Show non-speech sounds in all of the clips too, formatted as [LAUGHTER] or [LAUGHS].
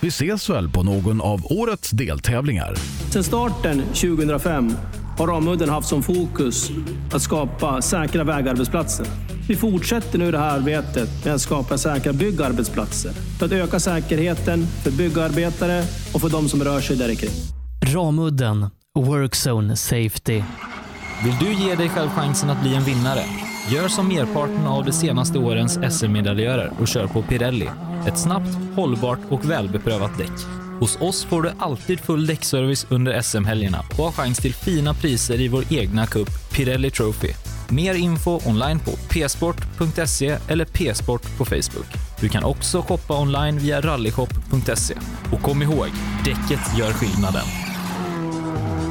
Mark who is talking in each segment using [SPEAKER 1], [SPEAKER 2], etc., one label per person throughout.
[SPEAKER 1] Vi ses väl på någon av årets deltävlingar.
[SPEAKER 2] Sedan starten 2005 har Ramudden haft som fokus att skapa säkra vägarbetsplatser. Vi fortsätter nu det här arbetet med att skapa säkra byggarbetsplatser för att öka säkerheten för byggarbetare och för de som rör sig där i kring.
[SPEAKER 3] Ramudden Workzone Safety.
[SPEAKER 4] Vill du ge dig själv chansen att bli en vinnare? Gör som merparten av de senaste årens SM-medaljörer och kör på Pirelli. Ett snabbt, hållbart och välbeprövat däck. Hos oss får du alltid full däckservice under SM-helgerna och har chans till fina priser i vår egna cup Pirelli Trophy. Mer info online på psport.se eller psport på Facebook. Du kan också shoppa online via rallyshop.se. Och kom ihåg, däcket gör skillnaden.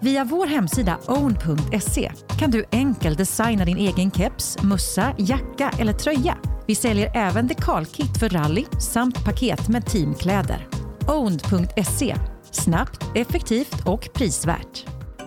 [SPEAKER 5] Via vår hemsida own.se E kan du enkelt designa din egen keps, mussa, jacka eller tröja. Vi säljer även dekalkit för rally samt paket med teamkläder. Own.se E Snabbt, effektivt och prisvärt.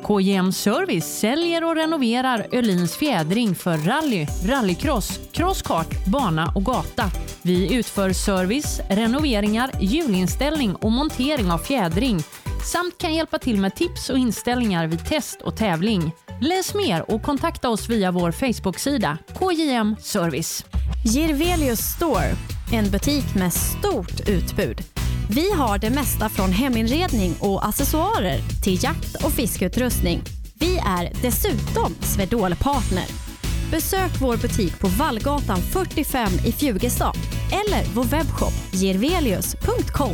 [SPEAKER 6] KJM Service säljer och renoverar Öhlins fjädring för rally, rallycross, crosskart, bana och gata. Vi utför service, renoveringar, hjulinställning och montering av fjädring samt kan hjälpa till med tips och inställningar vid test och tävling. Läs mer och kontakta oss via vår Facebook-sida KJM Service.
[SPEAKER 7] Girvelius Store, en butik med stort utbud. Vi har det mesta från heminredning och accessoarer till jakt och fiskeutrustning. Vi är dessutom Swedol partner. Besök vår butik på Vallgatan 45 i Fjugestad eller vår webbshop girvelius.com.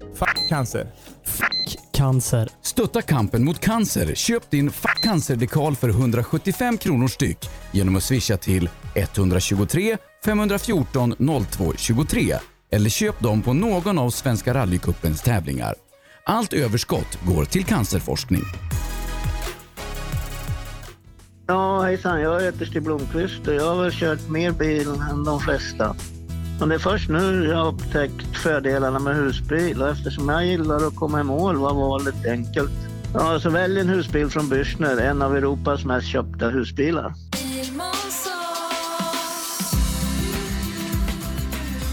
[SPEAKER 8] Fuck cancer.
[SPEAKER 3] Cancer.
[SPEAKER 9] Stötta kampen mot cancer. Köp din Fuck cancer-dekal för 175 kronor styck genom att swisha till 123 514 02 23 eller köp dem på någon av Svenska rallycupens tävlingar. Allt överskott går till cancerforskning.
[SPEAKER 10] Ja, hejsan. Jag heter Stig Blomqvist och jag har väl kört mer bil än de flesta. Men det är först nu jag har upptäckt fördelarna med husbil och eftersom jag gillar att komma i mål var valet enkelt. Ja, så välj en husbil från Bürstner, en av Europas mest köpta husbilar.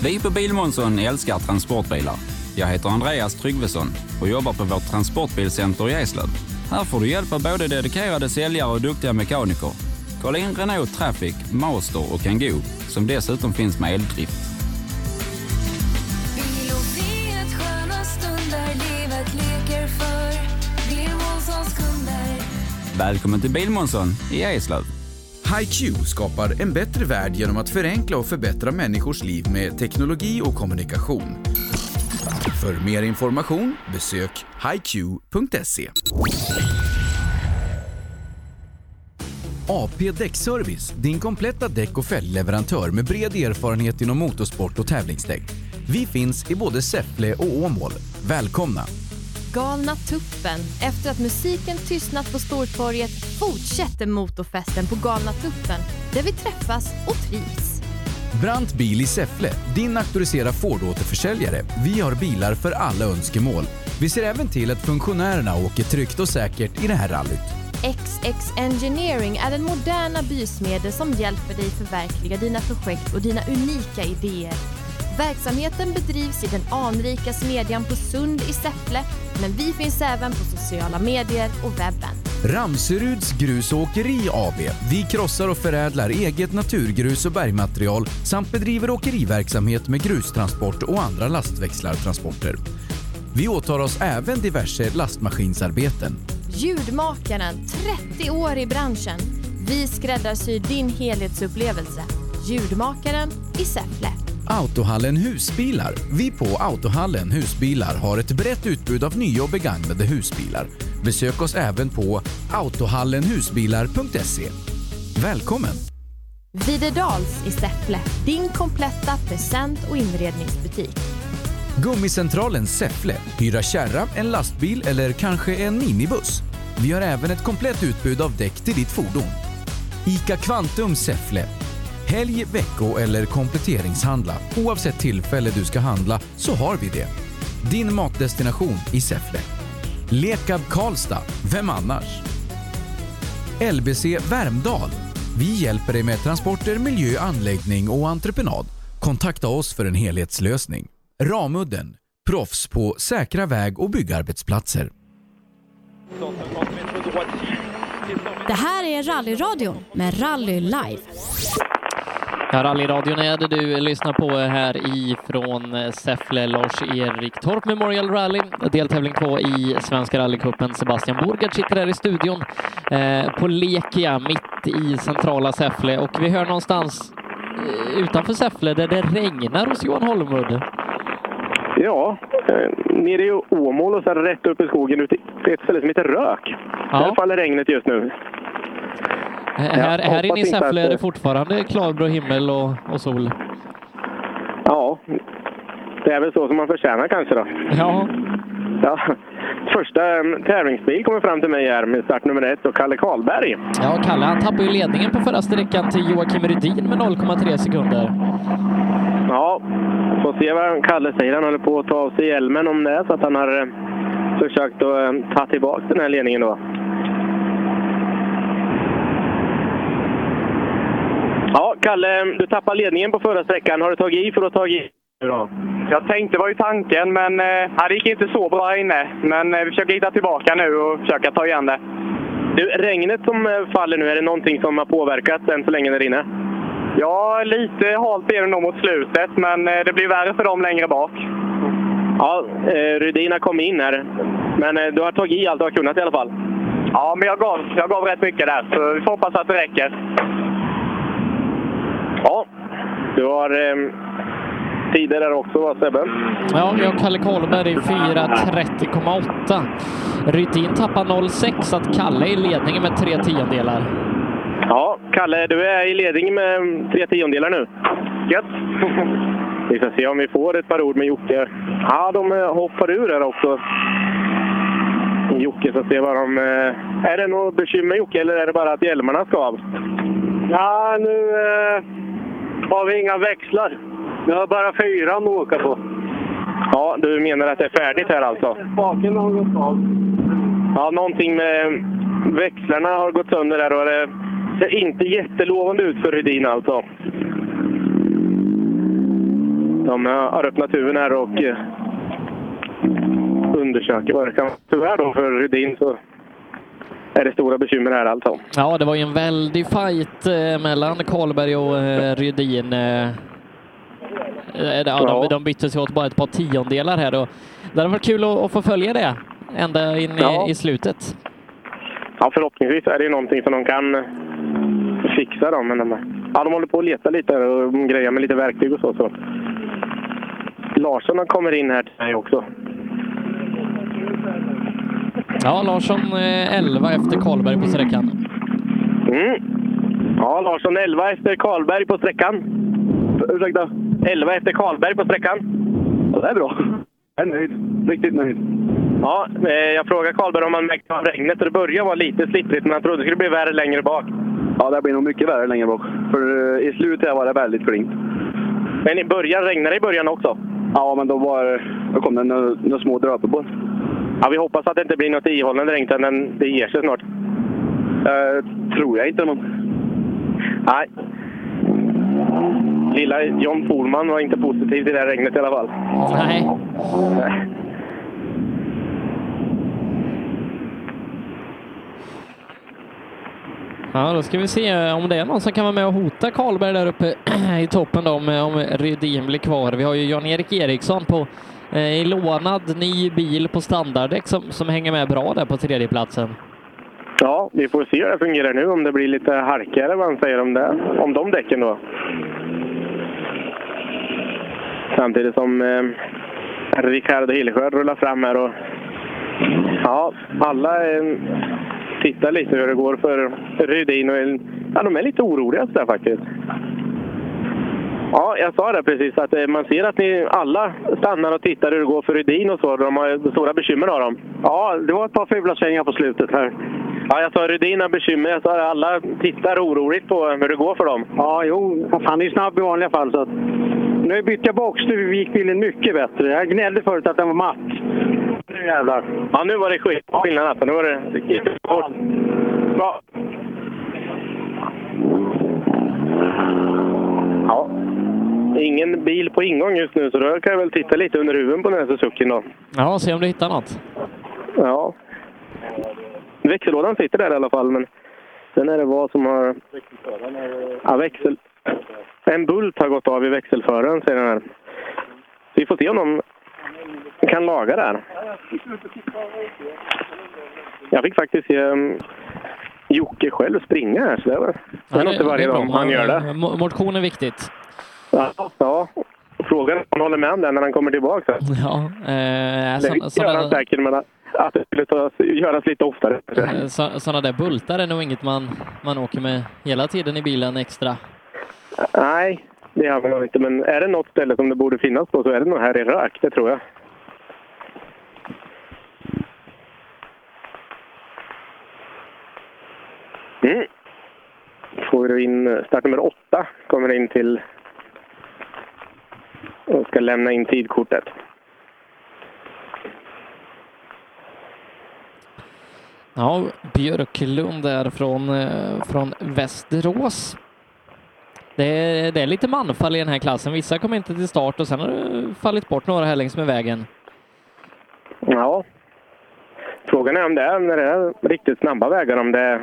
[SPEAKER 11] Vi på Bilmånsson älskar transportbilar. Jag heter Andreas Tryggvesson och jobbar på vårt transportbilcenter i Eslöv. Här får du hjälp av både dedikerade säljare och duktiga mekaniker. Kolla in Renault Traffic, Master och Kangoo som dessutom finns med eldrift. Välkommen till Bilmånsson i Eslöv.
[SPEAKER 9] HiQ skapar en bättre värld genom att förenkla och förbättra människors liv med teknologi och kommunikation. För mer information besök hiq.se. AP Däckservice, din kompletta däck och fällleverantör med bred erfarenhet inom motorsport och tävlingsdäck. Vi finns i både Säffle och Åmål. Välkomna!
[SPEAKER 12] Galna tuppen. Efter att musiken tystnat på Stortorget fortsätter motorfesten på Galna tuppen där vi träffas och trivs.
[SPEAKER 9] Brant Bil i Säffle, din auktoriserade Ford-återförsäljare. Vi har bilar för alla önskemål. Vi ser även till att funktionärerna åker tryggt och säkert i det här rallyt.
[SPEAKER 12] XX Engineering är den moderna bysmedel som hjälper dig förverkliga dina projekt och dina unika idéer. Verksamheten bedrivs i den anrika smedjan på Sund i Säffle, men vi finns även på sociala medier och webben.
[SPEAKER 9] Ramseruds Grusåkeri AB. Vi krossar och förädlar eget naturgrus och bergmaterial samt bedriver åkeriverksamhet med grustransport och andra lastväxlartransporter. Vi åtar oss även diverse lastmaskinsarbeten.
[SPEAKER 12] Ljudmakaren, 30 år i branschen. Vi skräddarsyr din helhetsupplevelse. Ljudmakaren i Säffle.
[SPEAKER 9] Autohallen Husbilar. Vi på Autohallen Husbilar har ett brett utbud av nya och begagnade husbilar. Besök oss även på autohallenhusbilar.se. Välkommen!
[SPEAKER 12] Videdals i Säffle, din kompletta present och inredningsbutik.
[SPEAKER 9] Gummicentralen Säffle. Hyra kärra, en lastbil eller kanske en minibuss. Vi har även ett komplett utbud av däck till ditt fordon. ICA Kvantum Säffle. Helg, vecko eller kompletteringshandla. Oavsett tillfälle du ska handla så har vi det. Din matdestination i Säffle. Lekab Karlstad. Vem annars? LBC Värmdal. Vi hjälper dig med transporter, miljö, anläggning och entreprenad. Kontakta oss för en helhetslösning. Ramudden. Proffs på säkra väg och byggarbetsplatser.
[SPEAKER 7] Det här är Rallyradion med Rally Live.
[SPEAKER 3] Ja, rallyradion är det du lyssnar på här ifrån eh, Säffle, Lars-Erik Torp Memorial Rally, deltävling två i Svenska rallycupen. Sebastian Borgard sitter här i studion eh, på Lekia, mitt i centrala Säffle och vi hör någonstans eh, utanför Säffle där det regnar hos Johan Holmud.
[SPEAKER 13] Ja, eh, nere i Åmål och sen rätt upp i skogen ute i ett ställe som heter Rök. Där faller regnet just nu.
[SPEAKER 3] Eh, Här, här inne i
[SPEAKER 13] hoppas inte
[SPEAKER 3] Säffle är
[SPEAKER 13] att-
[SPEAKER 3] det fortfarande klarblå himmel och, och sol.
[SPEAKER 13] Ja, det är väl så som man förtjänar kanske då.
[SPEAKER 3] Ja.
[SPEAKER 13] ja. Första em, tävlingsbil kommer fram till mig här med start nummer ett och Kalle Karlberg.
[SPEAKER 3] Ja, Kalle han tappade ju ledningen på förra sträckan till Joakim Rydin med 0,3 sekunder.
[SPEAKER 13] Ja, får se vad Kalle säger. Han håller på att ta av sig hjälmen om det är så att han har eh, försökt att eh, ta tillbaka den här ledningen då. Ja, Kalle, du tappade ledningen på förra sträckan. Har du tagit i för att ta i?
[SPEAKER 14] Jag tänkte var ju tanken, men eh, ja, det gick inte så bra här inne. Men eh, vi försöker hitta tillbaka nu och försöka ta igen det.
[SPEAKER 13] Du, regnet som eh, faller nu, är det någonting som har påverkat än så länge där inne?
[SPEAKER 14] Ja, lite halt blir det nog mot slutet, men eh, det blir värre för dem längre bak.
[SPEAKER 13] Ja, eh, Rudin har kommit in här. Men eh, du har tagit i allt du har kunnat i alla fall.
[SPEAKER 14] Ja, men jag gav, jag gav rätt mycket där, så vi får hoppas att det räcker.
[SPEAKER 13] Ja, du har eh, tider där också va Sebbe?
[SPEAKER 3] Ja, vi har Kalle Karlberg i 4.30,8. Rydin tappar 0,6 så att Kalle är i ledningen med tre tiondelar.
[SPEAKER 13] Ja, Kalle, du är i ledning med mm, tre tiondelar nu. Gött! Vi ska se om vi får ett par ord med Jocke. Ja, de eh, hoppar ur här också. Jocke ska se vad de... eh, Är det något bekymmer Jocke, eller är det bara att hjälmarna ska av?
[SPEAKER 14] Ja, nu eh, har vi inga växlar. Vi har bara fyran att åka på.
[SPEAKER 13] Ja, du menar att det är färdigt här alltså?
[SPEAKER 14] Spaken har gått av.
[SPEAKER 13] Ja, någonting med växlarna har gått sönder där och det ser inte jättelovande ut för Rydin alltså. De eh, har öppnat huven här och eh, undersöker vad det kan vara. Tyvärr då för Rydin så är det stora bekymmer här alltså.
[SPEAKER 3] Ja, det var ju en väldig fight eh, mellan Karlberg och eh, Rydin. eh. Eh, Ja, de, de bytte sig åt bara ett par tiondelar här och det hade varit kul att, att få följa det ända in
[SPEAKER 13] Ja.
[SPEAKER 3] i, i slutet.
[SPEAKER 13] Ja, förhoppningsvis är det ju någonting som de kan eh, fixa då. Men de, ja, de håller på att leta lite här och grejer med lite verktyg och så. så. Larsson kommer in här till mig också.
[SPEAKER 3] Ja, Larsson eh, 11 efter Karlberg på sträckan.
[SPEAKER 13] Mm. Ja, Larsson 11 efter Karlberg på sträckan. Ursäkta? 11 efter Karlberg på sträckan. Ja, det är bra. Jag är nöjd. Riktigt nöjd. Ja, eh, jag frågade Karlberg om han märkte av regnet och det började vara lite slittrigt men han trodde det skulle bli värre längre bak. Ja, det blir nog mycket värre längre bak. För eh, i slutet var det väldigt klint. Men i början regnade det i början också? Ja, men då, var, då kom det några små dröpor på. Ja, vi hoppas att det inte blir något ihållande regn utan den- det ger sig snart. Eh, tror jag inte. Men... Nej. Lilla John Polman var inte positiv till det här regnet i alla fall. Eh.
[SPEAKER 3] Nej. Ja, då ska vi se om det är någon som kan vara med och hota Karlberg där uppe [CLEARS THROAT] i toppen då, om, om Rydin blir kvar. Vi har ju Jan-Erik Eriksson på eh, i lånad ny bil på standarddäck som, som hänger med bra där på tredjeplatsen.
[SPEAKER 15] Ja, vi får se hur det fungerar nu, om det blir lite halka eller vad han säger om, det, om de däcken då.
[SPEAKER 13] Samtidigt som eh, Ricardo Hillesjö rullar fram här. Och, ja, alla eh, tittar lite hur det går för Rydin. Och, ja, de är lite oroliga där faktiskt. Ja, jag sa det precis, att eh, man ser att ni alla stannar och tittar hur det går för Rydin och så. De har ju stora bekymmer av dem. Ja, det var ett par fula svängar på slutet här. Ja, jag sa Rydin har bekymmer. Jag sa att alla tittar oroligt på hur det går för dem.
[SPEAKER 16] Ja, jo, fast han är snabb i vanliga fall. Så att... Nu bytte jag bakstuv gick bilen mycket bättre. Jag gnällde förut att den var matt.
[SPEAKER 13] Nu jävlar. Ja, nu var det skill- skillnad alltså. Nu var det... Bra. Ja. Ingen bil på ingång just nu, så då kan jag väl titta lite under huven på den här Suzukien då.
[SPEAKER 3] Ja, se om du hittar något.
[SPEAKER 13] Ja. Växellådan sitter där i alla fall, men sen är det vad som har... Ja, växel... En bult har gått av i växelföraren, säger den här. Vi får se om de kan laga det här. Jag fick faktiskt se um, Jocke själv springa här, så det var det är nog inte varje
[SPEAKER 3] bra.
[SPEAKER 13] dag han gör det.
[SPEAKER 3] Mo- Motion är viktigt.
[SPEAKER 13] Ja, ja. Frågan är om han håller med om det när han kommer tillbaka.
[SPEAKER 3] Ja, eh,
[SPEAKER 13] det
[SPEAKER 3] så,
[SPEAKER 13] gör han
[SPEAKER 3] sådana,
[SPEAKER 13] säkert, men att det skulle tas, göras lite oftare.
[SPEAKER 3] eh, så, sådana där bultar är nog inget man, man åker med hela tiden i bilen extra.
[SPEAKER 13] Nej, det har vi nog inte. Men är det något ställe som det borde finnas på så är det nog här i Rök, det tror jag. Mm. Får du in eh, start nummer åtta, kommer in till och ska lämna in tidkortet.
[SPEAKER 3] Ja, Björklund där från, eh, från Västerås. Det är, det är lite manfall i den här klassen. Vissa kommer inte till start och sen har det fallit bort några här längs med vägen.
[SPEAKER 13] Ja. Frågan är om det är, när det är riktigt snabba vägar, om det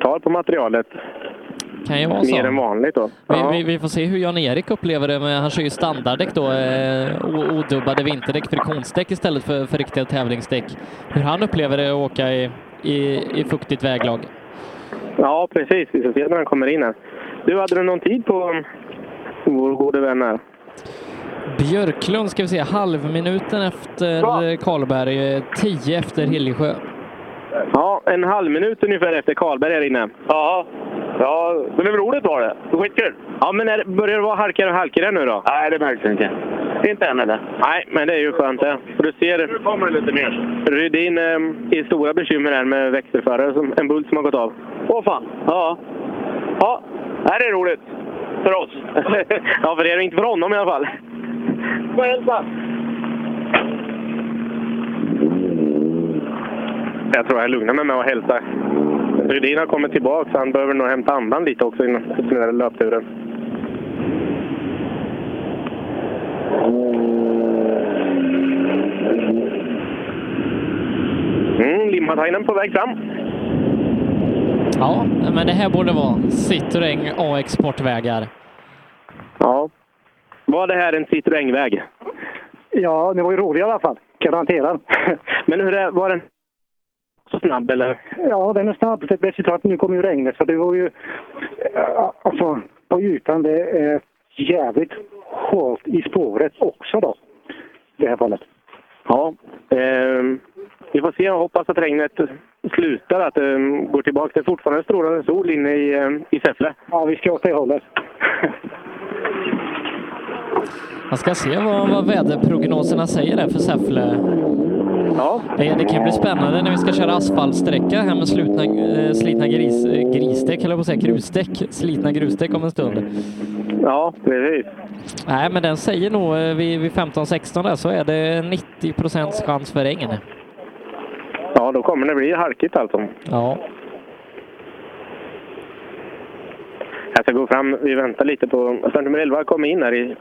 [SPEAKER 13] tar på materialet
[SPEAKER 3] Kan ju vara så.
[SPEAKER 13] mer än vanligt då.
[SPEAKER 3] Vi, vi, vi får se hur Jan-Erik upplever det, men han kör ju standarddäck då, eh, o- odubbade vinterdäck, friktionsdäck istället för, för riktiga tävlingsdäck. Hur han upplever det att åka i, i, i fuktigt väglag.
[SPEAKER 13] Ja, precis. Vi ska se när han kommer in här. Du, hade du någon tid på um, vår gode vän här?
[SPEAKER 3] Björklund ska vi se, halvminuten efter Karlberg, eh, tio efter Hillesjö.
[SPEAKER 13] Ja, en halv minut ungefär efter Karlberg är inne. Ja, ja men det var roligt var det. Skitkul! Ja, men är, börjar det vara halkar och halkigare nu då? Nej, det märks inte. Inte än eller? Nej, men det är ju skönt det. Och du ser... Nu kommer det lite mer. Rydin eh, är stora bekymmer här med växelförare, som, en bult som har gått av. Åh fan! Ja. Ja, det här är roligt. För oss. [LAUGHS] ja, för er och inte för honom i alla fall. Får jag hälsa? Jag tror jag lugnar mig med att hälsa. Rydin har kommit tillbaka, så han behöver nog hämta andan lite också innan den här löpturen. Mm, Limmatajnen på väg fram.
[SPEAKER 3] Ja, men det här borde vara Citroën AX Sportvägar.
[SPEAKER 13] Ja. Var det här en Citroën-väg?
[SPEAKER 16] Ja, det var ju roligt i alla fall. Garanterat.
[SPEAKER 13] [LAUGHS] Men hur är, var den så snabb eller?
[SPEAKER 16] Ja, den är snabb. Det bästa är att nu kommer ju regnet så det var ju... eh, Alltså, på ytan det är jävligt hårt i spåret också då. I det här fallet.
[SPEAKER 13] Ja. Ehm, vi får se och hoppas att regnet slutar, att det går tillbaka. Det är fortfarande strålande sol inne i, ehm, i Säffle.
[SPEAKER 16] Ja, vi ska åt det hållet.
[SPEAKER 3] Man ska se vad, vad väderprognoserna säger där för Säffle.
[SPEAKER 13] Ja.
[SPEAKER 3] Det, det kan bli spännande när vi ska köra asfaltsträcka här med slutna, eh, slitna gris, eh, grisdäck, höll jag på att säga, grusdäck. Slitna grusdäck om en stund.
[SPEAKER 13] Ja, precis.
[SPEAKER 3] Nej, men den säger nog eh, vid, vid 15-16 där så är det 90 procents chans för regn.
[SPEAKER 13] Ja, då kommer det bli halkigt alltså.
[SPEAKER 3] Ja.
[SPEAKER 13] Jag ska gå fram. Vi väntar lite på... Alltså, nummer 11 kom in här i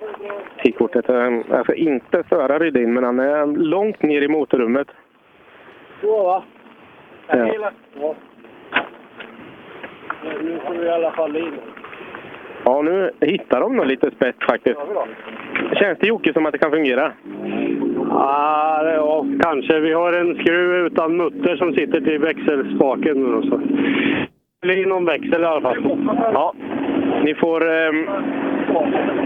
[SPEAKER 13] tidkortet. Alltså inte föra Rydin, men han är långt ner i motorrummet.
[SPEAKER 17] Så va?
[SPEAKER 13] Ja.
[SPEAKER 17] Jag gillar- Ja. Men Nu får vi i alla fall in.
[SPEAKER 13] Ja, nu hittar de nog lite spett faktiskt.
[SPEAKER 17] Ja, vi då.
[SPEAKER 13] Känns det Jocke som att det kan fungera?
[SPEAKER 17] Ja, det- ja, kanske. Vi har en skruv utan mutter som sitter till växelspaken. nu då, så. Eller i någon växel i alla fall.
[SPEAKER 13] Ja. Ni får ehm,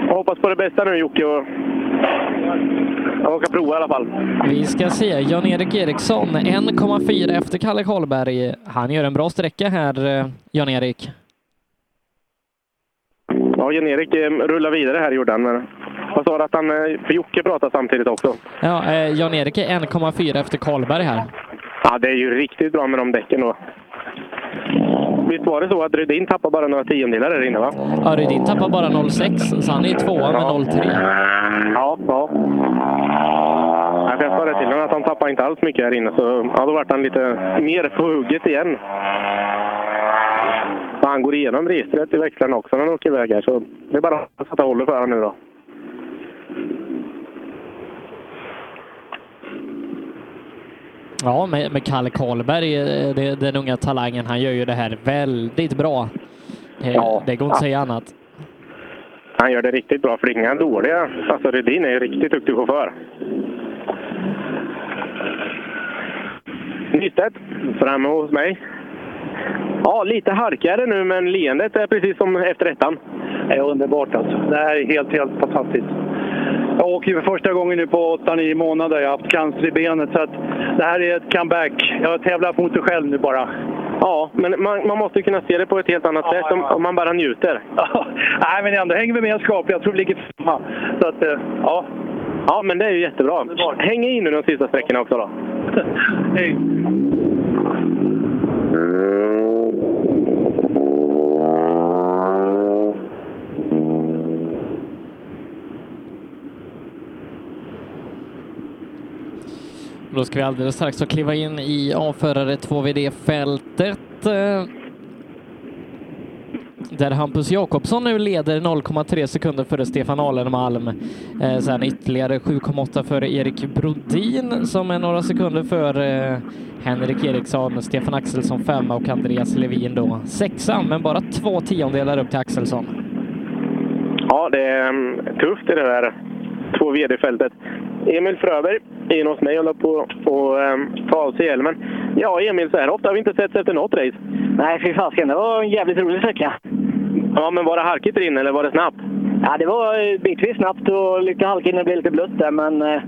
[SPEAKER 13] hoppas på det bästa nu Jocke och, och åka prova i alla fall.
[SPEAKER 3] Vi ska se. Jan-Erik Eriksson, 1,4 efter Kalle Karlberg. Han gör en bra sträcka här, eh, Jan-Erik.
[SPEAKER 13] Ja, Jan-Erik ehm, rullar vidare här gjorde han. Men vad sa du att han... eh, För Jocke pratar samtidigt också.
[SPEAKER 3] Ja, eh, Jan-Erik är 1,4 efter Karlberg här.
[SPEAKER 13] Ja, det är ju riktigt bra med de däcken då. Visst var det så att Rydin tappade bara några tiondelar där inne va?
[SPEAKER 3] Ja, Rydin tappar bara 0,6, så han är ju tvåa med 0,3.
[SPEAKER 13] Ja, ja. Ja, för Jag sa det till honom att han tappade inte alls mycket här inne, så ja, då vart han lite mer på hugget igen. Så han går igenom registret i växlarna också när han åker iväg här, så det är bara att hoppas att det håller för honom nu då.
[SPEAKER 3] Ja, med, med Kalle Karlberg, eh, det, den unga talangen, han gör ju det här väldigt bra. Det, det går inte att säga annat.
[SPEAKER 13] Han gör det riktigt bra, för det är inga dåliga. Alltså Rydin är ju riktigt duktig chaufför. Nyttet, framme hos mig. Ja, lite halkigare nu, men leendet är precis som efter ettan.
[SPEAKER 17] Det är underbart alltså. Det här är helt, helt fantastiskt. Jag åker ju för första gången nu på 8-9 månader. Jag har haft cancer i benet så att det här är ett comeback. Jag tävlar mot mig själv nu bara.
[SPEAKER 13] Ja, men man, man måste ju kunna se det på ett helt annat sätt om, om man bara njuter.
[SPEAKER 17] Nej, men ändå hänger vi med skapligt. Jag tror vi ligger femma. [LAUGHS] Så att, eh, ja.
[SPEAKER 13] Ja, men det är ju jättebra. Häng i nu de sista sträckorna också då.
[SPEAKER 17] Hej.
[SPEAKER 3] Då ska vi alldeles strax så kliva in i avförare 2VD-fältet. eh, Där Hampus Jakobsson nu leder 0,3 sekunder före Stefan Alenmalm. Eh, sen ytterligare 7,8 före Erik Brodin som är några sekunder före eh, Henrik Eriksson, Stefan Axelsson femma och Andreas Levin då sexa, men bara två tiondelar upp till Axelsson.
[SPEAKER 13] Ja, det är mm, tufft i det där två VD-fältet. Emil Fröberg är inne hos mig och håller på att mm, ta av sig hjälmen. Ja, Emil, så här ofta har vi inte setts efter något race. Nej, fy fasken. Det var en jävligt rolig sträcka. Ja, men var det halkigt där inne eller var det snabbt?
[SPEAKER 18] Ja, det var eh, bitvis snabbt och lite halkigt och blev lite blött där, men eh,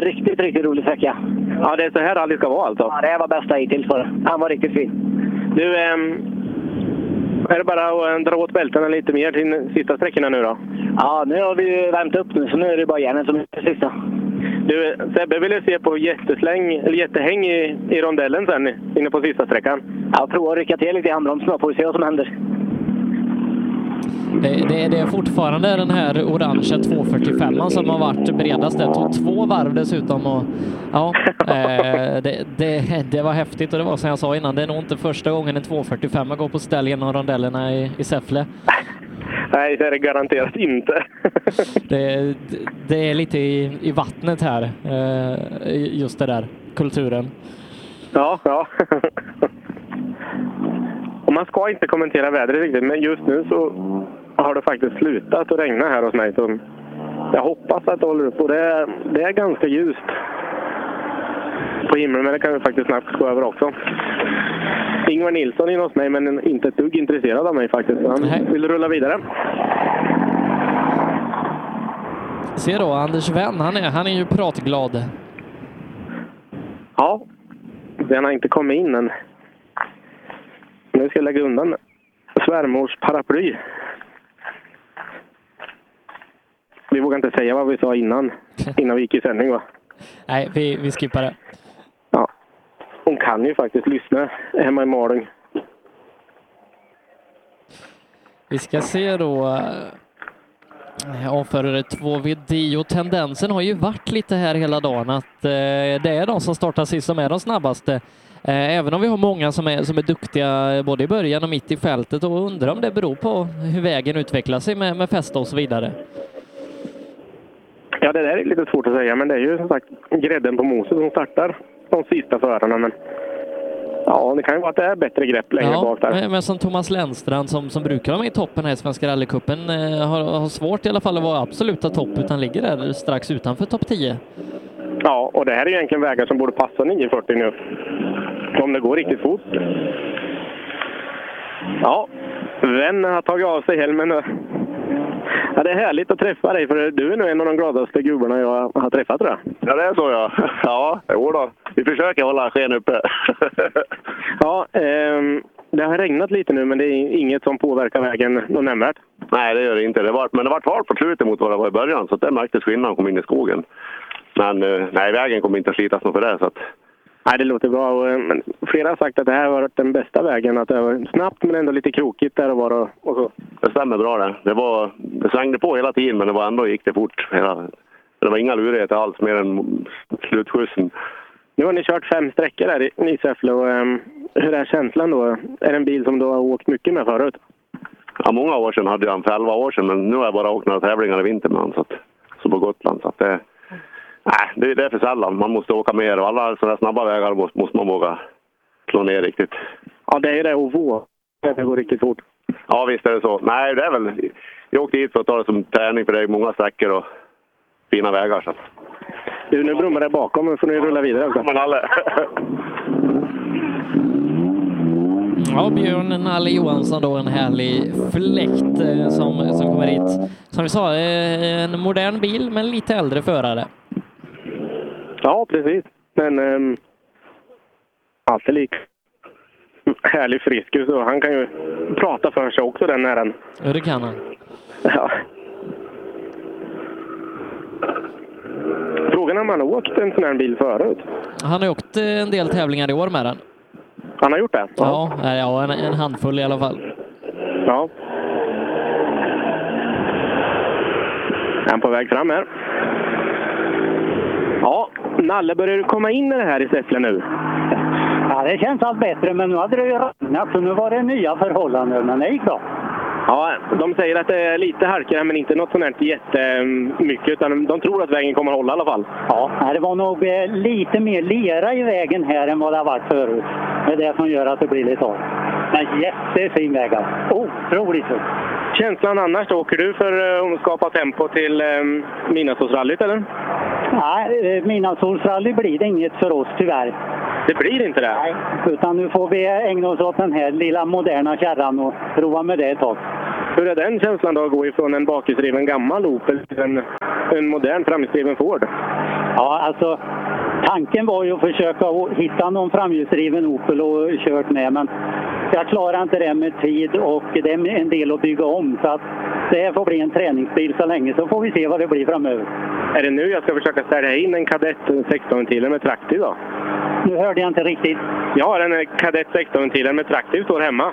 [SPEAKER 18] riktigt, riktigt rolig sträcka.
[SPEAKER 13] Ja, det är så här rally ska vara alltså?
[SPEAKER 18] Ja, det här var bästa hittills för Han var riktigt fin.
[SPEAKER 13] Du, ehm, är det bara att eh, dra åt bältena lite mer till de sista sträckorna nu då?
[SPEAKER 18] Ja, nu har vi ju värmt upp nu, så nu är det bara järnet som är det sista.
[SPEAKER 13] Du, Sebbe ville se på jättesläng, eller jättehäng i, i rondellen sen, inne på sista sträckan.
[SPEAKER 18] Ja, prova att rycka till lite i handbromsen då, får vi se vad som händer.
[SPEAKER 3] Det, det, det är fortfarande den här orangea 245 som har varit bredast. Det tog två varv dessutom. Och, ja, eh, det, det, det var häftigt och det var som jag sa innan, det är nog inte första gången en 245 går på ställ genom rondellerna i, i Säffle.
[SPEAKER 13] Nej, det är det garanterat inte.
[SPEAKER 3] Det, det är lite i, i vattnet här, eh, just det där, kulturen.
[SPEAKER 13] Ja, ja. [LAUGHS] Och man ska inte kommentera vädret riktigt, men just nu så har det faktiskt slutat att regna här hos mig. Så jag hoppas att det håller upp och det är, det är ganska ljust på himlen, men det kan ju faktiskt snabbt gå över också. Ingvar Nilsson är inne hos mig, men inte ett dugg intresserad av mig faktiskt. Han vill rulla vidare.
[SPEAKER 3] Se då, Anders Wenn, han är, han är ju pratglad.
[SPEAKER 13] Ja, den har inte kommit in än. Nu ska jag lägga undan svärmors paraply. Vi vågar inte säga vad vi sa innan, innan vi gick i sändning. Va?
[SPEAKER 3] Nej, vi, vi skippar det.
[SPEAKER 13] Hon kan ju faktiskt lyssna hemma i Malung.
[SPEAKER 3] Vi ska se då. eh, Avförare 2VD och tendensen har ju varit lite här hela dagen att eh, det är de som startar sist som är de snabbaste. Eh, Även om vi har många som är, som är duktiga både i början och mitt i fältet och undrar om det beror på hur vägen utvecklar sig med, med fäste och så vidare.
[SPEAKER 13] Ja, det där är lite svårt att säga, men det är ju som sagt grädden på moset som startar de sista förarna. Men ja, det kan ju vara att det är bättre grepp längre bak där.
[SPEAKER 3] eh, men, men som Thomas Länstrand som, som brukar vara med i toppen här i Svenska rallycupen eh, har, har svårt i alla fall att vara absoluta topp utan ligger där strax utanför topp 10.
[SPEAKER 13] Ja, och det här är ju egentligen vägar som borde passa 940 nu. Om det går riktigt fort. Ja, vem har tagit av sig helmen nu? Ja, det är härligt att träffa dig, för du är nog en av de gladaste gubbarna jag har träffat tror jag.
[SPEAKER 19] Ja, det är så ja. [LAUGHS] Ja, jo då. Vi försöker hålla sken uppe. [LAUGHS]
[SPEAKER 13] Ja, ehm, det har regnat lite nu, men det är inget som påverkar vägen något nämnvärt.
[SPEAKER 19] Nej, det gör det inte. Det var, men det var halt på slutet mot vad det var i början, så att det märktes skillnaden kom in i skogen. Men eh, nej, vägen kommer inte att slitas något för det. Så att,
[SPEAKER 13] Nej, det låter bra. Och, eh, men flera har sagt att det här har varit den bästa vägen. Att det har varit snabbt men ändå lite krokigt där och var. Och, och så.
[SPEAKER 19] det stämmer bra det. Det, var, det svängde på hela tiden, men det var ändå gick det fort. Hela, det var inga lurigheter alls, mer än slutskjutsen.
[SPEAKER 13] Nu har ni kört fem sträckor där i, i Säffle. Och, ehm, hur är känslan då? Är det en bil som du har åkt mycket med förut?
[SPEAKER 19] Ja, många år sedan hade jag en för 11 år sedan, men nu har jag bara åkt några tävlingar i vinter med honom, så, att, så på Gotland. Så att det, nej, det, det är för sällan. Man måste åka mer och alla sådana snabba vägar måste, måste man våga slå ner riktigt.
[SPEAKER 13] Ja, det är ju det och våga. Det går riktigt fort.
[SPEAKER 19] Ja, visst är det så. Nej, det är väl... Jag åkte hit för att ta det som träning, för det är många sträckor och fina vägar. Så.
[SPEAKER 13] Du, nu brummar det bakom. Nu får ni rulla vidare också.
[SPEAKER 19] Men alla...
[SPEAKER 3] Ja, Björn Nalle Johansson då, en härlig fläkt eh, som, som kommer hit. Som vi sa, eh, en modern bil men lite äldre förare.
[SPEAKER 13] [LAUGHS] Ja, precis. Men ehm, alltid lik. Härlig friskus och han kan ju prata för sig också, den herren.
[SPEAKER 3] Ja, det kan han.
[SPEAKER 13] Ja. Frågan är om han har åkt en sån här bil förut.
[SPEAKER 3] Han har ju åkt eh, en del tävlingar i år med den.
[SPEAKER 13] Han har gjort det?
[SPEAKER 3] Ja, eh, ja en, en handfull i alla fall.
[SPEAKER 13] Ja. Är han på väg fram här? Ja, Nalle, börjar du komma in i det här i Säffle nu?
[SPEAKER 16] Ja, det känns allt bättre, men nu hade det ju regnat så nu var det nya förhållanden, men det gick bra.
[SPEAKER 13] Ja, de säger att det är lite halka här, men inte något sånt här jättemycket. Utan de tror att vägen kommer att hålla i alla fall.
[SPEAKER 16] Ja, nej, det var nog eh, lite mer lera i vägen här än vad det har varit förut. Det är det som gör att det blir lite halt. Men jättefin väg alltså. Otroligt fin.
[SPEAKER 13] Känslan annars då? Åker du för eh, att skapa tempo till eh, Midnattsåsrallyt eller?
[SPEAKER 16] Nej, eh, Midnattssolsrally blir det inget för oss tyvärr.
[SPEAKER 13] Det blir inte det?
[SPEAKER 16] Nej. Utan nu får vi ägna oss åt den här lilla moderna kärran och prova med det ett tag.
[SPEAKER 13] Hur är den känslan då att gå ifrån en bakhjulsdriven gammal Opel till en, en modern framhjulsdriven Ford?
[SPEAKER 16] Ja, alltså tanken var ju att försöka å- hitta någon framhjulsdriven Opel och kört med, men jag klarar inte det med tid och det är en del att bygga om. Så att det här får bli en träningsbil så länge, så får vi se vad det blir framöver.
[SPEAKER 13] Är det nu jag ska försöka sälja in en Kadett 16-ventiler med traktiv då?
[SPEAKER 16] Nu hörde jag inte riktigt.
[SPEAKER 13] Jag har en eh, Kadett 16-ventiler med traktiv står hemma.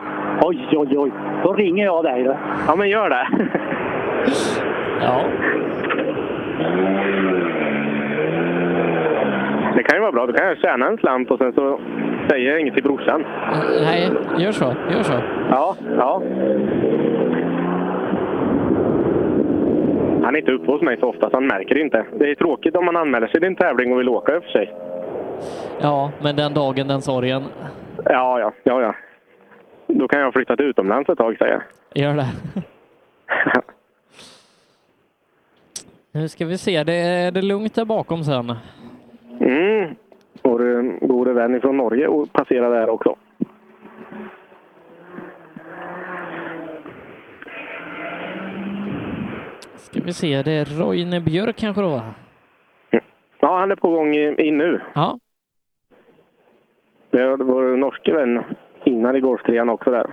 [SPEAKER 16] Oj, oj, oj. Då ringer jag dig då.
[SPEAKER 13] Ja, men gör
[SPEAKER 16] [LAUGHS]
[SPEAKER 13] det.
[SPEAKER 3] ja.
[SPEAKER 13] Det kan ju vara bra. Då kan jag tjäna en slant och sen så säger jag inget till brorsan.
[SPEAKER 3] Eh, Nej, gör så. Gör så.
[SPEAKER 13] Ja, ja. Han är inte uppe hos mig så ofta, så han märker det inte. Det är tråkigt om man anmäler sig till en tävling och vill åka i och för sig.
[SPEAKER 3] Ja, men den dagen, den sorgen.
[SPEAKER 13] Ja, ja, ja, ja. Då kan jag ha flyttat utomlands ett tag, säger jag. [LAUGHS]
[SPEAKER 3] Gör det. Nu ska vi se, det är det är lugnt där bakom sen.
[SPEAKER 13] Mm. Vår gode vän från Norge och passerade här också.
[SPEAKER 3] Ska vi se, det är Roine Björk kanske då? va?
[SPEAKER 13] Ja, han är på gång i- in nu.
[SPEAKER 3] Ja.
[SPEAKER 13] Det var vår norske vän innan i golftrean också där.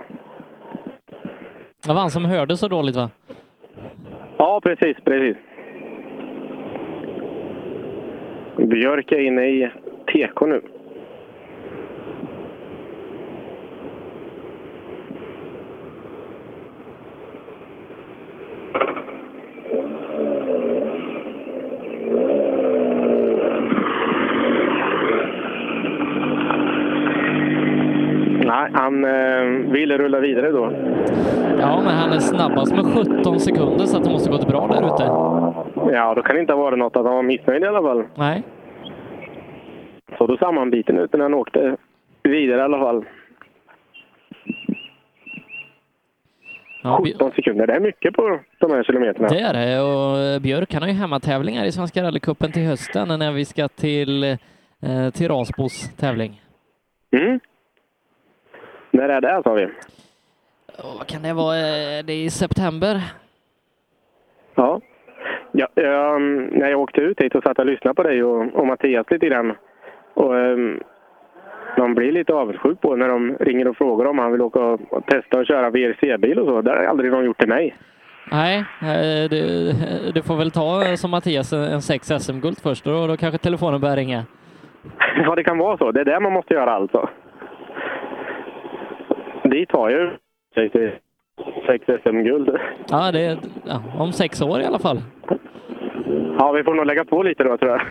[SPEAKER 3] Det var han som hörde så dåligt va?
[SPEAKER 13] Ja, precis, precis. Björk är inne i TK nu. eh, vidare då.
[SPEAKER 3] Ja, men han är snabbast med 17 sekunder så att det måste gått bra där ute.
[SPEAKER 13] Ja, då kan det inte ha varit något att han var missnöjd i alla fall.
[SPEAKER 3] Nej.
[SPEAKER 13] Så då sammanbiten ut när han åkte vidare i alla fall.
[SPEAKER 3] Ja, vi-
[SPEAKER 13] 17 sekunder, det är mycket på de här kilometerna.
[SPEAKER 3] Det är det och eh, Björk han har ju hemmatävlingar i Svenska rallycupen till hösten när vi ska till, eh, till Rasbos tävling.
[SPEAKER 13] Mm. När är det, sa vi?
[SPEAKER 3] Och vad kan det vara? Eh, Det är i september.
[SPEAKER 13] Ja. ja ehm, när jag åkte ut hit och satt och lyssnade på dig och, och Mattias lite grann. Och, ehm, man blir lite avundsjuk på när de ringer och frågar om han vill åka och och testa och köra VRC-bil och så. Det har aldrig någon gjort till mig. [LAUGHS]
[SPEAKER 3] Nej, eh, du, du får väl ta eh, som Mattias en en sex SM-guld först och då, då kanske telefonen börjar ringa.
[SPEAKER 13] Ja, det kan vara så. Det är det man måste göra alltså. Dit har jag ju sex SM-guld.
[SPEAKER 3] Ja, det, är- ja, om sex år i alla fall.
[SPEAKER 13] Ja, vi får nog lägga på lite då tror jag.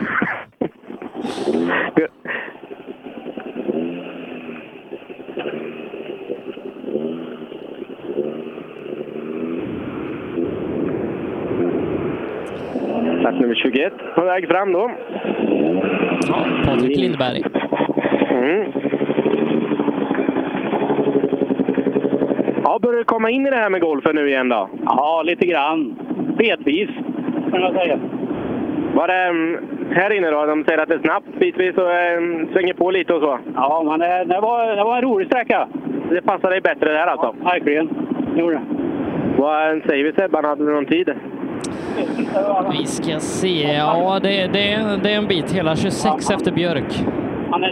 [SPEAKER 13] Plats nummer 21 på väg fram då.
[SPEAKER 3] Ja, Patrik Lindberg.
[SPEAKER 13] Mm. Ja, börjar du komma in i det här med golfen nu igen då? Ja, lite grann. Betvis, kan jag säga. Var det mm, här inne då? De säger att det är snabbt bitvis och mm, svänger på lite och så. Ja, men det, var, det var en rolig sträcka. Det passar dig bättre där alltså? Ja, verkligen. Jo, det. Vad säger vi Sebban? Hade du någon tid?
[SPEAKER 3] Vi ska se. Ja, det, det, är- det är en bit. Hela 26 efter Björk.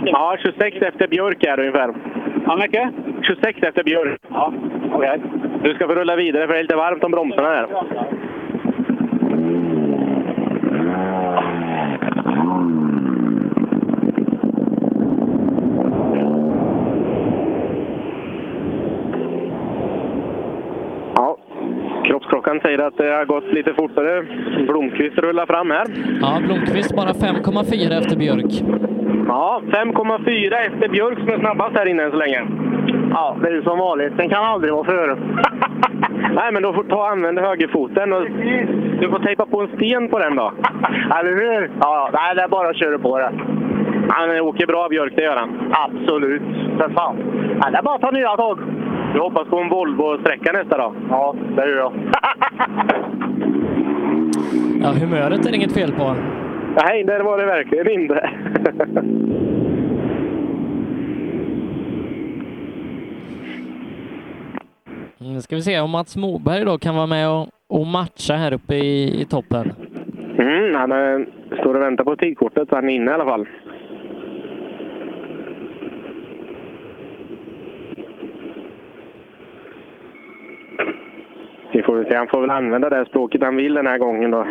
[SPEAKER 13] Ja, 26 efter Björk är det ungefär. Hur mycket? 26 efter Björk. Ja, okej. Du ska få rulla vidare för det är lite varmt om bromsarna här. Ja, Kroppsklockan säger att det har gått lite fortare. Blomqvist rullar fram här.
[SPEAKER 3] Ja, Blomqvist bara 5,4 efter Björk.
[SPEAKER 13] Ja, 5,4 efter Björk som är snabbast här inne än så länge. Ja, det är som vanligt. Den kan aldrig vara före. [LAUGHS] Nej, men då får ta och använda högerfoten. Och du får tejpa på en sten på den då. [LAUGHS] Eller hur? Ja, nej, det är bara att köra på det. Han åker bra, Björk. Det gör han. Absolut. För fan. Ja, det är bara att ta nya tag. Du hoppas på en Volvo-sträcka nästa dag? Ja, det [LAUGHS] gör jag.
[SPEAKER 3] Ja, humöret är det inget fel på.
[SPEAKER 13] Nej, det var det verkligen inte. [LAUGHS]
[SPEAKER 3] Nu Mm, ska vi se om Mats Moberg då kan vara med och, och matcha här uppe i, i toppen.
[SPEAKER 13] Mm, han eh, står och väntar på tidkortet, så han är inne i alla fall. Vi får väl se. Han får väl använda det språket han vill den här gången då.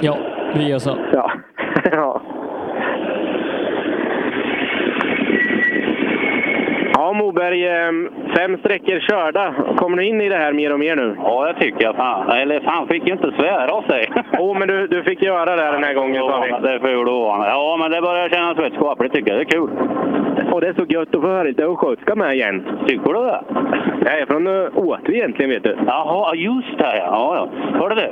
[SPEAKER 3] Ja, vi gör så.
[SPEAKER 13] Ja. [LAUGHS] ja. Ja, Moberg, eh, fem sträckor körda. Kommer du in i det här mer och mer nu?
[SPEAKER 2] Ja, jag tycker jag. Fan, eller fan fick ju inte svära av sig.
[SPEAKER 13] Jo, men du, du fick göra det här den här gången, sa vi.
[SPEAKER 2] Det är ful ovan. Ja, men det börjar kännas rätt skapligt tycker jag. Det är kul.
[SPEAKER 13] Och det är så gött att få höra lite östgötska med igen. Tycker du det? Jag är från eh, Åtvi egentligen, vet du.
[SPEAKER 2] Jaha, just det. Ja, ja. Hörde du?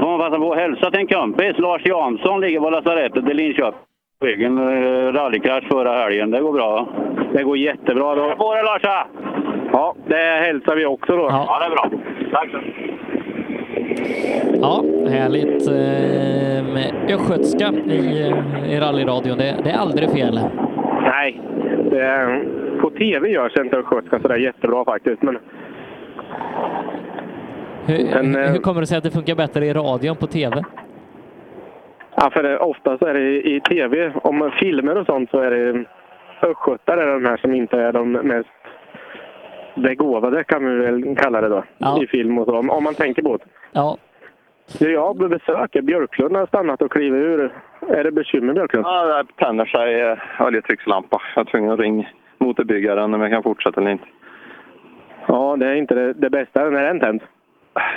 [SPEAKER 2] Får man passa på att hälsa till en kompis. Lars Jansson ligger på lasarettet i Linköping. Ryggen, eh, Rallykrasch förra helgen. Det går bra, va?
[SPEAKER 13] Det går jättebra. Då.
[SPEAKER 2] på dig, Larsa!
[SPEAKER 13] Ja, det hälsar vi också då.
[SPEAKER 2] Ja, det är bra. Tack så
[SPEAKER 3] Ja, härligt eh, med östgötska i, eh, i rallyradion. Det, det är aldrig fel.
[SPEAKER 13] Nej, det är, på tv görs inte östgötska sådär jättebra faktiskt. Men
[SPEAKER 3] Hur,
[SPEAKER 13] Men, eh,
[SPEAKER 3] hur kommer det sig att det funkar bättre i radion på tv?
[SPEAKER 13] ja, för det, oftast är det i, i tv, om filmer och sånt, så är det östgötare de här som inte är de mest begåvade kan vi väl kalla det då. I film och så, om, om man tänker på det.
[SPEAKER 3] Ja.
[SPEAKER 13] Du, Jag besöker Björklund har stannat och klivit ur. Är det bekymmer Björklund?
[SPEAKER 20] Ja, det här tänder sig eh, oljetryckslampa. Jag är tvungen att ringa motorbyggaren om jag kan fortsätta eller inte.
[SPEAKER 13] Ja, det är inte det, det bästa när den tänds.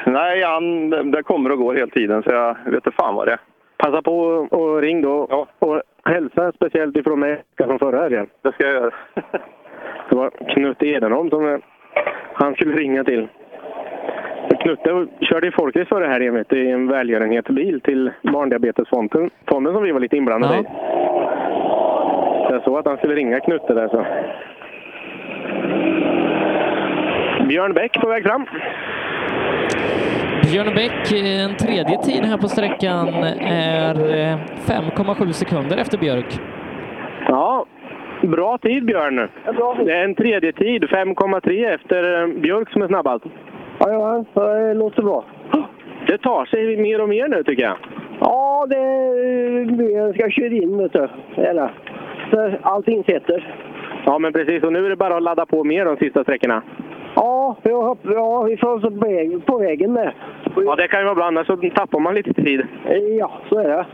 [SPEAKER 20] Nej, han, det det kommer och går hela tiden så jag vet inte fan vad det är.
[SPEAKER 13] Passa på och ring då. Och hälsa speciellt ifrån mig från förra helgen. [LAUGHS]
[SPEAKER 20] Det ska jag göra.
[SPEAKER 13] Det var Knut Edenholm som eh, han skulle ringa till. Knutte körde ju folkrace förra helgen vet du, i en välgörenhetsbil till Barndiabetesfonden fonden som vi var lite inblandade i. Jag såg att han skulle ringa Knutte där så. Björn Bäck på väg fram.
[SPEAKER 3] Björn Bäck, eh, en tredje tid här på sträckan, är eh, 5,7 sekunder efter Björk.
[SPEAKER 13] Ja, bra tid Björn. Det är en tredje tid, 5,3 efter eh, Björk som är snabbast.
[SPEAKER 1] Ja, ja, det låter bra.
[SPEAKER 13] Det tar sig mer och mer nu tycker jag.
[SPEAKER 1] Ja, det jag ska köra in vet du. Eller, så allting sitter.
[SPEAKER 13] Ja, men precis. Och nu är det bara att ladda på mer de sista sträckorna.
[SPEAKER 1] Ja, jag hoppas, ja vi får så på, väg, på vägen där.
[SPEAKER 13] Ja, det kan ju vara bra. Annars så tappar man lite tid.
[SPEAKER 1] Ja, så är det.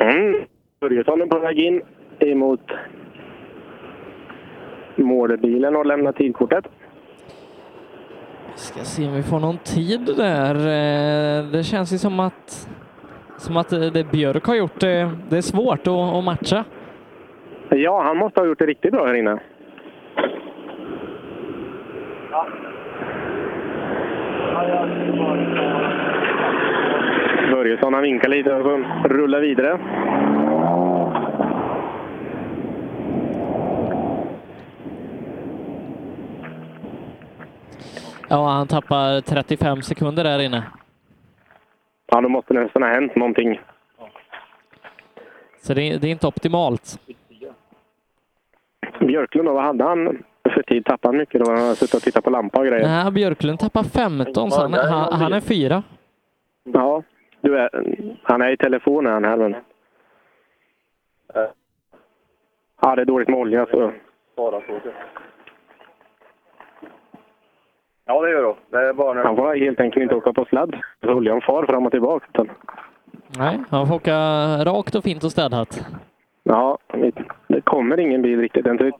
[SPEAKER 13] Mm. Börjesson är på väg in emot målbilen och lämnar tidkortet.
[SPEAKER 3] Ska se om vi får någon tid där. Eh, Det känns ju som att, som att eh, det Björk har gjort, eh, det är svårt att, att matcha.
[SPEAKER 13] Ja, han måste ha gjort det riktigt bra här inne. Börjesson han vinkar lite och så rullar vidare.
[SPEAKER 3] Ja, han tappar 35 sekunder där inne.
[SPEAKER 13] Ja, då måste det nästan ha hänt någonting.
[SPEAKER 3] Så det, det är inte optimalt.
[SPEAKER 13] Björklund, då, vad hade han för tid? Tappade han mycket då? Han har suttit och tittat på lampa och grejer.
[SPEAKER 3] Nej, Björklund tappar 15, så han, han, han är fyra.
[SPEAKER 13] Ja, du är, han är i telefonen han här. Men... Ja, det är dåligt med olja så.
[SPEAKER 21] Ja, det gör det. Det är bara
[SPEAKER 13] Han får helt enkelt inte åka på sladd. Så oljan far fram och tillbaka. Utan...
[SPEAKER 3] Nej, han får åka rakt och fint och städat.
[SPEAKER 13] Ja, det- det kommer ingen bil riktigt än. så vi-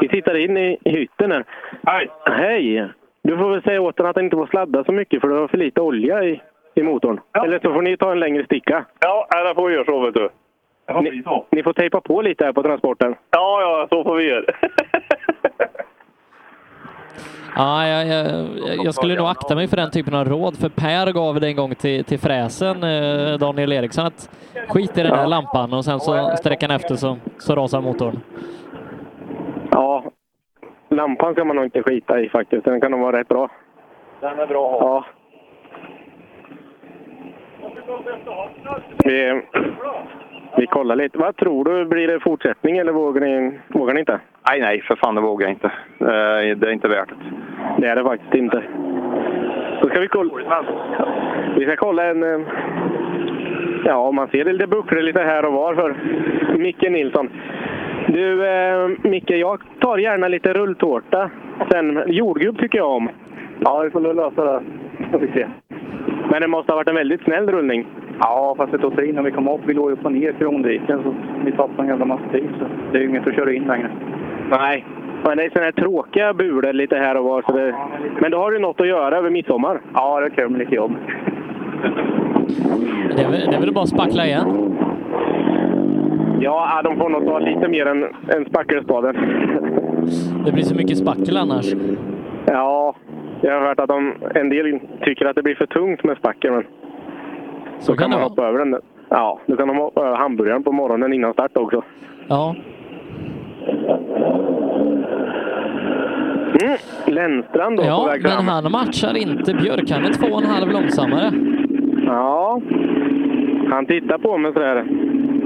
[SPEAKER 13] Vi tittar in i i hytten här. Hej! Hej! Du får väl säga åt den att den inte får sladda så mycket för det var för lite olja i, i motorn. Eller så får ni ta en längre sticka.
[SPEAKER 21] Ja, nej, det får vi göra så, vet du. Det får bli så.
[SPEAKER 13] Ni får tejpa på lite här på transporten.
[SPEAKER 21] Ja, ja, så får vi göra. [LAUGHS]
[SPEAKER 3] Ja, jag, jag, jag skulle nog akta mig för den typen av råd, för Per gav det en gång till, till fräsen, eh, Daniel Eriksson, att skit i den där lampan och sen så sträckan efter så, så rasar motorn.
[SPEAKER 13] Ja, lampan ska man nog inte skita i faktiskt. Den kan nog vara rätt bra.
[SPEAKER 21] Den är bra att
[SPEAKER 13] Ja. Vi, vi kollar lite. Vad tror du? Blir det fortsättning eller vågar ni, vågar ni inte?
[SPEAKER 20] Nej, nej, för fan det vågar jag inte. Eh, Det är inte värt det.
[SPEAKER 13] Det är det faktiskt inte. Då ska vi kolla. Vi ska kolla en... eh, Ja, man ser det lite bucklor lite här och var för Micke Nilsson. Du, eh, Micke, jag tar gärna lite rulltårta. Sen, jordgubb tycker jag om. Ja, vi får nog lösa det. Vi se. Men det måste ha varit en väldigt snäll rullning.
[SPEAKER 21] Ja, fast det tog sig in när vi kom upp. Vi låg ju på ner krondiken så vi tappade en jävla massa tid. Så det är ju inget att köra in längre.
[SPEAKER 13] Nej. Men det är sådana här tråkiga bulor lite här och var. Så det... Men då har du något att göra över midsommar. Ja, det kul med lite jobb.
[SPEAKER 3] Det är, väl- det är väl bara att spackla igen.
[SPEAKER 13] Ja, ah, de får nog ta lite mer än, än spackelspaden.
[SPEAKER 3] Det blir så mycket spackel annars.
[SPEAKER 13] Ja, jag har hört att de, en del tycker att det blir för tungt med spackel. Men
[SPEAKER 3] så kan
[SPEAKER 13] man
[SPEAKER 3] det
[SPEAKER 13] hoppa över den. Ja, då kan de hoppa över hamburgaren på morgonen innan start också.
[SPEAKER 3] Ja,
[SPEAKER 13] Mm, Lennstrand då på
[SPEAKER 3] ja
[SPEAKER 13] väg fram.
[SPEAKER 3] men han matchar inte Björk. Han är två och en halv långsammare.
[SPEAKER 13] Ja, han tittar på mig sådär.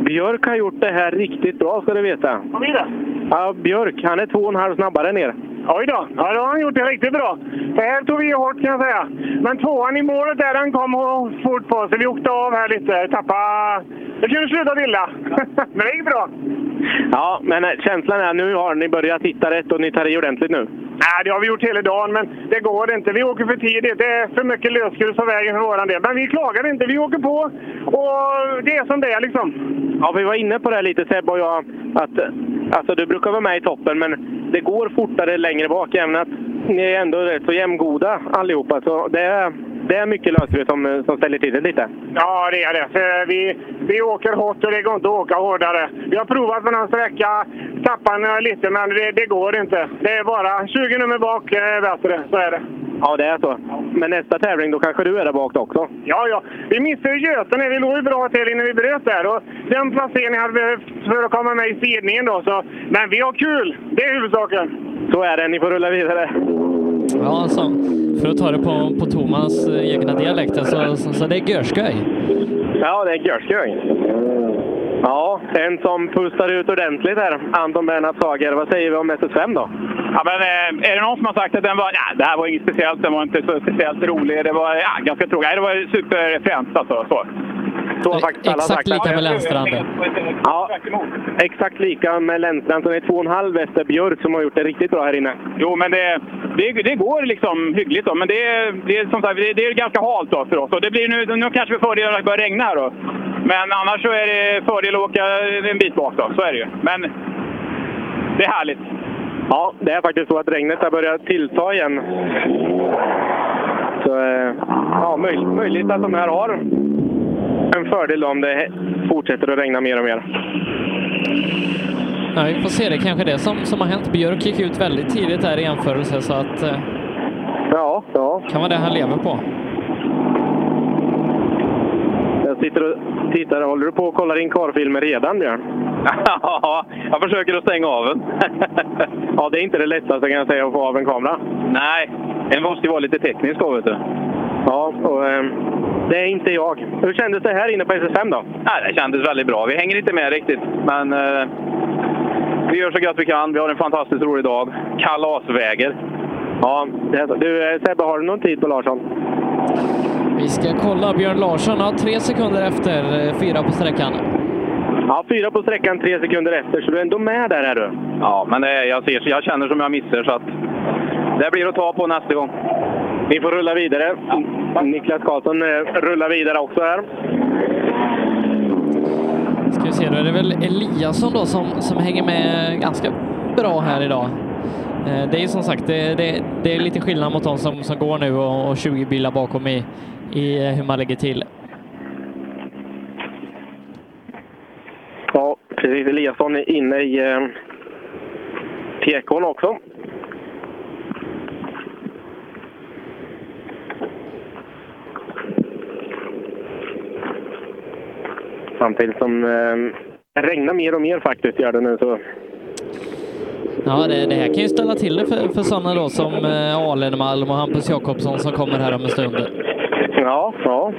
[SPEAKER 13] Björk har gjort det här riktigt bra ska du veta.
[SPEAKER 22] Kom igen.
[SPEAKER 13] Ja, Björk, han är två och en halv snabbare än er.
[SPEAKER 22] Oj då, ja, då har han gjort det riktigt bra. Det här tog vi i hårt kan jag säga. Men tvåan i målet där, den kom och fort på så vi åkte av här lite. Tappade... Det kunde sluta illa. [LAUGHS] Men det gick bra.
[SPEAKER 13] Ja, men eh, känslan är att nu har ni börjat titta rätt och ni tar i ordentligt nu.
[SPEAKER 22] Nej, det har vi gjort hela dagen, men det går inte. Vi åker för tidigt. Det är för mycket lösgrus på vägen för våran del. Men vi klagar inte. Vi åker på och det är som det är liksom.
[SPEAKER 13] Ja, vi var inne på det här lite Sebbe och jag. Att, eh, alltså, du brukar vara med i toppen, men det går fortare längre bak. Även att ni är ändå rätt så jämngoda allihopa. Så det, är- det är mycket lösdrivet som, eh, som ställer till det lite.
[SPEAKER 22] Ja, det är det. För vi, vi åker hårt och det går inte att åka hårdare. Vi har provat på någon sträcka, tappade några lite, men det, det går inte. Det är bara 20 nummer bak är bättre, så är det.
[SPEAKER 13] Ja, det är så. Men nästa tävling, då kanske du är där bak då också?
[SPEAKER 22] Ja, ja. Vi missade ju Götene. Vi låg ju bra till innan vi bröt där. Och den placeringen hade vi behövt för att komma med i sidningen då. Så. Men vi har kul! Det är huvudsaken.
[SPEAKER 13] Så är det, ni får rulla vidare.
[SPEAKER 3] Ja, alltså, för att ta det på, på Thomas eh, egna dialekt, alltså, så, så det är görsköj.
[SPEAKER 13] Ja, det är görskoj. Ja, en som pustar ut ordentligt här, Anton Bernhard Sager. Vad säger vi om SS5 då?
[SPEAKER 23] Ja, men, eh, är det någon som har sagt att den var... Nej, det här var inget speciellt. Den var inte så speciellt rolig. Det var ja, ganska tråkigt. Nej, det var superfränt alltså. Så.
[SPEAKER 13] Så har faktiskt alla sagt. Ja, exakt lika med Lennstrand. Det är två och en halv efter Björk som har gjort det riktigt bra här inne.
[SPEAKER 23] Jo, men det, det, det går liksom hyggligt. Då. Men det, är- det, är som sagt, det, det är ganska halt då för oss. Och det blir nu, nu kanske vi fördel att det börjar regna här då. Men annars så är det fördel att åka en bit bak. Då. Så är det ju. Men det är härligt.
[SPEAKER 13] Ja, det är faktiskt så att regnet har börjat tillta igen. Så, eh, ja, möj- möjligt att de här har en fördel om det he- fortsätter att regna mer och mer.
[SPEAKER 3] Ja, vi får se, det är kanske det som, som har hänt. Björk gick ut väldigt tidigt där i jämförelse, så att... eh,
[SPEAKER 13] Ja, ja.
[SPEAKER 3] Kan vara det han lever på.
[SPEAKER 13] Jag sitter och tittar. Håller du på och kollar in karlfilmer redan, Björn?
[SPEAKER 20] Ja, jag försöker att stänga av den.
[SPEAKER 13] [LAUGHS] ja, det är inte det lättaste kan jag säga att få av en kamera.
[SPEAKER 20] Nej, den måste ju vara lite teknisk då, vet du.
[SPEAKER 13] Ja, och eh, det är inte jag. Hur kändes det här inne på SS5 då?
[SPEAKER 20] Nej, det kändes väldigt bra. Vi hänger inte med riktigt, men eh, vi gör så gott vi kan. Vi har en fantastiskt rolig dag. Kalasväger.
[SPEAKER 13] Ja, det är så. Du eh, Sebbe, har du någon tid på Larsson?
[SPEAKER 3] Vi ska kolla. Björn Larsson har tre sekunder efter, eh, fyra på sträckan.
[SPEAKER 13] Ja, fyra på sträckan, tre sekunder efter, så du är ändå med där är du.
[SPEAKER 20] Ja, men det, jag, ser, jag känner som jag missar, så att det blir att ta på nästa gång.
[SPEAKER 13] Ni får rulla vidare. Niklas Karlsson eh, rullar vidare också här.
[SPEAKER 3] Ska vi se, då är det väl Eliasson då som, som hänger med ganska bra här idag. Eh, Det är ju som sagt, det, det, det är lite skillnad mot de som, som går nu och, och 20 bilar bakom i, i eh, hur man lägger till.
[SPEAKER 13] Ja, precis. Eliasson är inne i eh, tekon också. Samtidigt som eh, det regnar mer och mer faktiskt, gör det nu. Så.
[SPEAKER 3] Ja, det, det här kan ju ställa till det för, för sådana då som eh, Alenmalm och Hampus Jakobsson som kommer här om en stund.
[SPEAKER 13] Ja, ja.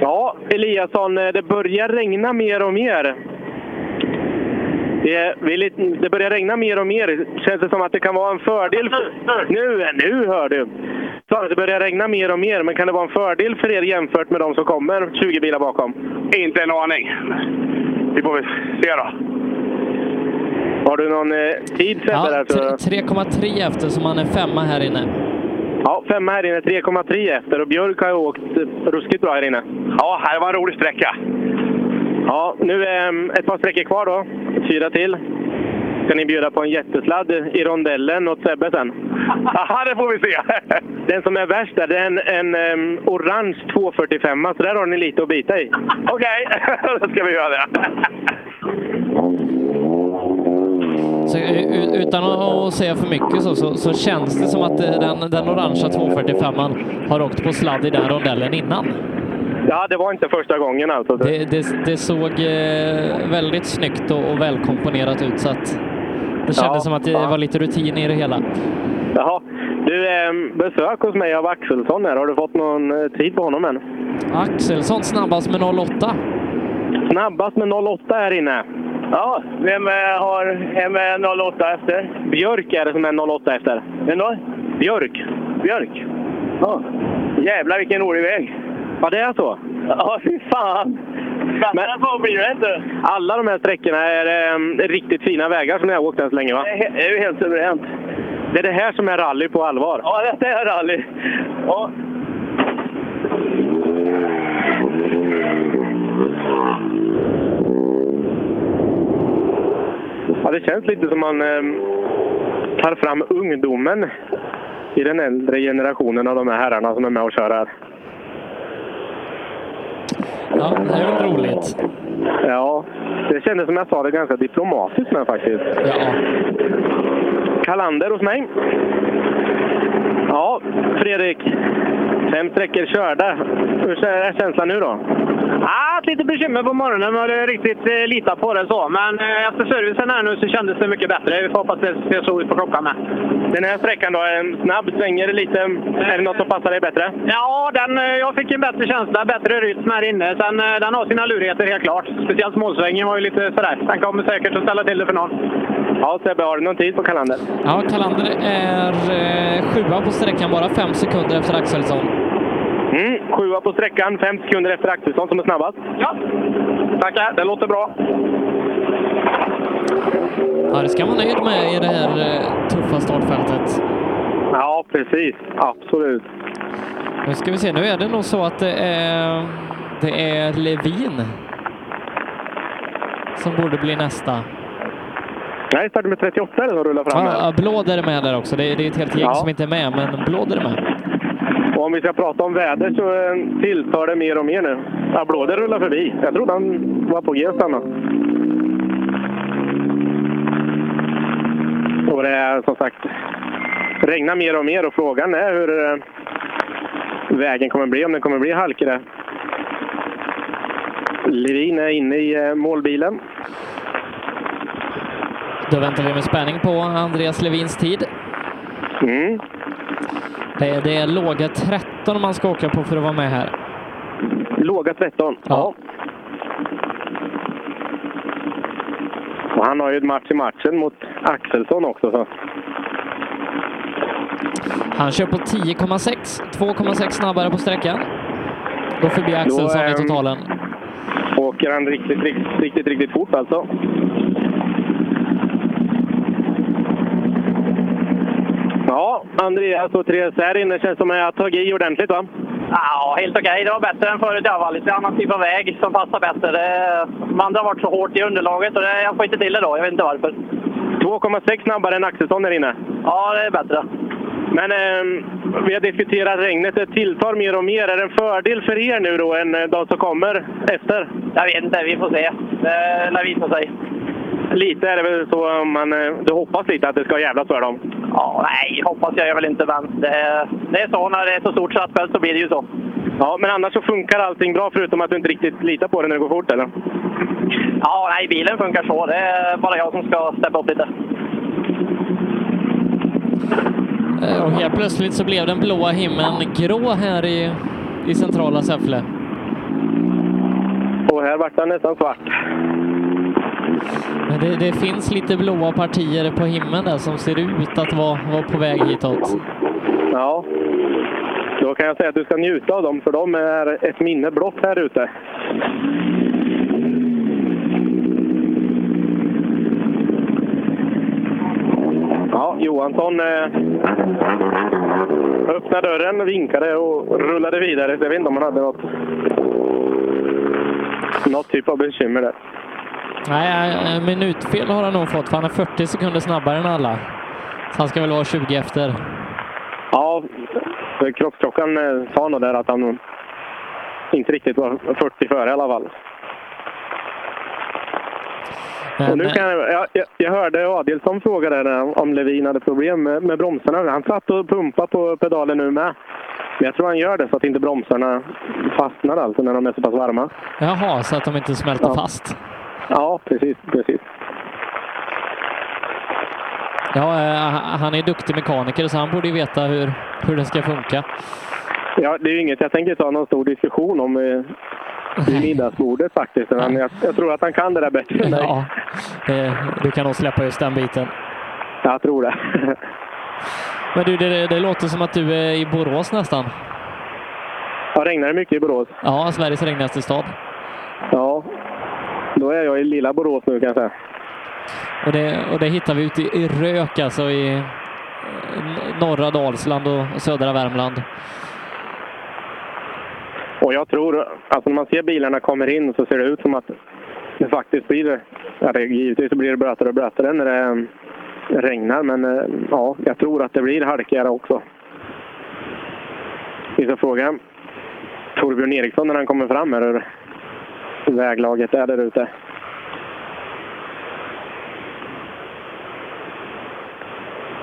[SPEAKER 13] Ja, Eliasson, eh, det börjar regna mer och mer. Det, är- vi är lite, det börjar regna mer och mer. Känns det som att det kan vara en fördel? För, nu, eh, nu hör du! Så det börjar regna mer och mer, men kan det vara en fördel för er jämfört med de som kommer 20 bilar bakom?
[SPEAKER 12] Inte en aning. Vi får väl se då.
[SPEAKER 13] Har du någon eh, tid?
[SPEAKER 3] Ja,
[SPEAKER 13] Sebbe, där, så-
[SPEAKER 3] 3,3 efter, så man är femma här inne.
[SPEAKER 13] Ja, femma här inne, 3,3 efter och Björk har ju åkt eh, ruskigt bra här inne.
[SPEAKER 12] Ja, här var en rolig sträcka.
[SPEAKER 13] Ja, nu är mm, ett par sträckor kvar då. Fyra till. Ska ni bjuda på en jättesladd i rondellen åt Sebbe
[SPEAKER 12] [LAUGHS]
[SPEAKER 13] sen?
[SPEAKER 12] Haha, det får vi se!
[SPEAKER 13] [LAUGHS] Den som är värst där, det är en, en em, orange 245 så där har ni lite att bita i.
[SPEAKER 12] Okej, [LAUGHS] då ska vi göra det.
[SPEAKER 3] Så, eh, u- utan att att säga för mycket så, så, så känns det som att eh, den, den orangea 245an har åkt på sladd i den rondellen innan.
[SPEAKER 13] Ja, det var inte första gången alltså.
[SPEAKER 3] Det, det, det såg eh, väldigt snyggt och, och välkomponerat ut så att det kändes
[SPEAKER 13] Ja,
[SPEAKER 3] som att det
[SPEAKER 13] ja.
[SPEAKER 3] var lite rutin i det hela.
[SPEAKER 13] Jaha. Du, em, besök hos mig av Axelsson här. Har du fått någon eh, tid på honom än?
[SPEAKER 3] Axelsson snabbast med 08.
[SPEAKER 13] Snabbast med 08 här inne.
[SPEAKER 12] Ja, vem eh, har vem är 08 efter?
[SPEAKER 13] Björk är det som är 08 efter.
[SPEAKER 12] Vem då?
[SPEAKER 13] Björk.
[SPEAKER 12] Björk? Ja. Jävlar vilken rolig väg.
[SPEAKER 13] Ja, det är så?
[SPEAKER 12] Ja, fy fan. Fattar på blir det inte.
[SPEAKER 13] Alla de här sträckorna är em, riktigt fina vägar som ni har åkt än så länge va?
[SPEAKER 12] Det är he- det är ju helt suveränt.
[SPEAKER 13] Det är det här som är rally på allvar.
[SPEAKER 12] Ja, detta är rally. Ja.
[SPEAKER 13] Ja, det känns lite som man eh, tar fram ehm, ungdomen i den äldre generationen av de här herrarna som är med och kör här.
[SPEAKER 3] Ja, det är väl roligt.
[SPEAKER 13] Ja, det kändes som jag sa det ganska diplomatiskt med faktiskt. Kalander hos mig. Ja, Fredrik. Fem sträckor körda. Hur är känslan nu då?
[SPEAKER 12] Ja, Ah, ett litet bekymmer på morgonen och det är riktigt eh, lita på det så. Men eh, efter servicen här nu så kändes det mycket bättre. Vi får hoppas det ser så ut på klockan med.
[SPEAKER 13] Den här sträckan då, är en snabb, svänger lite. Är det något som passar dig bättre?
[SPEAKER 12] Ja, den, eh, jag fick en bättre känsla, bättre rytm här inne. Sen, eh, den har sina lurigheter helt klart. Speciellt målsvängen var ju lite sådär. Den kommer säkert att ställa till det för någon.
[SPEAKER 13] Ja, Sebbe, har du någon tid på kalendern?
[SPEAKER 3] Ja, Kalander är eh, sjua på sträckan, bara fem sekunder efter Axelsson.
[SPEAKER 13] Mm, sjua på sträckan, fem sekunder efter Axelsson som är snabbast.
[SPEAKER 12] Ja, tackar. Det låter bra.
[SPEAKER 3] Ja, det ska man vara nöjd med i det här eh, tuffa startfältet.
[SPEAKER 13] Ja, precis. Absolut.
[SPEAKER 3] Nu ska vi se, nu är det nog så att det är, det är Levin som borde bli nästa.
[SPEAKER 13] Nej, startade med 38 eller som rullar fram
[SPEAKER 12] Ah,
[SPEAKER 13] här.
[SPEAKER 3] Ja, Blåd är med där också. Det är, det är ett helt gäng
[SPEAKER 13] Ja.
[SPEAKER 3] som inte är med, men Blåd är med.
[SPEAKER 13] Och om vi ska prata om väder så eh, tilltar det mer och mer nu. Applåder rullar förbi. Jag trodde han var på G att stanna. Och det är som sagt regnar mer och mer och frågan är hur eh, vägen kommer bli, om den kommer bli halkig där. Levin är inne i eh, målbilen.
[SPEAKER 3] Då väntar vi med spänning på Andreas Levins tid.
[SPEAKER 13] Mm.
[SPEAKER 3] Det, är- det är låga 13 man ska åka på för att vara med här.
[SPEAKER 13] Låga 13? Ja. Och han har ju ett match i matchen mot Axelsson också. Så.
[SPEAKER 3] Han kör på 10,6. 2,6 snabbare på sträckan. Går förbi Axelsson i
[SPEAKER 13] ehm,
[SPEAKER 3] totalen.
[SPEAKER 13] Åker han riktigt, riktigt, riktigt, riktigt fort alltså. Ja, Andreas och Therese här inne känns som att jag har tagit i ordentligt va?
[SPEAKER 12] Ja, helt okej. Det var bättre än förut. Det var lite annan typ av väg som passar bättre. Det, de andra har varit så hårt i underlaget och det, jag får inte till det då. Jag vet inte varför.
[SPEAKER 13] 2,6 snabbare än Axelsson här inne.
[SPEAKER 12] Ja, det är bättre.
[SPEAKER 13] Men ehm, vi har diskuterat regnet. Det tilltar mer och mer. Är det en fördel för er nu då än eh, de som kommer efter?
[SPEAKER 12] Jag vet inte. Vi får se. Det lär visa sig.
[SPEAKER 13] Lite är det väl så man... eh, Du hoppas lite att det ska jävlas för dem?
[SPEAKER 12] Ja, nej, hoppas jag gör väl inte, men det, det är så. När det är så stort startfält så blir det ju så.
[SPEAKER 13] Ja, men annars så funkar allting bra förutom att du inte riktigt litar på det när det går fort eller?
[SPEAKER 12] Ja, nej, bilen funkar så. Det är bara jag som ska steppa upp lite.
[SPEAKER 3] Eh, Och helt plötsligt så blev den blåa himlen grå här i, i centrala Säffle.
[SPEAKER 13] Och här vart den nästan svart.
[SPEAKER 3] Men det, det finns lite blåa partier på himlen där som ser ut att vara, vara på väg hitåt.
[SPEAKER 13] Ja. Då kan jag säga att du ska njuta av dem, för de är ett minne blott här ute. Ja, Johansson eh, öppnade dörren, vinkade och rullade vidare. Jag vet inte om han hade något, något typ av bekymmer där.
[SPEAKER 3] Nej, eh, minutfel har han nog fått för han är 40 sekunder snabbare än alla. Så han ska väl vara 20 efter.
[SPEAKER 13] Ja, för kroppsklockan eh, sa nog där att han inte riktigt var 40 före i alla fall. och nu
[SPEAKER 3] Men, eh,
[SPEAKER 13] kan jag, jag, jag hörde Adielsson fråga där eh, om Levin hade problem med, med bromsarna. Han satt och pumpade på pedalen nu med. Men jag tror han gör det så att inte bromsarna fastnar alltså när de är så pass varma.
[SPEAKER 3] Jaha, så att de inte smälter fast.
[SPEAKER 13] Ja, precis. precis.
[SPEAKER 3] Ja, eh, han är duktig mekaniker så han borde ju veta hur, hur det ska funka.
[SPEAKER 13] Ja, det är ju inget jag tänker ta någon stor diskussion om eh, vid middagsbordet faktiskt. Men jag, jag tror att han kan det där bättre än
[SPEAKER 3] Ja, eh, du kan nog släppa just den biten.
[SPEAKER 13] Jag tror det.
[SPEAKER 3] Men du, det, det låter som att du är i Borås nästan.
[SPEAKER 13] Ja, regnar det mycket i Borås?
[SPEAKER 3] Ja, Sveriges regnigaste stad.
[SPEAKER 13] Ja, då är jag i lilla Borås nu kan jag säga.
[SPEAKER 3] Och det, och det hittar vi ute i rök alltså i eh, norra Dalsland och och södra Värmland.
[SPEAKER 13] Och jag tror, alltså när man ser bilarna kommer in så ser det ut som att det faktiskt blir, ja, det, givetvis så blir det blötare och blötare när det eh, regnar, men eh, ja, jag tror att det blir halkigare också. Vi ska fråga Torbjörn Eriksson när han kommer fram här hur väglaget är där ute.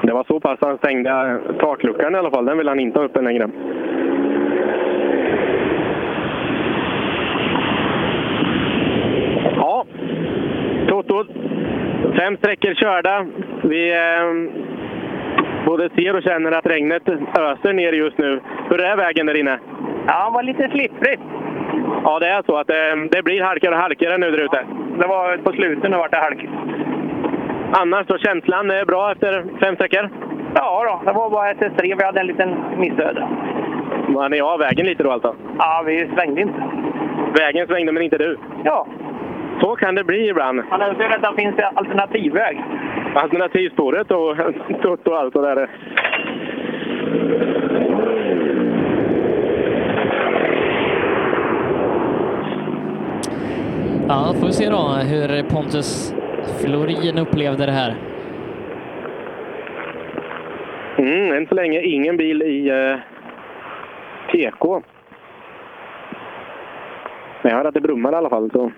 [SPEAKER 13] Det var så pass han stängde takluckan i alla fall. Den vill han inte ha uppe längre. Ja, Toto. Fem sträckor körda. Vi eh, både ser och känner att regnet öser ner just nu. Hur är vägen där inne?
[SPEAKER 22] Ja, var lite slipprigt.
[SPEAKER 13] Ja, det är så att eh, det, det blir halkigare och halkigare nu där ute.
[SPEAKER 22] Det var på slutet nu vart det halkigt.
[SPEAKER 13] Annars så känslan är bra efter fem sträckor?
[SPEAKER 22] Ja då, det var bara SS3 vi hade en liten missöde.
[SPEAKER 13] Man är av vägen lite då alltså?
[SPEAKER 22] Ja, vi svängde inte.
[SPEAKER 13] Vägen svängde men inte du?
[SPEAKER 22] Ja.
[SPEAKER 13] Så kan det bli ibland.
[SPEAKER 22] Man önskar att det finns en alternativväg.
[SPEAKER 13] Alternativspåret och [LAUGHS] Toto och allt det där.
[SPEAKER 3] Ja, får vi se då hur Pontus Florin upplevde det här.
[SPEAKER 13] Mm, än så länge ingen bil i eh, TK. Men jag hör att det brummar i alla fall. Så.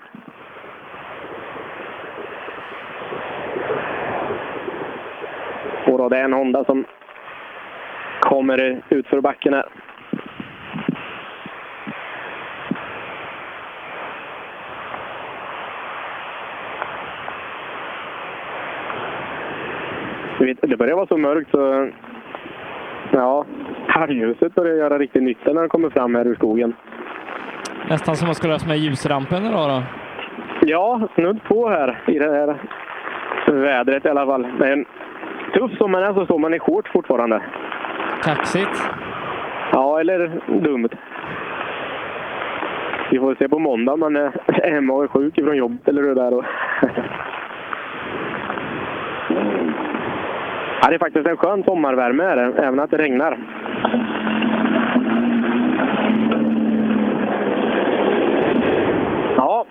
[SPEAKER 13] Och då, det är en Honda som kommer ut för backen här. Du vet, Det börjar vara så mörkt så... Ja, halvljuset börjar göra riktig nytta när det kommer fram här ur skogen.
[SPEAKER 3] Nästan som man skulle ha med ljusrampen idag då.
[SPEAKER 13] Ja, snudd på här i det här vädret i alla fall. Men tuff som man är så står man i shorts fortfarande.
[SPEAKER 3] Kaxigt.
[SPEAKER 13] Ja, eller dumt. Vi får se på måndag om man är [LAUGHS] hemma och är sjuk ifrån jobbet eller hur det är då. [LAUGHS] Ja, det är faktiskt en skön sommarvärme är det, även att det regnar. Ja.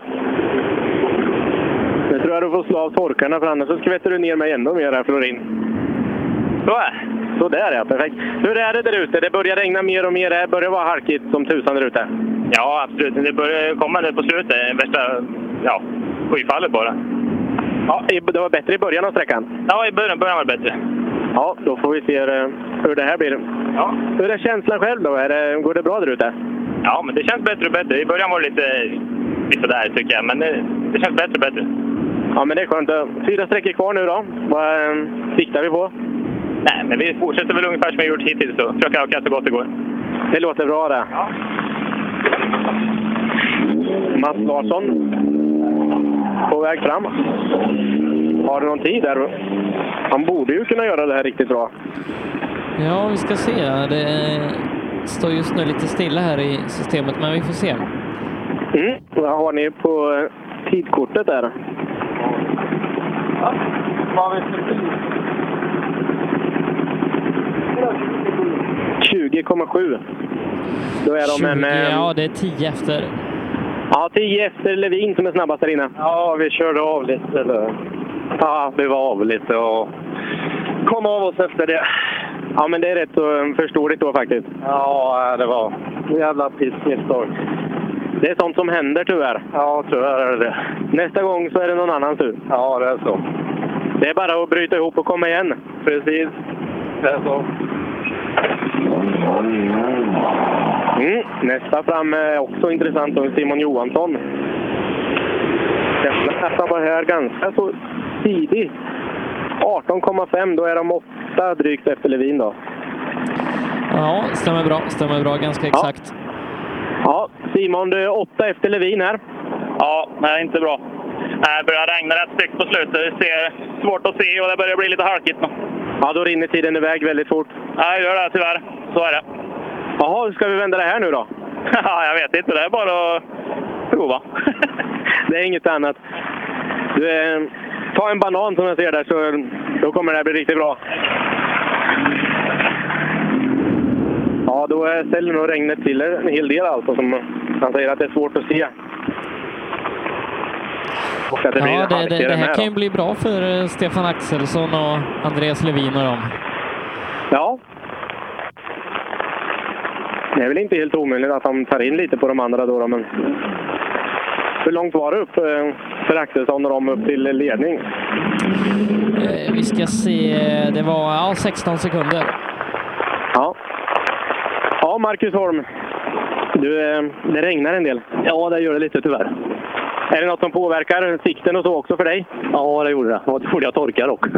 [SPEAKER 13] Nu tror jag du får slå av torkarna för annars så skvätter du ner mig ännu mer här Florin. Så, så där ja, perfekt. Hur är det där ute? Det börjar regna mer och mer. Det börjar vara halkigt som tusan där ute.
[SPEAKER 24] Ja, absolut. Det börjar komma nu på slutet. Värsta ja, skyfallet bara.
[SPEAKER 13] Ja, i- det var bättre i början av sträckan.
[SPEAKER 24] Ja, i början, början var det bättre.
[SPEAKER 13] Ja, då får vi se eh, hur det här blir. Ja. Hur är känslan själv då? Är det, går det bra där ute?
[SPEAKER 24] Ja, men det känns bättre och bättre. I början var det lite, lite sådär tycker jag, men det, det känns bättre och bättre.
[SPEAKER 13] Ja, men det är skönt. Fyra sträckor kvar nu då. Vad eh, siktar vi på?
[SPEAKER 24] Nej, men vi fortsätter väl ungefär som vi gjort hittills och försöker öka så gott det går.
[SPEAKER 13] Det låter bra det. Mats Larsson på väg fram. Har du någon tid där? Han borde ju kunna göra det här riktigt bra.
[SPEAKER 3] Ja, vi ska se. Det eh, står just nu lite stilla här i systemet, men vi får se.
[SPEAKER 13] Mm. Vad har ni på eh, tidkortet där?
[SPEAKER 22] Vad vet du?
[SPEAKER 13] 20,7. Då är de en...
[SPEAKER 3] 20,
[SPEAKER 13] eh,
[SPEAKER 3] ja, det är 10 efter.
[SPEAKER 13] Ja, 10 efter Levin som är snabbast där inne. Ja, vi körde av lite. Ja, vi var av lite och kom av oss efter det. Ja, men det är rätt så förståeligt då faktiskt. Ja, äh, det var jävla pissmisstag. Det är sånt som händer tyvärr. Ja, tyvärr är det det. Nästa gång så är det någon annans tur. Ja, det är så. Det är bara att bryta ihop och komma igen. Precis. Det är så. Mm. Nästa fram är också intressant, då, Simon Johansson. Nästa var här ganska så tidigt. 18,5, då är de åtta drygt efter Levin då.
[SPEAKER 3] Ja, stämmer bra. Stämmer bra, ganska exakt.
[SPEAKER 13] Ja, Simon, du är åtta efter Levin här.
[SPEAKER 24] Ja, nej, inte bra.
[SPEAKER 20] Äh,
[SPEAKER 24] Nej, Det börjar regna rätt styggt på slutet. Det ser svårt att se och det börjar bli lite halkigt nu.
[SPEAKER 13] Ja, då rinner tiden iväg väldigt fort.
[SPEAKER 24] Nej, det gör det tyvärr. Så är det.
[SPEAKER 13] Jaha, hur ska vi vända det här nu då? [LAUGHS]
[SPEAKER 24] Ja, jag vet inte. Det är bara att prova.
[SPEAKER 13] Det är inget annat. Du, eh, ta en banan som jag ser där, så då kommer det här bli riktigt bra. Ja, då eh, ställer nog regnet till en hel del alltså, som han säger att det är svårt att se. Och att det blir
[SPEAKER 3] Ja, det, det,
[SPEAKER 13] halkigare
[SPEAKER 3] det här
[SPEAKER 13] med
[SPEAKER 3] kan
[SPEAKER 13] då.
[SPEAKER 3] ju bli bra för eh, Stefan Axelsson och Andreas Levin och dem.
[SPEAKER 13] Ja. Det är väl inte helt omöjligt att han tar in lite på de andra då. då men... Hur långt var det upp eh, för Axelsson och de upp till ledning?
[SPEAKER 3] Eh, Vi ska se, det var ja, 16 sekunder.
[SPEAKER 13] Ja. Ja, Marcus Holm. Du, eh, det regnar en del. Ja, det gör det lite tyvärr. Är det något som påverkar sikten och så också för dig? Ja, det gjorde det. Ja, det gjorde jag torkar också.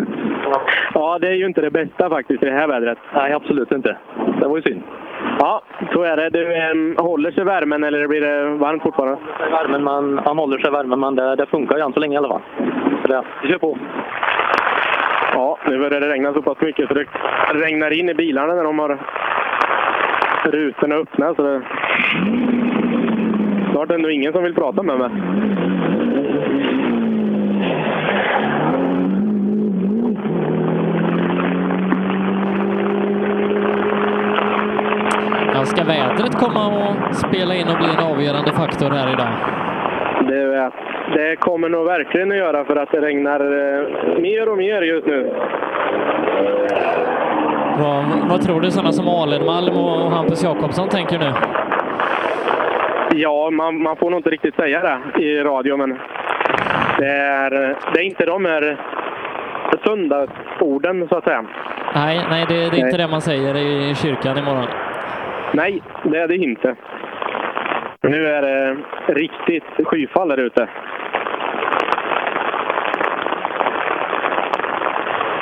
[SPEAKER 13] Ja, det är ju inte det bästa faktiskt i det här vädret. Nej, absolut inte. Det var ju synd. Ja, så är det. Du, em, håller sig värmen eller blir det varmt fortfarande?
[SPEAKER 25] Värmen, man, han håller sig värmen, men det, det funkar ju än så länge i alla fall. Så det, vi kör på.
[SPEAKER 13] Ja, nu börjar det regna så pass mycket så det regnar in i bilarna när de har rutorna öppna. Så det... Snart är det nog ingen som vill prata med mig.
[SPEAKER 3] Ja, ska vädret komma och spela in och bli en avgörande faktor här idag?
[SPEAKER 13] Det, det kommer nog verkligen att göra för att det regnar eh, mer och mer just nu.
[SPEAKER 3] Vad, vad tror du sådana som Alenmalm och och Hampus Jakobsson tänker nu?
[SPEAKER 13] Ja, man, man får nog inte riktigt säga det i radio, men det är, det är inte de här söndagsorden, så att säga.
[SPEAKER 3] Nej, nej det, det är
[SPEAKER 13] Nej.
[SPEAKER 3] inte det man säger i kyrkan imorgon.
[SPEAKER 13] Nej, det är det inte. Nu är det riktigt skyfall där ute.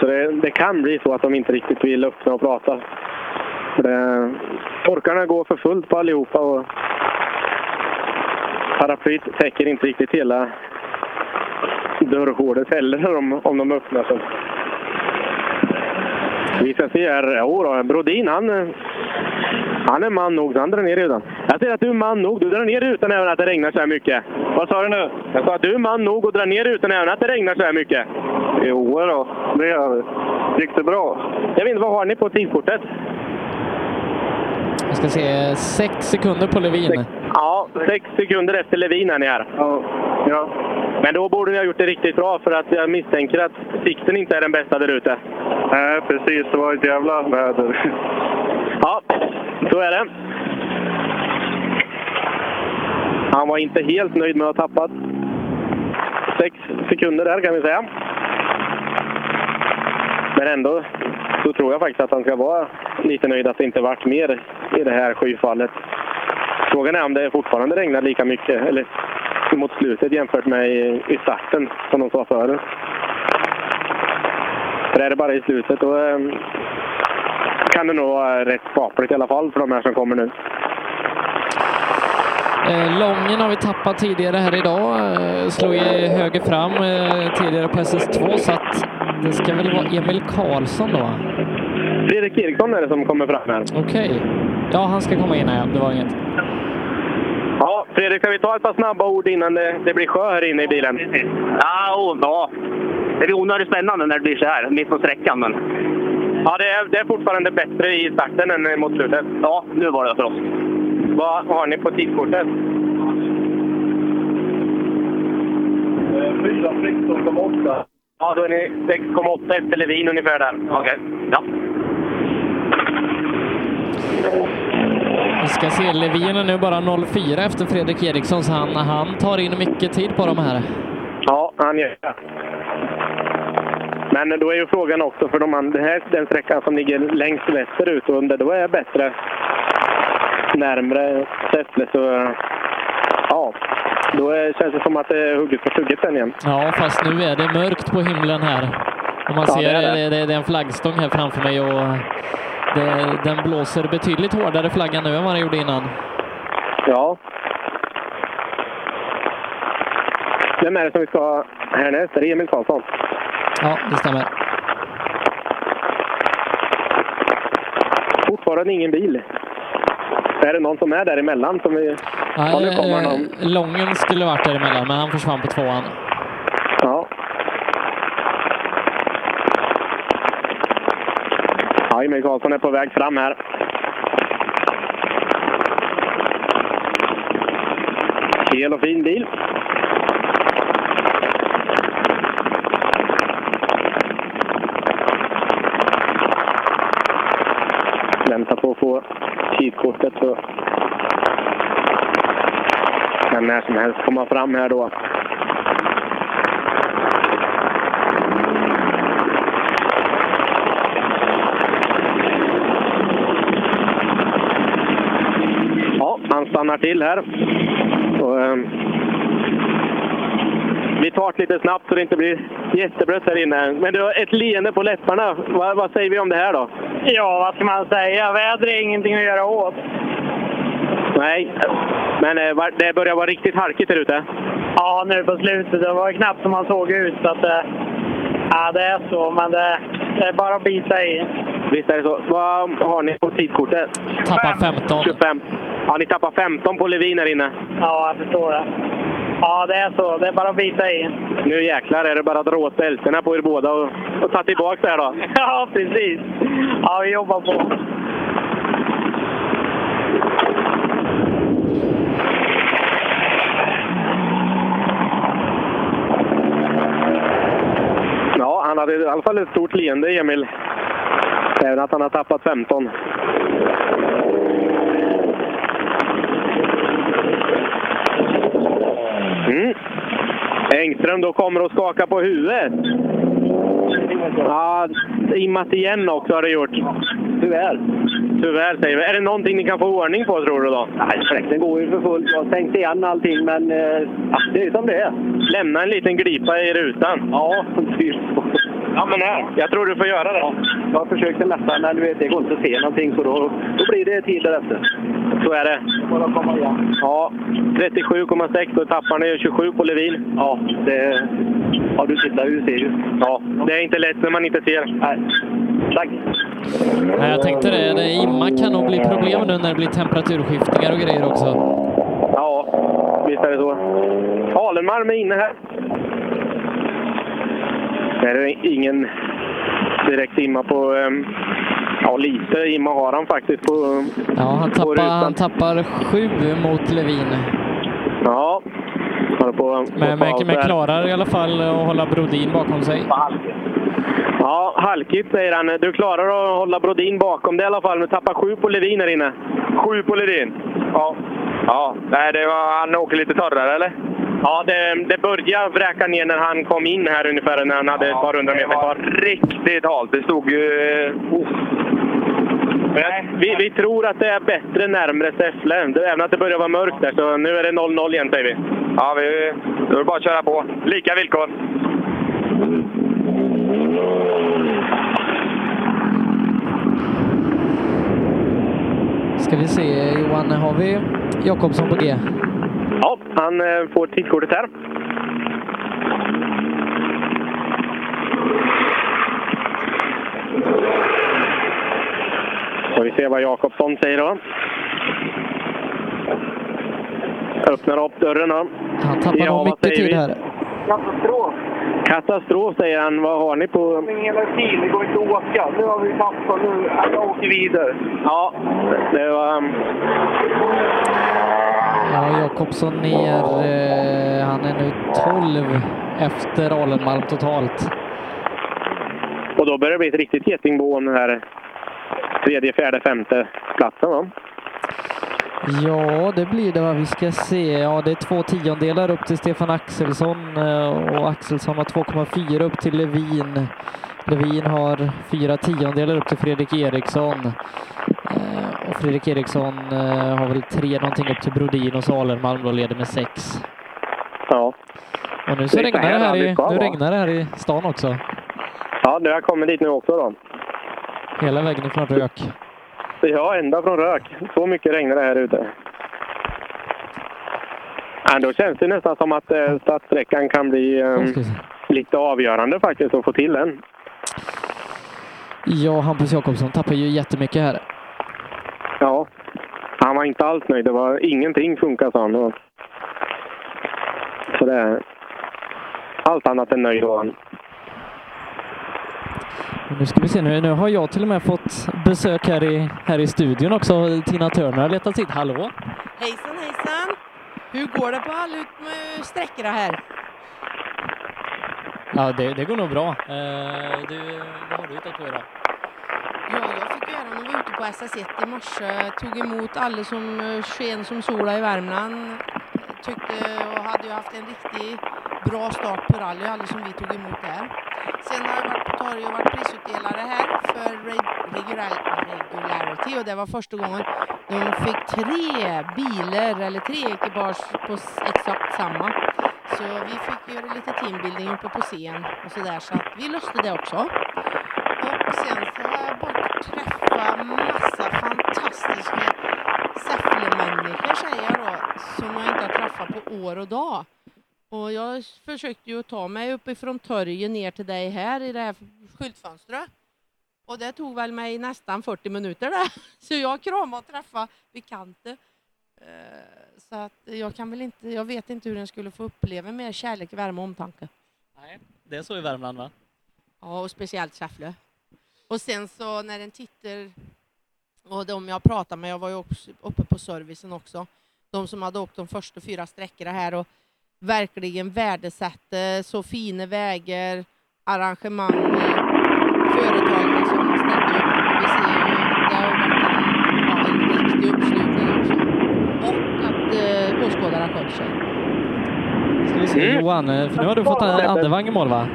[SPEAKER 13] Så det, det kan bli så att de inte riktigt vill öppna och prata. För Det, torkarna går för fullt på allihopa och paraplyt täcker inte riktigt hela dörrhålet heller om, om de öppnar sig. Vi ska se här. Jodå, Brodin han eh, han är man nog, så han drar ner rutan. Jag säger att du är man nog. Du drar ner rutan även att det regnar så här mycket. Vad sa du nu? Jag sa att du är man nog och drar ner rutan även att det regnar så här mycket. Jo då, det gör vi. Gick det bra? Jag vet inte, vad har ni på tidskortet?
[SPEAKER 3] Jag ska se, sex sekunder på Levin.
[SPEAKER 13] Ja, sex sekunder efter Levin är ni här. Ja. ja. Men då borde ni ha gjort det riktigt bra för att jag misstänker att sikten inte är den bästa där ute. Nej, precis. Det var ett jävla väder. Ja, så är det. Han var inte helt nöjd med att ha tappat sex sekunder där kan vi säga. Men ändå så tror jag faktiskt att han ska vara lite nöjd att det inte varit mer i det här skyfallet. Frågan är om det fortfarande regnar lika mycket eller mot slutet jämfört med i, i starten som de sa förut. För är det bara i slutet då eh, kan det nog vara rätt skapligt i alla fall för de här som kommer nu.
[SPEAKER 3] Eh, Lången har vi tappat tidigare här idag. Eh, Slog i höger fram eh, tidigare på SS2 så att det ska väl vara Emil Karlsson då? va?
[SPEAKER 13] Fredrik Eriksson är det som kommer fram här.
[SPEAKER 3] Okej. Ja, han ska komma in här. ja. Det var inget.
[SPEAKER 13] Ja, Fredrik, ska vi ta ett par snabba ord innan det, det blir sjö här inne i bilen?
[SPEAKER 26] Ja, och, ja. Det blir onödigt spännande när det blir så här, mitt på sträckan. Men...
[SPEAKER 13] Ja, det är, det är fortfarande bättre i starten än mot slutet.
[SPEAKER 26] Ja, nu var det för oss.
[SPEAKER 13] Vad har ni på tidskortet? 4.16,8. Ja, då är ni 6,8 efter Levin ungefär där. Okej. Ja.
[SPEAKER 3] Vi ska se, Levin är nu bara 04 efter Fredrik Eriksson så han, han tar in mycket tid på de här.
[SPEAKER 13] Ja, han gör det. Men då är ju frågan också, för de, an- det här, den sträckan som ligger längst västerut, och om det då är bättre närmre Säffle så... Ja, då är, känns det som att det är hugget på tugget sen igen.
[SPEAKER 3] Ja, fast nu är det mörkt på himlen här. Och man
[SPEAKER 13] Ja,
[SPEAKER 3] ser,
[SPEAKER 13] det är
[SPEAKER 3] det är,
[SPEAKER 13] det.
[SPEAKER 3] det. Det, är en flaggstång här framför mig och det, den blåser betydligt hårdare flaggan nu än vad den gjorde innan.
[SPEAKER 13] Ja. Vem är det som vi ska ha härnäst? Är det Emil Karlsson?
[SPEAKER 3] Ja, det stämmer.
[SPEAKER 13] Fortfarande ingen bil. Är det någon som är däremellan som vi... Ja, nu kommer
[SPEAKER 3] eh,
[SPEAKER 13] någon.
[SPEAKER 3] Lången skulle varit däremellan, men han försvann på tvåan.
[SPEAKER 13] Ja. Ja, Emil Karlsson är på väg fram här. Hel och fin bil. Väntar på att få tidkortet. Så. Kan när som helst komma fram här då. Ja, han stannar till här. Och, ehm, vi tar det lite snabbt så det inte blir jätteblött här inne. Men du har ett leende på läpparna. Va, vad säger vi om det här då?
[SPEAKER 20] Ja, vad ska man säga? Väder är ingenting att göra åt.
[SPEAKER 13] Nej, men eh, var- det börjar vara riktigt halkigt här ute.
[SPEAKER 20] Ja, nu på slutet. Det var ju knappt som man såg ut. Så att, eh, ja, det är så, men det, det är bara att bita i.
[SPEAKER 13] Visst är det så. Vad har ni på tidkortet?
[SPEAKER 3] Tappar 15.
[SPEAKER 13] 25. Ja, ni tappar 15 på Levin här inne.
[SPEAKER 20] Ja, jag förstår det. Ja, det är så. Det är bara att bita i.
[SPEAKER 13] Nu jäklar är det bara att dra åt bältena på er båda och, och ta tillbaka det här då.
[SPEAKER 20] [LAUGHS] Ja, precis. Ja, vi jobbar på.
[SPEAKER 13] Ja, han hade i alla fall ett stort leende, Emil. Även att han har tappat 15. Mm. Engström då kommer och skakar på huvudet. Ja, immat igen också har det gjort. Tyvärr. Tyvärr säger vi. Är det någonting ni kan få ordning på tror du då? Nej, fläkten går ju för fullt. Jag har stängt igen allting men eh, det är som det är. Lämna en liten glipa i rutan. Ja, typ. Ja men här, jag tror du får göra det.
[SPEAKER 27] Jag försökte nästan, men du vet, det går inte att se någonting så då, då blir det tid därefter.
[SPEAKER 13] Så är det.
[SPEAKER 27] Bara komma igen.
[SPEAKER 13] Ja, 37,6. Då tappar ni 27 på Levin. Ja, det... Ja, du tittar ju, ser ju. Ja, det är inte lätt när man inte ser. Nej. Tack.
[SPEAKER 3] Nej, jag tänkte det. det imma kan nog bli problem nu när det blir temperaturskiftningar och grejer också.
[SPEAKER 13] Ja, visst är det så. Alenmalm är inne här. Nej, det är ingen direkt imma på... ehm, Ja, lite imma har han faktiskt på...
[SPEAKER 3] Ja, han
[SPEAKER 13] på
[SPEAKER 3] tappar,
[SPEAKER 13] rutan.
[SPEAKER 3] han tappar sju mot Levin.
[SPEAKER 13] Ja. Håller på
[SPEAKER 3] Men, men, men
[SPEAKER 13] här.
[SPEAKER 3] klarar i alla fall att hålla Brodin bakom sig.
[SPEAKER 13] Ja, halkigt säger han. Du klarar att hålla Brodin bakom dig i alla fall, men tappar sju på Levin här inne. Sju på Levin? Ja.
[SPEAKER 28] Ja, nej, det var, han åker lite torrare eller?
[SPEAKER 13] Ja, det, det började vräka ner när han kom in här ungefär, när han hade ett par hundra meter kvar.
[SPEAKER 28] Riktigt halt. Det stod ju... oh.
[SPEAKER 13] Men jag- vi, vi tror att det är bättre närmre Säffle, även att det börjar vara mörkt där. Så nu är det 0-0 igen säger vi.
[SPEAKER 28] Ja, vi, då är det bara att köra på. Lika villkor.
[SPEAKER 3] Ska vi se, Johan, har vi Jakobsson på G?
[SPEAKER 13] Ja, han eh, får tidkortet här. Får vi se vad Jakobsson säger då. Öppnar upp dörren då.
[SPEAKER 3] Han tappar nog
[SPEAKER 13] vad
[SPEAKER 3] mycket
[SPEAKER 13] säger
[SPEAKER 3] tid
[SPEAKER 13] vi?
[SPEAKER 3] här.
[SPEAKER 13] Katastrof. Katastrof säger han. Vad har ni på...
[SPEAKER 20] energi, det går inte att åka. Nu har vi tappat, nu jag åker vidare.
[SPEAKER 13] Ja, det var... ehm,
[SPEAKER 3] Ja, Jakobsson ner. Eh, han är nu 12 efter Alenmalm totalt.
[SPEAKER 13] Och då börjar det bli ett riktigt getingbo om den här tredje, fjärde, femte platsen va?
[SPEAKER 3] Ja, det blir det vad vi ska se. Ja, det är två tiondelar upp till Stefan Axelsson eh, och Axelsson har 2,4 upp till Levin. Levin har fyra tiondelar upp till Fredrik Eriksson. Eh, Och Fredrik Eriksson eh, har väl tre någonting upp till Brodin och så Alenmalm då leder med sex.
[SPEAKER 13] Ja.
[SPEAKER 3] Och nu så
[SPEAKER 13] Det är så
[SPEAKER 3] regnar
[SPEAKER 13] här
[SPEAKER 3] det här
[SPEAKER 13] det
[SPEAKER 3] i,
[SPEAKER 13] ska
[SPEAKER 3] nu
[SPEAKER 13] vara.
[SPEAKER 3] regnar det här i stan också.
[SPEAKER 13] Ja, nu har jag kommit dit nu också då.
[SPEAKER 3] Hela vägen ifrån Rök.
[SPEAKER 13] Ja, ända från Rök. Så mycket regnar det här ute. Ja, då känns det nästan som att eh, startsträckan kan bli eh,
[SPEAKER 3] Nu ska vi se.
[SPEAKER 13] lite avgörande faktiskt att få till den.
[SPEAKER 3] Ja, Hampus Jakobsson tappar ju jättemycket här.
[SPEAKER 13] Ja, han var inte alls nöjd. Det var ingenting funkar sa han. Och- Så det är allt annat än nöjd var han.
[SPEAKER 3] Nu ska vi se, nu, nu har jag till och med fått besök här i, här i studion också. Tina Turner har letat sitt. Hallå!
[SPEAKER 29] Hejsan hejsan! Hur går det på alla ut- sträckorna här?
[SPEAKER 3] Ja, det, det går nog bra. Eh, du, vad har du hittat på idag?
[SPEAKER 29] Ja, jag fick göra Johan och var ute på SS1 i morse, tog emot alla som eh, sken som sola i Värmland. Tyckte och hade ju haft en riktigt bra start på rally, alla som vi tog emot där. Sen har jag varit på torg och varit prisutdelare här för reg- regular- Regularity och det var första gången de fick tre bilar eller tre ekipage på s- exakt samma. Så vi fick göra lite teambuilding uppe på scen och sådär så att vi löste det också. Och sen så har jag bara träffat massa fantastiska Säffle-människor säger jag då, som jag inte har träffat på år och dag. Och jag försökte ju ta mig uppifrån torget ner till dig här i det här skyltfönstret. Och det tog väl mig nästan 40 minuter där. [LAUGHS] Så jag kramade och träffade bekanta. Eh, Så att jag kan väl inte, jag vet inte hur den skulle få uppleva mer kärlek, värme och omtanke.
[SPEAKER 3] Det är så i Värmland va?
[SPEAKER 29] Ja, och speciellt Säffle. Och sen så när den tittar, och de jag pratade med, jag var ju också uppe på servicen också, de som hade åkt de första fyra sträckorna här och verkligen värdesätter så fina vägar, arrangemang, företagen som ställde upp. Vi ser ju, det har ju varit en, ja, en riktig uppslutning också. Och att eh, åskådarna sköter sig.
[SPEAKER 3] Ska vi
[SPEAKER 13] Mm.
[SPEAKER 3] se Johan, eh, för nu har du fått eh, Andevang i mål va?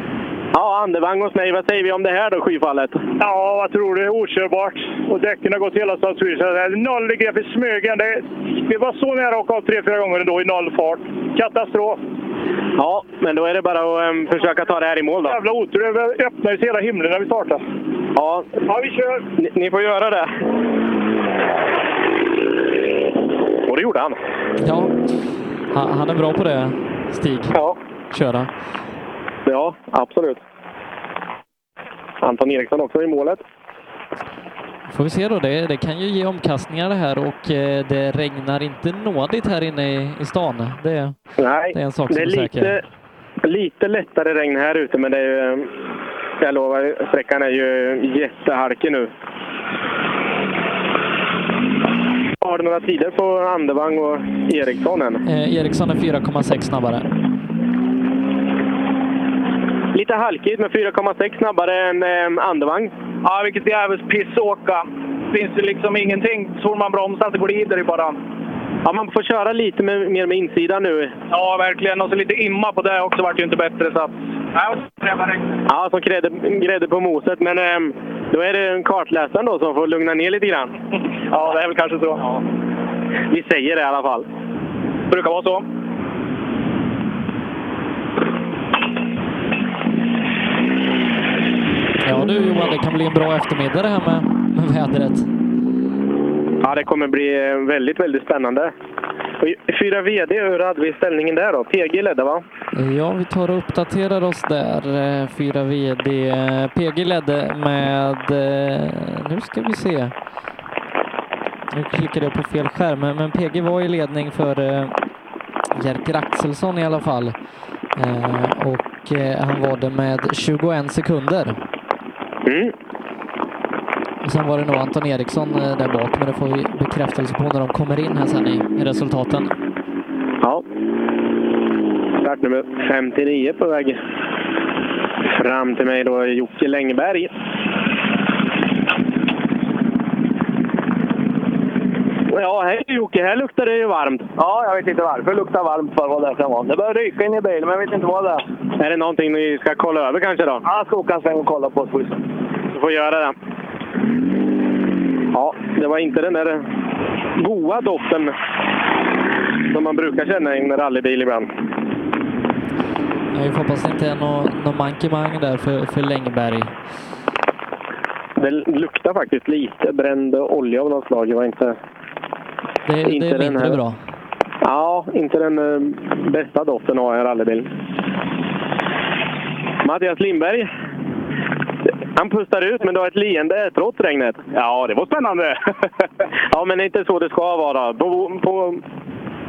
[SPEAKER 13] Ja, andevang hos mig. Vad säger vi om det här då, skyfallet?
[SPEAKER 20] Ja, vad tror du? Okörbart. Och däcken har gått hela stadshuset. Noll grepp i smögen. Det, det var så nära att åka av tre, fyra gånger ändå i noll fart. Katastrof.
[SPEAKER 13] Ja, men då är det bara att ehm, försöka ta det här i mål då.
[SPEAKER 20] Jävla otur. Det öppnade sig hela himlen när vi startade.
[SPEAKER 13] Ja,
[SPEAKER 20] Ja, vi kör.
[SPEAKER 13] ni, ni får göra det. Och det gjorde han.
[SPEAKER 3] Ja, han, han är bra på det Stig.
[SPEAKER 13] Ja.
[SPEAKER 3] Köra.
[SPEAKER 13] Ja, absolut. Anton Eriksson också i målet.
[SPEAKER 3] Får vi se då, det, det kan ju ge omkastningar det här och eh, det regnar inte nådigt här inne i, i stan. Det,
[SPEAKER 13] Nej,
[SPEAKER 3] det är en sak
[SPEAKER 13] det
[SPEAKER 3] som är
[SPEAKER 13] är lite,
[SPEAKER 3] säker.
[SPEAKER 13] lite lättare regn här ute, men det är ju... ehm, Jag lovar, sträckan är ju jättehalkig nu. Har du några tider på Andevang och Eriksson än?
[SPEAKER 3] Eh, Eriksson är 4,6 snabbare.
[SPEAKER 13] Lite halkigt, men 4,6 snabbare än ehm, Andevang.
[SPEAKER 30] Ja, vilket jävligt pissåka. Finns det liksom ingenting. Så man bromsar så glider det bara.
[SPEAKER 13] Ja, man får köra lite med, mer med insidan nu.
[SPEAKER 30] Ja, verkligen. Och så lite imma på det också vart ju inte bättre. Så att... Nej, och träffa regn.
[SPEAKER 13] Ja, som grädde, grädde på moset. Men ehm, då är det kartläsaren då som får lugna ner lite grann.
[SPEAKER 30] [LAUGHS] Ja, det är väl kanske så.
[SPEAKER 13] Vi säger det i alla fall.
[SPEAKER 30] brukar vara så.
[SPEAKER 3] Ja du Johan, det kan bli en bra eftermiddag det här med, med vädret.
[SPEAKER 13] Ja, det kommer bli eh, väldigt, väldigt spännande. Och i- Fyra VD, hur hade vi ställningen där då? PG ledde va?
[SPEAKER 3] Ja, vi tar och uppdaterar oss där. Eh, Fyra VD. eh, PG ledde med... eh, Nu ska vi se. Nu klickade jag på fel skärm, men men PG var i ledning för eh, Jerker Axelsson i alla fall. Eh, Och eh, han var det med 21 sekunder.
[SPEAKER 13] Mm,
[SPEAKER 3] Och sen var det nog Anton Eriksson eh, där bak, men det får vi bekräftelse på när de kommer in här sen i i resultaten.
[SPEAKER 13] Ja. Startnummer 59 på väg fram till mig då, Jocke Längberg. Ja, hej Jocke, här luktar det ju varmt.
[SPEAKER 30] Ja, jag vet inte varför det luktar varmt för vad det kan vara. Det börjar ryka in i bilen, men jag vet inte vad det är.
[SPEAKER 13] Är det någonting ni ska kolla över kanske då?
[SPEAKER 30] Ja, jag ska åka en sväng och kolla på det.
[SPEAKER 13] Du får göra det. Ja, det var inte den där goa doften som man brukar känna i en rallybil ibland.
[SPEAKER 3] Ja, vi får hoppas det inte är någon, någon mankemang där för, för Längberg.
[SPEAKER 13] Det luktar faktiskt lite bränd olja av något slag. Det var inte...
[SPEAKER 3] Det, det är
[SPEAKER 13] den
[SPEAKER 3] mindre
[SPEAKER 13] här-
[SPEAKER 3] bra.
[SPEAKER 13] Ja, inte den eh, bästa doften att ha i en rallybil. Mattias Lindberg. Han pustar ut, men du har ett leende trots regnet. Ja, det var spännande. [LAUGHS] ja, men det är inte så det ska vara. På, på,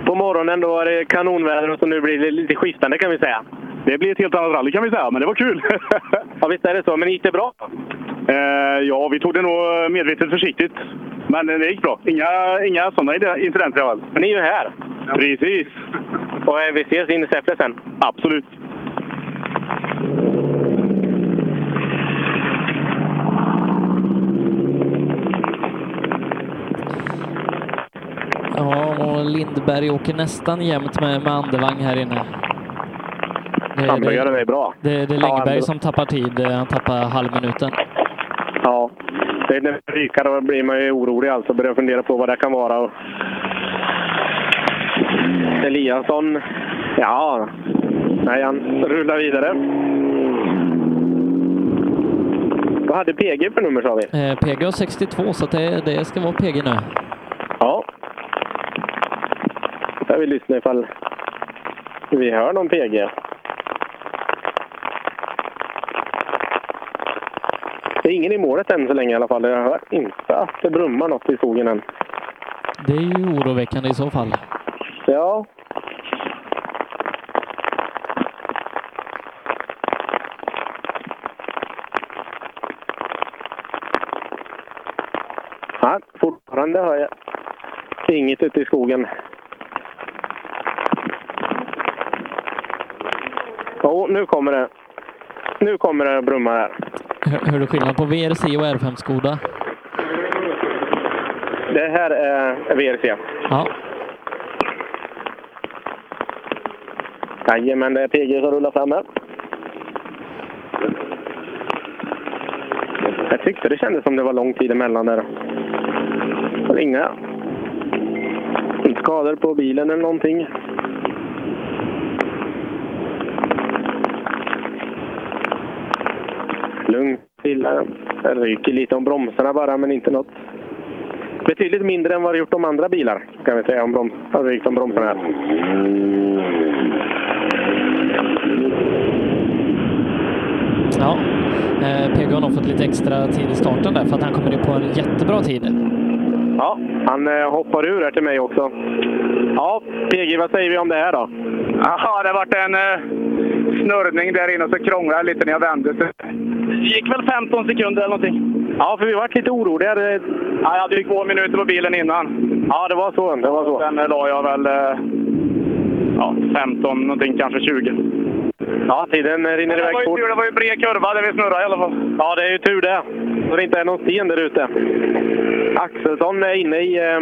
[SPEAKER 13] på morgonen då är det kanonväder och så nu blir det lite skiftande kan vi säga.
[SPEAKER 31] Det blir ett helt annat rally kan vi säga, men det var kul. [LAUGHS]
[SPEAKER 13] ja, visst är det så. Men gick det bra?
[SPEAKER 31] Eh, ja, vi tog det nog medvetet försiktigt. Men eh, det gick bra. Inga, Eh, inga sådana ide- incidenter i alla fall.
[SPEAKER 13] Men ni är ju här.
[SPEAKER 31] Precis.
[SPEAKER 13] Och eh, vi ses in i Säffle sen.
[SPEAKER 31] Absolut.
[SPEAKER 3] Lindberg åker nästan jämnt med, med Andevang här inne. Det-
[SPEAKER 13] Handböjaren är bra.
[SPEAKER 3] Det, det är
[SPEAKER 13] Ja,
[SPEAKER 3] Längberg
[SPEAKER 13] ändå.
[SPEAKER 3] som tappar tid. Eh, Han tappar halvminuten.
[SPEAKER 13] Ja. Det är när det rykar då blir man ju orolig alltså. Börjar fundera på vad det kan vara. Och... Eliasson. Ja. Nej, han rullar vidare. Vad hade PG för nummer sa vi?
[SPEAKER 3] Eh, PG har 62, så att det, det ska vara PG nu.
[SPEAKER 13] Ja. Jag vill lyssna ifall vi hör någon PG. Det är ingen i målet än så länge i alla fall. Jag hör inte att det brummar något i skogen än.
[SPEAKER 3] Det är ju oroväckande i så fall.
[SPEAKER 13] Ja. Nej, fortfarande hör jag inget ute i skogen. Jo, nu kommer det. Nu kommer det att brumma här.
[SPEAKER 3] Hör, hör du skillnad på VRC och R5 Skoda?
[SPEAKER 13] Det här är VRC.
[SPEAKER 3] Ja.
[SPEAKER 13] Jajamän, det är PG som rullar fram här. Jag tyckte det kändes som det var lång tid emellan där. Var det inga skador på bilen eller någonting? Lugnt till. Det ryker lite om bromsarna bara, men inte något. Betydligt mindre än vad det gjort om andra bilar, kan vi säga, om, broms, har rykt om bromsarna här.
[SPEAKER 3] Ja. Eh, PG har nog fått lite extra tid i starten där för att han kommer in på en jättebra tid.
[SPEAKER 13] Ja, han eh, hoppar ur här till mig också. Ja, PG, vad säger vi om det här då?
[SPEAKER 20] Jaha, det vart en eh, snurrning där inne och så krånglade jag lite när jag vände. Så det gick väl 15 sekunder eller någonting.
[SPEAKER 13] Ja, för vi vart lite oroliga.
[SPEAKER 20] Ja, jag hade ju två minuter på bilen innan.
[SPEAKER 13] Ja, det var så. Det var så.
[SPEAKER 20] Sen eh, la jag väl eh, ja, 15, någonting, kanske 20.
[SPEAKER 13] Ja, tiden eh, rinner
[SPEAKER 20] Det var
[SPEAKER 13] iväg
[SPEAKER 20] ju
[SPEAKER 13] fort.
[SPEAKER 20] tur, det var ju bred kurva där vi snurrade i alla fall.
[SPEAKER 13] Ja, det är ju tur det. Så det inte är någon sten där ute. Axelsson är inne i eh,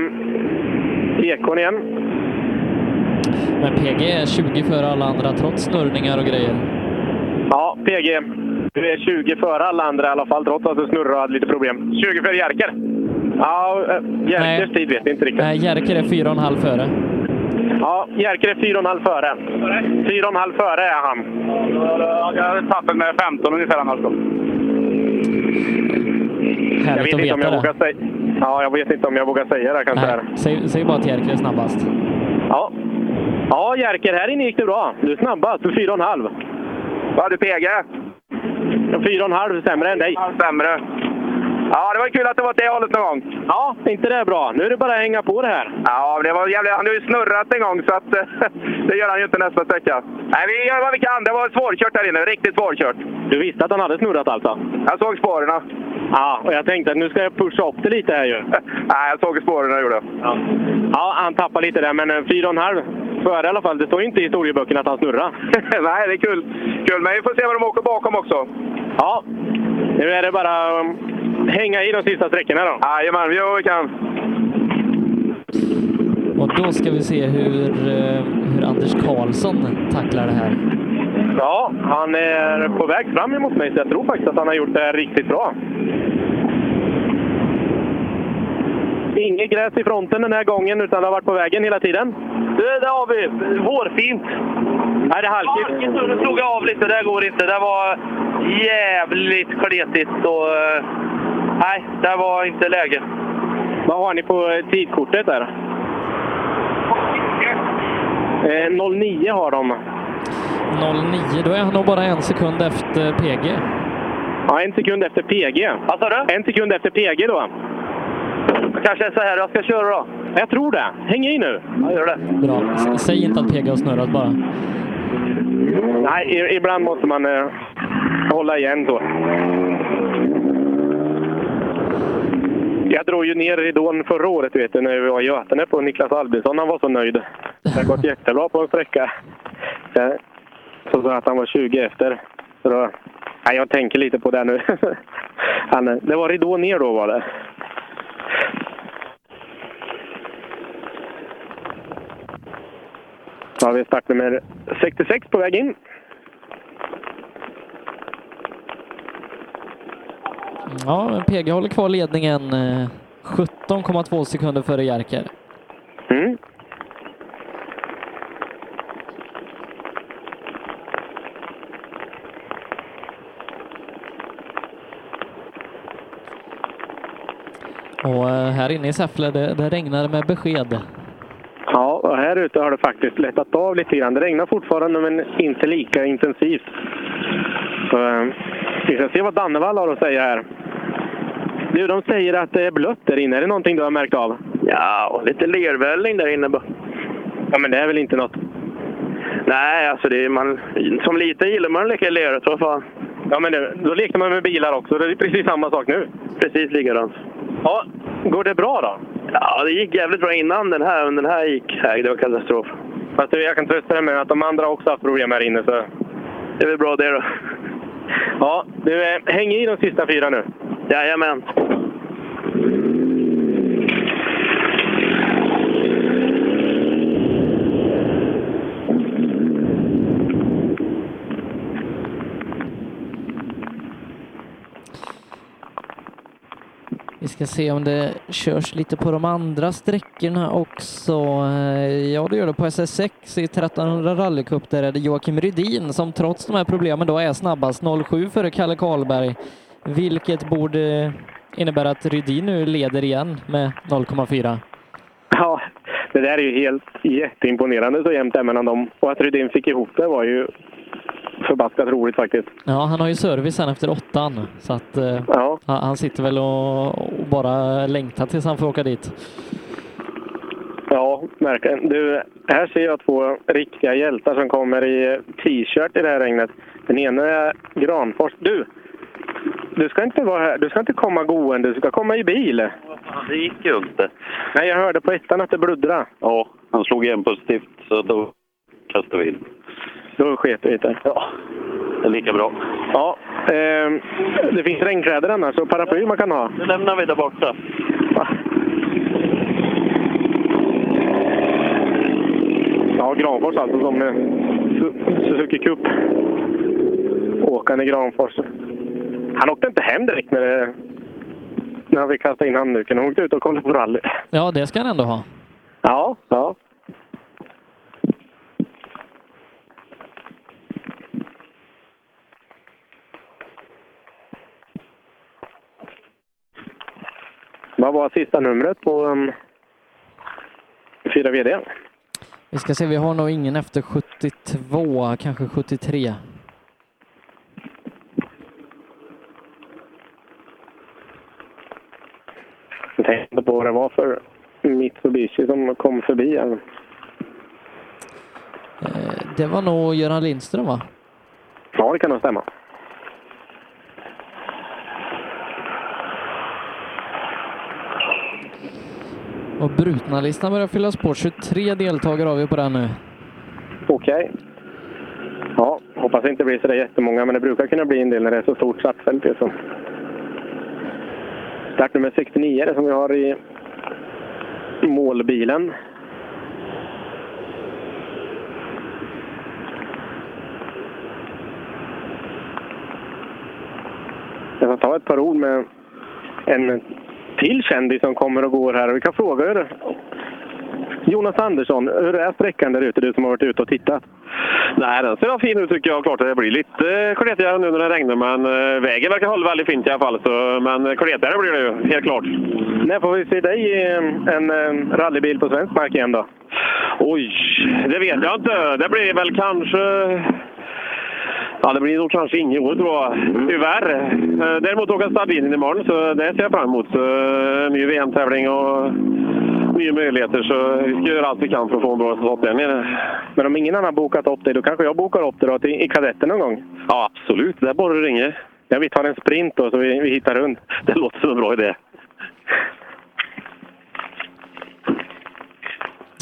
[SPEAKER 13] tekon igen.
[SPEAKER 3] Men PG är 20 före alla andra trots snurrningar och grejer.
[SPEAKER 13] Ja, PG. Du är 20 före alla andra i alla fall, trots att du snurrar och hade lite problem. 20 före Jerker? Ja, eh, Jerkers tid vet jag inte riktigt.
[SPEAKER 3] Nej, Jerker är 4,5 före.
[SPEAKER 13] Ja, Jerker är 4,5 före. 4,5 före är han.
[SPEAKER 20] Jag hade tappat med 15 ungefär annars då.
[SPEAKER 13] Jag vet
[SPEAKER 3] Härligt att
[SPEAKER 13] inte om jag
[SPEAKER 3] veta
[SPEAKER 13] vågar
[SPEAKER 3] det.
[SPEAKER 13] säga. Ja, jag vet inte om jag vågar säga det kanske. här.
[SPEAKER 3] Nej, säg, säg bara att Jerker är snabbast.
[SPEAKER 13] Ja. ja, Jerker, här inne gick det bra. Du är snabbast, du är 4,5. Vad du PG? 4,5 sämre än dig. Sämre. Ja, det var kul att det var åt det hållet någon gång. Ja, inte det är bra. Nu är det bara att hänga på det här.
[SPEAKER 20] Ja, men det var jävligt, han har ju snurrat en gång så att, [LAUGHS] det gör han ju inte nästa sträcka. Nej, vi gör vad vi kan. Det var svårkört där inne. Riktigt svårkört.
[SPEAKER 13] Du visste att han hade snurrat alltså?
[SPEAKER 20] Jag såg spåren.
[SPEAKER 13] Ja, och jag tänkte att nu ska jag pusha upp det lite här ju.
[SPEAKER 20] [LAUGHS] Nej, jag såg spåren jag gjorde.
[SPEAKER 13] Ja. ja, han tappar lite där, men eh, 4,5 före i alla fall. Det står ju inte i historieböckerna att han snurrar.
[SPEAKER 20] [LAUGHS] Nej, det är kul. Kul, men vi får se vad de åker bakom också.
[SPEAKER 13] Ja, nu är det bara um, hänga i de sista sträckorna då.
[SPEAKER 20] Jajamän, vi gör vad vi kan.
[SPEAKER 3] Och då ska vi se hur, eh, hur Anders Karlsson tacklar det här.
[SPEAKER 13] Ja, han är på väg fram emot mig, så jag tror faktiskt att han har gjort det riktigt bra. Inget gräs i fronten den här gången, utan det har varit på vägen hela tiden.
[SPEAKER 32] Du, där har vi. Hårfint.
[SPEAKER 13] Nej, det är halkigt.
[SPEAKER 32] Halkigt, så nu slog jag av lite. Det går inte. Det var jävligt kletigt och... eh, Nej, det var inte läge.
[SPEAKER 13] Vad har ni på eh, tidkortet där? Eh, 09 har de.
[SPEAKER 3] 09, då är han nog bara en sekund efter PG.
[SPEAKER 13] Ja, en sekund efter PG.
[SPEAKER 32] Vad sa du?
[SPEAKER 13] En sekund efter PG då.
[SPEAKER 32] kanske är så här jag ska köra då.
[SPEAKER 13] Jag tror det. Häng i nu!
[SPEAKER 32] Jag gör det.
[SPEAKER 3] Bra. S- Säg inte att PG har snurrat bara.
[SPEAKER 13] Nej, i- ibland måste man eh, hålla igen så. Jag drog ju ner ridån förra året vet du, när vi var i Götene på Niklas Albinsson. Han var så nöjd. Det har gått jättebra på en sträcka. Eh, Så sa att han var 20 efter. Så då, nej, jag tänker lite på det nu. [LAUGHS] han, eh, det var ridå ner då var det. Ja, vi är startnummer 66 på väg in.
[SPEAKER 3] Ja, men PG håller kvar ledningen. eh, 17,2 sekunder före Jerker.
[SPEAKER 13] Mm.
[SPEAKER 3] Och eh, här inne i Säffle, det, det regnar med besked.
[SPEAKER 13] Ja, och här ute har det faktiskt lättat av lite grann. Det regnar fortfarande, men inte lika intensivt. Så, eh, vi ska se vad Dannevall har att säga här. Du, de säger att det är blött där inne. Är det någonting du har märkt av?
[SPEAKER 26] Ja, lite lervälling där inne bara.
[SPEAKER 13] Ja, men det är väl inte något?
[SPEAKER 26] Nej, alltså det är man... Som liten gillar man att leka lera, tror jag fan.
[SPEAKER 13] Ja, men det, då lekte man med bilar också. Det är precis samma sak nu.
[SPEAKER 26] Precis likadant.
[SPEAKER 13] Ja, går det bra då?
[SPEAKER 26] Ja, det gick jävligt bra innan den här, men den här gick... Nej, det var katastrof.
[SPEAKER 13] Fast du, jag kan trösta dig med att de andra också har haft problem här inne. Så.
[SPEAKER 26] Det är väl bra det då.
[SPEAKER 13] Ja, du, eh, häng i de sista fyra nu.
[SPEAKER 26] Jajamän.
[SPEAKER 3] Vi ska se om det körs lite på de andra sträckorna också. Eh, Ja, det gör det på SS6 i 1300 rallycup. Där är det Joakim Rydin som trots de här problemen då är snabbast. 07 före Kalle Karlberg, vilket borde eh, innebära att Rydin nu leder igen med 0,4.
[SPEAKER 13] Ja, det där är ju helt jätteimponerande så jämnt där mellan dem. Och att Rydén fick ihop det var ju förbaskat roligt faktiskt.
[SPEAKER 3] Ja, han har ju service sen efter åttan, så att eh, han han sitter väl och, och bara längtar tills han får åka dit.
[SPEAKER 13] Ja, verkligen. Du, här ser jag två riktiga hjältar som kommer i t-shirt i det här regnet. Den ena är Granfors. Du, du ska inte vara här. Du ska inte komma gående. Du ska komma i bil.
[SPEAKER 33] Det gick ju inte.
[SPEAKER 13] Nej, jag hörde på ettan att det bluddrade.
[SPEAKER 33] Ja, han slog igen på ett stift så då kastade vi in.
[SPEAKER 13] Då sket vi i det. Ja.
[SPEAKER 33] Det är lika bra.
[SPEAKER 13] Ja, ehm, det finns regnkläder annars och paraply man kan ha.
[SPEAKER 33] Nu lämnar vi där borta.
[SPEAKER 13] Ja, Granfors alltså som eh, Su- Suzuki Cup. Åkande Granfors. Han åkte inte hem direkt när, det, när vi kastade in handduken. Han åkte ut och kollade på rally.
[SPEAKER 3] Ja, det ska han ändå ha.
[SPEAKER 13] Ja, ja. Vad var sista numret på um, 4 VD?
[SPEAKER 3] Vi ska se, vi har nog ingen efter 72, kanske 73.
[SPEAKER 13] Jag tänkte på vad det var för Mitsubishi som kom förbi. här.
[SPEAKER 3] Eh, Det var nog Göran Lindström va?
[SPEAKER 13] Ja, det kan nog stämma.
[SPEAKER 3] Och brutna listan börjar fyllas på. 23 deltagare har vi på den nu.
[SPEAKER 13] Okej. Ja, hoppas det inte blir så där jättemånga, men det brukar kunna bli en del när det är så stort startfält. Liksom. Startnummer 69 är det som vi har i målbilen. Jag ska ta ett par ord med en till kändis som kommer och går här. Vi kan fråga er. Jonas Andersson, hur är sträckan där ute, du som har varit ute och tittat?
[SPEAKER 34] Nej, den ser fin ut tycker jag. Klart att det blir lite kletigare nu när det regnar, men eh, vägen verkar hålla väldigt fint i alla fall. Så, men eh, kletigare blir det ju, helt klart.
[SPEAKER 13] När får vi se dig i en eh, rallybil på svensk mark igen då?
[SPEAKER 34] Oj, det vet jag inte. Det blir väl kanske... Ja, det blir nog kanske inget år tror jag.
[SPEAKER 33] Mm.
[SPEAKER 34] Tyvärr. Eh, Däremot åker Stadlinen imorgon, så det ser jag fram emot. Så, eh, ny VM-tävling och nya möjligheter. Så vi ska göra allt vi kan för att få en bra resultat där nere.
[SPEAKER 13] Men om ingen annan har bokat upp dig, då kanske jag bokar upp dig då till, i kadetten någon gång?
[SPEAKER 34] Ja, absolut. Det är bara du ringer.
[SPEAKER 13] Ja, vi tar en sprint då, så vi, vi hittar runt.
[SPEAKER 34] Det låter som en bra idé.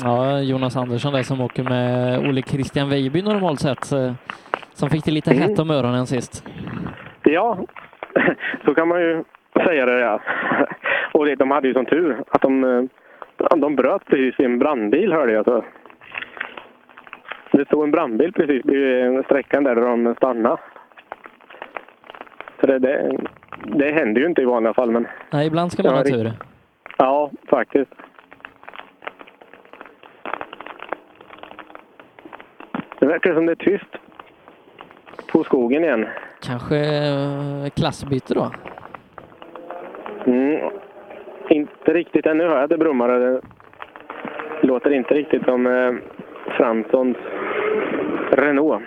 [SPEAKER 3] Ja, Jonas Andersson där som åker med Ole Christian Weiby normalt sett. eh, Som fick det lite
[SPEAKER 13] Mm.
[SPEAKER 3] hett om öronen sist.
[SPEAKER 13] Ja, [LAUGHS] så kan man ju säga det. Ja. [LAUGHS] Och det, de hade ju som tur att de, eh, de bröt precis i en brandbil hörde jag. Så. Det stod en brandbil precis vid sträckan där de stannade. Så det, det, det händer ju inte i vanliga fall. Men
[SPEAKER 3] Nej, ibland ska man
[SPEAKER 13] Ja,
[SPEAKER 3] ha
[SPEAKER 13] det-
[SPEAKER 3] tur.
[SPEAKER 13] ja, faktiskt. Det verkar som det är tyst på skogen igen.
[SPEAKER 3] Kanske eh, klassbyte då?
[SPEAKER 13] Mm. Inte riktigt. Ännu hör jag att det brummar. och Det låter inte riktigt som eh, Franssons Renault.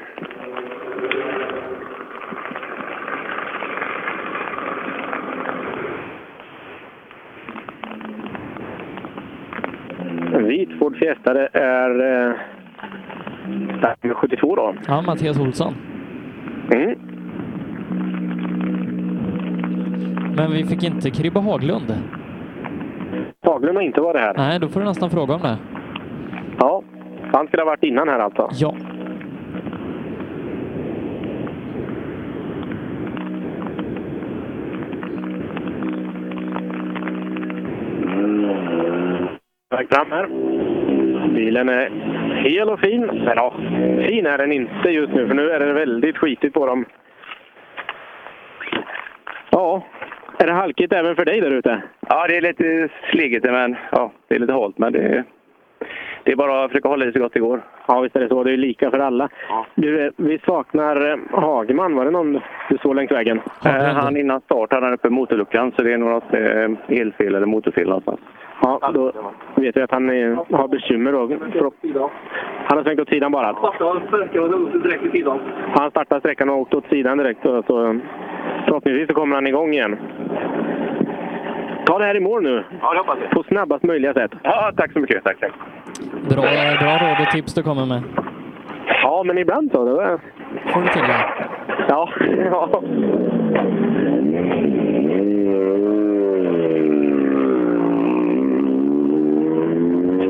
[SPEAKER 13] En vit Ford Fiesta det är eh, där 72 då.
[SPEAKER 3] Ja, Mattias Olsson.
[SPEAKER 13] Mm.
[SPEAKER 3] Men vi fick inte Kribbe Haglund.
[SPEAKER 13] Haglund har inte varit här.
[SPEAKER 3] Nej, då får du nästan fråga om det.
[SPEAKER 13] Ja, han skulle ha varit innan här alltså.
[SPEAKER 3] Ja.
[SPEAKER 13] Väg fram här. Bilen är hel och fin. Men ja, fin är den inte just nu för nu är det väldigt skitigt på dem. Ja, är det halkigt även för dig där ute?
[SPEAKER 21] Ja, det är lite sliggigt, men ja, det är lite halt. Men det är, det är bara att försöka hålla i så gott det går.
[SPEAKER 13] Ja, visst är det så. Det är lika för alla. Du, eh, vi saknar eh, Hagman. Var det någon du såg längs vägen?
[SPEAKER 21] Eh, han innan start hade han uppe i motorluckan, så det är nog något eh, elfel eller motorfel någonstans.
[SPEAKER 13] Ja, då vet vi att han eh, har bekymmer. Då. Han har svängt åt sidan bara.
[SPEAKER 8] Startade sträckan och nosade direkt i sidan.
[SPEAKER 13] Han startade sträckan och åkte åt sidan direkt. Så, så, förhoppningsvis så kommer han igång igen. Ta det här i mål nu. Ja, det hoppas jag. På snabbast möjliga sätt.
[SPEAKER 21] Ja, tack så mycket. Tack, tack.
[SPEAKER 3] Bra, bra råd och tips du kommer med.
[SPEAKER 13] Ja, men ibland så. Det var...
[SPEAKER 3] Får du till det.
[SPEAKER 13] Ja. ja.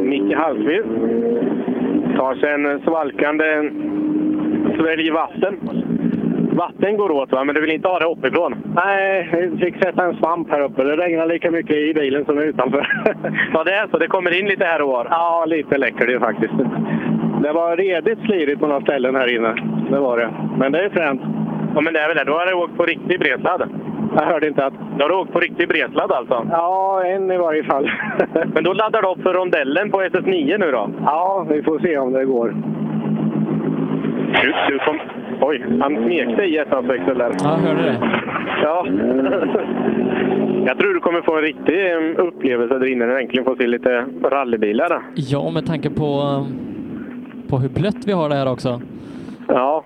[SPEAKER 13] Micke Hallqvist tar sig en svalkande svälj vatten. Vatten går åt va, men du vill inte ha det uppifrån? Nej, vi fick sätta en svamp här uppe. Det regnar lika mycket i bilen som utanför. [LAUGHS] ja, det är så. Det kommer in lite här och var? Ja, lite läcker det ju faktiskt. Det var redigt slirigt på några ställen här inne. Det var det. Men det är fränt. Ja, men det är väl det. Då har du åkt på riktig bredsladd. Jag hörde inte att... Då har du åkt på riktig
[SPEAKER 21] [LAUGHS]
[SPEAKER 13] bredsladd alltså? Ja, en i varje fall. men då laddar du upp för rondellen på SS9 nu då? Ja, vi får se om det går. Du, du kom... Oj, han smekte i ettans växel där.
[SPEAKER 3] Ja, hörde det.
[SPEAKER 13] Ja. [LAUGHS] Jag tror du kommer få en riktig em, upplevelse där inne när du äntligen får se lite rallybilar.
[SPEAKER 3] Ja, med tanke på, eh, på hur blött vi har det här också.
[SPEAKER 13] Ja.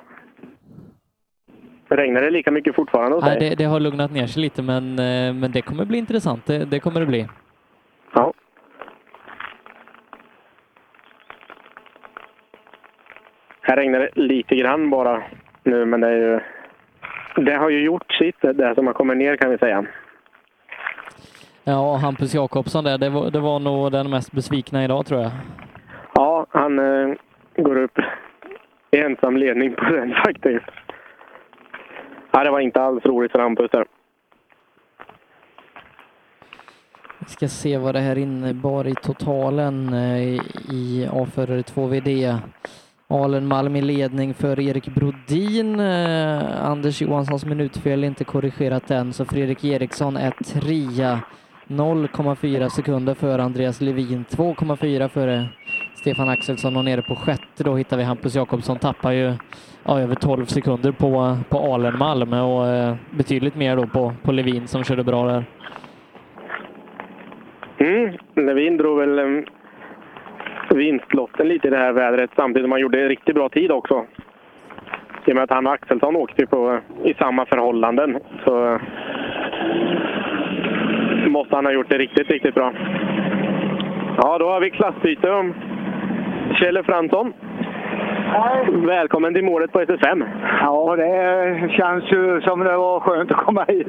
[SPEAKER 13] Regnar det lika mycket fortfarande hos
[SPEAKER 3] Nej,
[SPEAKER 13] dig?
[SPEAKER 3] det, det har lugnat ner sig lite, men, eh, men det kommer bli intressant. Det, det kommer det bli.
[SPEAKER 13] Ja. Här regnar det lite grann bara nu, men det är ju... Det har ju gjort sitt, det där som har kommit ner kan vi säga.
[SPEAKER 3] Ja, Hampus Jakobsson där, det var, det var nog den mest besvikna idag tror jag.
[SPEAKER 13] Ja, han eh, går upp i ensam ledning på den [LAUGHS] faktiskt. Ja, det var inte alls roligt för Hampus där.
[SPEAKER 3] Vi ska se vad det här innebar i totalen eh, i- i A-förare 2VD. Alen Malm i ledning för Erik Brodin. Eh, Anders Johanssons minutfel är inte korrigerat än, så Fredrik Eriksson är trea. 0,4 sekunder före Andreas Levin, 2,4 före Stefan Axelsson och nere på sjätte då hittar vi Hampus Jakobsson, tappar ju ja, över 12 sekunder på, på Alen Malm och eh, betydligt mer då på, på Levin som körde bra där.
[SPEAKER 13] Mm, Levin drog väl em, vinstlotten lite i det här vädret samtidigt som han gjorde en riktigt bra tid också. I och med att han och Axelsson åkte ju på, eh, i samma förhållanden så eh, måste han ha gjort det riktigt, riktigt bra. Ja, då har vi klassbyte om Kjelle Fransson. Välkommen till målet på SS5.
[SPEAKER 35] Ja, det känns ju som det var skönt att komma hit.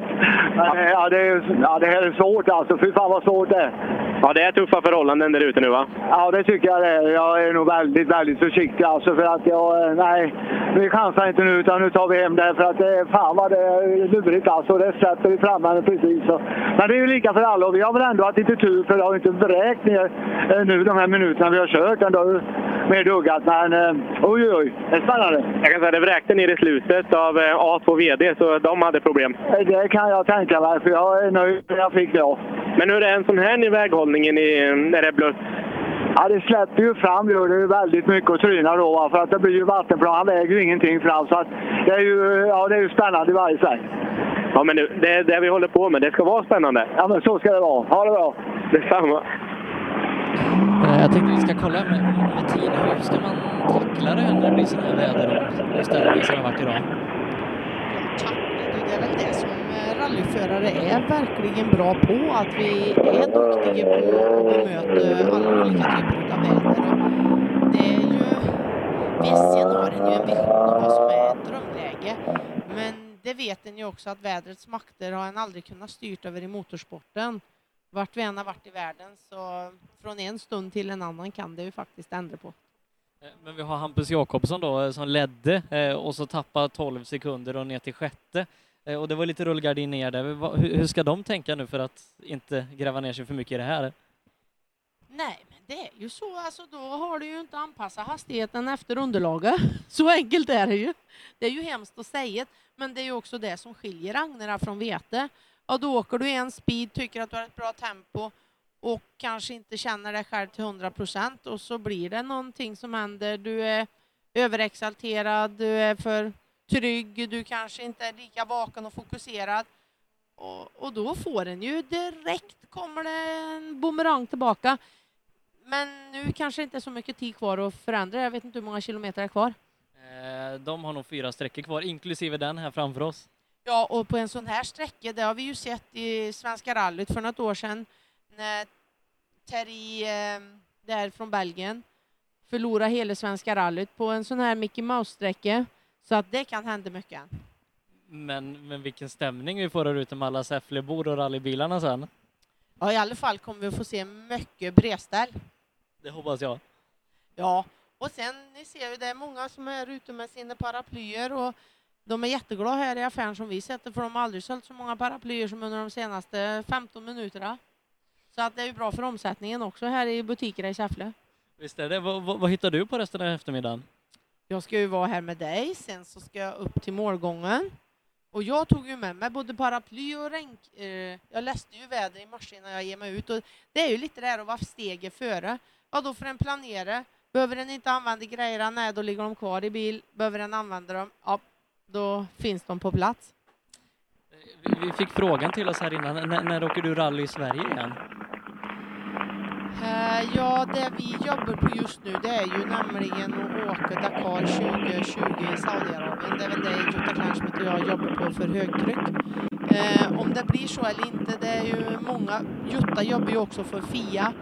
[SPEAKER 35] Men, eh, ja, det, är- ja, det här är svårt alltså. Fy fan vad svårt det är.
[SPEAKER 13] Ja, det är tuffa förhållanden där ute nu va?
[SPEAKER 35] Ja, det tycker jag det är. Jag är nog väldigt, väldigt försiktig alltså för att jag... eh, Nej, vi chansar inte nu utan nu tar vi hem det för att det är fan vad det är lurigt alltså. Det sätter vi framme precis. Så. Men det är ju lika för alla och vi har väl ändå haft lite tur för det har ju inte vräkt ner eh, nu de här minuterna vi har kört. Men det har ju mer duggat. Men eh, oj, oj, oj. Det är spännande.
[SPEAKER 12] Jag kan säga det vräkte ner i slutet av eh, A2 VD, så de hade problem.
[SPEAKER 35] Eh, Det kan jag tänka mig, för jag är nöjd när jag fick det. av.
[SPEAKER 12] Men hur är en sån här i väghållningen i, när det är blött?
[SPEAKER 35] Ja, det släpper ju fram gör det ju väldigt mycket och trynar då, va? för att det blir ju vattenplan. Han väger ju ingenting fram, så att det, är ju, ja, det är ju spännande i varje sig.
[SPEAKER 12] Ja, men nu, det är det vi håller på med. Det ska vara spännande.
[SPEAKER 35] Ja, men så ska det vara. Ha det bra!
[SPEAKER 12] Detsamma.
[SPEAKER 3] Eh, Jag tänkte vi ska kolla med, med Tina, hur ska man tackla det när det blir sådana här väder och störningar som det har varit idag?
[SPEAKER 29] Det är väl det som eh, rallyförare är verkligen bra på, att vi är duktiga på att bemöta alla olika typer av väder. Och Det är ju, visst, har en ju en vision om vad som är ett drömläge, men det vet en ju också att vädrets makter har en aldrig kunnat styrt över i motorsporten. Vart vi än har varit i världen, så från en stund till en annan kan det ju faktiskt ändra på.
[SPEAKER 3] Eh, Men vi har Hampus Jakobsson då eh, som ledde eh, och så tappade 12 sekunder och ner till sjätte. Eh, Och det var lite rullgardin ner där. Vad- Hur hur ska de tänka nu för att inte gräva ner sig för mycket i det här?
[SPEAKER 29] Nej, men det är ju så. Alltså, då har du ju inte anpassat hastigheten efter underlaget. [LAUGHS] Så enkelt är det ju. Det är ju hemskt att säga, men det är ju också det som skiljer agnarna från vete. Ja, då åker du i en speed, tycker att du har ett bra tempo och kanske inte känner dig själv till 100 procent och så blir det någonting som händer. Du är överexalterad, du är för trygg, du kanske inte är lika vaken och fokuserad. Och, och då får den ju direkt kommer det en bumerang tillbaka. Men nu kanske inte är så mycket tid kvar att förändra. Jag vet inte hur många kilometer är kvar.
[SPEAKER 3] Eh, De har nog fyra sträckor kvar, inklusive den här framför oss.
[SPEAKER 29] Ja, och på en sån här sträcka, det har vi ju sett i Svenska rallyt för något år sedan när Terry eh, där från Belgien förlorade hela Svenska rallyt på en sån här Mickey Mouse-sträcka. Så att det kan hända mycket.
[SPEAKER 3] Men, men vilken stämning vi får här ute med alla Säfflebor och rallybilarna sen.
[SPEAKER 29] Ja, i alla fall kommer vi att få se mycket bredställ.
[SPEAKER 3] Det hoppas jag.
[SPEAKER 29] Ja, och sen ni ser ju det är många som är ute med sina paraplyer och de är jätteglada här i affären som vi sätter för de har aldrig sålt så många paraplyer som under de senaste 15 minuterna. Så att det är ju bra för omsättningen också här i butikerna i Säffle.
[SPEAKER 3] Visst är det? Vad, vad, vad hittar du på resten av eftermiddagen?
[SPEAKER 29] Jag ska ju vara här med dig, sen så ska jag upp till målgången. Och jag tog ju med mig både paraply och regn... Eh, jag läste ju väder i morse innan jag ger mig ut. Och det är ju lite det här att vara steget före. Ja, då får en planera. Behöver den inte använda grejerna, nej, då ligger de kvar i bil. Behöver den använda dem, ja, då finns de på plats.
[SPEAKER 3] Vi- Vi fick frågan till oss här innan, N- när åker du rally i Sverige igen?
[SPEAKER 29] Eh, ja, det vi jobbar på just nu, det är ju nämligen att åka Dakar 2020 i Saudiarabien. Det är väl det Jutta Kleinschmidt och jag jobbar på för högtryck. Eh, om det blir så eller inte, det är ju många. Jutta jobbar ju också för FIA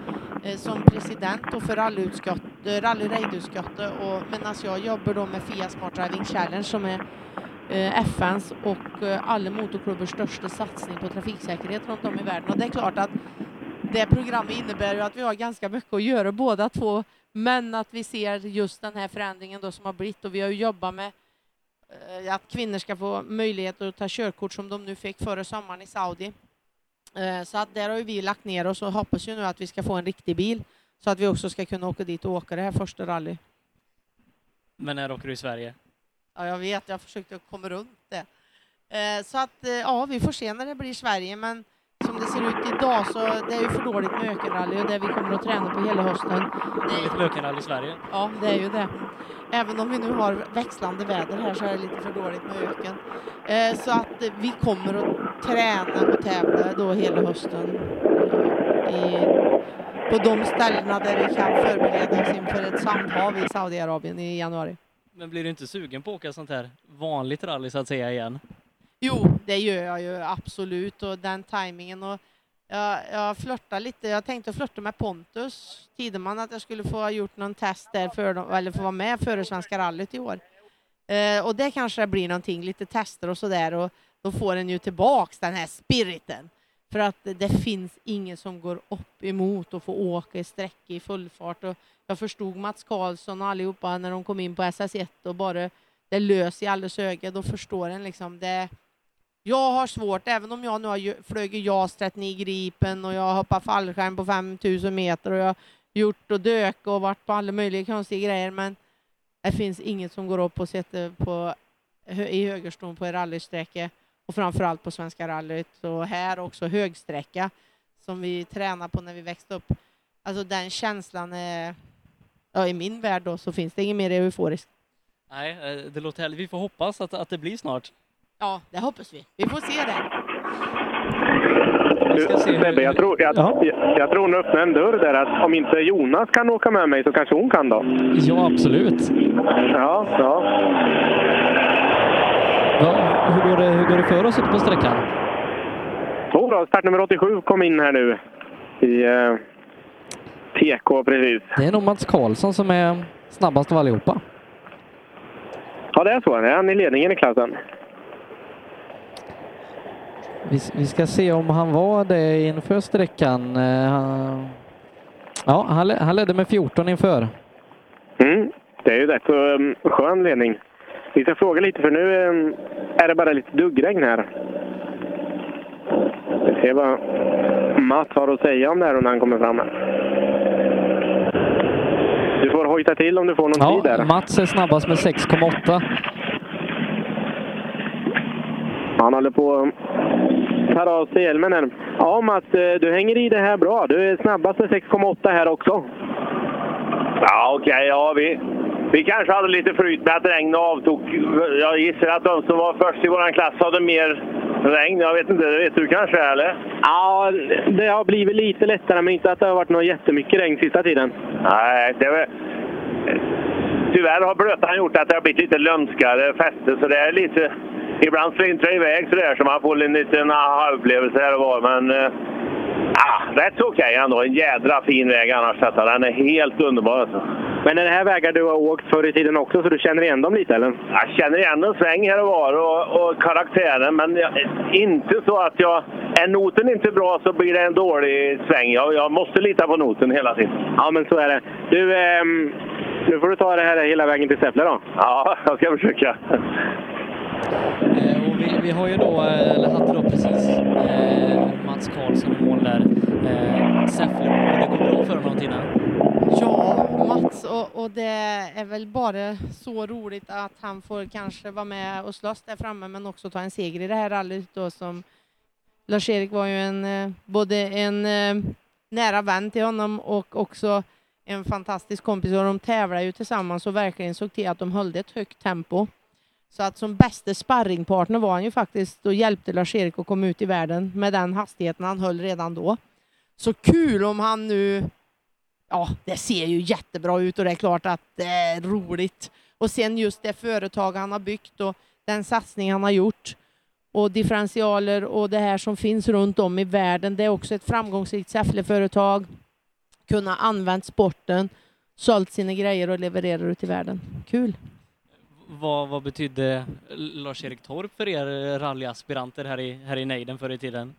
[SPEAKER 29] eh, som president och för rallyutskott- eh, rallyraidutskottet och medan jag jobbar då med FIA Smart Driving Challenge som är eh, FNs och eh, alla motorklubbers största satsning på trafiksäkerhet runt om i världen. Och det är klart att det programmet innebär ju att vi har ganska mycket att göra båda två, men att vi ser just den här förändringen då som har blivit och vi har ju jobbat med eh, att kvinnor ska få möjlighet att ta körkort som de nu fick före sommaren i Saudi. Eh, Så att där har ju vi lagt ner oss och hoppas ju nu att vi ska få en riktig bil så att vi också ska kunna åka dit och åka det här första rally.
[SPEAKER 3] Men när åker du i Sverige?
[SPEAKER 29] Ja, jag vet, jag försökte komma runt det. Eh, Så att eh, ja, vi får se när det blir Sverige, men som det ser ut idag så det är ju för dåligt med ökenrally och det vi kommer att träna på hela hösten.
[SPEAKER 3] Dåligt med ökenrally i Sverige.
[SPEAKER 29] Ja, det är ju det. Även om vi nu har växlande väder här så är det lite för dåligt med öken. Eh, Så att eh, vi kommer att träna och tävla då hela hösten eh, i, på de ställena där vi kan förbereda oss inför ett sandhav i Saudiarabien i januari.
[SPEAKER 3] Men blir du inte sugen på att åka sånt här vanligt rally så att säga igen?
[SPEAKER 29] Jo, det gör jag ju absolut och den tajmingen. Och jag, jag flörtar lite. Jag tänkte flörta med Pontus Tideman att jag skulle få ha gjort någon test där för dem, eller få vara med före Svenska rallyt i år. Eh, och det kanske blir någonting, lite tester och sådär och då får den ju tillbaks den här spiriten. För att det finns ingen som går upp emot att få åka i sträck i full fart. Och jag förstod Mats Karlsson och allihopa när de kom in på SS1 och bara det lös i alldeles öga. Då förstår en liksom det. Jag har svårt, även om jag nu har ju- flög i JAS 39 Gripen och jag hoppar fallskärm på 5000 meter och jag gjort och dök och varit på alla möjliga konstiga grejer, men det finns inget som går upp och sätter på, hö- i högerston på en rallysträcka och framförallt på Svenska rallyt och här också högsträcka som vi tränade på när vi växte upp. Alltså den känslan är, ja, i min värld då så finns det inget mer euforiskt.
[SPEAKER 3] Nej, eh, det låter heller. Vi får hoppas att, att det blir snart.
[SPEAKER 29] Ja, det hoppas vi. Vi får se det.
[SPEAKER 13] Sebbe, jag tror, jag, jag, jag tror hon öppnade en dörr där. Att om inte Jonas kan åka med mig så kanske hon kan då.
[SPEAKER 3] Ja, absolut.
[SPEAKER 13] Ja, ja.
[SPEAKER 3] Ja, hur, går det, hur går det för oss ute på sträckan?
[SPEAKER 13] Så då, startnummer 87 kom in här nu i eh, TK precis.
[SPEAKER 3] Det är nog Mats Karlsson som är snabbast av allihopa.
[SPEAKER 13] Ja, det är så. Det är han i ledningen i klassen.
[SPEAKER 3] Vi, vi ska se om han var det inför sträckan. Eh, han- Ja, han, le- han ledde med 14 inför.
[SPEAKER 13] Mm, det är ju rätt så um, skön ledning. Vi ska fråga lite för nu ehm, är det bara lite duggregn här. Vi ser vad Matt har att säga om det här när han kommer fram. här. Du får hojta till om du får någon
[SPEAKER 3] Ja,
[SPEAKER 13] tid där.
[SPEAKER 3] Mats är snabbast med 6,8.
[SPEAKER 13] Han håller på att ta av sig hjälmen här. Ja Mats, eh, du hänger i det här bra. Du är snabbast med 6,8 här också.
[SPEAKER 24] Ja, okej. ja, vi, vi kanske hade lite flyt med att regn och avtog. Jag gissar att de som var först i vår klass hade mer regn. Jag vet inte, det vet du kanske, eller?
[SPEAKER 13] Ja, det har blivit lite lättare men inte att det har varit något jättemycket regn sista tiden.
[SPEAKER 24] Nej, det var... Tyvärr har blötan gjort att det har blivit lite lömskare fäste, så det är lite... Ibland slintrar det iväg sådär så man får en liten aha-upplevelse här och var, men... eh, Ah, rätt så okej ändå. En jädra fin väg annars detta. Den är helt underbar alltså.
[SPEAKER 13] Men är det här vägar du har åkt förr i tiden också så du känner igen dem lite eller?
[SPEAKER 24] Jag känner igen en sväng här och var och, och karaktären, men jag, inte så att jag... Är noten inte bra så blir det en dålig sväng. Jag, jag måste lita på noten hela tiden.
[SPEAKER 13] Ja, men så är det. Du, ehm, nu får du ta det här hela vägen till Säffle då.
[SPEAKER 24] Ja, jag ska försöka.
[SPEAKER 3] Vi, vi har ju då, eh, eller hade då precis eh, Mats Karlsson i mål där. Eh, Säffle, det går bra för honom tiden.
[SPEAKER 29] Ja, Mats, och, och det är väl bara så roligt att han får kanske vara med och slåss där framme, men också ta en seger i det här rallyt då som Lars-Erik var ju en, eh, både en eh, nära vän till honom och också en fantastisk kompis och de tävlar ju tillsammans och verkligen såg till att de höll ett högt tempo. Så att som bästa sparringpartner var han ju faktiskt och hjälpte Lars-Erik att komma ut i världen med den hastigheten han höll redan då. Så kul om han nu ja, det ser ju jättebra ut och det är klart att det är roligt. Och sen just det företag han har byggt och den satsning han har gjort och differentialer och det här som finns runt om i världen. Det är också ett framgångsrikt Säffleföretag. Kunna använt sporten, sålt sina grejer och levererar ut i världen. Kul!
[SPEAKER 3] Vad, vad betydde Lars-Erik Torp för er rallyaspiranter här i, här i nejden förr i tiden?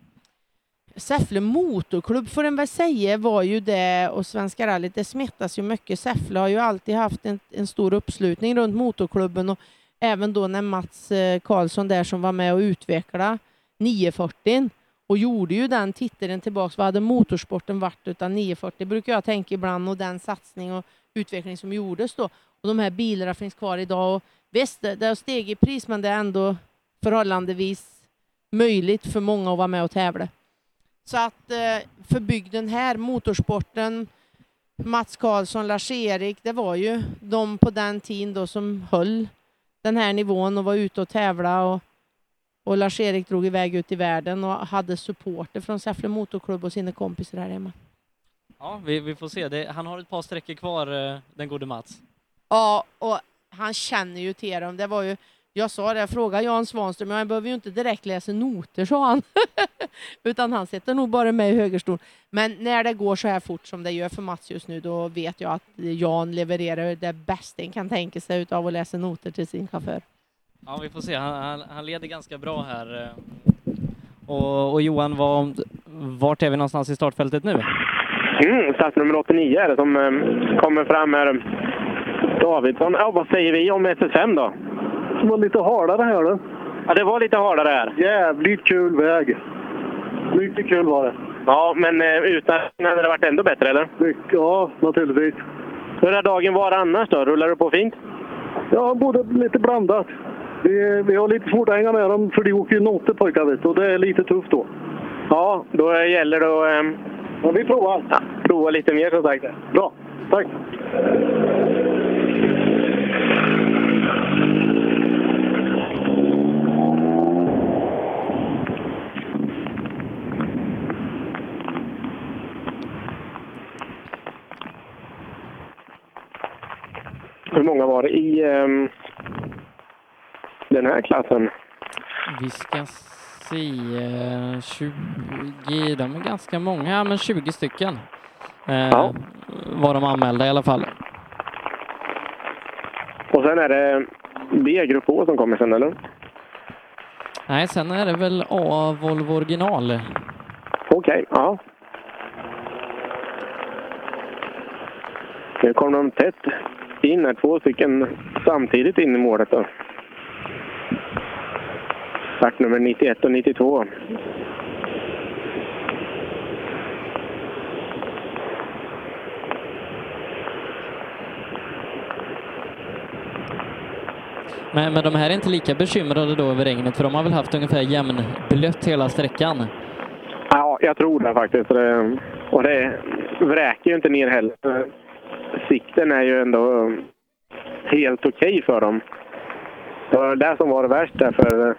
[SPEAKER 29] Säffle Motorklubb får en väl säga var ju det och Svenska rallyt, det smittas ju mycket. Säffle har ju alltid haft en, en stor uppslutning runt motorklubben och även då när Mats eh, Karlsson där som var med och utvecklade 940 och gjorde ju den tittaren tillbaks. Vad hade motorsporten varit utan 940 brukar jag tänka ibland och den satsning och utveckling som gjordes då. Och de här bilarna finns kvar idag och visst, det det har stigit i pris men det är ändå förhållandevis möjligt för många att vara med och tävla. Så att eh, för bygden här, motorsporten, Mats Karlsson, Lars-Erik, det var ju de på den tiden då som höll den här nivån och var ute och tävla och, och Lars-Erik drog iväg ut i världen och hade supporter från Säffle Motorklubb och sina kompisar här hemma.
[SPEAKER 3] Ja, vi, vi får se. Det, han har ett par sträckor kvar, eh, den gode Mats.
[SPEAKER 29] Ja, och han känner ju till dem. Det var ju, jag sa det, jag frågade Jan Svanström, men jag behöver ju inte direkt läsa noter, sa han. [LAUGHS] Utan han sätter nog bara mig i högerstol. Men när det går så här fort som det gör för Mats just nu, då vet jag att Jan levererar det bästa en kan tänka sig utav att läsa noter till sin chaufför.
[SPEAKER 3] Ja, vi får se. Han, han, han leder ganska bra här. eh. Och, och Johan, vad, vart är vi någonstans i startfältet nu?
[SPEAKER 13] Mm, startnummer 89 är det som ehm, kommer fram här. Davidsson, ja, vad säger vi om SS5 då?
[SPEAKER 18] Det var lite halare här du.
[SPEAKER 13] Ja, det var lite hardare här.
[SPEAKER 18] Jävligt kul väg. Mycket kul var det.
[SPEAKER 13] Ja, men eh, utan hade det varit ändå bättre, eller?
[SPEAKER 18] Ja, naturligtvis.
[SPEAKER 13] Hur har dagen varit annars då? Rullar du på fint?
[SPEAKER 18] Ja, både lite blandat. Vi, vi har lite svårt att hänga med dem, för de åker ju noter pojkar vet du, och det är lite tufft då.
[SPEAKER 13] Ja, då gäller det att... ehm,
[SPEAKER 18] vi provar.
[SPEAKER 13] Ja, prova lite mer som sagt.
[SPEAKER 18] Bra, tack.
[SPEAKER 13] Hur många var det i ehm, den här klassen?
[SPEAKER 3] Vi ska se, eh, 20, de är ganska många, ja, men 20 stycken eh, var de anmälda i alla fall.
[SPEAKER 13] Och sen är det B-grupp H som kommer sen, eller?
[SPEAKER 3] Nej, sen är det väl A Volvo original.
[SPEAKER 13] Okej, ja. Nu kom de tätt in här, två stycken samtidigt in i målet. Då. Start nummer 91 och 92.
[SPEAKER 3] Men, men de här är inte lika bekymrade då över regnet, för de har väl haft ungefär jämnblött hela sträckan.
[SPEAKER 13] Ja, jag tror det faktiskt. Det- Och det vräker ju inte ner heller. Sikten är ju ändå helt okej för dem. Det var det som var det värst där för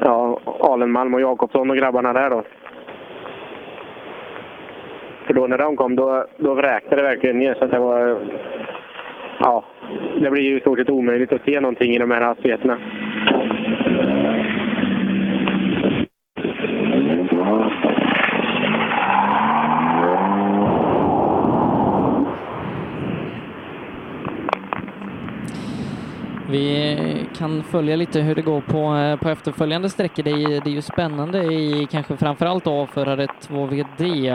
[SPEAKER 13] ja, Alenmalm och Jakobsson och grabbarna där då. För då när de kom, då, då vräkte det verkligen ner så att det var... Ja, det blir ju i stort sett omöjligt att se någonting i de här hastigheterna.
[SPEAKER 3] Vi kan följa lite hur det går på, eh, på efterföljande sträckor. Det är, det är ju spännande i kanske framförallt A-förare 2VD.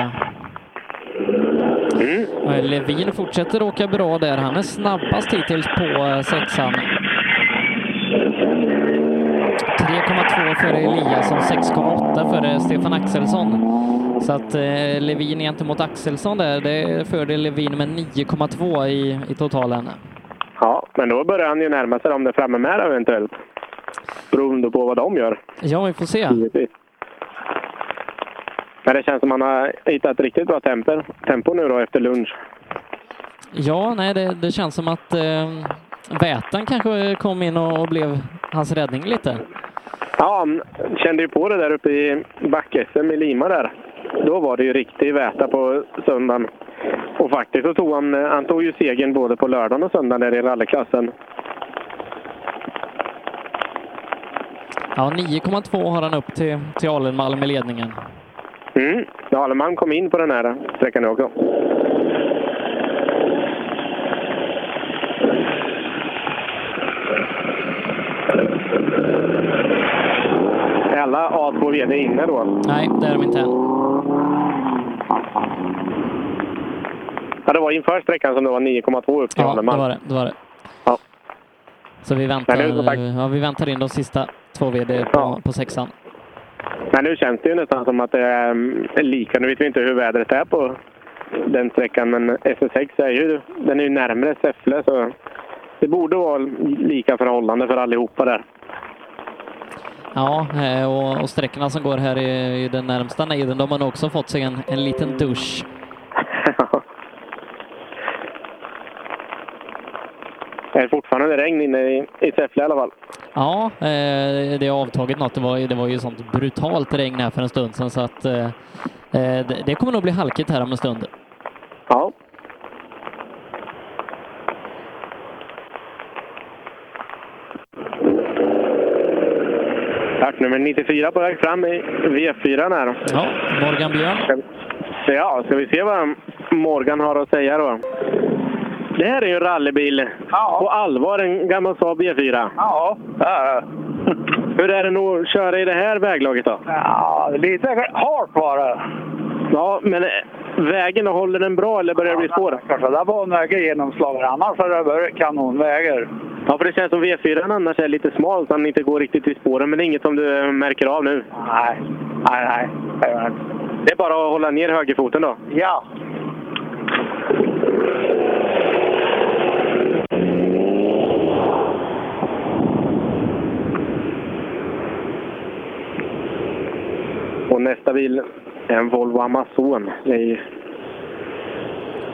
[SPEAKER 3] Eh, Levin fortsätter åka bra där. Han är snabbast hittills på eh, sexan. 3,2 före Eliasson, 6,8 före Stefan Axelsson. Så att eh, Levin gentemot Axelsson där, det förde Levin med 9,2 i, i totalen.
[SPEAKER 13] Ja, men då börjar han ju närma sig dem där framme med eventuellt. Beroende på vad de gör.
[SPEAKER 3] Ja, vi får se.
[SPEAKER 13] Givetvis. Men det känns som han har hittat ett riktigt bra tempo, tempo nu då efter lunch.
[SPEAKER 3] Ja, nej, det, det känns som att eh, Vätan kanske kom in och, och blev hans räddning lite.
[SPEAKER 13] Ja, han kände ju på det där uppe i back-SM i Lima där. Då var det ju riktig väta på söndagen. Och faktiskt så tog han, eh, han tog ju segern både på lördagen och söndagen där i rallyklassen.
[SPEAKER 3] Ja, 9,2 har han upp till, till Alenmalm i ledningen.
[SPEAKER 13] Mm. Dahlman kom in på den här sträckan nu också. Är alla A2 VD inne då?
[SPEAKER 3] Nej, det är de inte än.
[SPEAKER 13] Ja, det var inför sträckan som det var 9,2 upp till
[SPEAKER 3] Ja, det
[SPEAKER 13] Dahlman.
[SPEAKER 3] var det. det, var det.
[SPEAKER 13] Ja.
[SPEAKER 3] Så vi väntar,
[SPEAKER 13] Men nu, som sagt-
[SPEAKER 3] ja, vi väntar in de sista två VD på, på sexan.
[SPEAKER 13] Men nu känns det ju nästan som att det är mm, lika. Nu vet vi inte hur vädret är på den sträckan, men SS6 är ju, den är ju närmare Säffle. Så det borde vara lika förhållande för allihopa där.
[SPEAKER 3] Ja, eh, och, och sträckorna som går här i, i den närmsta nejden, de har nog också fått sig en, en liten dusch.
[SPEAKER 13] Det är fortfarande regn inne i, i Säffle i alla fall.
[SPEAKER 3] Ja, eh, det har avtagit något. Det var, ju- det var ju sånt brutalt regn här för en stund sedan så att eh, eh, det, det kommer nog bli halkigt här om en stund.
[SPEAKER 13] Ja. Start nummer 94 på väg fram i V4 här.
[SPEAKER 3] Ja, Morgan Björn.
[SPEAKER 13] Ja, ska vi se vad Morgan har att säga då? Det här är ju en rallybil. På allvar en gammal Saab E4.
[SPEAKER 19] Ja,
[SPEAKER 13] Hur är det nu att köra i det här väglaget då?
[SPEAKER 19] ja lite hårt var det.
[SPEAKER 13] Ja, men eh, vägen, håller den bra eller börjar det bli spår?
[SPEAKER 19] Ja, det var en väg genomslag. Annars är det bara kanonvägar.
[SPEAKER 13] Ja, för det känns som V4 annars är lite smal så han inte går riktigt i spåren. Men det är inget som du eh, märker av nu?
[SPEAKER 19] Nej, nej, nej.
[SPEAKER 13] Det är bara att hålla ner högerfoten då.
[SPEAKER 36] Ja.
[SPEAKER 13] Och nästa bil är en Volvo Amazon. Det är, ju-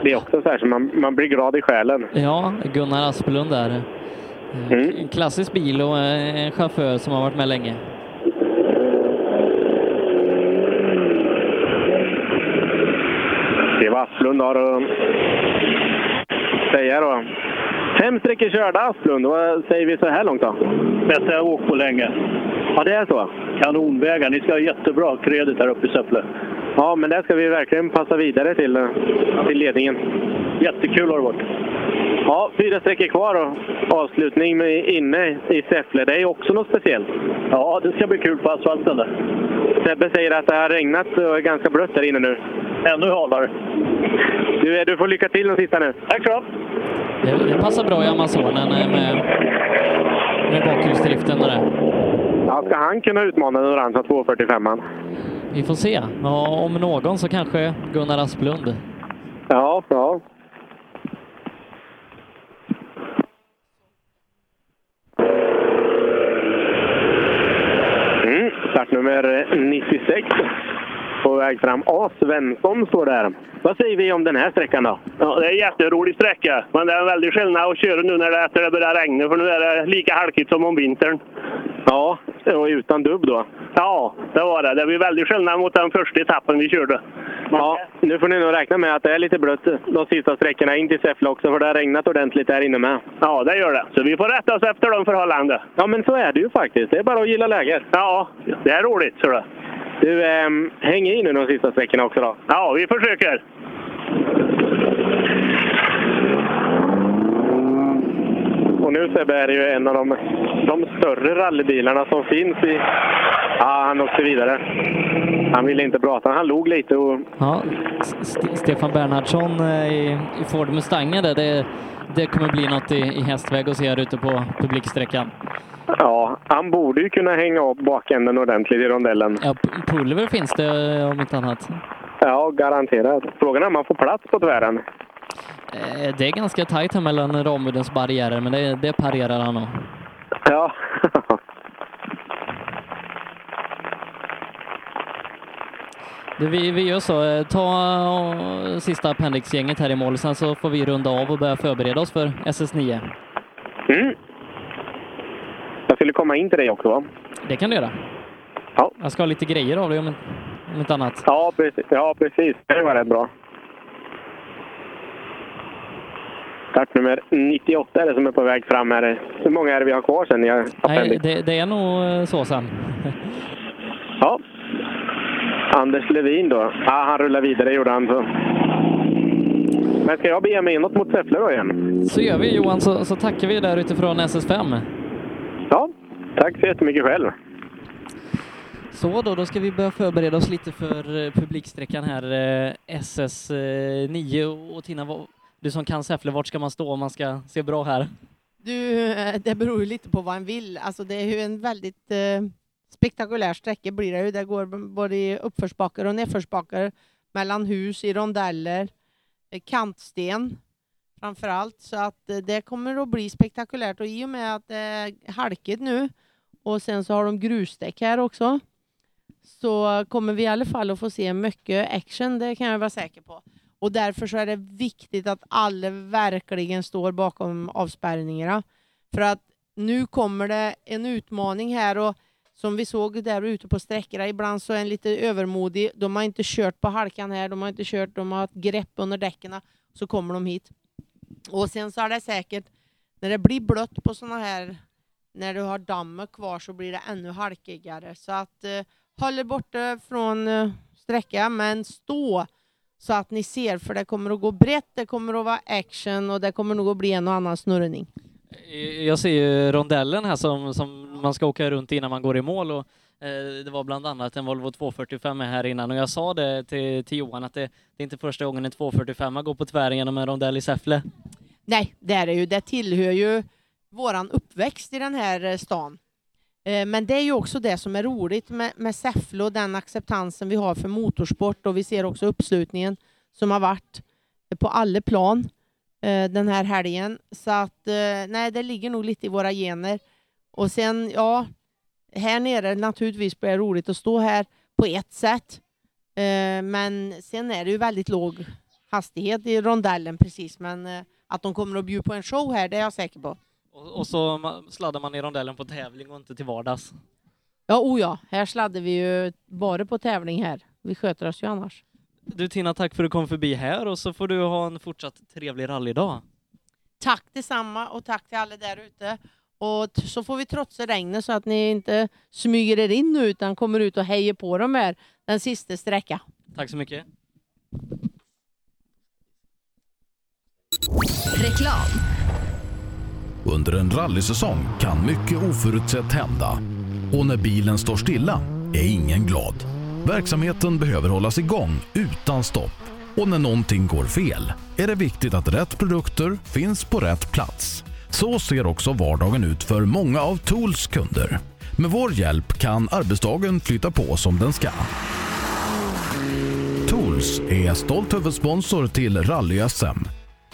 [SPEAKER 13] det är också så här som man, man blir glad i själen.
[SPEAKER 3] Ja, Gunnar Asplund där. Eh, En klassisk bil och eh, en chaufför som har varit med länge.
[SPEAKER 13] Se vad Asplund har att säga då. Fem sträckor körda Asplund. Vad säger vi så här långt då?
[SPEAKER 20] Bästa jag åkt på länge.
[SPEAKER 13] Ja, det är så?
[SPEAKER 20] Kanonvägar. Ni ska ha jättebra kredit här uppe i Säffle.
[SPEAKER 13] Ja, men det ska vi verkligen passa vidare till, eh, till ledningen.
[SPEAKER 20] Jättekul har det varit.
[SPEAKER 13] Ja, fyra sträckor kvar och avslutning med inne i Säffle. Det är ju också något speciellt.
[SPEAKER 20] Ja, det ska bli kul på asfalten där.
[SPEAKER 13] Sebbe säger att det har regnat och är ganska blött där inne nu.
[SPEAKER 20] Ännu halare.
[SPEAKER 13] Du, eh, du får lycka till de sista nu.
[SPEAKER 20] Tack så
[SPEAKER 3] Det, det passar bra i Amazonen eh, med, med bakhjulsdriften och det.
[SPEAKER 13] Ja, ska han kunna utmana den orangea 245an?
[SPEAKER 3] Vi får se. Ja, om någon så kanske Gunnar Asplund.
[SPEAKER 13] Ja, ja. Mm, startnummer 96 eh, på väg fram. A. Svensson står där. Vad säger vi om den här sträckan då?
[SPEAKER 34] Ja, det är en jätterolig sträcka, men det är en väldig skillnad att köra nu när det, efter det börjar regna, för nu är det lika halkigt som om vintern.
[SPEAKER 13] Ja, och utan dubb då?
[SPEAKER 34] Ja, det var det. Det blir väldigt skillnad mot den första etappen vi körde.
[SPEAKER 13] Ja, nu får ni nog räkna med att det är lite blött de sista sträckorna in till Säffle också, för det har regnat ordentligt där inne med.
[SPEAKER 34] Ja, det gör det. Så vi får rätta oss efter de förhållandena.
[SPEAKER 13] Ja, men så är det ju faktiskt. Det är bara att gilla läget.
[SPEAKER 34] Ja, det är roligt. Så det.
[SPEAKER 13] Du, ehm, häng i nu de sista sträckorna också då.
[SPEAKER 34] Ja, vi försöker.
[SPEAKER 13] Och nu Sebbe är det ju en av de, de större rallybilarna som finns i... Ja, han åkte vidare. Han ville inte prata. Han log lite och...
[SPEAKER 3] Ja, S- St- Stefan Bernhardsson eh, i, i Ford Mustangen där. Det, det kommer bli något i, i hästväg att se här ute på publiksträckan.
[SPEAKER 13] Ja, han borde ju kunna hänga upp bakänden ordentligt i rondellen.
[SPEAKER 3] Ja, p- pulver finns det eh, om inte annat.
[SPEAKER 13] Ja, garanterat. Frågan är om han får plats på tvären.
[SPEAKER 3] Eh, Det är ganska tajt här mellan Ramudens barriärer, men det, det parerar han nog.
[SPEAKER 13] Ja.
[SPEAKER 3] Du, vi, vi gör så. Eh, Ta eh, sista appendixgänget här i mål, sen så får vi runda av och börja förbereda oss för SS9.
[SPEAKER 13] Mm. Jag skulle komma in till dig också va?
[SPEAKER 3] Det kan du göra.
[SPEAKER 13] Ja.
[SPEAKER 3] Jag ska ha lite grejer av dig om, om inte annat.
[SPEAKER 13] Ja, precis. Ja, precis. Det var rätt bra. Startnummer 98 är det som är på väg fram här. Hur många är det vi har kvar sen? Jag
[SPEAKER 3] Nej, det, det är nog eh, så sen.
[SPEAKER 13] Ja. Anders Levin då. Ja, han rullar vidare gjorde han. Så. Men ska jag bege mig inåt mot Säffle då igen?
[SPEAKER 3] Så gör vi Johan, så, så tackar vi där utifrån SS5.
[SPEAKER 13] Ja, tack så jättemycket själv.
[SPEAKER 3] Så då, då ska vi börja förbereda oss lite för eh, publiksträckan här. eh, SS9 och Tina, vad- du som kan Säffle, vart ska man stå om man ska se bra här?
[SPEAKER 29] Du, eh, det beror ju lite på vad en vill. Alltså det är ju en väldigt eh, spektakulär sträcka blir det ju. Det går b- både i uppförsbackar och nedförsbackar, mellan hus, i rondeller, eh, kantsten framför allt. Så att eh, det kommer att bli spektakulärt och i och med att det är halkigt nu och sen så har de grusdäck här också så kommer vi i alla fall att få se mycket action, det kan jag vara säker på. Och därför så är det viktigt att alla verkligen står bakom avspärrningarna. För att nu kommer det en utmaning här och som vi såg där ute på sträckorna, ibland så är en lite övermodig. De har inte kört på halkan här, de har inte kört, de har ett grepp under däcken. Så kommer de hit. Och sen så är det säkert, när det blir blött på såna här, när du har dammet kvar så blir det ännu halkigare. Så att eh, håll er borta från eh, sträcka, men stå så att ni ser, för det kommer att gå brett, det kommer att vara action och det kommer nog att bli en och annan snurrning.
[SPEAKER 3] Eh, Jag ser ju rondellen här som, som man ska åka runt innan man går i mål och eh, det var bland annat en Volvo 245 med här innan och jag sa det till, till Johan att det, det är inte första gången en 245 går på tvären genom en rondell i Säffle.
[SPEAKER 29] Nej, det är det ju. Det tillhör ju våran uppväxt i den här eh, stan. Eh, Men det är ju också det som är roligt med, med Säffle och den acceptansen vi har för motorsport och vi ser också uppslutningen som har varit på alla plan eh, den här helgen. Så att eh, nej, det ligger nog lite i våra gener. Och sen, ja, här nere naturligtvis blir det roligt att stå här på ett sätt. Eh, Men sen är det ju väldigt låg hastighet i rondellen precis. Men eh, att de kommer att bjuda på en show här, det är jag säker på.
[SPEAKER 3] Och, och så ma- sladdar man i rondellen på tävling och inte till vardags.
[SPEAKER 29] Ja, o ja. Här sladdar vi ju bara på tävling här. Vi sköter oss ju annars.
[SPEAKER 3] Du Tina, tack för att du kom förbi här och så får du ha en fortsatt trevlig rallydag.
[SPEAKER 29] Tack detsamma och tack till alla där ute. Och t- så får vi trotsa regnet så att ni inte smyger er in nu utan kommer ut och hejar på dem här den sista sträckan.
[SPEAKER 3] Tack så mycket.
[SPEAKER 12] Reklam.
[SPEAKER 1] Under en rallysäsong kan mycket oförutsett hända. Och när bilen står stilla är ingen glad. Verksamheten behöver hållas igång utan stopp. Och när någonting går fel är det viktigt att rätt produkter finns på rätt plats. Så ser också vardagen ut för många av Tools kunder. Med vår hjälp kan arbetsdagen flytta på som den ska. Tools är stolt huvudsponsor till Rally-SM.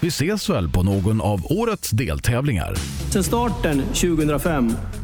[SPEAKER 1] Vi ses väl på någon av årets deltävlingar.
[SPEAKER 2] Sedan starten 2005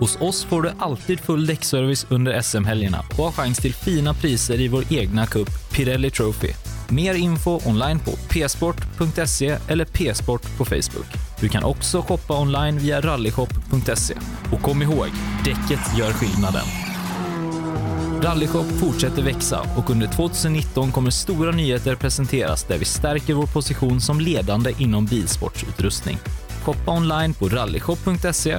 [SPEAKER 4] Hos oss får du alltid full däckservice under SM-helgerna och har chans till fina priser i vår egna cup Pirelli Trophy. Mer info online på psport.se eller psport på Facebook. Du kan också shoppa online via rallyshop.se. Och kom ihåg, däcket gör skillnaden. Rallyshop fortsätter växa och under 2019 kommer stora nyheter presenteras där vi stärker vår position som ledande inom bilsportsutrustning. Shoppa online på rallyshop.se,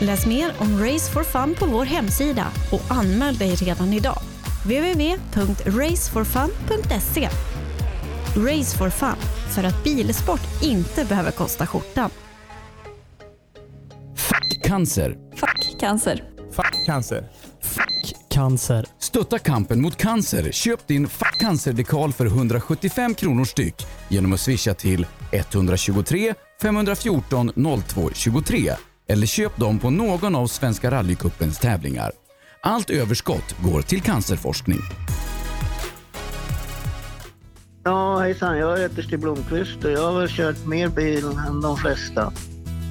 [SPEAKER 7] Läs mer om Race for Fun på vår hemsida och anmäl dig redan idag. www.raceforfun.se Race for Fun, för att bilsport inte behöver kosta skjortan.
[SPEAKER 9] Cancer.
[SPEAKER 7] Fuck cancer.
[SPEAKER 9] Fuck cancer. Fuck cancer. Stötta kampen mot cancer. Köp din Fuck cancer-dekal för 175 kronor styck genom att swisha till 123 514 02 23 eller köp dem på någon av Svenska rallycupens tävlingar. Allt överskott går till cancerforskning.
[SPEAKER 10] Ja, hejsan. Jag heter Stig Blomqvist och jag har väl kört mer bil än de flesta.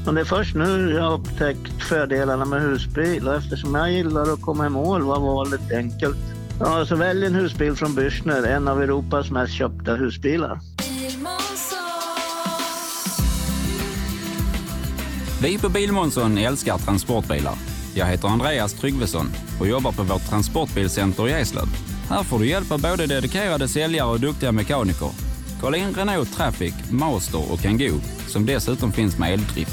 [SPEAKER 10] Men det är först nu jag har upptäckt fördelarna med husbil och eftersom jag gillar att komma i mål var valet enkelt. Ja, så välj en husbil från Bürstner, en av Europas mest köpta husbilar.
[SPEAKER 11] Vi på Bilmånsson älskar transportbilar. Jag heter Andreas Tryggvesson och jobbar på vårt transportbilcenter i Eslöv. Här får du hjälp av både dedikerade säljare och duktiga mekaniker. Kolla in Renault Traffic, Master och Kangoo som dessutom finns med eldrift.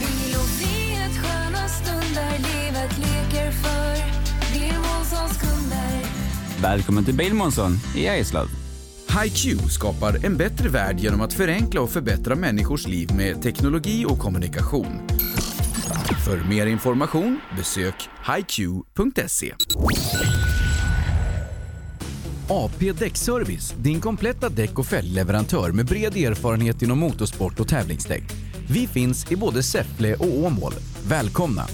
[SPEAKER 37] Vet sköna stunder livet leker för. Det är Månssons kunder.
[SPEAKER 11] Välkommen till Bilmånsson i Eslöv.
[SPEAKER 38] HiQ skapar en bättre värld genom att förenkla och förbättra människors liv med teknologi och kommunikation. För mer information besök
[SPEAKER 9] E.
[SPEAKER 38] hiq.se.
[SPEAKER 9] AP Däckservice, din kompletta däck och fälgleverantör med bred erfarenhet inom motorsport och tävlingsdäck. Vi finns i både Säffle och Åmål. Välkomna!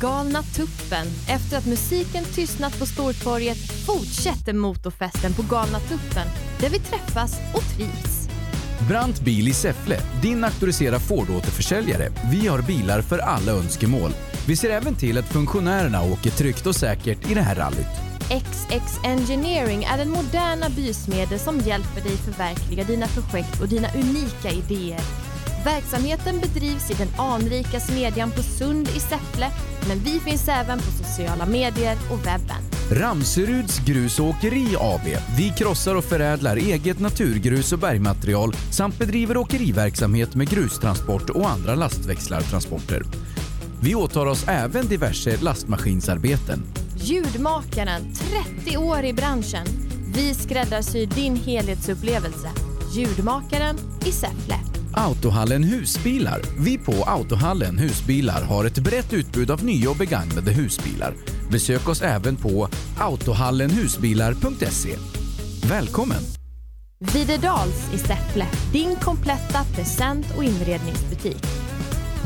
[SPEAKER 12] Galna tuppen. Efter att musiken tystnat på Stortorget fortsätter motorfesten på Galna tuppen där vi träffas och trivs.
[SPEAKER 9] Brant Bil i Säffle, din auktoriserade Ford-återförsäljare. Vi har bilar för alla önskemål. Vi ser även till att funktionärerna åker tryggt och säkert i det här rallyt.
[SPEAKER 12] XX Engineering är den moderna bysmedel som hjälper dig förverkliga dina projekt och dina unika idéer. Verksamheten bedrivs i den anrika smedjan på Sund i Säffle, men vi finns även på sociala medier och webben.
[SPEAKER 9] Ramseruds Grus och Åkeri AB. Vi krossar och förädlar eget naturgrus och bergmaterial samt bedriver åkeriverksamhet med grustransport och andra lastväxlartransporter. Vi åtar oss även diverse lastmaskinsarbeten.
[SPEAKER 12] Ljudmakaren, 30 år i branschen. Vi skräddarsyr din helhetsupplevelse. Ljudmakaren i Säffle.
[SPEAKER 9] Autohallen Husbilar. Vi på Autohallen Husbilar har ett brett utbud av nya och begagnade husbilar. Besök oss även på autohallenhusbilar.se. Välkommen!
[SPEAKER 12] Videdals i Säffle, din kompletta present och inredningsbutik.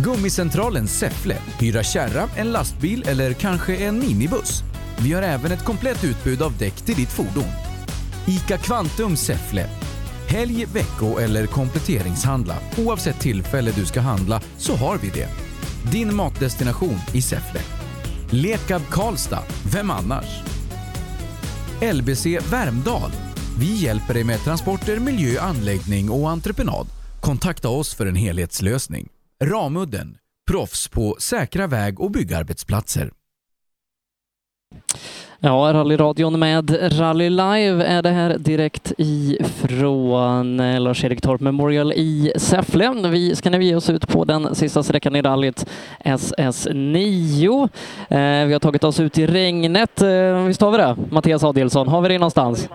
[SPEAKER 9] Gummicentralen Säffle. Hyra kärra, en lastbil eller kanske en minibuss. Vi har även ett komplett utbud av däck till ditt fordon. ICA Kvantum Säffle. Helg, vecko eller kompletteringshandla. Oavsett tillfälle du ska handla så har vi det. Din matdestination i Säffle. Lekab Karlstad. Vem annars? LBC Värmdal. Vi hjälper dig med transporter, miljö, anläggning och entreprenad. Kontakta oss för en helhetslösning. Ramudden. Proffs på säkra väg och byggarbetsplatser.
[SPEAKER 3] Ja, rallyradion med Rally Live är det här direkt ifrån eh, Lars-Erik Torp Memorial i Säffle. Vi ska nu ge oss ut på den sista sträckan i rallyt SS9. Eh, vi har tagit oss ut i regnet. Eh, visst har vi det, Mattias Adielsson? Har vi
[SPEAKER 25] [LAUGHS]
[SPEAKER 3] det någonstans?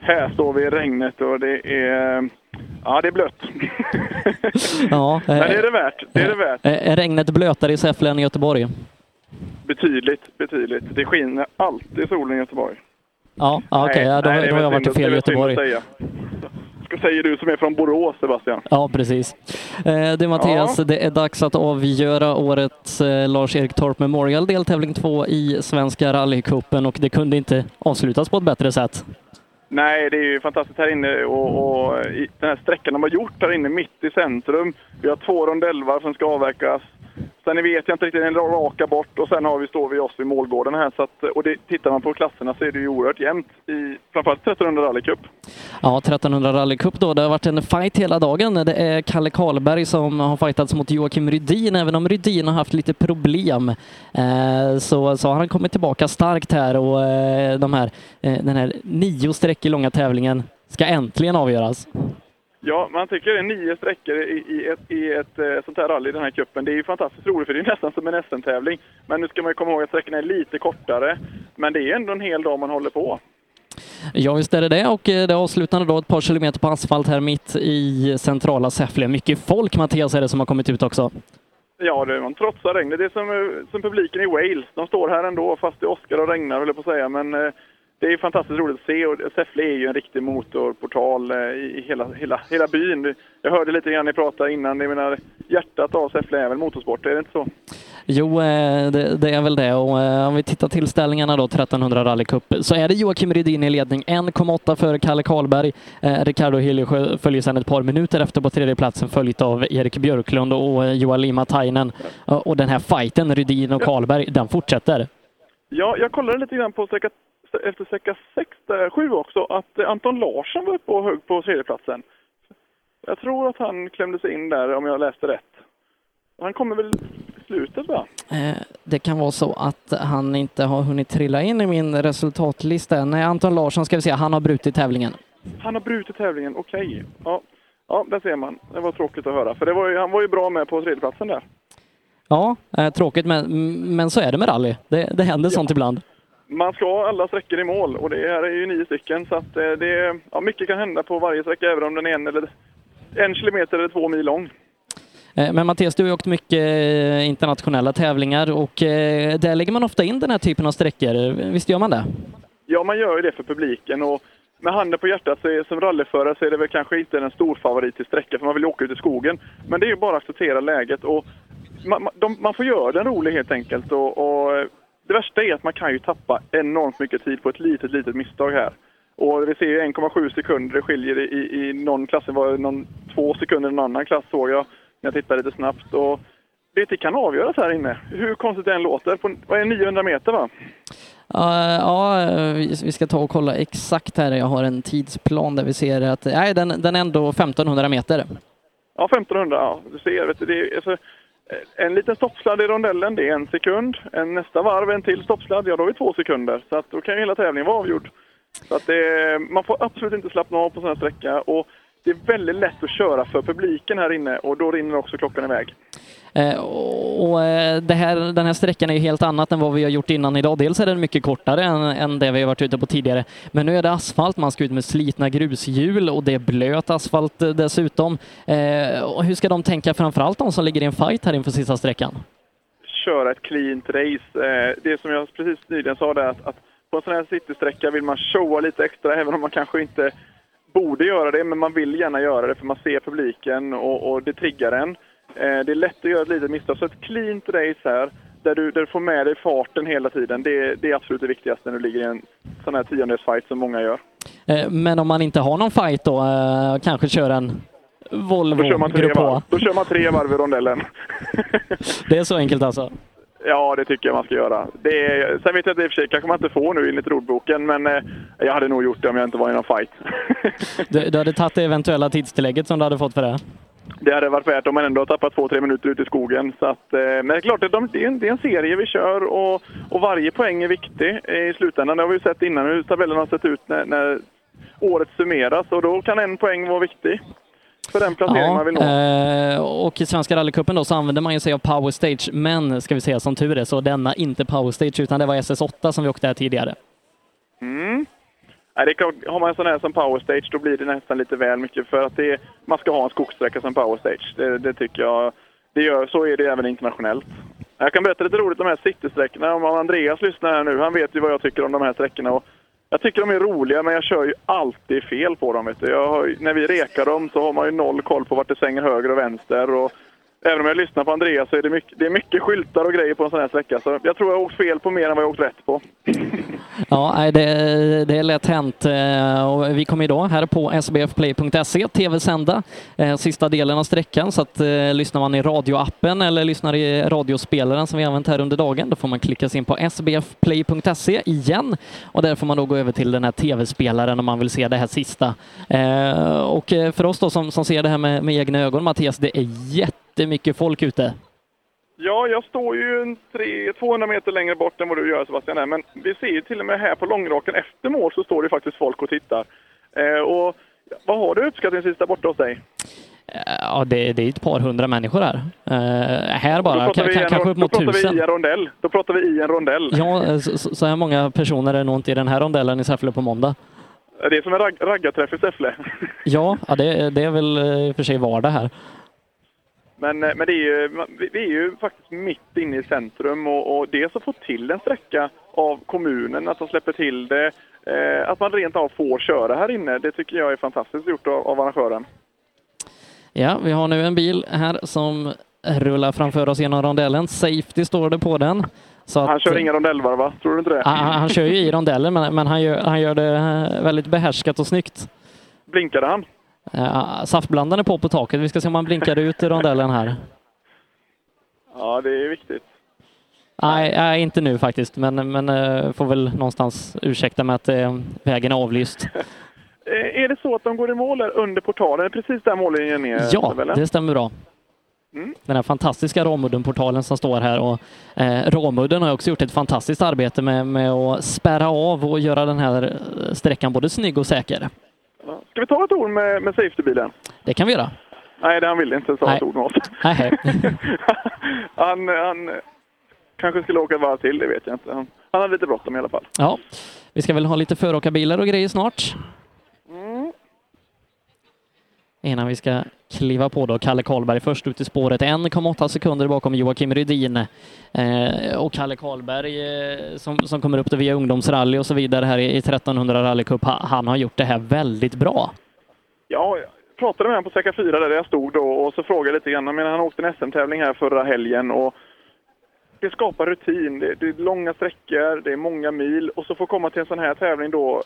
[SPEAKER 25] Här står vi i regnet och det är... Ja, det är blött. [LAUGHS]
[SPEAKER 3] Ja, eh,
[SPEAKER 25] Men det är det värt. Det är det värt.
[SPEAKER 3] eh, är regnet blötare i Säffle än i Göteborg?
[SPEAKER 25] Betydligt, betydligt. Det skiner alltid solen i Göteborg.
[SPEAKER 3] Ja, ja, okej,
[SPEAKER 25] Nej,
[SPEAKER 3] ja, då,
[SPEAKER 25] nej, det är
[SPEAKER 3] då har jag
[SPEAKER 25] väl
[SPEAKER 3] varit i
[SPEAKER 25] synd-
[SPEAKER 3] fel
[SPEAKER 25] det är väl synd
[SPEAKER 3] Göteborg.
[SPEAKER 25] att säga. Ska säga du som är från Borås, Sebastian.
[SPEAKER 3] Ja, precis. Eh, Du Mattias,
[SPEAKER 25] Ja.
[SPEAKER 3] det är dags att avgöra årets eh, Lars-Erik Torp Memorial deltävling 2 i Svenska rallycupen och det kunde inte avslutas på ett bättre sätt.
[SPEAKER 25] Nej, det är ju fantastiskt här inne och, och i den här sträckan de har gjort här inne mitt i centrum. Vi har två rondellvar som ska avverkas. Sen vet jag inte riktigt, en raka bort och sen har vi, står vi oss vid målgården här. Så att, och det, tittar man på klasserna så är det ju oerhört jämnt i framförallt 1300 rallycup.
[SPEAKER 3] Ja, 1300 rallycup då. Det har varit en fight hela dagen. Det är Kalle Karlberg som har fightats mot Joakim Rydin, även om Rydin har haft lite problem. eh, Så, så har han kommit tillbaka starkt här och eh, de här, eh, den här nio sträckor långa tävlingen ska äntligen avgöras.
[SPEAKER 25] Ja, man tycker det är nio sträckor i, i ett, i ett eh, sånt här rally i den här cupen. Det är ju fantastiskt roligt för det är nästan som en SM-tävling. Men nu ska man ju komma ihåg att sträckorna är lite kortare. Men det är ändå en hel dag man håller på.
[SPEAKER 3] Ja, visst är det det. Och eh, det avslutande då ett par kilometer på asfalt här mitt i centrala Säffle. Mycket folk, Mattias, är det som har kommit ut också.
[SPEAKER 25] Ja, det, man trotsar regnet. Det är som, eh, som publiken i Wales. De står här ändå, fast det åskar och regnar, höll jag på att säga. Men eh, det är fantastiskt roligt att se. Och Säffle är ju en riktig motorportal eh, i i hela, hela, hela byn. Jag hörde lite grann ni pratade innan. Jag menar, hjärtat av Säffle är väl motorsport, är det inte så?
[SPEAKER 3] Jo, eh, det, det är väl det. Och eh, om vi tittar till ställningarna då, 1300 rallycup, så är det Joakim Rydin i ledning. 1,8 före Kalle Karlberg. Eh, Ricardo Hiljesjö följer sedan ett par minuter efter på tredje platsen följt av Erik Björklund och eh, Joa Lima Tainen. Eh, Och den här fighten, Rydin och Karlberg, den fortsätter.
[SPEAKER 25] Ja, jag kollade lite grann på sträcka, efter sträcka 6, där, 7 också, att eh, Anton Larsson var uppe och högg på tredjeplatsen. Jag tror att han klämde sig in där, om jag läste rätt. Han kommer väl i slutet, va?
[SPEAKER 3] Eh, Det kan vara så att han inte har hunnit trilla in i min resultatlista. Nej, Anton Larsson ska vi se, han har brutit tävlingen.
[SPEAKER 25] Han har brutit tävlingen, okej. Ja. Ja, där ser man. Det var tråkigt att höra. För det var ju, han var ju bra med på tredjeplatsen där.
[SPEAKER 3] Ja, eh, tråkigt men, men så är det med rally. Det, det händer sånt ibland.
[SPEAKER 25] Man ska ha alla sträckor i mål och det här är ju nio stycken. Så att eh, det är, ja, mycket kan hända på varje sträcka, även om den är en, eller, en kilometer eller två mil lång.
[SPEAKER 3] Eh, Men Mattias, du har ju åkt mycket eh, internationella tävlingar och eh, där lägger man ofta in den här typen av sträckor. Visst gör man det?
[SPEAKER 25] Ja, man gör ju det för publiken. Och med handen på hjärtat så är, som rallyförare så är det väl kanske inte en stor favorit till sträcka för man vill ju åka ut i skogen. Men det är ju bara att acceptera läget och man, man- de, man får göra den rolig helt enkelt. Och, och eh, det värsta är att man kan ju tappa enormt mycket tid på ett litet, litet misstag här. Och vi ser ju 1,7 sekunder det skiljer i, i, i någon klass. Det var någon, två sekunder i någon annan klass såg jag när jag tittade lite snabbt. Och det, det kan avgöras här inne, hur konstigt det än låter. På, vad är det, 900 meter va?
[SPEAKER 3] Eh, Ja, eh, vi vi ska ta och kolla exakt här. Jag har en tidsplan där vi ser att nej, den, den är ändå 1500 meter.
[SPEAKER 25] Ja, 1500. Ja, du ser, vet du, det är, alltså, eh, en liten stoppsladd i rondellen, det är en sekund. En, nästa varv, en till stoppsladd, ja då är det två sekunder. Så att, då kan ju hela tävlingen vara avgjord. Så att det, man får absolut inte slappna av på sån här sträcka. Och det är väldigt lätt att köra för publiken här inne och då rinner också klockan iväg.
[SPEAKER 3] Eh, Och och, eh, det här, den här sträckan är ju helt annat än vad vi har gjort innan idag. Dels är den mycket kortare än, än det vi har varit ute på tidigare. Men nu är det asfalt, man ska ut med slitna grushjul och det är blöt asfalt eh, dessutom. Eh, Och hur ska de tänka, framförallt de som ligger i en fight här inför sista sträckan?
[SPEAKER 25] köra ett cleant race. Eh, Det som jag precis nyligen sa där att, att på en sån här citysträcka vill man showa lite extra även om man kanske inte borde göra det men man vill gärna göra det för man ser publiken och, och det triggar en. Eh, Det är lätt att göra ett litet misstag så ett cleant race här där du, där du får med dig farten hela tiden det, det är absolut det viktigaste när du ligger i en sån här tiondelsfight som många gör.
[SPEAKER 3] Eh, Men om man inte har någon fight då, eh, kanske köra en Volvo
[SPEAKER 25] Då kör man tre
[SPEAKER 3] Grupp
[SPEAKER 25] varv,
[SPEAKER 3] H.
[SPEAKER 25] då kör man tre varv i rondellen.
[SPEAKER 3] Det är så enkelt alltså?
[SPEAKER 25] Ja, det tycker jag man ska göra. Det är, sen vet jag att det i och för sig kanske man inte får nu enligt ordboken, men eh, jag hade nog gjort det om jag inte var i någon fight.
[SPEAKER 3] Du, du hade tagit det eventuella tidstillägget som du hade fått för det?
[SPEAKER 25] Det hade varit värt om man ändå har tappat två, tre minuter ute i skogen. Så att, eh, men det är klart, att de, det, är en, det är en serie vi kör och, och varje poäng är viktig eh, i slutändan. Det har vi ju sett innan hur tabellen har sett ut när, när året summeras och då kan en poäng vara viktig för den placering man vill nå.
[SPEAKER 3] eh, och i Svenska rallycupen då så använder man ju sig av Power Stage, men ska vi säga som tur är så denna inte Power Stage utan det var SS8 som vi åkte här tidigare.
[SPEAKER 25] Mm. Nej, det är klart, har man en sån här som power stage då blir det nästan lite väl mycket för att det är, man ska ha en skogssträcka som power stage. Det, det tycker jag. Det gör, så är det även internationellt. Jag kan berätta lite roligt om de här citysträckorna. Om Andreas lyssnar här nu, han vet ju vad jag tycker om de här sträckorna. Och jag tycker de är roliga, men jag kör ju alltid fel på dem. Vet du. Jag har, ju- när vi rekar dem så har man ju noll koll på vart det svänger höger och vänster. Och även om jag lyssnar på Andreas så är det mycket, det är mycket skyltar och grejer på en sån här sträcka. Så jag tror jag har åkt fel på mer än vad jag har åkt rätt på.
[SPEAKER 3] Ja, nej, det, det är lätt hänt. Eh, Och vi kommer idag här på sbfplay.se tv-sända E eh, sista delen av sträckan. Så att, eh, lyssnar man i radioappen eller lyssnar i radiospelaren som vi använt här under dagen, då får man klicka sig in på sbfplay.se E igen. Och där får man då gå över till den här tv-spelaren om man vill se det här sista. Eh, Och eh, för oss då som, som ser det här med, med egna ögon, Mattias, det är jättemycket folk ute.
[SPEAKER 25] Ja, jag står ju en tre, 200 meter längre bort än vad du gör Sebastian. Här. Men vi ser ju till och med här på långraken efter mål så står det ju faktiskt folk och tittar. Eh, och vad har du uppskattningsvis där borta hos dig?
[SPEAKER 3] Ja, det, det är ett par hundra människor här. Eh, här bara,
[SPEAKER 25] då pratar
[SPEAKER 3] kan,
[SPEAKER 25] vi i en
[SPEAKER 3] kanske
[SPEAKER 25] ro-
[SPEAKER 3] upp mot
[SPEAKER 25] då pratar
[SPEAKER 3] tusen.
[SPEAKER 25] vi i en rondell. Då pratar vi i en rondell.
[SPEAKER 3] Ja, eh, så, så- så här många personer är nog inte i den här rondellen i Säffle på måndag.
[SPEAKER 25] Det är som en rag- raggarträff i Säffle. [LAUGHS]
[SPEAKER 3] Ja, ja det, det är väl eh, i och för sig vardag här.
[SPEAKER 25] Men, eh, men det är ju, man- vi- vi är ju faktiskt mitt inne i centrum och, och dels att få till en sträcka av kommunen, att de släpper till det, eh, att man rent av får köra här inne. Det tycker jag är fantastiskt gjort av, av arrangören.
[SPEAKER 3] Ja, vi har nu en bil här som rullar framför oss genom rondellen. Safety står det på den. Så att,
[SPEAKER 25] Han kör inga rondellvarv va? Tror du inte det?
[SPEAKER 3] Ah, Han, han kör ju i rondellen, men, men han, gör, han gör det eh, väldigt behärskat och snyggt.
[SPEAKER 25] Blinkade han?
[SPEAKER 3] Uh, saftblandaren är på på taket. Vi ska se om han blinkar ut i rondellen här.
[SPEAKER 25] Ja, det är viktigt.
[SPEAKER 3] Nej, nej, inte nu faktiskt, men, men eh, får väl någonstans ursäkta med att eh, vägen är avlyst.
[SPEAKER 25] Eh, Är det så att de går i mål här under portalen? Precis där mållinjen är?
[SPEAKER 3] Ja,
[SPEAKER 25] Isabella?
[SPEAKER 3] det stämmer bra.
[SPEAKER 25] Eh, Mm.
[SPEAKER 3] Den här fantastiska Ramudden-portalen som står här och eh, Ramudden har också gjort ett fantastiskt arbete med, med att spärra av och göra den här eh, sträckan både snygg och säker.
[SPEAKER 25] Ska vi ta ett ord med, med safetybilen?
[SPEAKER 3] Det kan vi göra.
[SPEAKER 25] Nej, det han ville inte säga ett ord med oss.
[SPEAKER 3] Nej, hej.
[SPEAKER 25] Han, han eh, kanske skulle åka ett varv till, det vet jag inte. Han, han hade lite bråttom i alla fall.
[SPEAKER 3] Ja, vi ska väl ha lite föråkarbilar och grejer snart.
[SPEAKER 25] Mm.
[SPEAKER 3] Innan vi ska kliva på då. Kalle Karlberg först ut i spåret, 1,8 sekunder bakom Joakim Rydin. Eh, och Kalle Karlberg eh, som, som kommer upp det via ungdomsrally och så vidare här i, i 1300 rallycup. Ha- Han har gjort det här väldigt bra.
[SPEAKER 25] Ja, jag pratade med honom på säkert 4 där jag stod då och så frågade jag lite grann. Jag menar, han åkte en SM-tävling här förra helgen och det skapar rutin. Det, det är långa sträckor, det är många mil och så får komma till en sån här tävling då.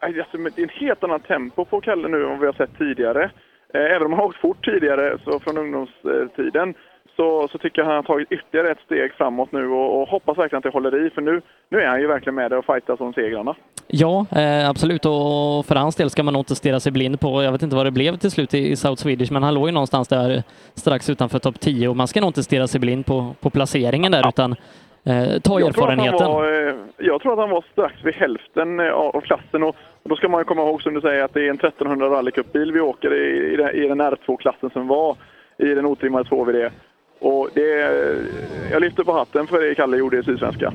[SPEAKER 25] aj, Alltså, men det är en helt annan tempo på Kalle nu än vad vi har sett tidigare. Eh, Även om han har åkt fort tidigare så från ungdomstiden så, så tycker jag han har tagit ytterligare ett steg framåt nu och, och hoppas verkligen att det håller i för nu, nu är han ju verkligen med där och fightas om segrarna.
[SPEAKER 3] Ja, eh, absolut. Och för hans del ska man nog inte stirra sig blind på, jag vet inte vad det blev till slut i i South Swedish, men han låg ju någonstans där strax utanför topp 10 och man ska nog inte stirra sig blind på, på placeringen där utan eh, ta
[SPEAKER 25] Jag tror att han
[SPEAKER 3] erfarenheten.
[SPEAKER 25] var, eh, jag tror att han var strax vid hälften eh, av av klassen. Och och då ska man ju komma ihåg som du säger att det är en 1300 rallycupbil vi åker i, i, den- i den R2-klassen som var i den otrimmade 2VD. Och det, eh, jag lyfter på hatten för det Kalle gjorde i Sydsvenska.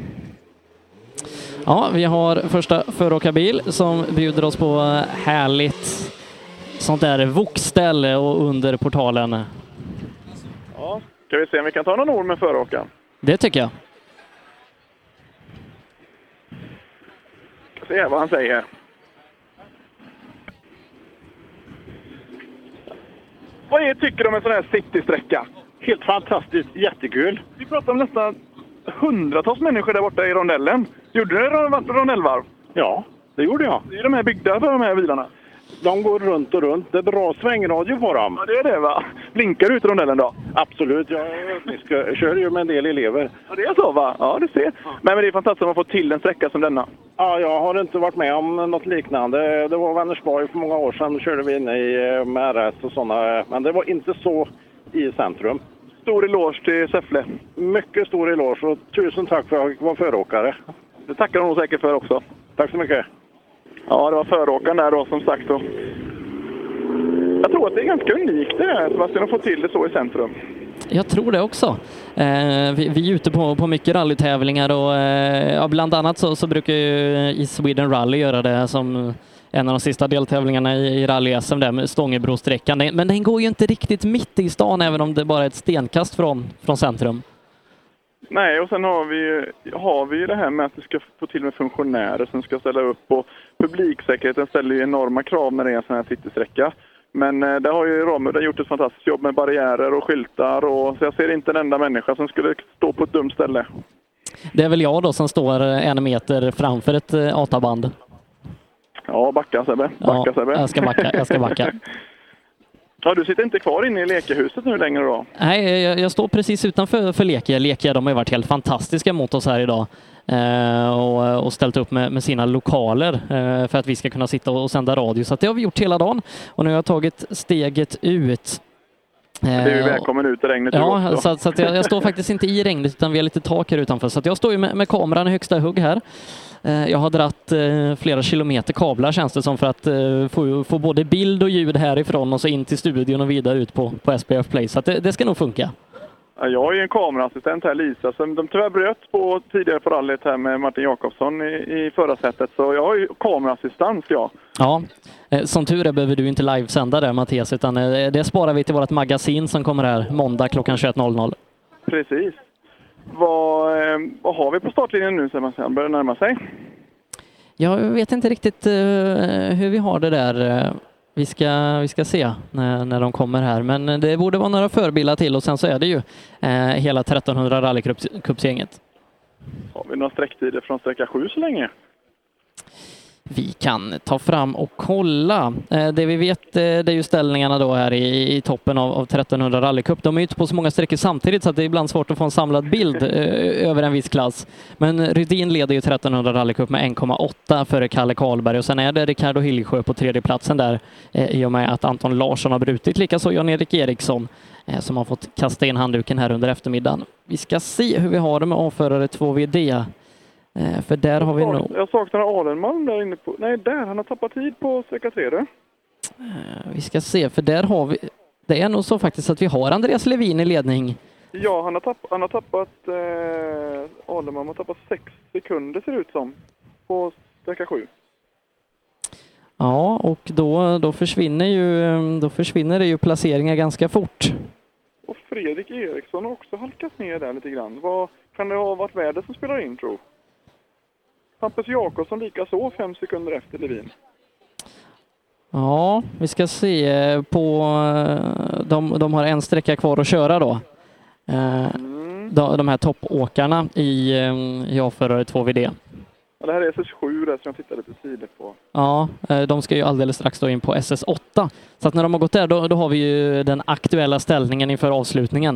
[SPEAKER 3] Ja, vi har första föråkarbil som bjuder oss på eh, härligt sånt där vokställe och under portalen.
[SPEAKER 25] Ja. Ska vi se om vi kan ta någon ord med föråkaren?
[SPEAKER 3] Det tycker jag.
[SPEAKER 25] Ska se vad han säger. Vad är, tycker du om en sån här citysträcka? Helt fantastiskt, jättekul. Vi pratar om nästan hundratals människor där borta i rondellen. Gjorde du en ron- rondellvarv? Ja, det gjorde jag. Det är de här byggda för de här bilarna. De går runt och runt. Det är bra svängradio på dem. Ja, det är det va? Blinkar du ut i rondellen då? Absolut, jag kör ju med en del elever. Ja, det är så va? Ja, du ser. Men, men det är fantastiskt att man får till en sträcka som denna.
[SPEAKER 8] Ja, jag har inte varit med om något liknande. Det var Vänersborg för många år sedan. Då körde vi inne i eh, med RS och sådana. Men det var inte så i centrum.
[SPEAKER 25] Stor eloge till Säffle.
[SPEAKER 8] Mycket stor eloge och tusen tack för att jag fick vara föråkare.
[SPEAKER 25] Det tackar de nog säkert för också.
[SPEAKER 8] Tack så mycket.
[SPEAKER 25] Ja, det var föråkaren där då som sagt. Och jag tror att det är ganska unikt det här Sebastian, att få till det så i centrum.
[SPEAKER 3] Jag tror det också. Eh, vi, vi är ute på, på mycket rallytävlingar och eh, ja, bland annat så, så brukar ju i Sweden Rally göra det som en av de sista deltävlingarna i, i rally-SM där med Stångebrosträckan. Den- Men den går ju inte riktigt mitt i stan även om det bara är ett stenkast från, från centrum.
[SPEAKER 25] Nej, och sen har vi, ju, har vi ju det här med att vi ska få till med funktionärer som ska ställa upp och publiksäkerheten ställer ju enorma krav när det är en sån här citysträcka. Men eh, där har ju Ramudden gjort ett fantastiskt jobb med barriärer och skyltar och så jag ser inte en enda människa som skulle stå på ett dumt ställe.
[SPEAKER 3] Det är väl jag då som står en meter framför ett eh, ATA-band.
[SPEAKER 25] Ja, backa Sebbe. Backa
[SPEAKER 3] Ja,
[SPEAKER 25] Sebbe.
[SPEAKER 3] jag ska backa,
[SPEAKER 25] [LAUGHS]
[SPEAKER 3] jag ska backa.
[SPEAKER 25] ja, du sitter inte kvar inne i lekehuset nu längre då?
[SPEAKER 3] Nej, jag, jag står precis utanför för Lekia. Lekia, de har ju varit helt fantastiska mot oss här idag eh, och, och ställt upp med, med sina lokaler eh, för att vi ska kunna sitta och, och sända radio. Så att det har vi gjort hela dagen och nu har jag tagit steget ut.
[SPEAKER 25] Det är ju
[SPEAKER 3] Eh,
[SPEAKER 25] välkommen ut i regnet du
[SPEAKER 3] Ja,
[SPEAKER 25] också.
[SPEAKER 3] så, att- så att jag, jag står faktiskt inte i regnet utan vi har lite tak här utanför. Så att jag står ju med, med kameran i högsta hugg här. Eh, Jag har dratt eh, flera kilometer kablar känns det som för att eh, få, få både bild och ljud härifrån och så in till studion och vidare ut på, på SPF Play. Så att det, det ska nog funka.
[SPEAKER 25] [LAUGHS] Ja, Jag har ju en kameraassistent här, Lisa, som de tyvärr bröt på tidigare på rallyt här med Martin Jakobsson i, i förra setet. Så jag har ju kameraassistans, ja.
[SPEAKER 3] Ja, eh, som tur är behöver du inte livesända det Mattias, utan eh, det sparar vi till vårt magasin som kommer här måndag klockan 21.00.
[SPEAKER 25] Precis. Vad, eh, vad har vi på startlinjen nu, Sebastian? Börjar det närma sig?
[SPEAKER 3] Jag vet inte riktigt eh, hur vi har det där. Eh, Vi ska, vi ska se när, när de kommer här, men eh, det borde vara några förbilar till och sen så är det ju eh, hela 1300 rallycupsgänget.
[SPEAKER 25] Har vi några sträcktider från sträcka 7 så länge?
[SPEAKER 3] Vi kan ta fram och kolla. Eh, Det vi vet eh, det är ju ställningarna då här i, i toppen av, av 1300 rallycup. De är ju inte på så många sträckor samtidigt så att det är ibland svårt att få en samlad bild eh, över en viss klass. Men Rydin leder ju 1300 rallycup med 1,8 före Kalle Karlberg och sen är det Ricardo Hillsjö på tredjeplatsen där eh, i och med att Anton Larsson har brutit, likaså Jan-Erik Eriksson eh, som har fått kasta in handduken här under eftermiddagen. Vi ska se hur vi har det med avförare 2VD. Eh, För där har vi nog...
[SPEAKER 25] Jag saknar Alenmalm där inne på... Nej, där! Han har tappat tid på sträcka 3, du.
[SPEAKER 3] Eh, Vi ska se, för där har vi... Det är nog så faktiskt att vi har Andreas Levin i ledning.
[SPEAKER 25] Ja, han har, tapp, han har tappat... Eh, Alemam har tappat sex sekunder ser det ut som. På sträcka sju.
[SPEAKER 3] Ja, och då, då, försvinner ju, eh, då försvinner det ju placeringar ganska fort.
[SPEAKER 25] Och Fredrik Eriksson har också halkat ner där lite grann. Vad, kan det ha varit vädret som spelar in tro? Hampus Jakobsson likaså fem sekunder efter Levin.
[SPEAKER 3] Ja, vi ska se eh, på... eh, De, de har en sträcka kvar att köra då. Eh, De, de här toppåkarna i, eh, i A-förare 2VD.
[SPEAKER 25] Ja, det här är SS7 där som jag tittade lite tidigt på.
[SPEAKER 3] Ja, eh, de ska ju alldeles strax då in på SS8. Så att när de har gått där, då, då har vi ju den aktuella ställningen inför avslutningen.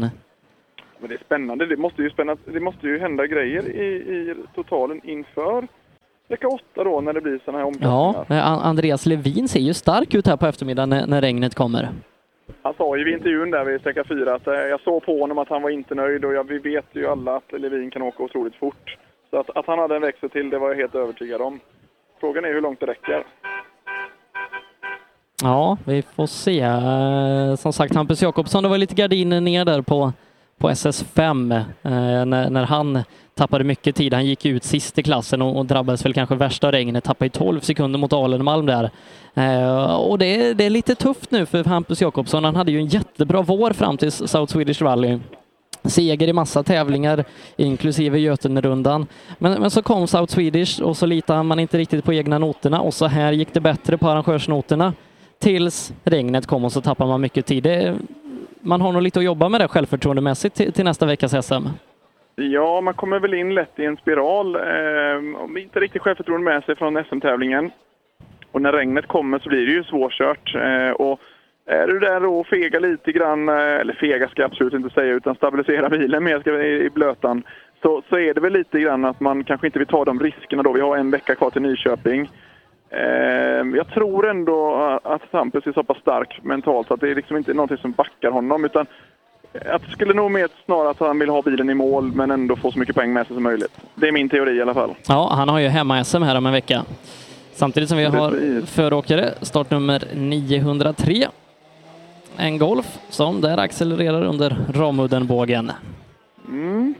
[SPEAKER 25] Men det är spännande. Det måste ju, spänna, det måste ju hända grejer i, i totalen inför vecka 8 då när det blir sådana här omkastningar.
[SPEAKER 3] Ja, eh, An- Andreas Levin ser ju stark ut här på eftermiddagen när, när regnet kommer.
[SPEAKER 25] Han sa ju vid intervjun där vid sträcka 4 att eh, jag såg på honom att han var inte nöjd och jag, vi vet ju alla att Levin kan åka otroligt fort. Så att, att han hade en växel till, det var jag helt övertygad om. Frågan är hur långt det räcker.
[SPEAKER 3] Ja, vi får se. Eh, Som sagt, Hampus Jakobsson, det var lite gardiner ner där på, på SS5 eh, när, när han tappade mycket tid. Han gick ju ut sist i klassen och, och drabbades väl kanske värsta regnet. Tappade ju 12 sekunder mot Alenmalm där. Eh, och det, är- det är lite tufft nu för Hampus Jakobsson. Han hade ju en jättebra vår fram till South Swedish Rally. Seger i massa tävlingar, inklusive Götenerundan. Men, men så kom South Swedish och så litade man inte riktigt på egna noterna och så här gick det bättre på arrangörsnoterna tills regnet kom och så tappar man mycket tid. Det, man har nog lite att jobba med det självförtroendemässigt till, till nästa veckas SM.
[SPEAKER 25] Ja, man kommer väl in lätt i en spiral. Eh, om inte riktigt självförtroende med sig från SM-tävlingen. Och när regnet kommer så blir det ju svårkört. Eh, och är du där och fegar lite grann, eh, eller fega ska jag absolut inte säga, utan stabilisera bilen mer ska vi- i blötan. Så, så är det väl lite grann att man kanske inte vill ta de riskerna då. Vi har en vecka kvar till Nyköping. Eh, jag tror ändå att Hampus är så pass stark mentalt så att det är liksom inte någonting som backar honom. Utan jag skulle nog mer snarare att han vill ha bilen i mål men ändå få så mycket poäng med sig som möjligt. Det är min teori i alla fall.
[SPEAKER 3] Ja, han har ju hemma-SM här om en vecka. Samtidigt som vi har föråkare, startnummer 903. En Golf som där accelererar under Ramuddenbågen.
[SPEAKER 25] Mm.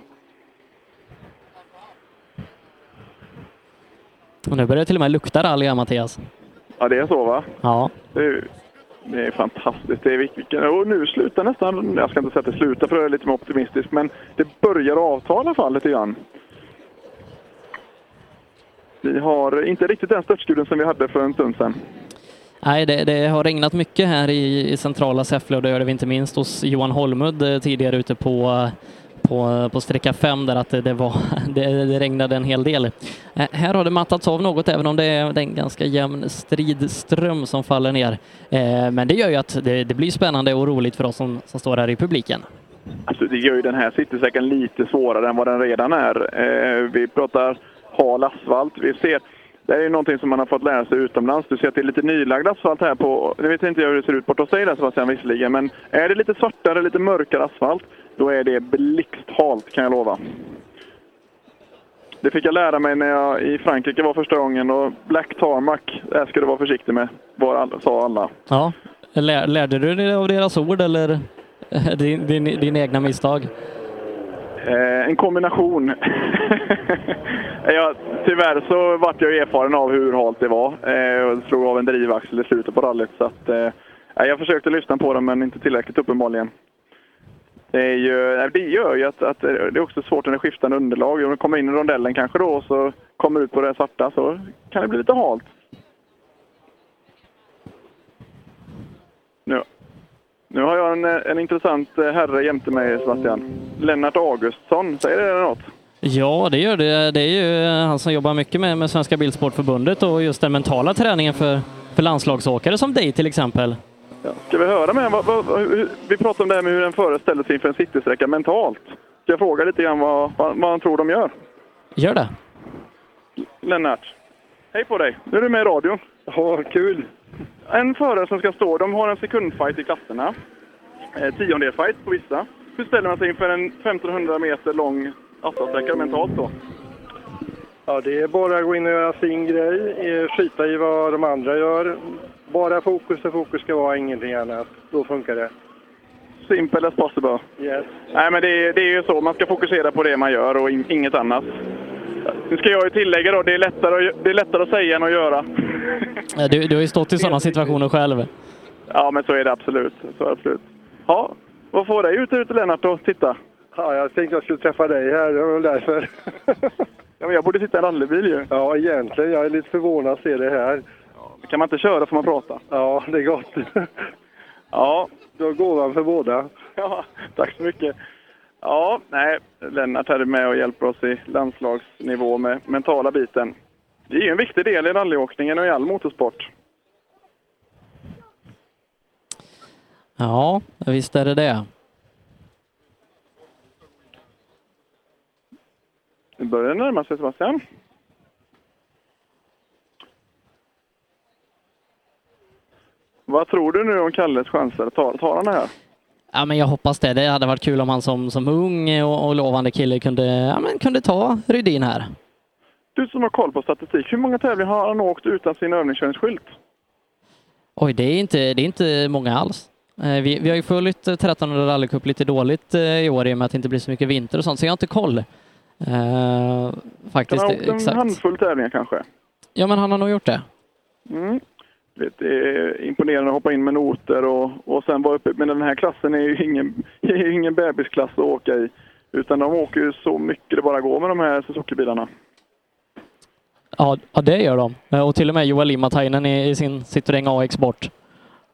[SPEAKER 3] Och nu börjar det till och med lukta rally här Mattias.
[SPEAKER 25] Ja, det är så va?
[SPEAKER 3] Ja.
[SPEAKER 25] Det är, det är fantastiskt. Det är vilken, och nu slutar nästan, jag ska inte säga att det slutar för jag är lite mer optimistisk, men det börjar avta i alla fall lite grann. Vi har inte riktigt den störtstudien som vi hade för en stund sedan.
[SPEAKER 3] Nej, det, det har regnat mycket här i, i centrala Säffle och det gör det inte minst hos Johan Holmud eh, tidigare ute på, eh, på, eh, på sträcka 5 där att det, det, var, [LAUGHS] det, det regnade en hel del. Eh, Här har det mattats av något även om det är det är en ganska jämn stridström som faller ner. Eh, Men det gör ju att det, det blir spännande och roligt för oss som, som står här i publiken.
[SPEAKER 25] Alltså, det gör ju den här citysäcken lite svårare än vad den redan är. Eh, vi pratar hal asfalt. Vi ser, det här är ju någonting som man har fått lära sig utomlands. Du ser att det är lite nylagd asfalt här på... Nu vet jag inte hur det ser ut bort hos dig där Sebastian visserligen, men är det lite svartare, lite mörkare asfalt, då är det blixthalt kan jag lova. Det fick jag lära mig när jag i Frankrike var första gången och Black Tarmac, det här ska du vara försiktig med, var alla, sa alla.
[SPEAKER 3] Ja. Lär, lärde du dig av deras ord eller [LAUGHS] eh, din, din, din egna misstag?
[SPEAKER 25] Eh, en kombination. ja, tyvärr så vart jag ju erfaren av hur halt det var eh, och slog av en drivaxel i slutet på rallyt. Så att, eh, ja, jag försökte lyssna på dem men inte tillräckligt uppenbarligen. Det, är ju, nej, det gör ju att, att det är också svårt när det är skiftande underlag. Om du kommer in i rondellen kanske då och så kommer ut på det svarta så kan det bli lite halt. Nu, nu har jag en, en intressant eh, herre jämte mig Sebastian. Lennart Augustsson, säger det något?
[SPEAKER 3] Ja, det gör det. Det är ju eh, han som jobbar mycket med, med Svenska Bilsportförbundet och just den mentala träningen för, för landslagsåkare som dig till exempel.
[SPEAKER 25] Ska vi höra med honom? Vad- vad- hur- Vi pratade om det här med hur en föreställer sig inför en citysträcka mentalt. Ska jag fråga lite grann vad, vad, vad han tror de gör?
[SPEAKER 3] Gör det.
[SPEAKER 25] Lennart, hej på dig! Nu är du med i radion. Ja, kul! En förare som ska stå, de har en sekundfight i klasserna. Eh, Tiondelsfight på vissa. Hur ställer man sig inför en 1500 meter lång asfaltsträcka mentalt då?
[SPEAKER 26] Ja, det är bara att gå in och göra sin grej, eh, skita i vad de andra gör, Bara fokus där fokus ska vara, ingenting annat. Då funkar det.
[SPEAKER 25] Simple
[SPEAKER 26] [LAUGHS]
[SPEAKER 25] as possible.
[SPEAKER 26] Yes.
[SPEAKER 25] Nej, men det, det är ju så. Man ska fokusera på det man gör och in, inget annat. Nu ska jag ju tillägga då, det är lättare att, det är lättare att säga än att göra.
[SPEAKER 3] Du, du har ju stått i sådana situationer själv.
[SPEAKER 25] Ja, men så är det absolut. Så är det absolut. Ja, vad får dig ut ute Lennart och titta?
[SPEAKER 26] Ja, jag tänkte jag skulle träffa dig här, det var väl därför.
[SPEAKER 25] [LAUGHS] ja, men jag borde sitta i en rallybil ju.
[SPEAKER 26] Ja, egentligen. Jag är lite förvånad att se det här.
[SPEAKER 25] Kan man inte köra får man prata.
[SPEAKER 26] Ja, det är gott.
[SPEAKER 25] ja.
[SPEAKER 26] Du har gåvan för båda.
[SPEAKER 25] Ja, tack så mycket. Ja, nej, Lennart här är med och hjälper oss i landslagsnivå med mentala biten. Det är ju en viktig del i rallyåkningen och i all motorsport.
[SPEAKER 3] Ja, visst är det det.
[SPEAKER 25] Nu börjar det närma sig Sebastian. Vad tror du nu om Kalles chanser? Tar, tar han det här?
[SPEAKER 3] Ja, men jag hoppas det. Det hade varit kul om han som, som ung och, och lovande kille kunde, ja, men kunde ta Rydin här.
[SPEAKER 25] Du som har koll på statistik, hur många tävlingar har han åkt utan sin övningskörningsskylt?
[SPEAKER 3] Oj, det är inte, det är inte många alls. Eh, Vi, vi har ju följt eh, 1300 rallycup lite dåligt eh, i år i och med att det inte blir så mycket vinter och sånt, så jag har inte koll. Eh,
[SPEAKER 25] Han
[SPEAKER 3] faktiskt,
[SPEAKER 25] har åkt en
[SPEAKER 3] exakt.
[SPEAKER 25] handfull tävlingar kanske?
[SPEAKER 3] Ja, men han har nog gjort det.
[SPEAKER 25] Mm. Du vet, Det är imponerande att hoppa in med noter och, och sen vara uppe. Men den här klassen är ju ingen, [LAUGHS] är ju ingen bebisklass att åka i. Utan de åker ju så mycket det bara går med de här Suzuki-bilarna.
[SPEAKER 3] Ja, ja, det gör de. Eh, Och till och med Joel Limatainen i, i sin Citroën AX bort.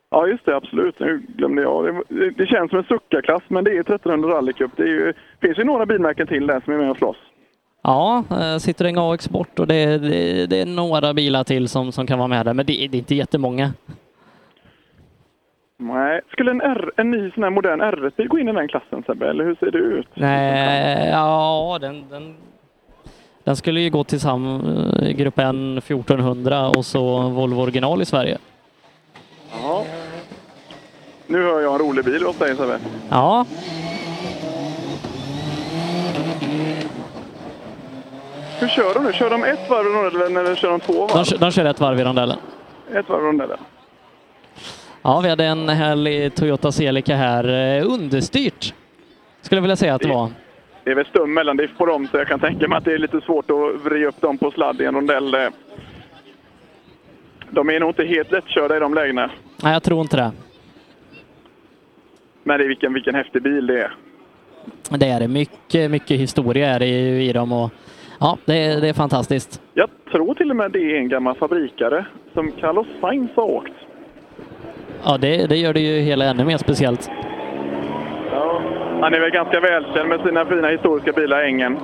[SPEAKER 25] Ja, just det, absolut. Nu glömde jag. Det, det känns som en suckarklass, men det är 1300 rallycup. Det är ju, finns ju några bilmärken till där som är med och slåss.
[SPEAKER 3] Ja, eh, Citroën AX bort och det, det, det är några bilar till som, som kan vara med där, men det, det är inte jättemånga.
[SPEAKER 25] Nej. Skulle en, R, en ny sån här modern R1 gå in i den klassen, Sebbe? Eller hur ser det ut?
[SPEAKER 3] Nej, ja, den, den... den skulle ju gå till sam, eh, Grupp N 1400 och så Volvo original i Sverige.
[SPEAKER 25] Ja. Nu hör jag en rolig bil hos dig, Sebbe.
[SPEAKER 3] Ja,
[SPEAKER 25] Hur kör de nu? Kör de ett varv i rondellen eller kör de två varv?
[SPEAKER 3] de, kö- de kör ett varv i rondellen.
[SPEAKER 25] Ett varv i rondellen.
[SPEAKER 3] Ja, vi hade en härlig Toyota Celica här. eh, Understyrt skulle jag vilja säga att det var.
[SPEAKER 25] Det är väl stum mellandiff på dem, så jag kan tänka mig att det är lite svårt att vrida upp dem på sladd i en rondell. eh. De är nog inte helt lättkörda i de lägena.
[SPEAKER 3] Nej, jag tror inte det.
[SPEAKER 25] Men det är vilken, vilken häftig bil det är.
[SPEAKER 3] Det är det. Mycket, mycket historia är det ju i dem och ja, det, är- det är fantastiskt.
[SPEAKER 25] Jag tror till och med det är en gammal fabrikare som Carlos Sainz har åkt.
[SPEAKER 3] Ja, det, det gör det ju hela ännu mer speciellt.
[SPEAKER 25] Han är väl ganska välkänd med sina fina historiska bilar, Engen.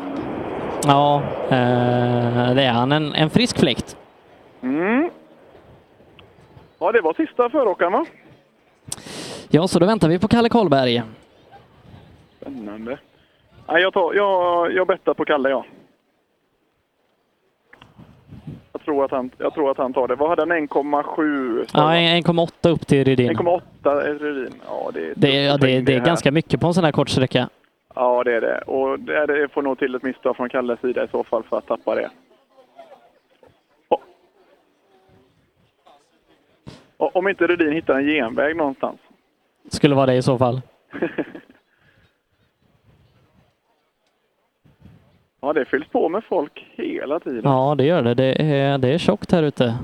[SPEAKER 3] Ja, eh, det är han. En, en frisk fläkt.
[SPEAKER 25] Mm. Ja, det var sista föråkaren, va?
[SPEAKER 3] Ja, så då väntar vi på Kalle Karlberg.
[SPEAKER 25] Spännande. Nej, jag, tar, jag, jag bettar på Kalle, ja. Jag tror, att han, jag tror att han tar det. Vad hade han? 1,7?
[SPEAKER 3] Ja, 1,8 upp till Rydin.
[SPEAKER 25] 1,8 är Rudin. Ja, det är,
[SPEAKER 3] Det, är- ja, det, det är
[SPEAKER 25] här.
[SPEAKER 3] ganska mycket på en sån här kort sträcka.
[SPEAKER 25] Ja, det är det. Och det, är- det får nog till ett misstag från Kalles sida i så fall för att tappa det. Och- Och om inte Rudin hittar en genväg någonstans.
[SPEAKER 3] Skulle vara det i så fall.
[SPEAKER 25] ja, det fylls på med folk hela tiden.
[SPEAKER 3] Ja, det gör det. Det är, det är tjockt här ute.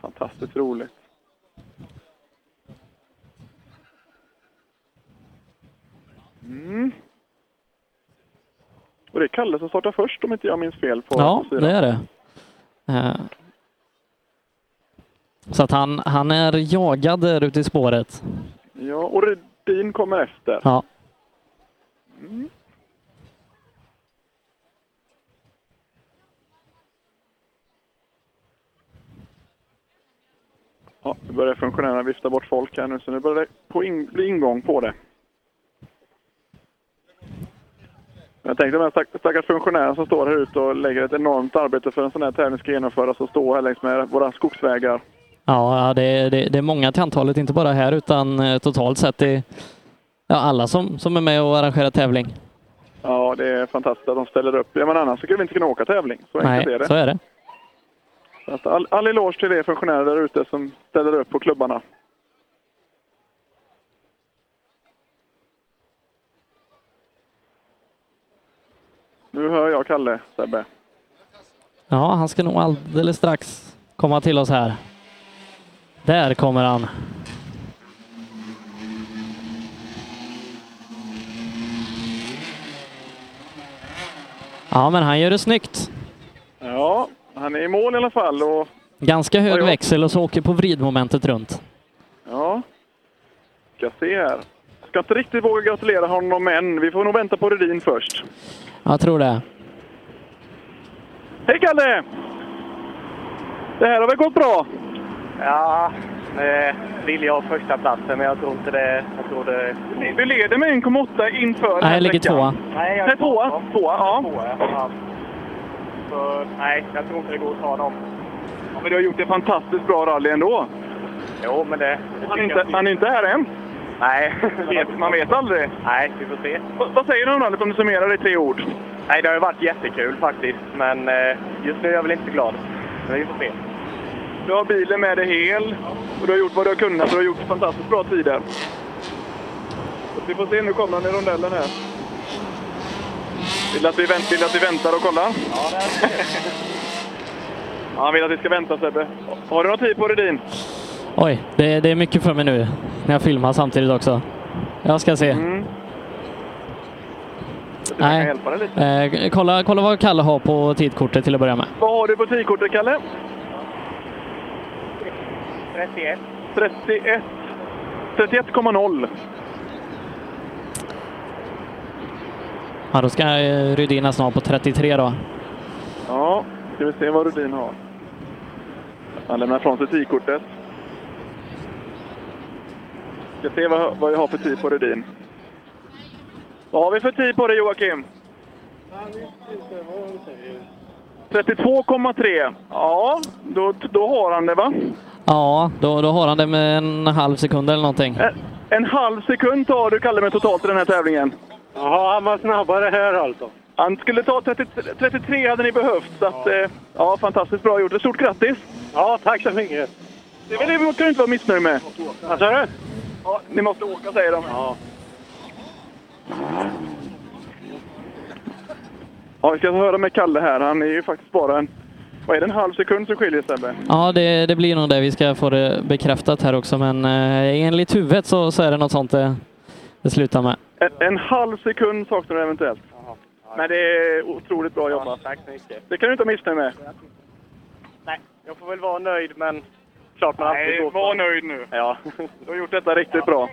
[SPEAKER 25] Fantastiskt roligt. Mm. Och det är Kalle som startar först om inte jag minns fel. På
[SPEAKER 3] Ja,
[SPEAKER 25] fyran.
[SPEAKER 3] det är det. Eh, Så att han, han är jagad där ute i spåret.
[SPEAKER 25] Ja, och Rudin kommer efter.
[SPEAKER 3] Ja.
[SPEAKER 25] Mm. Ja, nu börjar funktionärerna vifta bort folk här nu, så nu börjar det på in, bli ingång på det. Jag tänkte de här stack- stackars funktionärerna som står här ute och lägger ett enormt arbete för en sån här tävling ska genomföras och står här längs med våra skogsvägar.
[SPEAKER 3] Ja, ja, det, det, det är många till antalet, inte bara här utan eh, totalt sett. Det, ja, alla som, som är med och arrangerar tävling.
[SPEAKER 25] Ja, det är fantastiskt att de ställer upp. Ja, men annars skulle vi inte kunna åka tävling. Så enkelt
[SPEAKER 3] Nej,
[SPEAKER 25] är det.
[SPEAKER 3] så är det.
[SPEAKER 25] Så att all, all eloge till er funktionärer där ute som ställer upp på klubbarna. Nu hör jag Kalle, Sebbe.
[SPEAKER 3] Ja, han ska nog alldeles strax komma till oss här. Där kommer han. Ja, men han gör det snyggt.
[SPEAKER 25] Ja, han är i mål i alla fall. Och,
[SPEAKER 3] Ganska hög växel och så åker på vridmomentet runt.
[SPEAKER 25] ja, ska se här. Ska inte riktigt våga gratulera honom än. Vi får nog vänta på Rudin först.
[SPEAKER 3] Jag tror det.
[SPEAKER 25] Hej Kalle! Det här har väl gått bra?
[SPEAKER 20] Ja, nu vill jag ha första platsen men jag tror inte det. Jag tror det...
[SPEAKER 25] Du leder med 1,8 inför den här
[SPEAKER 20] jag ligger
[SPEAKER 25] sträckan.
[SPEAKER 20] tvåa. Nej, jag är
[SPEAKER 25] Nej, tvåa. Tvåa, ja.
[SPEAKER 20] Ja. Så, nej, jag tror inte det går att ta dem.
[SPEAKER 25] Ja, Men du har gjort ett fantastiskt bra rally ändå.
[SPEAKER 20] Jo, men det...
[SPEAKER 25] Han är inte, han är inte här än.
[SPEAKER 20] Nej.
[SPEAKER 25] Vet- man vet aldrig.
[SPEAKER 20] Nej, vi får se.
[SPEAKER 25] Vad- Vad säger du om rallyt om du summerar det i tre ord?
[SPEAKER 20] Nej, det har ju varit jättekul faktiskt, men eh, just nu är jag väl inte glad. Men vi får se.
[SPEAKER 25] Du har bilen med dig hel och du har gjort vad du har kunnat och du har gjort fantastiskt bra tider. Så vi får se, nu kommer han i rondellen här. Vill du att vi, vänt, vill du att vi väntar och kollar?
[SPEAKER 20] Ja, det
[SPEAKER 25] [LAUGHS] Ja, han vill att vi ska vänta Sebbe. Har du någon tid på dig din?
[SPEAKER 3] Oj, det, det är mycket för mig nu när jag filmar samtidigt också. Jag ska se.
[SPEAKER 25] Mm, kan
[SPEAKER 3] Nej.
[SPEAKER 25] hjälpa dig lite.
[SPEAKER 3] Eh, kolla, kolla vad Kalle har på tidkortet till att börja med.
[SPEAKER 25] Vad har du på tidkortet Kalle?
[SPEAKER 20] 31.
[SPEAKER 25] 31. 31,0.
[SPEAKER 3] Ja, då ska eh, Rydina snart på 33 då.
[SPEAKER 25] Ja, ska vi se vad Rudin har. Han lämnar ifrån sig tidkortet. Ska se vad, vad jag har för tid på Rudin. Vad har vi för tid på dig Joakim? 32,3. Ja, då, då har han det va?
[SPEAKER 3] Ja, då, då har han det med en halv sekund eller någonting.
[SPEAKER 25] Eh. En halv sekund tar du Kalle med totalt i den här tävlingen.
[SPEAKER 39] Jaha, han var snabbare här alltså.
[SPEAKER 25] Han skulle ta 30, 33 hade ni behövt. Så att, ja. ja, fantastiskt bra gjort. Ett stort grattis!
[SPEAKER 39] Ja, tack så mycket.
[SPEAKER 25] Det är väl det måste du inte vara missnöjd med?
[SPEAKER 39] Vad sa du?
[SPEAKER 25] Ja, ni måste åka säger de.
[SPEAKER 39] Ja.
[SPEAKER 25] Ja, vi ska höra med Kalle här. Han är ju faktiskt bara en... Vad är det, en halv sekund som skiljer Sebbe?
[SPEAKER 3] Ja, det, det blir nog det. Vi ska få det bekräftat här också, men eh, enligt huvudet så, så är det något sånt det, det slutar med.
[SPEAKER 25] En, en halv sekund saknar du eventuellt. Men det är otroligt bra jobbat.
[SPEAKER 20] Tack så mycket.
[SPEAKER 25] Det kan du inte vara missnöjd med.
[SPEAKER 20] Nej, jag får väl vara nöjd, men klart man alltid
[SPEAKER 25] Nej,
[SPEAKER 20] går på-
[SPEAKER 25] var nöjd nu.
[SPEAKER 20] Ja.
[SPEAKER 25] Du har gjort detta riktigt bra.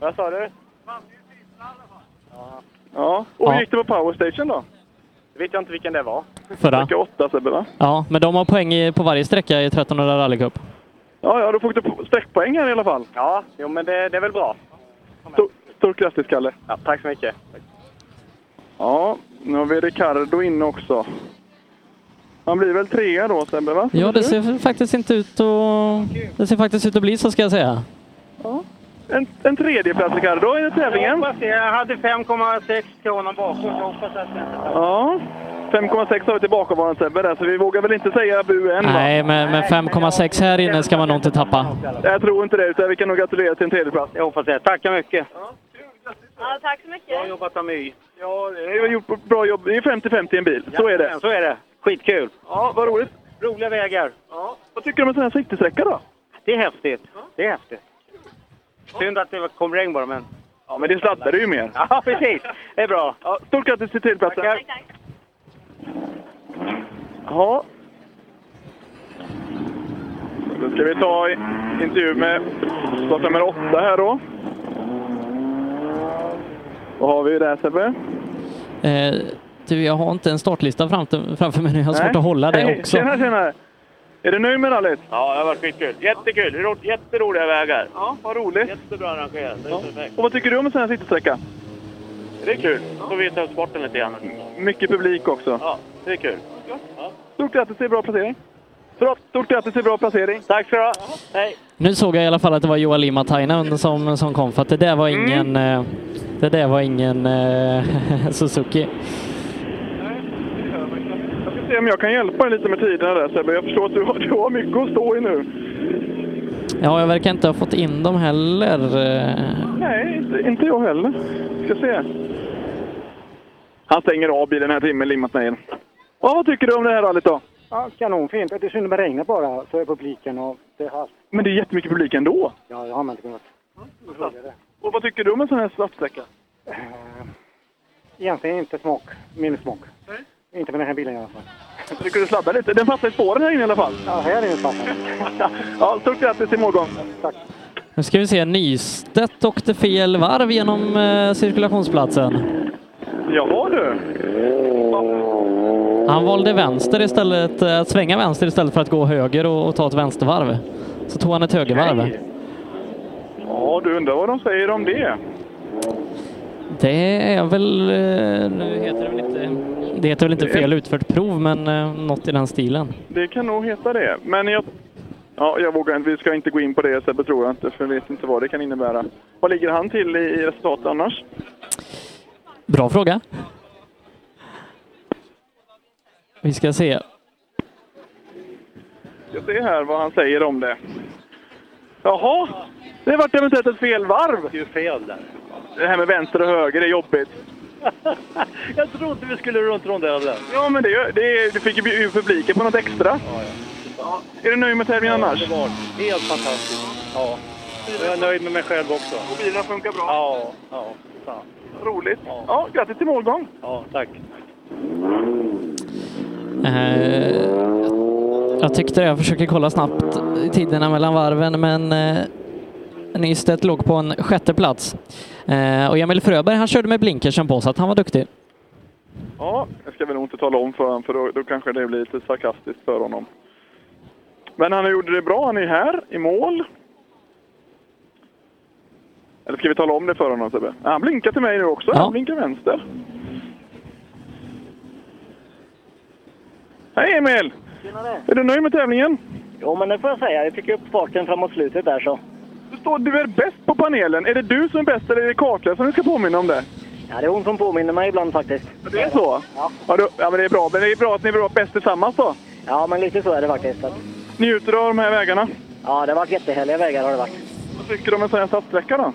[SPEAKER 20] Vad sa du?
[SPEAKER 25] Ja. Och hur
[SPEAKER 3] Ja.
[SPEAKER 25] gick det på powerstation då?
[SPEAKER 20] Det vet jag inte vilken det var.
[SPEAKER 3] Förra.
[SPEAKER 25] Vecka åtta Sebbe va?
[SPEAKER 3] Ja, men de har poäng i, på varje sträcka i 1300 rallycup.
[SPEAKER 25] Ja, ja, då fick du sträckpoäng här i alla fall.
[SPEAKER 20] Ja, jo, men det, det är väl bra.
[SPEAKER 25] Stort grattis Kalle!
[SPEAKER 20] Ja, tack så mycket.
[SPEAKER 25] Ja, nu har vi Ricardo inne också. Han blir väl trea då Sebbe va?
[SPEAKER 3] Ja, det ser faktiskt inte ut att... Det ser faktiskt ut att bli så ska jag säga.
[SPEAKER 25] En, en tredjeplats Ricardo i tävlingen.
[SPEAKER 20] Jag, hoppas det. jag hade 5,6 kronor bakom. Jag hoppas att det inte...
[SPEAKER 25] Ja, 5,6 har vi till bakomvarande Sebbe där, så vi vågar väl inte säga bu än va?
[SPEAKER 3] Nej, men, men 5,6 här inne ska man nog inte tappa.
[SPEAKER 25] Jag tror inte det, utan vi kan nog gratulera till en tredjeplats. Jag hoppas det. Tack så mycket!
[SPEAKER 40] Ja, tack så mycket.
[SPEAKER 20] Bra jobbat av mig.
[SPEAKER 25] Ja, det har gjort bra jobb. Det är 50-50 i en bil, så är det.
[SPEAKER 20] Så är det. Skitkul.
[SPEAKER 25] Ja, vad roligt.
[SPEAKER 20] Roliga vägar.
[SPEAKER 25] Ja. Vad tycker du om en sån här siktesträcka då?
[SPEAKER 20] Det är häftigt. Det är häftigt. Synd att det kom regn bara, men...
[SPEAKER 25] Ja, men det sladdade ju mer.
[SPEAKER 20] [LAUGHS] Ja, precis. Det är bra.
[SPEAKER 25] Ja, stort grattis till tredjeplatsen.
[SPEAKER 20] Tackar.
[SPEAKER 25] Ja. Då ska vi ta i- intervju med startnummer åtta här då. Vad har vi där Sebbe?
[SPEAKER 3] Eh, du, jag har inte en startlista framför, framför mig nu. Jag har svårt
[SPEAKER 25] Nej.
[SPEAKER 3] att hålla det
[SPEAKER 25] Hej,
[SPEAKER 3] också.
[SPEAKER 25] Tjena, tjena! Är du nöjd med rallyt?
[SPEAKER 20] Ja, det har varit skitkul. Jättekul. Ro- Jätteroliga vägar.
[SPEAKER 25] Ja, vad roligt.
[SPEAKER 20] Jättebra arrangerat. Det är perfekt.
[SPEAKER 25] Och vad tycker du om en sån här citysträcka?
[SPEAKER 20] Det är kul. Får visa upp sporten lite grann.
[SPEAKER 25] Mycket publik också.
[SPEAKER 20] Ja, det är kul.
[SPEAKER 25] Stort grattis till bra placering. Förlåt, stort grattis till bra placering. Tack ska du ha.
[SPEAKER 20] Hej.
[SPEAKER 3] Nu såg jag i alla fall att det var Joa Limatainen som, som kom för att det där var ingen... Eh, det [LAUGHS] där var ingen eh, Suzuki.
[SPEAKER 25] Jag ska se se om jag kan hjälpa dig lite med tiderna där Sebbe. Jag förstår att du har, du har mycket att stå i nu.
[SPEAKER 3] Ja, jag verkar inte ha fått in dem heller. Eh,
[SPEAKER 25] Nej, inte, inte jag heller. Ska se. Han stänger av bilen här timmen, limmat ner. Ja, vad tycker du om det här rallyt då?
[SPEAKER 24] Ja, kanonfint. Det är synd om det regnar bara för publiken och det är halt.
[SPEAKER 25] Men det är jättemycket publik ändå.
[SPEAKER 24] Ja, det har man inte kunnat.
[SPEAKER 25] Och vad tycker du om en sån här startsträcka?
[SPEAKER 24] Egentligen inte smak, min smak. Inte med den här bilen i alla fall.
[SPEAKER 25] Tycker du sladdar lite? Den fattar i spåren här inne i alla fall.
[SPEAKER 24] Ja, här är den fattar.
[SPEAKER 25] [LAUGHS] ja, stort grattis till morgon.
[SPEAKER 24] Tack.
[SPEAKER 3] Nu ska vi se, Nystedt åkte fel varv genom eh, cirkulationsplatsen.
[SPEAKER 25] Jaha du.
[SPEAKER 3] Han valde vänster istället, eh, att svänga vänster istället för att gå höger och, och ta ett vänstervarv. Så tog han ett högervarv.
[SPEAKER 25] Ja, du undrar vad de säger om det.
[SPEAKER 3] Det är väl, eh, nu heter det väl inte, det heter väl inte fel utfört prov, men eh, något i den stilen.
[SPEAKER 25] Det kan nog heta det. Men jag... Ja, jag vågar inte. Vi ska inte gå in på det Sebbe, tror jag inte. För jag vet inte vad det kan innebära. Vad ligger han till i i resultat annars?
[SPEAKER 3] Bra fråga. Vi ska se.
[SPEAKER 25] Ska se här vad han säger om det. Jaha, det vart eventuellt ett fel varv. Det är fel där. Det här med vänster och höger är jobbigt.
[SPEAKER 24] Jag trodde vi skulle runt rondellen.
[SPEAKER 25] Ja, men det, det, det fick ju publiken på något extra. Ja. Är du nöjd med tävlingen annars?
[SPEAKER 24] Underbart. Helt fantastiskt. Ja. Och jag är nöjd med mig själv också.
[SPEAKER 25] Och bilarna funkar bra?
[SPEAKER 24] Ja. ja. Fan.
[SPEAKER 25] Roligt. Ja. grattis till målgång.
[SPEAKER 24] Ja, tack.
[SPEAKER 3] Eh, jag tyckte det. Jag försöker kolla snabbt tiderna mellan varven, men eh, Nystedt låg på en sjätte plats. Eh, och Emil Fröberg, han körde med blinkersen på, så att han var duktig.
[SPEAKER 25] Ja, jag ska väl nog inte tala om för honom för då, då kanske det blir lite sarkastiskt för honom. Men han gjorde det bra. Han är här i mål. Eller ska vi tala om det för honom Sebbe? Han blinkar till mig nu också. Han blinkar vänster. Hej Emil!
[SPEAKER 24] Tjenare!
[SPEAKER 25] Är du nöjd med tävlingen?
[SPEAKER 24] Jo, men det får jag säga. Jag fick upp farten framåt slutet där så.
[SPEAKER 25] Du, står, du är bäst på panelen. Är det du som är bäst eller är det Kartlöv som du ska påminna om det?
[SPEAKER 24] Ja, det är hon som påminner mig ibland faktiskt.
[SPEAKER 25] Det är så? Ja. du, ja men det är bra. Men det är bra att ni är bra bäst tillsammans då.
[SPEAKER 24] Ja, men lite så är det faktiskt. Så att-
[SPEAKER 25] Njuter du av de här vägarna?
[SPEAKER 24] Ja, det har varit jättehärliga vägar har det varit.
[SPEAKER 25] Vad tycker du om en sån här startsträcka då?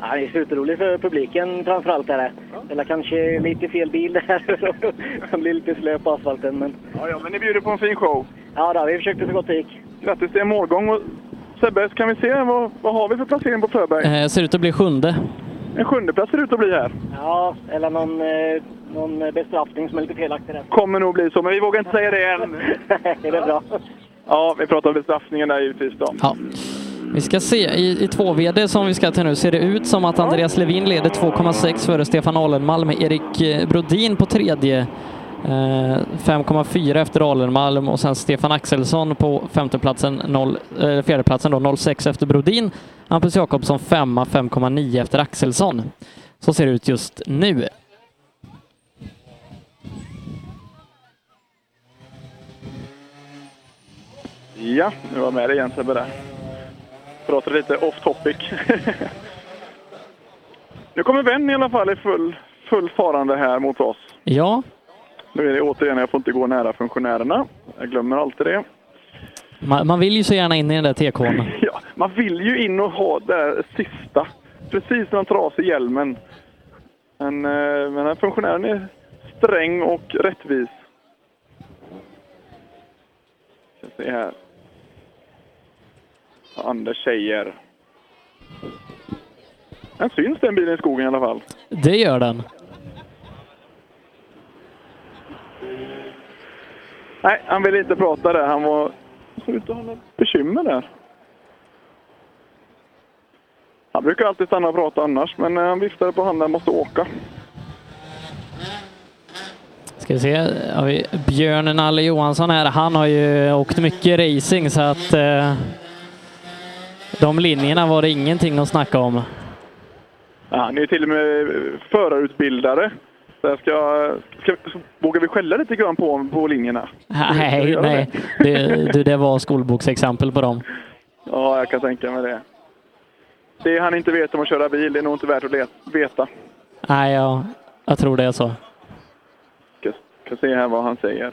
[SPEAKER 24] Ja, det är superroligt för publiken framförallt. Är det. Eller kanske lite fel bil där. [LAUGHS] Den blir lite slö på asfalten. Men...
[SPEAKER 25] Ja, ja, men ni bjuder på en fin show.
[SPEAKER 24] Ja, då, vi försökte så gott det gick.
[SPEAKER 25] Grattis till en målgång. Och Sebbe, kan vi se vad, vad har vi för placering på Fröberg?
[SPEAKER 3] Eh, ser ut att bli sjunde.
[SPEAKER 25] En sjundeplats ser ut att bli här.
[SPEAKER 24] Ja, eller någon, eh, någon bestraffning som är lite felaktig där.
[SPEAKER 25] Kommer nog bli så, men vi vågar inte säga det än.
[SPEAKER 24] är [LAUGHS] det bra?
[SPEAKER 25] Ja, vi pratar om bestraffningen där givetvis då.
[SPEAKER 3] Ja. Vi ska se, i, i 2VD som vi ska till nu ser det ut som att Andreas Levin leder 2,6 före Stefan Alenmalm. Erik eh, Brodin på tredje, eh, 5,4 efter Alenmalm och sen Stefan Axelsson på femteplatsen, noll, eh, fjärdeplatsen då, 0,6 efter Brodin. Hampus Jakobsson femma, 5,9 efter Axelsson. Så ser det ut just nu.
[SPEAKER 25] Ja, nu var jag med dig igen Sebbe där. Pratade lite off topic. [LAUGHS] nu kommer Venn i alla fall i full, full farande här mot oss.
[SPEAKER 3] Ja,
[SPEAKER 25] Nu är det återigen, jag får inte gå nära funktionärerna. Jag glömmer alltid det.
[SPEAKER 3] man, man vill ju så gärna in i den där TK'n.
[SPEAKER 25] Ja, man vill ju in och ha det där sista. Precis när han tar av sig hjälmen. Men, eh, men den här funktionären är sträng och rättvis. Ska se här. Vad Anders säger. Den syns den bilen i skogen i alla fall.
[SPEAKER 3] Det gör den.
[SPEAKER 25] Nej, han ville inte prata där. Han var... Ser ut att ha något bekymmer där. Han brukar alltid stanna och prata annars, men eh, han viftade på handen måste åka.
[SPEAKER 3] Ska vi se, har vi Björn Nalle Johansson här. Han har ju åkt mycket racing så att eh, de linjerna var det ingenting att snacka om.
[SPEAKER 25] Ja, han är ju till och med eh, förarutbildare. Så jag ska, ska, vågar vi skälla lite grann på, på linjerna?
[SPEAKER 3] Nej, nej. Det, du, det var skolboksexempel på dem.
[SPEAKER 25] Ja, jag kan tänka mig det. Det han inte vet om att köra bil, det är nog inte värt att le- veta.
[SPEAKER 3] Nej, jag, jag tror det är så.
[SPEAKER 25] Ska, ska se här vad han säger.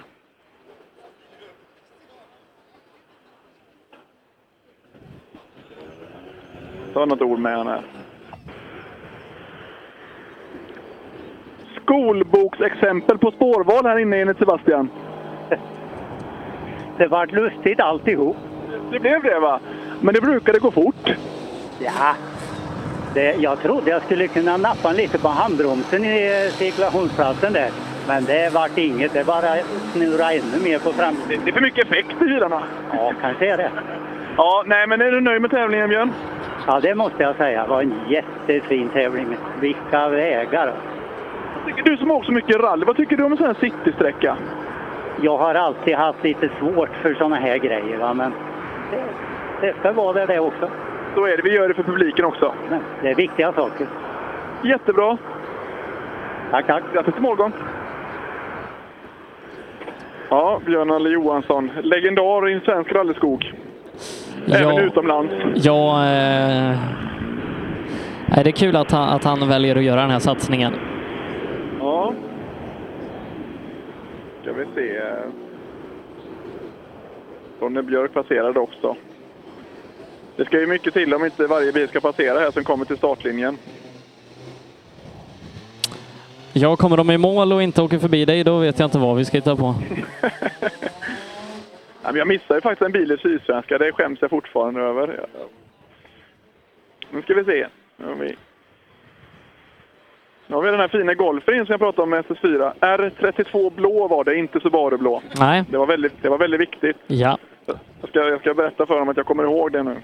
[SPEAKER 25] ta något ord med han här. Skolboksexempel på spårval här inne enligt Sebastian. Det var lustigt alltihop. Det blev det va? Men det brukade gå fort.
[SPEAKER 29] Ja, det, jag trodde jag skulle kunna nappa lite på handbromsen i eh, cirkulationsplatsen där. Men det vart inget, det bara snurra ännu mer på framsidan.
[SPEAKER 25] Det är för mycket effekt i bilarna.
[SPEAKER 29] Ja, kanske är det.
[SPEAKER 25] Ja, nej men är du nöjd med tävlingen Björn?
[SPEAKER 29] Ja, det måste jag säga. Det var en jättefin tävling. Vilka vägar!
[SPEAKER 25] Tycker Du som har åkt så mycket rally, vad tycker du om en sån här citysträcka?
[SPEAKER 29] Jag har alltid haft lite svårt för såna här grejer, va? men det, det ska vara det, det också.
[SPEAKER 25] Så är det, vi gör det för publiken också.
[SPEAKER 29] Det är viktiga saker.
[SPEAKER 25] Jättebra!
[SPEAKER 29] Tack, tack!
[SPEAKER 25] Grattis till målgång! Ja, Björn Alle Johansson, legendar i svensk rallyskog. Även
[SPEAKER 3] Ja.
[SPEAKER 25] utomlands.
[SPEAKER 3] Ja, eh, nej, det är kul att han, att han väljer att göra den här satsningen.
[SPEAKER 25] Ja. Ska vi se. Ronny Björk passerade också. Det ska ju mycket till om inte varje bil ska passera här som kommer till startlinjen.
[SPEAKER 3] Ja, kommer de i mål och inte åker förbi dig, då vet jag inte vad vi ska hitta på.
[SPEAKER 25] Nej, men Jag missade ju faktiskt en bil i Sydsvenska. Det skäms jag fortfarande över. Nu ska vi se. Nu har vi, nu har vi den här fina golfen som jag pratade om med SS4. R32 blå var det, inte Subaru blå.
[SPEAKER 3] Nej.
[SPEAKER 25] Det var väldigt, det var väldigt viktigt.
[SPEAKER 3] Ja.
[SPEAKER 25] Jag ska, jag ska berätta för dem att jag kommer ihåg det nu.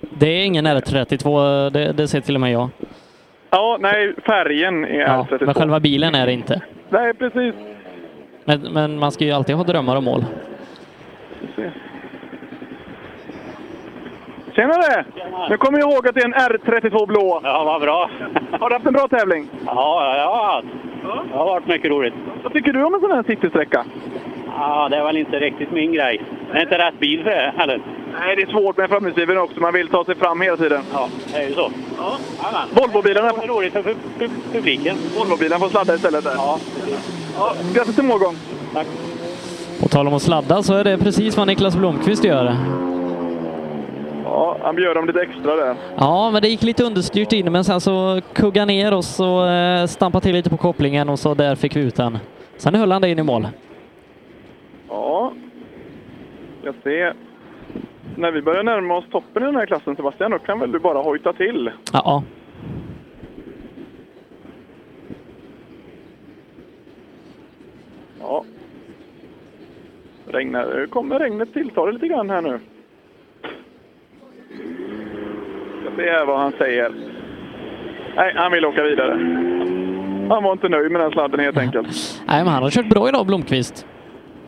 [SPEAKER 3] Det är ingen R32, det, det ser till och med jag.
[SPEAKER 25] Ja, nej, färgen är
[SPEAKER 3] Ja,
[SPEAKER 25] R32.
[SPEAKER 3] men själva bilen är det inte.
[SPEAKER 25] Nej, precis.
[SPEAKER 3] Men, men man ska ju alltid ha drömmar och mål.
[SPEAKER 25] Tjenare! Nu kommer jag ihåg att det är en R32 blå.
[SPEAKER 29] Ja, vad bra.
[SPEAKER 25] Har du haft en bra tävling?
[SPEAKER 29] Ja, jag har haft. Det har varit mycket roligt.
[SPEAKER 25] Vad tycker du om en sån här citysträcka?
[SPEAKER 29] Ja, det är väl inte riktigt min grej. Det är inte rätt bil för det heller.
[SPEAKER 25] Nej, det är svårt med framhjulsdriven också. Man vill ta sig fram hela tiden.
[SPEAKER 29] Ja, det är ju så. Ja,
[SPEAKER 25] Volvobilarna...
[SPEAKER 29] Det är roligt för pu- pu- publiken.
[SPEAKER 25] Volvobilen får sladda istället där. Ja, ja, grattis till målgång!
[SPEAKER 29] Tack!
[SPEAKER 3] På tal om att sladda så är det precis vad Niklas Blomqvist gör.
[SPEAKER 25] Ja, han bjöd dem lite extra där.
[SPEAKER 3] Ja, men det gick lite understyrt in, men sen så kugga ner och så eh, stampa till lite på kopplingen och så där fick vi ut den. Sen höll han det in i mål.
[SPEAKER 25] Ja. Jag ser. När vi börjar närma oss toppen i den här klassen Sebastian, då kan väl du bara hojta till?
[SPEAKER 3] Ja.
[SPEAKER 25] Ja. Regnar. Nu kommer regnet tillta det lite grann här nu. Ska se här vad han säger. Nej, han vill åka vidare. Han var inte nöjd med den sladden helt enkelt.
[SPEAKER 3] Nej, men han har kört bra idag, Blomqvist.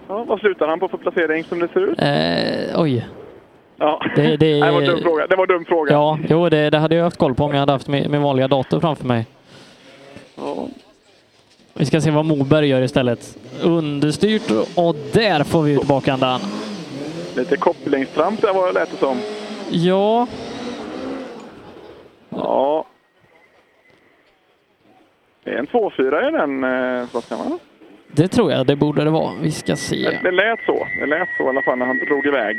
[SPEAKER 25] Ja, vad slutar han på för placering som det ser ut?
[SPEAKER 3] Eh, oj.
[SPEAKER 25] Ja,
[SPEAKER 3] Det-
[SPEAKER 25] [LAUGHS]
[SPEAKER 3] det-
[SPEAKER 25] Nej, var en dum fråga. det var en dum fråga.
[SPEAKER 3] Ja, jo, det, det hade jag haft koll på om jag hade haft min, min vanliga dator framför mig.
[SPEAKER 25] Ja.
[SPEAKER 3] Vi ska se vad Moberg gör istället. Understyrt och där får vi ut bakandan.
[SPEAKER 25] Lite kopplingstramp där var det lät det som.
[SPEAKER 3] Ja,
[SPEAKER 25] Ja. Det är en 2-4 i den, eh, Sebastian va?
[SPEAKER 3] det tror jag det borde det vara. Vi ska se.
[SPEAKER 25] Det, det lät så. Det lät så i alla fall när han drog iväg.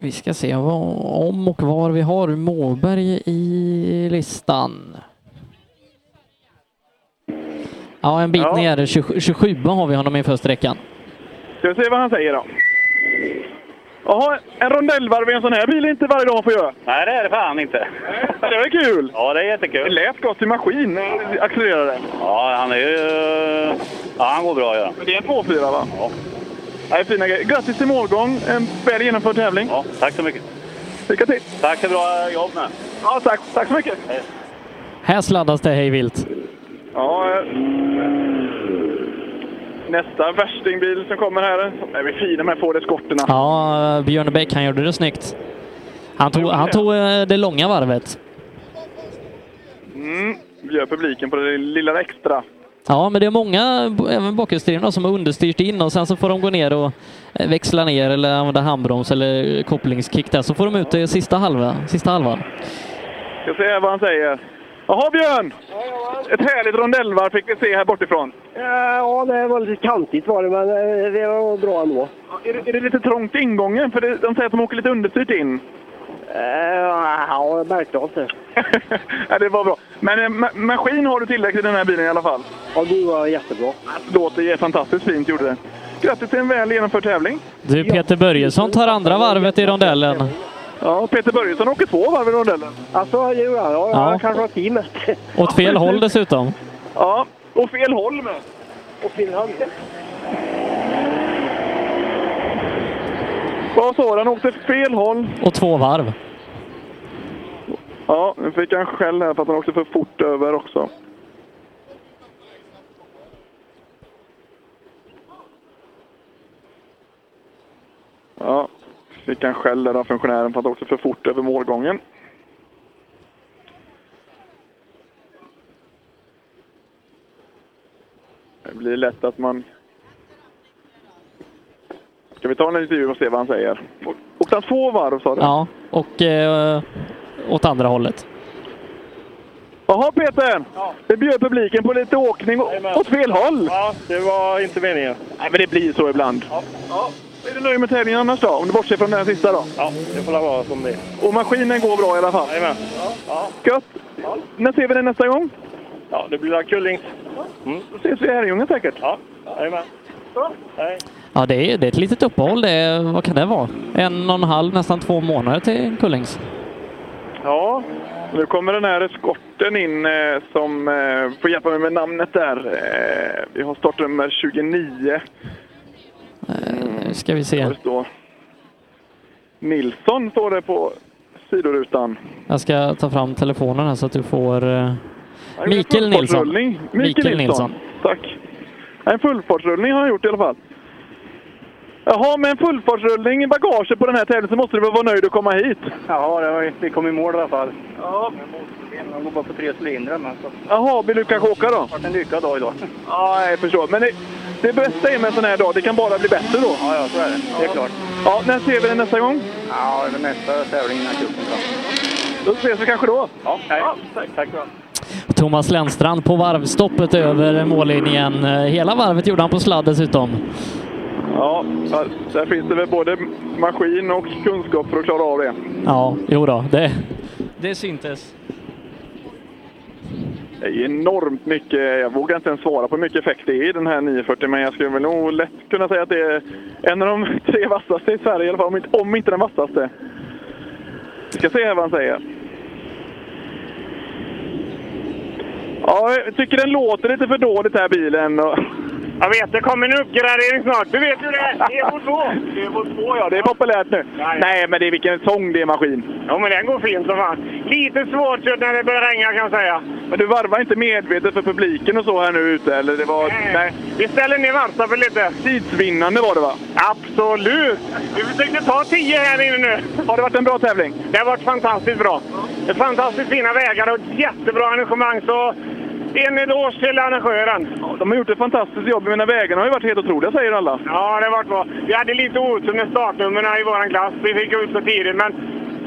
[SPEAKER 3] Vi ska se vad, om och var vi har Moberg i listan. Ja, en bit ner. 27, 27 har vi honom inför sträckan.
[SPEAKER 25] Ska vi se vad han säger då. Jaha, en rondellvarv i en sån här bil är inte varje dag man får göra.
[SPEAKER 29] Nej, det är det fan inte.
[SPEAKER 25] Det var kul!
[SPEAKER 29] Ja, det är jättekul.
[SPEAKER 25] Det lät gott i maskin när det accelererade.
[SPEAKER 29] Ja, han är ju... Ja, han går bra ja.
[SPEAKER 25] Men det är en 2-4 va? Ja. Nej, fina grejer. Grattis till målgång. En väl genomförd tävling.
[SPEAKER 29] Ja, tack så mycket.
[SPEAKER 25] Lycka till!
[SPEAKER 29] Tack för bra jobb med.
[SPEAKER 25] Ja, tack. Tack så mycket.
[SPEAKER 3] Här sladdas det hej vilt.
[SPEAKER 25] Ja. eh, Nästa värstingbil som kommer här. De är fina med Ford Escorterna.
[SPEAKER 3] Ja, Björn Bäck, han gjorde det snyggt. Han tog, han tog eh, det långa varvet.
[SPEAKER 25] Mm, gör publiken på det lilla extra.
[SPEAKER 3] Ja, men det är många, b- även bakhjulsdrivna, som har understyrt in och sen så får de gå ner och eh, växla ner eller använda handbroms eller kopplingskick där, så får de ut det sista halva. Sista halvan.
[SPEAKER 25] Ska se vad han säger. Jaha Björn! Ett härligt rondellvarv fick vi se här bortifrån.
[SPEAKER 22] Ja, det var lite kantigt var det, men eh, det var bra ändå.
[SPEAKER 25] Är det, är det lite trångt i ingången? För det, de säger att de åker lite understyrt in.
[SPEAKER 22] Eh, Ja, jag märkte inte.
[SPEAKER 25] ja, det var bra. Men eh, ma- maskin har du tillräckligt i den här bilen i alla fall?
[SPEAKER 22] Ja, du var jättebra.
[SPEAKER 25] Låter ju fantastiskt fint, gjorde det. Grattis till en väl genomförd tävling.
[SPEAKER 3] Du, Peter Börjesson tar andra varvet i rondellen.
[SPEAKER 25] Ja, Peter Börjesson åker två varv i rondellen.
[SPEAKER 22] Alltså, jo, ja, ja,
[SPEAKER 3] Ja.
[SPEAKER 22] jag kanske har teamet.
[SPEAKER 3] Åt fel håll dessutom.
[SPEAKER 25] Ja, och fel håll med.
[SPEAKER 22] Och Finland.
[SPEAKER 25] Vad sa du? Han åkte fel håll.
[SPEAKER 3] Och två varv.
[SPEAKER 25] Ja, nu fick han skäll här för att han åkte för fort över också. Ja, fick han skäll där av funktionären för att han åkte för fort över målgången. Det blir lätt att man... Ska vi ta en intervju och se vad han säger? Åkte han två varv sa du?
[SPEAKER 3] Ja, och eh, åt andra hållet.
[SPEAKER 25] Jaha Peter! Det bjöd publiken på lite åkning å- åt fel håll. Ja, det var inte meningen. Nej, men det blir så ibland. Är du nöjd med tävlingen annars då? Om du bortser från den här sista då?
[SPEAKER 22] Ja, det får vara som det är.
[SPEAKER 25] Och maskinen går bra i alla fall? Jajamän.
[SPEAKER 22] Ja.
[SPEAKER 25] Gött! När ser vi dig nästa gång?
[SPEAKER 22] Ja, det blir Kullings.
[SPEAKER 20] Mm.
[SPEAKER 25] Då ses vi i Herrljunga säkert.
[SPEAKER 22] Ja, jajamän. Hej.
[SPEAKER 3] Ja, det är, det är ett litet uppehåll. Det är, vad kan det vara? En och en halv, nästan två månader till Kullings.
[SPEAKER 25] Ja, nu kommer den här eskorten in eh, som eh, får hjälpa mig med namnet där. Eh, vi har startnummer 29.
[SPEAKER 3] Nu Eh, ska vi se.
[SPEAKER 25] Där det står Nilsson står det på sidorutan.
[SPEAKER 3] Jag ska ta fram telefonen här så att du får... eh,
[SPEAKER 25] Han gjorde en
[SPEAKER 3] Mikael Nilsson.
[SPEAKER 25] fullfartsrullning. Mikael Nilsson. Tack. En fullfartsrullning har han gjort i alla fall. Jaha, med en fullfartsrullning i bagaget på den här tävlingen så måste du väl vara nöjd att komma hit?
[SPEAKER 22] Ja, det var, vi kom i mål i alla fall. Ja. De går bara på tre cylindrar, men så.
[SPEAKER 25] Jaha, vill du kanske åka då?
[SPEAKER 22] Det var en lyckad dag idag.
[SPEAKER 25] Ja, jag förstår. Men det, det bästa är med en sån här dag, det kan bara bli bättre då.
[SPEAKER 22] Ja, ja, så är det. Det är klart.
[SPEAKER 25] Ja, när ser vi den nästa gång?
[SPEAKER 22] Ja, det är nästa tävling innan cupen.
[SPEAKER 25] Då ses vi kanske då.
[SPEAKER 22] Ja, hej. tack. Tack för
[SPEAKER 3] Thomas Lennstrand på varvstoppet över mållinjen. Eh, Hela varvet gjorde han på sladd dessutom.
[SPEAKER 25] Ja, ja, där finns det väl både maskin och kunskap för att klara av det.
[SPEAKER 3] Ja, jo då, det, det syntes.
[SPEAKER 25] Det är enormt mycket. Jag vågar inte ens svara på hur mycket effekt det är i den här 940, men jag skulle väl nog lätt kunna säga att det är en av de [LAUGHS] tre vassaste i Sverige i alla fall, om inte, om inte den vassaste. Vi ska se här vad han säger. Ja, jag tycker den låter lite för dåligt den här bilen. Och...
[SPEAKER 22] Jag vet, det kommer en uppgradering snart. Du vet ju det! EVO2! EVO2
[SPEAKER 25] Ja, det är populärt nu. Nej, men det är vilken sång det är maskin.
[SPEAKER 22] Ja, men den går fint som fan. Lite svårkört när det börjar regna kan jag säga.
[SPEAKER 25] Men du varvar inte medvetet för publiken och så här nu ute? Eller det var... Nej.
[SPEAKER 22] Vi ställer ner varvstoppet lite.
[SPEAKER 25] Tidsvinnande var det va?
[SPEAKER 22] Absolut! Vi försökte ta 10 här inne nu.
[SPEAKER 25] Har det varit en bra tävling?
[SPEAKER 22] Det har varit fantastiskt bra. Det är fantastiskt fina vägar och ett jättebra arrangemang. Så en eloge till arrangören.
[SPEAKER 25] De har gjort ett fantastiskt jobb. Mina vägarna har ju varit helt otroliga säger alla.
[SPEAKER 22] Ja, det har varit bra. Vi hade lite otur med startnumren i vår klass. Vi fick gå ut så tidigt, men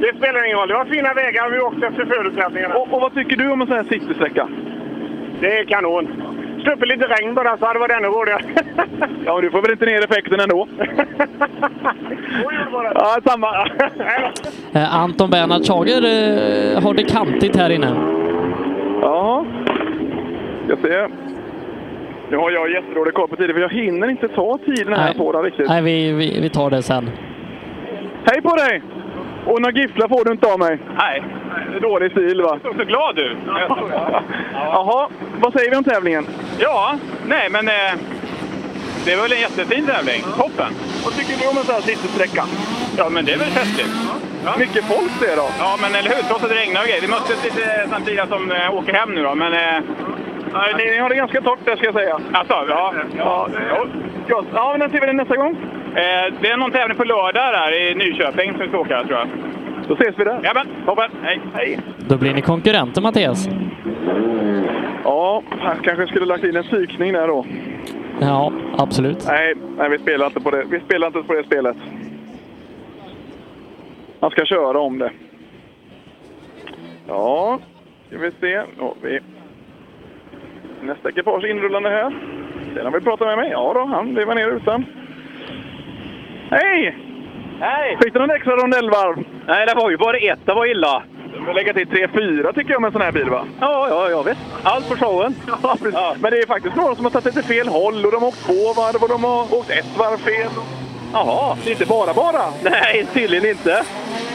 [SPEAKER 22] det spelar ingen roll. Det var fina vägar och vi åkte efter förutsättningarna.
[SPEAKER 25] Och, och vad tycker du om en sån här citysträcka?
[SPEAKER 22] Det är kanon. Sluppit lite regn bara så hade det varit ännu roligare.
[SPEAKER 25] Ja, men du får väl inte ner effekten ändå? [LAUGHS] ja,
[SPEAKER 22] [LAUGHS]
[SPEAKER 25] samma.
[SPEAKER 3] Eh, Anton Bernhard Schager eh, har det kantigt här inne.
[SPEAKER 25] Ja, jag ser. Nu har jag jättedålig koll på tiden för jag hinner inte ta tiden här på den riktigt.
[SPEAKER 3] Nej, vi, vi, vi tar det sen.
[SPEAKER 25] Hej på dig! Och några gifflar får du inte av mig. Nej. Dålig stil va?
[SPEAKER 20] såg så glad ut.
[SPEAKER 25] [LAUGHS] Jaha, vad säger vi om tävlingen?
[SPEAKER 20] Ja, nej men eh, det var väl en jättefin tävling. Toppen!
[SPEAKER 25] Vad tycker du om en sån här citysträcka?
[SPEAKER 20] Ja, men det är väl festligt. Ja.
[SPEAKER 25] Mycket folk det då?
[SPEAKER 20] Ja, men eller hur? Trots att det regnar och grejer. Vi möttes lite samtidigt som eh, åker hem nu då, men... Eh,
[SPEAKER 25] ni har det ganska torrt där ska jag säga.
[SPEAKER 20] Alltså, ja.
[SPEAKER 25] Ja, ja. ja men när ser vi den nästa gång?
[SPEAKER 20] Eh, det är någon tävling på lördag där i Nyköping som vi ska åka, tror jag.
[SPEAKER 25] Då ses vi där.
[SPEAKER 20] Jajamän, toppen! Hej! Hej!
[SPEAKER 3] Då blir ni konkurrenter, Mattias.
[SPEAKER 25] Ja, här kanske jag skulle lagt in en psykning där då.
[SPEAKER 3] Ja, absolut.
[SPEAKER 25] Nej, nej vi, spelar inte på det. vi spelar inte på det spelet. Man ska köra om det. Ja, ska vi se. Då har vi nästa ekipage inrullande här. Ser han vill prata med mig? Ja då, han lever ner utan. Hej! Hej! Fick du någon extra rondellvarv? Nej, det var ju bara ett. Det var illa. Du får lägga till tre, fyra tycker jag med en sån här bil va? Ja, ja, jag vet. Allt för showen. [LAUGHS] Ja, precis. Men det är faktiskt några som har tagit lite fel håll och de har åkt två varv och de har åkt ett varv fel. Jaha. Inte bara bara.
[SPEAKER 20] Nej, tydligen inte.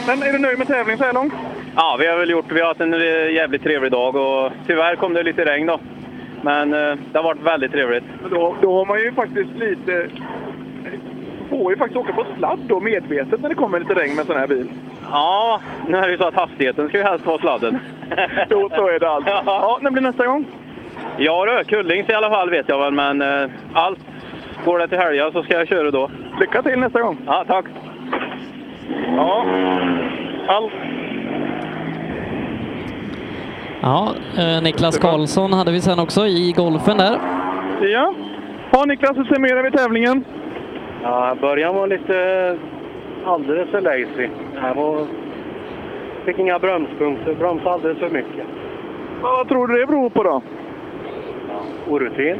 [SPEAKER 25] Men är du nöjd med tävlingen så här långt?
[SPEAKER 20] Ja, vi har väl gjort, vi har haft en eh, jävligt trevlig dag och tyvärr kom det lite regn då. Men eh, det har varit väldigt trevligt.
[SPEAKER 25] Men Då, då har man ju faktiskt lite... Får ju faktiskt åka på sladd då medvetet när det kommer lite regn med en sån här bil.
[SPEAKER 20] Ja, nu är det ju så att hastigheten ska ju helst vara sladden.
[SPEAKER 25] jo, så är det
[SPEAKER 41] [LAUGHS]
[SPEAKER 25] allt. Ja, när blir nästa gång?
[SPEAKER 20] Ja du, Kullings i alla fall vet jag väl, men eh, allt. Går det till helgen så ska jag köra då.
[SPEAKER 25] Lycka till nästa gång!
[SPEAKER 20] Ja, tack!
[SPEAKER 25] Ja, allt.
[SPEAKER 3] Ja, eh, Niklas Karlsson hade vi sen också i golfen där.
[SPEAKER 25] Ja. Ja, Niklas, hur summerar vi tävlingen?
[SPEAKER 41] Ja, början var lite alldeles för lazy. Jag var, fick inga bromspunkter, bromsade alldeles för mycket.
[SPEAKER 25] Vad tror du det beror på då?
[SPEAKER 41] Orutin.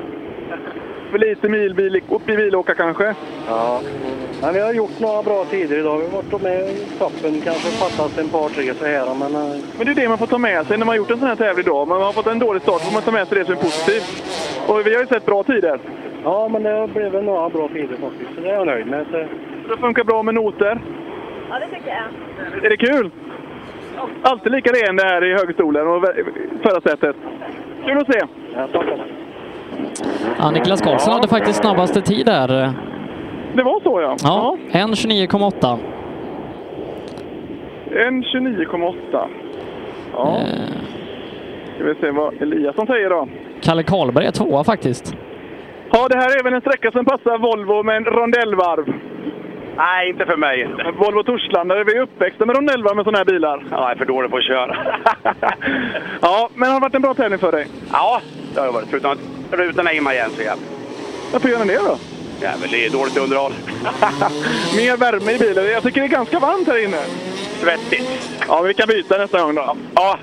[SPEAKER 25] För lite milbil, upp i bilåka kanske?
[SPEAKER 41] Ja. Men vi har gjort några bra tider idag. Vi har varit med i toppen. Kanske fattas en par tre så här. Men eh,
[SPEAKER 25] Men det är det man får ta med sig när man har gjort en sån här tävling då. Men man har fått en dålig start, får man ta med sig det som är positivt. Och vi har ju sett bra tider.
[SPEAKER 41] ja, men det blev väl några bra tider faktiskt. Så det är jag nöjd med. Så,
[SPEAKER 25] Det funkar bra med noter.
[SPEAKER 39] Ja, det tycker jag.
[SPEAKER 25] Är det kul? Alltid lika ren det här i högstolen och förarsätet. Kul att se!
[SPEAKER 3] Ja, Niklas Karlsson hade faktiskt snabbaste tid där.
[SPEAKER 25] Det var så ja.
[SPEAKER 3] Ja, 1.29,8.
[SPEAKER 25] En 29,8. Ja. Ska vi se vad Eliasson säger då.
[SPEAKER 3] Kalle Karlberg är tvåa faktiskt.
[SPEAKER 25] Ja, det här är även en sträcka som passar Volvo med en rondellvarv.
[SPEAKER 20] Nej, inte för mig.
[SPEAKER 25] Volvo Torslanda, vi är uppväxta med rondellvarv med sådana här bilar.
[SPEAKER 20] Jag är för dålig på att köra.
[SPEAKER 25] [LAUGHS] Ja, men har det varit en bra tävling för dig?
[SPEAKER 20] Ja, det har jag varit. Förutom att rutan är imma igen så jävligt.
[SPEAKER 25] Varför gör ni det då?
[SPEAKER 20] Jävlar, det är dåligt underhåll.
[SPEAKER 25] Mer värme i bilen. Jag tycker det är ganska varmt här inne.
[SPEAKER 20] Svettigt.
[SPEAKER 25] Ja, vi kan byta nästa gång då. [LAUGHS] Ja,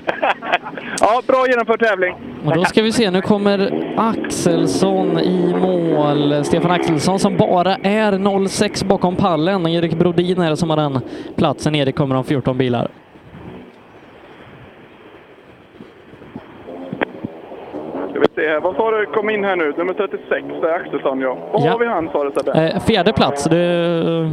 [SPEAKER 25] ja bra genomförd tävling.
[SPEAKER 3] Och då ska vi se, nu kommer Axelsson i mål. Stefan Axelsson som bara är 0,6 bakom pallen. Erik Brodin är det som har den platsen. Erik kommer om 14 bilar.
[SPEAKER 25] Ska vi se här. Vad sa du kom in här nu? Nummer 36, det är Axelsson ja. Vad
[SPEAKER 3] Ja.
[SPEAKER 25] har vi han sa du Sebbe?
[SPEAKER 3] Eh, fjärde plats. Du,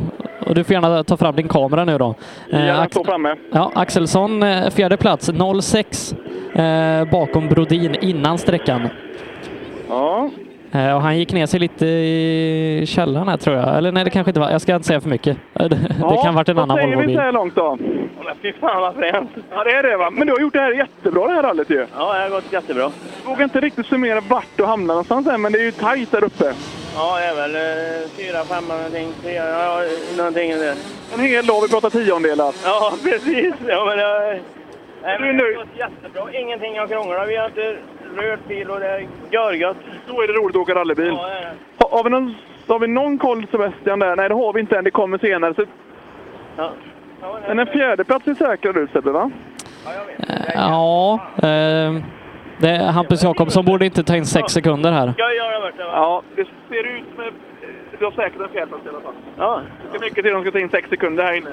[SPEAKER 3] och du får gärna ta fram din kamera nu då. Eh,
[SPEAKER 25] Ja, den
[SPEAKER 3] Ax-
[SPEAKER 25] står framme.
[SPEAKER 3] ja, Axelsson eh, fjärde plats, 0,6 eh, bakom Brodin innan sträckan.
[SPEAKER 25] Ja.
[SPEAKER 3] Eh, och han gick ner sig lite i källaren här tror jag. Eller nej, det kanske inte var. Jag ska inte säga för mycket. [LAUGHS] Eh, Det, det kan ha varit en annan
[SPEAKER 25] Vad säger vi
[SPEAKER 3] Volvobil.
[SPEAKER 25] så här långt då?
[SPEAKER 20] Fy fan vad fränt.
[SPEAKER 25] Ja, det är det va. Men du har gjort det här jättebra det här rallyt ju.
[SPEAKER 20] Ja, det har gått jättebra.
[SPEAKER 25] Jag vågar inte riktigt summera vart du hamnar någonstans än, men det är ju tajt där uppe.
[SPEAKER 20] Ja, det är väl eh, fyra, femma någonting. Fyra, ja, någonting i det.
[SPEAKER 25] En hel dag, vi pratar tiondelar.
[SPEAKER 20] Ja, precis. Ja, men, eh, nej,
[SPEAKER 25] Du är
[SPEAKER 20] men det har
[SPEAKER 25] nöjd?
[SPEAKER 20] gått jättebra. Ingenting har krånglat. Vi har inte rört bil och det är görgött.
[SPEAKER 25] Då är det roligt att åka rallybil.
[SPEAKER 20] Ja, det är det.
[SPEAKER 25] Ha, har, vi någon, har vi någon koll Sebastian där? Nej, det har vi inte än. Det kommer senare. Så,
[SPEAKER 20] Ja.
[SPEAKER 25] men en fjärdeplats är säkrad ut Sebbe va?
[SPEAKER 3] Eh, Ja, eh, det är Hampus Jakobsson borde inte ta in sex sekunder här.
[SPEAKER 25] Ja, jag har varit det. Ja, det ser ut med... Du har säkert en fjärdeplats i alla fall.
[SPEAKER 20] Ja.
[SPEAKER 25] Det ska mycket till de ska ta in sex sekunder här inne.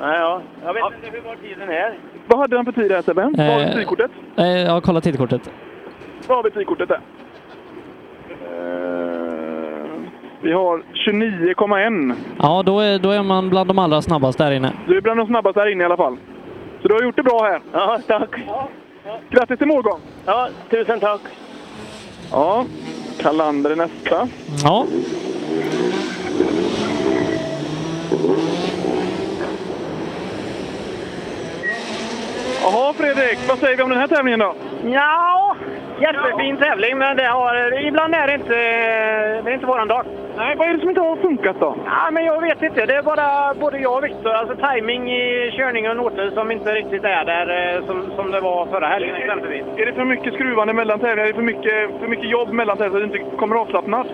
[SPEAKER 20] Ja, ja. Jag vet inte hur var tiden är.
[SPEAKER 25] Vad hade han för tid här Sebbe? Vad har vi
[SPEAKER 3] Eh.
[SPEAKER 25] tidkortet?
[SPEAKER 3] Eh, ja, kolla tidkortet.
[SPEAKER 25] Vad har vi tidkortet där? Eh, Vi har 29,1.
[SPEAKER 3] Ja, då är, då är man bland de allra snabbaste där inne.
[SPEAKER 25] Du är bland de snabbaste här inne i alla fall. Så du har gjort det bra här.
[SPEAKER 20] Ja, tack.
[SPEAKER 25] Grattis till målgång!
[SPEAKER 20] Ja, tusen tack.
[SPEAKER 25] Ja, Kalander är nästa.
[SPEAKER 3] Ja.
[SPEAKER 25] Jaha Fredrik, vad säger vi om den här tävlingen då?
[SPEAKER 20] Ja, jättefin tävling, men det har, ibland är det inte, det är inte våran dag.
[SPEAKER 25] Nej, vad är det som inte har funkat då?
[SPEAKER 20] Ja, men jag vet inte. Det är bara både jag och Viktor, alltså timing i körning och noter som inte riktigt är där eh, som, som det var förra helgen exempelvis.
[SPEAKER 25] Är det för mycket skruvande mellan tävlingar? Är det för mycket, för mycket jobb mellan tävlingar så att du inte kommer avslappnat?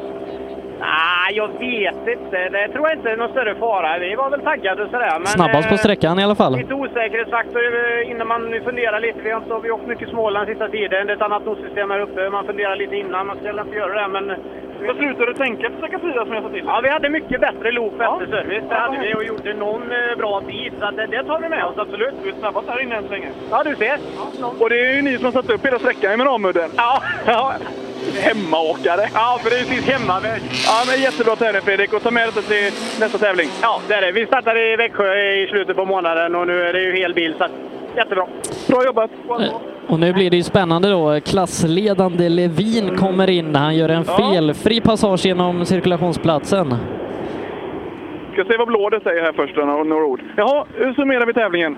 [SPEAKER 20] Nej, jag vet inte. Det tror jag inte är någon större fara. Vi var väl taggade och sådär. Men, eh,
[SPEAKER 3] Snabbast på sträckan i alla fall.
[SPEAKER 20] Lite osäkerhetsfaktor eh, innan man funderar lite. Vi har, inte, vi har åkt mycket Småland sista tiden. Det är ett annat nossystem här uppe. Man funderar lite innan. Man ska inte göra det, men... Jag slutade tänka på sträcka fyra som jag sa till Ja, vi hade mycket bättre lok och efterservice. Det hade vi och gjorde någon eh, bra tid. Så att det, det tar vi med oss, absolut. Vi är snabbast här inne än så länge. Ja, du ser.
[SPEAKER 25] Och det är ju ni som har satt upp hela sträckan med ramudden.
[SPEAKER 20] Ja, ja.
[SPEAKER 25] Hemmaåkare.
[SPEAKER 20] Ja, precis. Hemmaväg.
[SPEAKER 25] Ja, men jättebra tävling Fredrik och ta med detta till nästa tävling.
[SPEAKER 20] Ja, det är det. Vi startar i Växjö i slutet på månaden och nu är det ju hel bil. Så att, jättebra. Bra jobbat!
[SPEAKER 3] Och nu blir det ju spännande då. Klassledande Levin kommer in. Han gör en felfri passage genom cirkulationsplatsen.
[SPEAKER 25] Ska se vad Blådet säger här först, några några ord. Jaha, hur summerar vi tävlingen?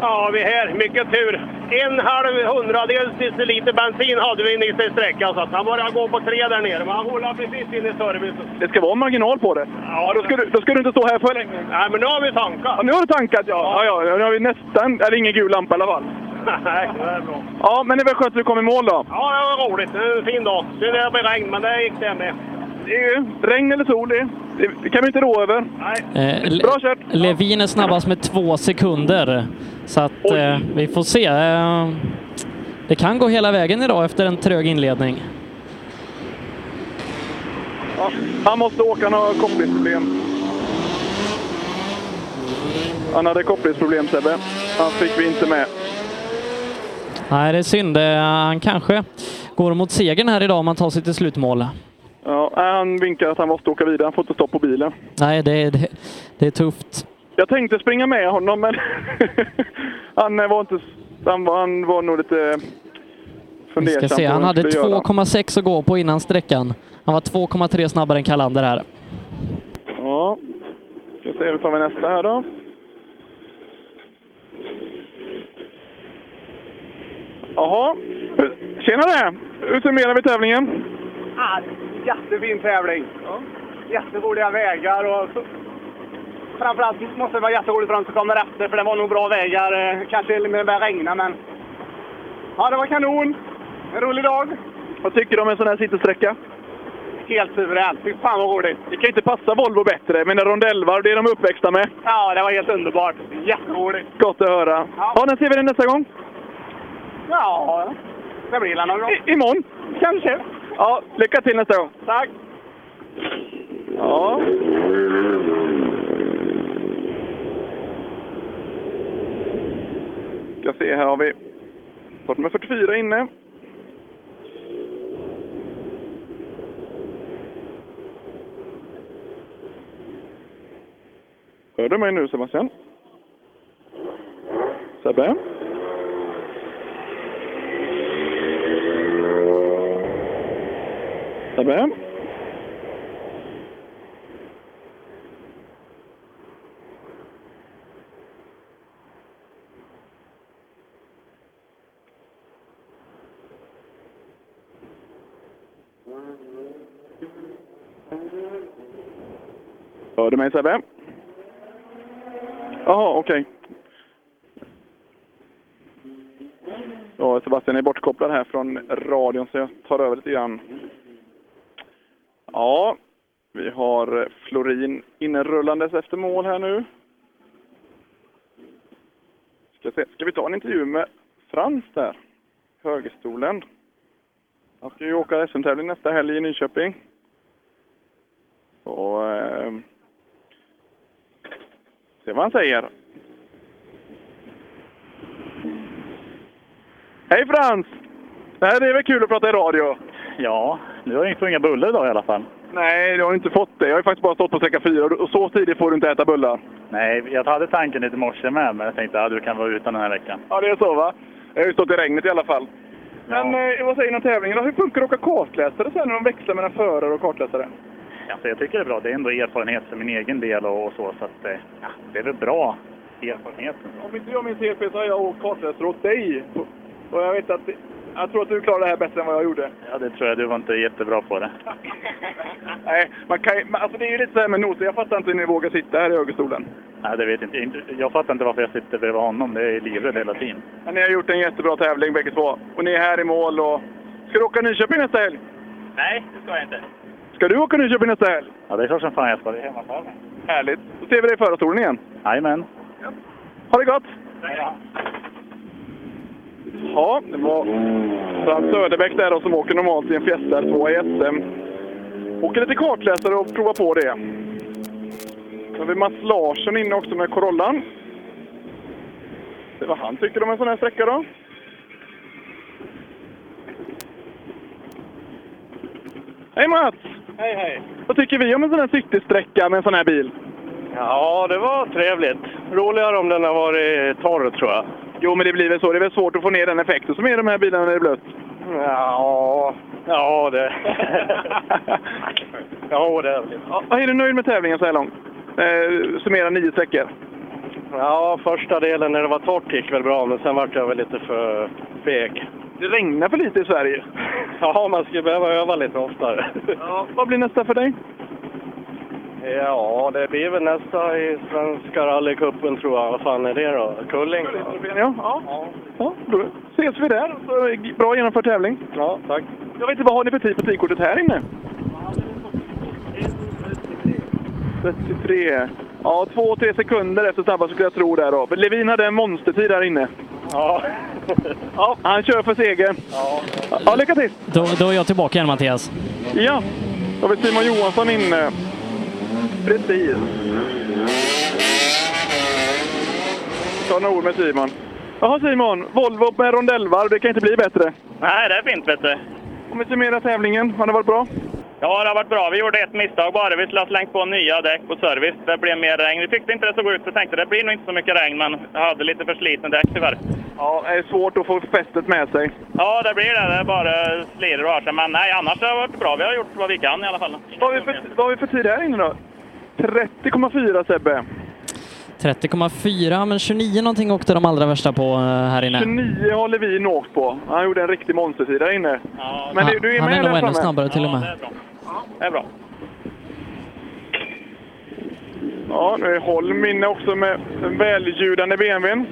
[SPEAKER 22] Ja, vi är här. Mycket tur. En halv hundradels deciliter bensin hade vi nyss i sträckan, så att han började gå på tre där nere. Men han håller precis in i servicen.
[SPEAKER 25] Det ska vara marginal på det. Ja, då ska du, då ska du inte stå här för länge.
[SPEAKER 22] Nej, men nu har vi
[SPEAKER 25] Ja,
[SPEAKER 22] tankat. [LAUGHS]
[SPEAKER 25] nu har du tankat ja. Ja, ja. Nu har vi nästan, eller ingen gul lampa i alla fall.
[SPEAKER 22] Nej, det är bra.
[SPEAKER 25] Ja, men det är väl skönt att du kom i mål då.
[SPEAKER 22] Ja, det var roligt. Det är en fin dag. Synd att det blir regn, men det gick det med.
[SPEAKER 25] Det är ju regn eller sol, det, det kan vi inte rå över.
[SPEAKER 3] Eh, Le-
[SPEAKER 25] Bra kört!
[SPEAKER 3] Levin är snabbast med två sekunder. Så att eh, vi får se. Eh, det kan gå hela vägen idag efter en trög inledning.
[SPEAKER 25] Ja, han måste åka, han har kopplingsproblem. Han hade kopplingsproblem Sebbe. Han fick vi inte med.
[SPEAKER 3] Nej, det är synd. Eh, Han kanske går mot segern här idag om han tar sig till slutmål.
[SPEAKER 25] Ja, nej, han vinkar att han måste åka vidare, han får inte stopp på bilen.
[SPEAKER 3] Nej, det, det, det är tufft.
[SPEAKER 25] Jag tänkte springa med honom men [LAUGHS] han eh, var inte... Han var, han var nog lite eh,
[SPEAKER 3] Vi
[SPEAKER 25] fundersam.
[SPEAKER 3] ska se.
[SPEAKER 25] på
[SPEAKER 3] Han
[SPEAKER 25] hur
[SPEAKER 3] hade
[SPEAKER 25] skulle göra.
[SPEAKER 3] 2,6 att gå på innan sträckan. Han var 2,3 snabbare än Kalander här.
[SPEAKER 25] Ja. Ska se, vi tar vi nästa här då. Jaha. Tjenare! Hur summerar vi tävlingen?
[SPEAKER 22] Ja, jättefin tävling. Jätteroliga vägar och framförallt måste det vara jätteroligt för de som kommer efter för det var nog bra vägar. Eh, Kanske till och med det började regna men... Ja, det var kanon! En rolig dag.
[SPEAKER 25] Vad tycker du om en sån här citysträcka?
[SPEAKER 22] Helt suveränt. Fy fan vad roligt!
[SPEAKER 25] Det kan inte passa Volvo bättre. Mina rondellvarv, det är de uppväxta med.
[SPEAKER 22] Ja, det var helt underbart. Jätteroligt!
[SPEAKER 25] Gott att höra. Ja, när ser vi dig nästa gång?
[SPEAKER 22] Ja, det blir det någon gång.
[SPEAKER 25] I, imorgon? Kanske. Ja, lycka till nästa gång.
[SPEAKER 22] Tack!
[SPEAKER 25] Ja. Ska se, här har vi start nummer 44 inne. Hör du mig nu Sebastian? Sebbe? Sebbe? Hör du mig Sebbe? Jaha, okej. Ja, Sebastian är bortkopplad här från radion så jag tar över lite grann. Ja, vi har Florin inrullandes efter mål här nu. Ska, se. ska vi ta en intervju med Frans där? Högerstolen. Han ska ju åka SM-tävling nästa helg i Nyköping. Och... ehm, Se vad han säger. Hej Frans! Nej, det är väl kul att prata i radio?
[SPEAKER 34] Ja, du har inte fått inga bullar idag i alla fall.
[SPEAKER 25] Nej, jag har inte fått det. Jag har ju faktiskt bara stått på sträcka fyra och så tidigt får du inte äta bullar.
[SPEAKER 34] Nej, jag hade tanken lite i morse med, men jag tänkte att ja, du kan vara utan den här veckan.
[SPEAKER 25] Ja, det är så va? Jag har ju stått i regnet i alla fall. Men eh, vad säger ni om tävlingen? Hur funkar det att åka kartläsare sen när de växlar mellan förare och kartläsare?
[SPEAKER 34] Alltså, jag tycker det är bra. Det är ändå erfarenhet för min egen del och, och så, så att eh, ja, det är väl bra erfarenhet.
[SPEAKER 25] Om inte jag minns helt fel så har jag åkt kartläsare åt dig. Och jag vet att... Jag tror att du klarar det här bättre än vad jag
[SPEAKER 34] [LAUGHS]
[SPEAKER 25] gjorde.
[SPEAKER 34] Ja, det tror jag. Du var inte jättebra på det.
[SPEAKER 25] Nej, man kan ju- men alltså det är ju lite så här med noter. Jag fattar inte hur ni vågar sitta här i högerstolen.
[SPEAKER 34] Nej, det vet jag inte. inte. Jag fattar inte varför jag sitter bredvid honom. Det är livrädd hela tiden.
[SPEAKER 25] Men ni har gjort en jättebra tävling bägge två. Och ni är här i mål och... Ska du åka Nyköping nästa helg?
[SPEAKER 34] Nej, det ska jag inte.
[SPEAKER 25] Ska du åka Nyköping nästa helg?
[SPEAKER 42] Ja, det är klart som fan jag ska. Det är hemmafall.
[SPEAKER 25] Härligt. Då ser vi dig i förarstolen igen.
[SPEAKER 42] Jajamän.
[SPEAKER 25] Ha det gott! Ja, det var Frans Söderbäck där då, som åker normalt i en Fiesta R2 i SM. Åker lite kartläsare och provar på det. Sen har vi Mats Larsson inne också med Corollan. Se vad han tycker om en sån här sträcka då. Hej Mats!
[SPEAKER 20] Hej, hej.
[SPEAKER 25] Vad tycker vi om en sån här citysträcka med en sån här bil?
[SPEAKER 20] Ja, det var trevligt. Roligare om den har varit torr, tror jag.
[SPEAKER 25] Jo, men det blir väl så. Det är väl svårt att få ner den effekten som är i de här bilarna när det är blött.
[SPEAKER 20] Ja, ja det...
[SPEAKER 39] [LAUGHS]
[SPEAKER 20] ja, det är det.
[SPEAKER 25] Ja, är du nöjd med tävlingen så här långt? Eh, summera nio sträckor.
[SPEAKER 20] Ja, första delen när det var torrt gick väl bra, men sen vart jag väl lite för feg.
[SPEAKER 25] Det regnar för lite i Sverige.
[SPEAKER 20] Ja, man skulle behöva öva lite oftare.
[SPEAKER 25] Ja, vad blir nästa för dig?
[SPEAKER 20] Ja, det blir väl nästa i Svenska rallycupen, tror jag. Vad fan är det då? Kulling?
[SPEAKER 25] Ja, ja. ja då ses vi där. Så, Bra genomförd tävling.
[SPEAKER 20] Ja, tack.
[SPEAKER 25] Jag vet inte, vad har ni för tid på tidkortet här inne? 33. Ja, två, tre sekunder efter snabbast skulle jag tro där då. Men Levin hade en monstertid där inne.
[SPEAKER 20] Ja.
[SPEAKER 25] [LAUGHS] ja, han kör för seger. Ja, ja lycka till!
[SPEAKER 3] Då, då är jag tillbaka igen Mattias.
[SPEAKER 25] Ja, då har vi Simon Johansson inne. Precis. Ta några ord med Simon. Jaha Simon, Volvo med rondellvarv, det kan inte bli bättre.
[SPEAKER 34] Nej, det är fint vet du.
[SPEAKER 25] Om vi summerar tävlingen, har det varit bra?
[SPEAKER 34] Ja, det har varit bra. Vi gjorde ett misstag bara. Vi skulle ha slängt på nya däck och service. Det blev mer regn. Vi tyckte inte det såg ut. Vi tänkte det blir nog inte så mycket regn, men jag hade lite förslitna däck tyvärr.
[SPEAKER 25] Ja, det är svårt att få fästet med sig.
[SPEAKER 34] Ja, det blir det. Det är bara slirar och har sig. Men nej, annars har det varit bra. Vi har gjort vad vi kan i alla fall.
[SPEAKER 25] Vad har vi för, vad har vi för tid här inne då? 30,4 Sebbe.
[SPEAKER 3] 30,4, men 29 någonting åkte de allra värsta på eh, här inne.
[SPEAKER 25] 29 har Levin åkt på. Han gjorde en riktig monstertid där inne. Men du, du är
[SPEAKER 3] han
[SPEAKER 25] med
[SPEAKER 3] är
[SPEAKER 25] där
[SPEAKER 3] nog ännu
[SPEAKER 25] framme.
[SPEAKER 3] snabbare till och med.
[SPEAKER 34] Det är bra.
[SPEAKER 25] Ja, nu är Holm inne också med den väljudande BMWn.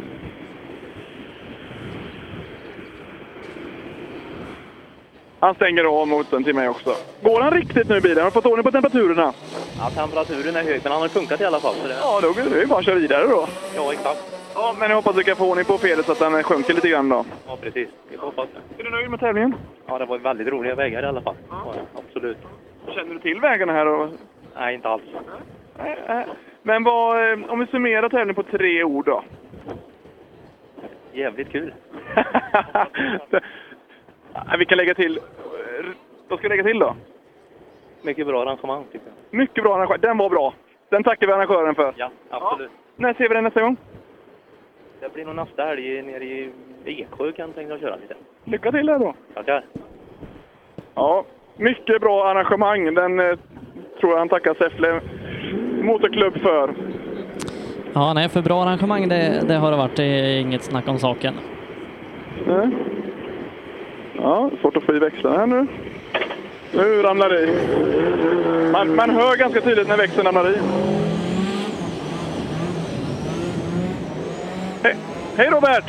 [SPEAKER 25] Han stänger av motorn till mig också. Går han riktigt nu i bilen? Har du fått ordning på temperaturerna?
[SPEAKER 34] Ja, temperaturen är hög, men han har funkat i alla fall. Så det...
[SPEAKER 25] Ja, då är det ju bara att köra vidare då.
[SPEAKER 34] ja, exakt.
[SPEAKER 25] Ja, men jag hoppas du kan få ordning på felet så att den sjunker lite grann då.
[SPEAKER 34] Ja, precis. Vi får hoppas det.
[SPEAKER 25] Är du nöjd med tävlingen?
[SPEAKER 34] Ja, det var väldigt roliga vägar i alla fall. Ja. Absolut.
[SPEAKER 25] Känner du till vägarna här? Och...
[SPEAKER 34] Nej, inte alls.
[SPEAKER 25] Nej, nej. Men vad, eh, om vi summerar tävlingen på tre ord då?
[SPEAKER 34] Jävligt kul.
[SPEAKER 25] Nej, Vi kan lägga till... eh, Vad ska vi lägga till då?
[SPEAKER 34] Mycket bra arrangemang, tycker
[SPEAKER 25] [LAUGHS]
[SPEAKER 34] jag.
[SPEAKER 25] Mycket bra arrangör. Den var bra. Den tackar vi arrangören för.
[SPEAKER 34] Ja, absolut.
[SPEAKER 25] När ser vi den nästa gång?
[SPEAKER 34] Det blir nog nästa helg nere i Eksjö kan jag tänka mig att köra lite.
[SPEAKER 25] Lycka till där då!
[SPEAKER 34] Tackar.
[SPEAKER 25] Ja, mycket bra arrangemang. Den eh, tror jag han tackar Säffle Motorklubb för.
[SPEAKER 3] Ja, nej, för bra arrangemang det, det har det varit. Det är inget snack om saken.
[SPEAKER 25] Nej. Mm. Ja, svårt att få i växlarna här nu. Nu ramlar det i. Man, man hör ganska tydligt när växeln ramlar i. He- Hej Robert!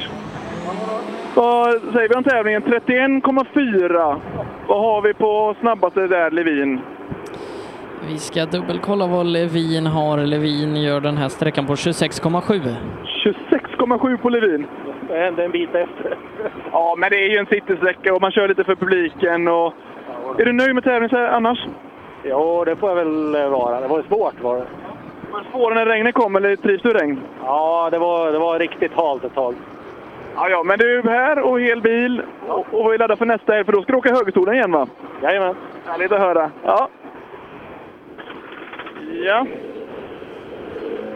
[SPEAKER 25] Vad säger vi om tävlingen? 31,4. Vad har vi på snabbaste där, Levin?
[SPEAKER 3] Vi ska dubbelkolla vad Levin har. Levin gör den här sträckan på 26,7.
[SPEAKER 25] 26,7 på Levin.
[SPEAKER 20] Det hände en bit efter.
[SPEAKER 25] Ja, men det är ju en citysträcka och man kör lite för publiken. Och... Är du nöjd med tävlingen så här annars?
[SPEAKER 20] Jo, det får jag väl eh, vara. Det var ju svårt var det.
[SPEAKER 25] Men svårare när regnet kom, eller trivs du i regn?
[SPEAKER 20] Ja, det var, det var riktigt halt ett tag.
[SPEAKER 25] Ja, ja, men du är här och hel bil och, och vi laddar för nästa helg för då ska du åka högerstolen igen va?
[SPEAKER 20] Jajamän.
[SPEAKER 25] Härligt att höra. Ja. Ja.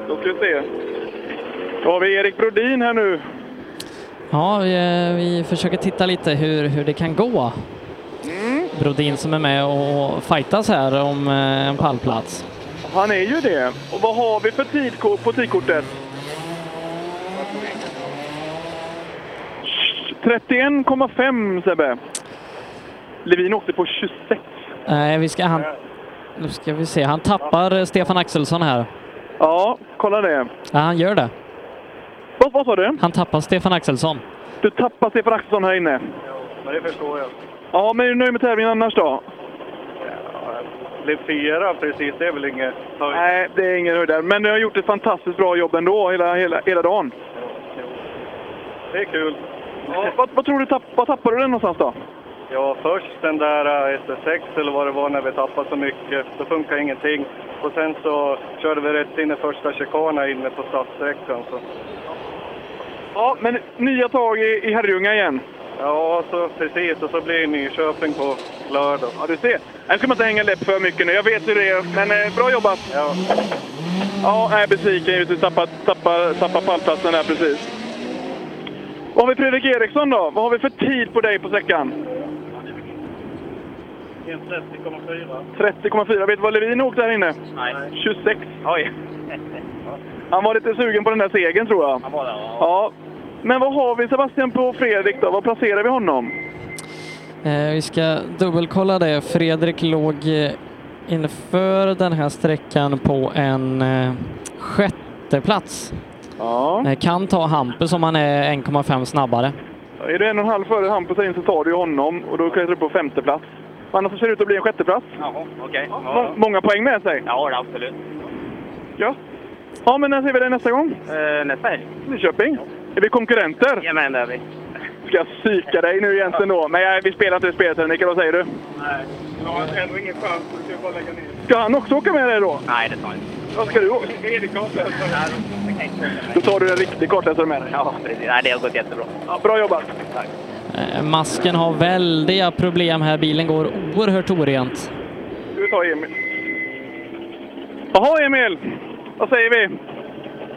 [SPEAKER 25] Då ska vi se. Då har vi Erik Brodin här nu.
[SPEAKER 3] Ja, vi, eh, vi försöker titta lite hur, hur det kan gå. Brodin som är med och fightas här om eh, en pallplats.
[SPEAKER 25] Han är ju det. Och vad har vi för tidkort på tidkortet? 31,5 Sebbe. Levin åkte på 26.
[SPEAKER 3] Nej, Eh, vi ska, han, nu ska vi se. Han tappar eh, Stefan Axelsson här.
[SPEAKER 25] Ja, kolla det.
[SPEAKER 3] Ja, han gör det.
[SPEAKER 25] Vad, vad sa du?
[SPEAKER 3] Han tappar Stefan Axelsson.
[SPEAKER 25] Du tappar Stefan Axelsson här inne.
[SPEAKER 20] Men det förstår jag.
[SPEAKER 25] Ja, men är du nöjd med tävlingen annars då?
[SPEAKER 18] exemplifiera precis. Det är väl inget...
[SPEAKER 25] Nej, det är ingen höjdare. Men du har gjort ett fantastiskt bra jobb ändå, hela, hela, hela dagen.
[SPEAKER 18] Det är kul.
[SPEAKER 25] Vad, vad tror du, tapp, vad tappade du den någonstans då?
[SPEAKER 18] Ja, först den där eh, SS6 eller vad det var när vi tappade så mycket. Då funkade ingenting. Och sen så körde vi rätt in i första chikanen inne på stadssträckan. Så.
[SPEAKER 25] Ja, men nya tag i, i Herrljunga igen.
[SPEAKER 18] Ja, så precis. Och så blir det Nyköping på lördag.
[SPEAKER 25] Ja, du ser. Nu ska man inte hänga läpp för mycket nu. Jag vet hur det är, men eh, bra jobbat!
[SPEAKER 18] Ja.
[SPEAKER 25] Ja, jag är besviken givetvis. Tappa, tappa, tappa pallplatsen där precis. Vad har vi Fredrik Eriksson då? Vad har vi för tid på dig på sträckan?
[SPEAKER 20] 30,4.
[SPEAKER 25] 30,4. Vet du vad Levin åkte här inne?
[SPEAKER 20] Nej.
[SPEAKER 25] 26.
[SPEAKER 39] [LAUGHS]
[SPEAKER 25] Oj. Han var lite sugen på den där segern tror jag.
[SPEAKER 20] Han var det, ja.
[SPEAKER 25] Ja. Men vad har vi Sebastian på Fredrik då? Vad placerar vi honom?
[SPEAKER 3] Eh, Vi ska dubbelkolla det. Fredrik låg eh, inför den här sträckan på en eh, sjätte plats.
[SPEAKER 25] Ja.
[SPEAKER 3] Eh, Kan ta Hampus om han är 1,5 snabbare.
[SPEAKER 25] Är du en och en halv före Hampus här in så tar du ju honom och då klättrar du på femte plats. Annars så ser det ut att bli en sjätteplats.
[SPEAKER 20] Jaha, okej.
[SPEAKER 25] Må- många poäng med sig.
[SPEAKER 20] Ja, det absolut.
[SPEAKER 25] Ja. Ja, men när ser vi dig nästa gång?
[SPEAKER 20] Eh, nästa helg.
[SPEAKER 25] Nyköping? Är vi konkurrenter?
[SPEAKER 20] Jajamän, det är vi.
[SPEAKER 25] Ska jag psyka dig nu egentligen då? Men jag, vi spelar inte spelet här, Mikael. Vad säger du?
[SPEAKER 39] Nej, jag har ändå ingen chans. så Du kan bara lägga ner.
[SPEAKER 25] Ska han också åka med dig då?
[SPEAKER 20] Nej, det tar jag inte.
[SPEAKER 25] Vad ska du åka?
[SPEAKER 39] Erik har inte
[SPEAKER 25] Då tar du en riktig kartläsare med dig.
[SPEAKER 20] Ja, precis. Nej, det har gått jättebra.
[SPEAKER 25] Ja, bra jobbat!
[SPEAKER 20] Tack.
[SPEAKER 3] Eh, Masken har väldiga problem här. Bilen går oerhört orent.
[SPEAKER 25] Du tar Emil. Jaha, Emil! Vad säger vi?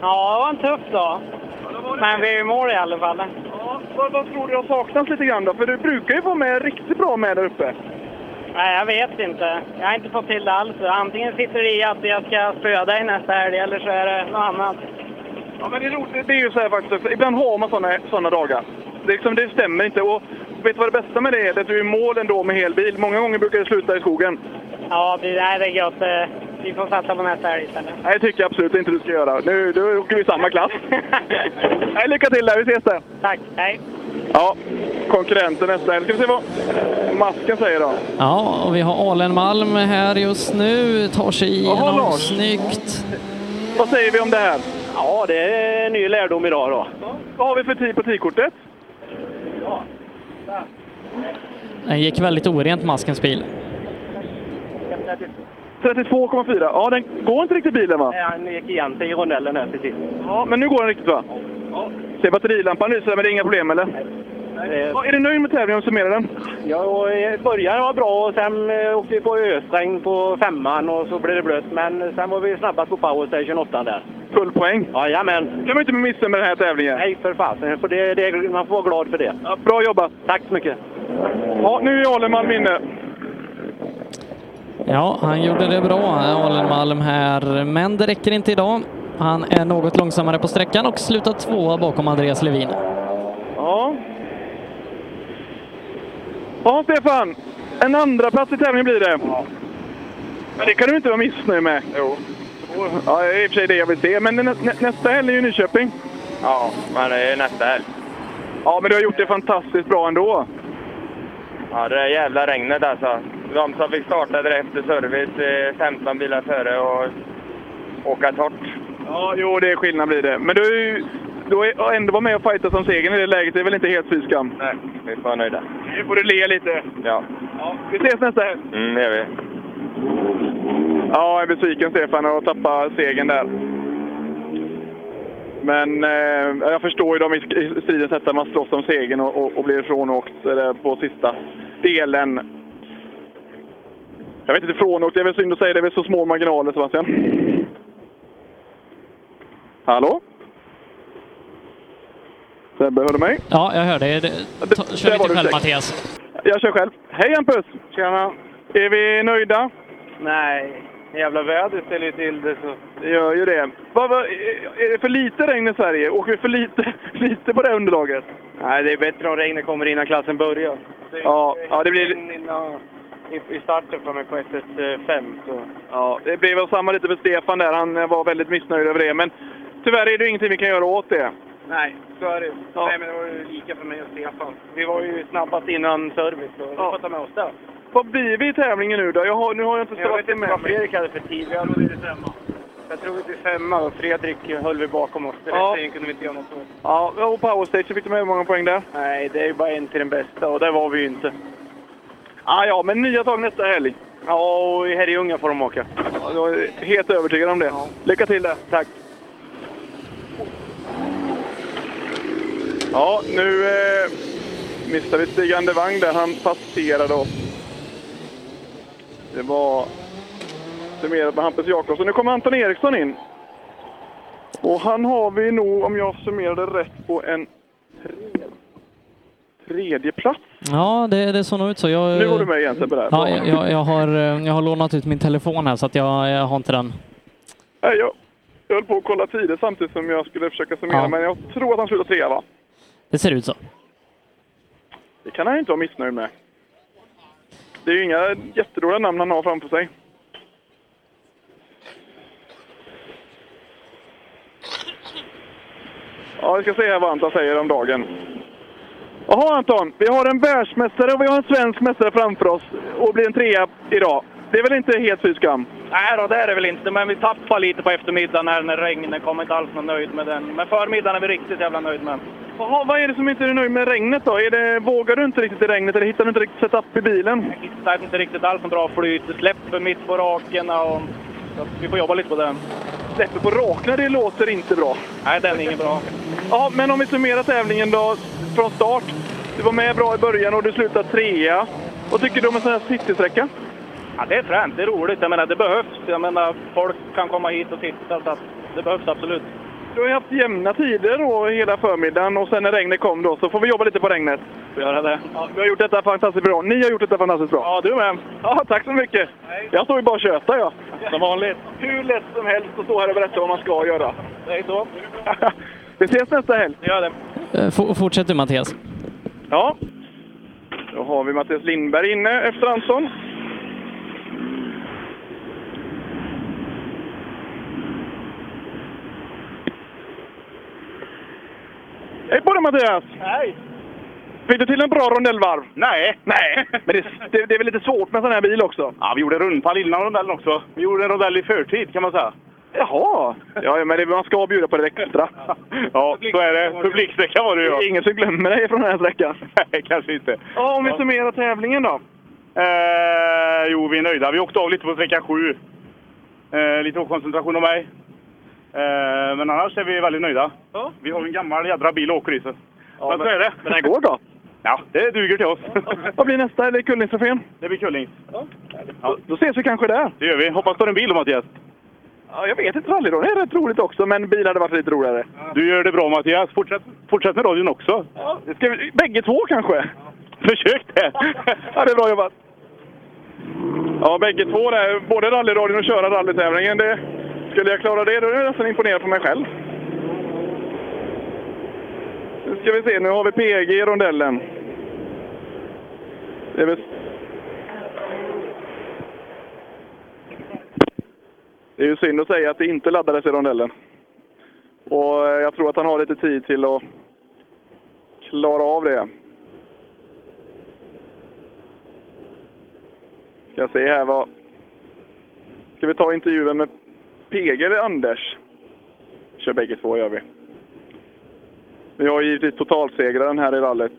[SPEAKER 39] Ja, det var en tuff dag. Men vi är i mål i alla fall.
[SPEAKER 25] Vad, vad tror du har saknats lite grann då? För du brukar ju vara med riktigt bra med där uppe.
[SPEAKER 39] Nej, jag vet inte. Jag har inte fått till det alls. Antingen sitter det i att jag ska spöa dig nästa helg eller så är det något annat.
[SPEAKER 25] Ja, men det är roligt. Det är ju så här faktiskt. också. Ibland har man sådana såna dagar. Det, är liksom, det stämmer inte. Och vet du vad det bästa med det är? Det är att du är i mål ändå med hel bil. Många gånger brukar det sluta i skogen.
[SPEAKER 39] Ja, det, nej, det är gött. Eh, Vi får satsa på nästa helg istället.
[SPEAKER 25] Nej, det tycker jag absolut inte du ska göra. Nu, nu åker vi i samma [LAUGHS] klass. Nej, lycka till där. Vi ses där.
[SPEAKER 39] Tack, hej!
[SPEAKER 25] Ja, konkurrenten nästa helg. Ska vi se vad masken säger då.
[SPEAKER 3] Ja, och vi har Alen Malm här just nu. Tar sig
[SPEAKER 25] Jaha,
[SPEAKER 3] igenom.
[SPEAKER 25] Lars.
[SPEAKER 3] Snyggt.
[SPEAKER 25] Vad säger vi om det här?
[SPEAKER 18] Ja, det är en ny lärdom idag då.
[SPEAKER 25] Vad har vi för tid på tidkortet?
[SPEAKER 3] Den gick väldigt orent, Maskens bil.
[SPEAKER 25] 32,4. Ja, den går inte riktigt bilen va?
[SPEAKER 20] Nej, han gick igen sig i rondellen här precis.
[SPEAKER 25] Ja, men nu går den riktigt va?
[SPEAKER 20] Ja.
[SPEAKER 25] Ser batterilampan lyser, men det är inga problem eller? Ja, är du nöjd med tävlingen om du summerar den?
[SPEAKER 20] Ja, och eh, början var bra och sen eh, åkte vi på ösregn på femman och så blev det blött. Men sen var vi snabbast på powerstation 8 där.
[SPEAKER 25] Full poäng?
[SPEAKER 20] Jajamän.
[SPEAKER 25] kan man inte missa med den här tävlingen.
[SPEAKER 20] Nej, för fasen. För det, det, man får vara glad för det.
[SPEAKER 25] Ja, bra jobbat.
[SPEAKER 20] Tack så mycket.
[SPEAKER 25] Ja, nu är Aleman inne.
[SPEAKER 3] Ja, han gjorde det bra, Alen Malm här, men det räcker inte idag. Han är något långsammare på sträckan och slutar tvåa bakom Andreas Levin.
[SPEAKER 25] Ja. Ja, Stefan. En andra plats i tävlingen blir det. Men det kan du inte vara missnöjd med. Jo. Ja, det är i och för sig det jag vill se. Men nä nä- nästa helg är ju Nyköping.
[SPEAKER 22] Ja, men det är ju nästa helg.
[SPEAKER 25] Ja, men du har gjort det fantastiskt bra ändå.
[SPEAKER 22] Ja, det där jävla regnet alltså. De som fick starta direkt efter service, eh, 15 bilar före och åka torrt.
[SPEAKER 25] Ja, jo, det är skillnad blir det. Men du, är ju- du har ju ändå varit med och fightat som segern i det läget. Det är väl inte helt fy skam?
[SPEAKER 22] Nej, vi får vara nöjda.
[SPEAKER 25] Nu får du le lite.
[SPEAKER 22] Ja,
[SPEAKER 25] Ja, vi ses nästa helg.
[SPEAKER 22] mm, det gör vi.
[SPEAKER 25] Ja, jag är besviken Stefan att tappa segern där. Men eh, jag förstår ju dem i i stridens hetta. Man slåss om segern och, och, och blir ifrånåkt eh, på sista delen. Jag vet inte frånåkt, det är väl synd att säga. Det är väl så små marginaler Sebastian. Hallå? Sebbe, hör du mig?
[SPEAKER 3] Ja, jag hörde. Det- ta- Kör
[SPEAKER 25] där var
[SPEAKER 3] lite
[SPEAKER 25] du säker.
[SPEAKER 3] själv Mattias.
[SPEAKER 25] Jag kör själv. Hej Hampus!
[SPEAKER 20] Tjena!
[SPEAKER 25] Är vi nöjda?
[SPEAKER 20] Nej, jävla vädret ställer ju till det så...
[SPEAKER 25] Det gör ju det. Vad, vad, är det för lite regn i Sverige? Åker vi för lite, [LAUGHS] lite på det här underlaget?
[SPEAKER 20] Nej, det är bättre om regnet kommer innan klassen börjar.
[SPEAKER 25] Ja, ja, det blir-
[SPEAKER 20] I starten för mig på SS5 så...
[SPEAKER 25] Ja, det blev väl samma lite för Stefan där. Han eh, var väldigt missnöjd över det. Men tyvärr är det ju ingenting vi kan göra åt det.
[SPEAKER 20] Nej, så är det Nej, men det var ju lika för mig och Stefan. Vi var ju snabbast innan service så vi får ta med oss det.
[SPEAKER 25] Vad blir vi i tävlingen nu då? Jag har, nu har jag inte
[SPEAKER 20] Jag vet
[SPEAKER 25] ställt det
[SPEAKER 20] inte
[SPEAKER 25] med
[SPEAKER 20] vad
[SPEAKER 25] mig.
[SPEAKER 20] Fredrik hade för tid. Vi hade blivit femma. Jag tror vi blev femma och Fredrik höll vi bakom oss. Den
[SPEAKER 25] Ja.
[SPEAKER 20] ja. tiden kunde vi inte göra något åt.
[SPEAKER 25] Ja, och powerstage, så fick du med hur många poäng där?
[SPEAKER 20] Nej, det är ju bara en till den bästa och där var vi ju inte.
[SPEAKER 25] Ah, ja, men nya tag nästa helg.
[SPEAKER 20] Ja, och i Herrljunga får de åka.
[SPEAKER 25] Ja, Jag är helt övertygad om det. Lycka till där. Tack. Ja, nu eh, missade vi Stig Andervang där. Han passerade oss. Det var summerat med Hampus Jakobsson. Nu kommer Anton Eriksson in. Och han har vi nog, om jag summerade rätt, på en tre- tredje plats.
[SPEAKER 3] Ja, det, det såg nog ut så. Jag,
[SPEAKER 25] Nu var du med igen, Sebbe, där.
[SPEAKER 3] Ja, jag, jag, jag, har, eh, jag har lånat ut min telefon här så att jag, jag har inte den.
[SPEAKER 25] Nej, jag, jag höll på att kolla tider samtidigt som jag skulle försöka summera,
[SPEAKER 3] Ja.
[SPEAKER 25] men jag tror att han slutar trea, va?
[SPEAKER 3] Det ser ut så.
[SPEAKER 25] Det kan han inte vara missnöjd med. Det är ju inga jättedåliga namn han har framför sig. Ja, vi ska se här vad Anton säger om dagen. Jaha Anton, vi har en världsmästare och vi har en svensk mästare framför oss och blir en trea idag. Det är väl inte helt fy skam?
[SPEAKER 20] Nej då, det är det väl inte. Men vi tappar lite på eftermiddagen här när regnet kom. Inte alls någon nöjd med den. Men förmiddagen är vi riktigt jävla nöjd med.
[SPEAKER 25] Jaha, vad är det som inte är nöjd med regnet då? Är det, vågar du inte riktigt i regnet eller hittar du inte riktigt setup i bilen?
[SPEAKER 20] Det är inte riktigt alls en bra flyt. Det släpper mitt på rakerna och... Så att vi får jobba lite på den.
[SPEAKER 25] Släpper på rakna, det låter inte bra.
[SPEAKER 20] Nej, den är ingen bra.
[SPEAKER 25] Ja, men om vi summerar tävlingen då från start. Du var med bra i början och du slutade trea. Vad tycker du om en sån här citysträcka?
[SPEAKER 20] Ja, det är fränt. Det är roligt. Jag menar, det behövs. Jag menar, folk kan komma hit och titta. Så att det behövs absolut.
[SPEAKER 25] Du har ju haft jämna tider då hela förmiddagen och sen när regnet kom då så får vi jobba lite på regnet.
[SPEAKER 20] Vi göra det.
[SPEAKER 25] Ja, vi har gjort detta fantastiskt bra. Ni har gjort detta fantastiskt bra. Ja, du med. Ja, tack så mycket. Jag står ju bara och tjötar jag. Som vanligt. Hur lätt som helst att stå här och berätta vad man ska göra.
[SPEAKER 20] Det är så.
[SPEAKER 25] [LAUGHS] Vi ses nästa helg.
[SPEAKER 20] Gör det.
[SPEAKER 3] Eh, f- Fortsätt du Mattias.
[SPEAKER 25] Ja. Då har vi Mattias Lindberg inne efter Anton. Hej på dig Mattias!
[SPEAKER 20] Hej!
[SPEAKER 25] Fick du till en bra rondellvarv?
[SPEAKER 22] Nej.
[SPEAKER 25] Nej, men det, det, det är väl lite svårt med en sån här bil också?
[SPEAKER 22] Ja, vi gjorde en rundpall innan rondellen också. Vi gjorde en rondell i förtid kan man säga.
[SPEAKER 25] Jaha! Ja, men det, man ska bjuda på det [LAUGHS] extra.
[SPEAKER 22] Ja, så är det. Publiksträcka var det
[SPEAKER 25] Det
[SPEAKER 22] ju.
[SPEAKER 25] är ingen som glömmer dig från den här sträckan.
[SPEAKER 22] Nej, [LAUGHS] kanske inte.
[SPEAKER 25] Ja, om vi summerar tävlingen då.
[SPEAKER 22] Eh, jo, vi är nöjda. Vi åkte av lite på sträcka sju. Eh, lite okoncentration av mig. Eh, men annars är vi väldigt nöjda.
[SPEAKER 25] Ja.
[SPEAKER 22] Vi har en gammal jädra bil och åker i så. men,
[SPEAKER 25] men-
[SPEAKER 22] så är det.
[SPEAKER 25] men den går
[SPEAKER 22] då? Ja, det duger till oss.
[SPEAKER 25] Vad blir nästa? Är det Kullingstrofén?
[SPEAKER 22] Det blir Kullings. [LAUGHS]
[SPEAKER 25] Ja. Då ses vi kanske där.
[SPEAKER 22] Det gör vi. Hoppas du har en bil då, Mattias.
[SPEAKER 25] Ja, jag vet inte. Rallyrå är rätt roligt också, men bil hade varit lite roligare.
[SPEAKER 22] Du gör det bra Mattias. Fortsätt, fortsätt med radion också.
[SPEAKER 25] Ja, det ska vi, bägge två kanske?
[SPEAKER 22] Försök det!
[SPEAKER 25] [LAUGHS] ja, det är bra jobbat. Ja, bägge två där. Både rallyradion och köra rallytävlingen. Det, skulle jag klara det, då är jag nästan imponerad på mig själv. Nu ska vi se, nu har vi PG i rondellen. Det är väl... Det är ju synd att säga att det inte laddades i rondellen. Och eh, jag tror att han har lite tid till att klara av det. Ska se här vad... Ska vi ta intervjun med PG eller Anders? Kör bägge två gör vi. Vi har givetvis totalsegraren här i rallet.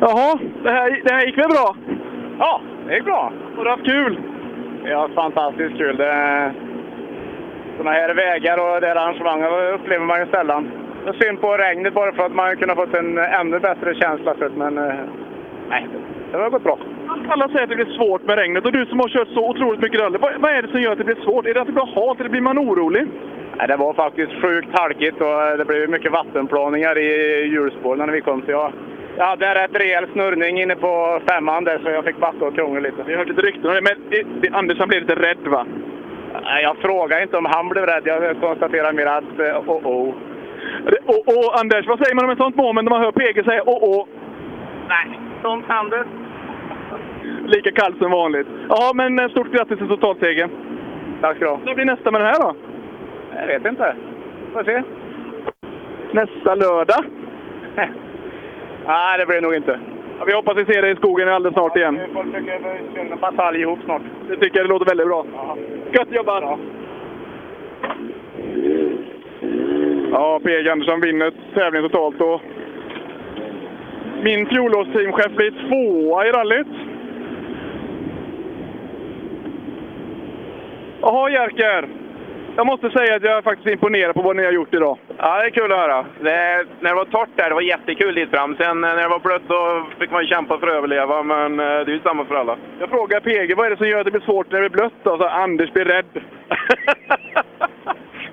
[SPEAKER 25] Jaha, det här, det här gick väl bra?
[SPEAKER 22] Ja, det gick bra.
[SPEAKER 25] Har du haft kul?
[SPEAKER 22] Ja, fantastiskt kul. Det...
[SPEAKER 20] Såna här vägar och det här arrangemanget upplever man ju sällan. Det är synd på regnet bara för att man kunde ha fått en ännu bättre känsla för det, men... eh, Nej, det har gått bra.
[SPEAKER 25] Alla säger att det blir svårt med regnet och du som har kört så otroligt mycket rally. Vad, vad är det som gör att det blir svårt? Är det att det blir halt eller blir man orolig?
[SPEAKER 20] Nej, det var faktiskt sjukt halkigt och eh, det blev mycket vattenplaningar i hjulspåren när vi kom. Så jag, jag hade en rätt rejäl snurrning inne på femman där så jag fick backa och krångla lite.
[SPEAKER 25] Vi har hört lite rykten om det, men det, det, Anders han blev lite rädd va?
[SPEAKER 20] Nej, jag frågade inte om han blev rädd. Jag konstaterar mer att eh, oh-oh.
[SPEAKER 25] Och, och oh, Anders, vad säger man om ett sånt moment när man hör PG säga oh, åh åh?
[SPEAKER 20] Nej, sånt händer.
[SPEAKER 25] Lika kallt som vanligt. Ja, men eh, stort grattis till totalsegern.
[SPEAKER 20] Tack ska du ha.
[SPEAKER 25] Vad blir nästa med det här då?
[SPEAKER 20] Jag vet inte. Får se.
[SPEAKER 25] Nästa lördag? [LAUGHS] Nej, det blir det nog inte. Ja, Vi hoppas vi ser dig i skogen alldeles snart igen.
[SPEAKER 39] Vi får försöka köra en batalj ihop snart.
[SPEAKER 25] Det tycker jag det låter väldigt bra. Gött jobbat! Ja, PG Andersson vinner tävlingen totalt och min fjolårsteamchef blir tvåa i rallyt. Jaha Jerker! Jag måste säga att jag är faktiskt imponerad på vad ni har gjort idag.
[SPEAKER 1] Ja, det är kul att höra. Det, när det var torrt där, det var jättekul dit fram. Sen eh, när det var blött då fick man kämpa för att överleva, men eh, det är ju samma för alla.
[SPEAKER 25] Jag frågar PG, vad är det som gör att det blir svårt när det blir blött? Alltså, Anders blir rädd.
[SPEAKER 1] [LAUGHS]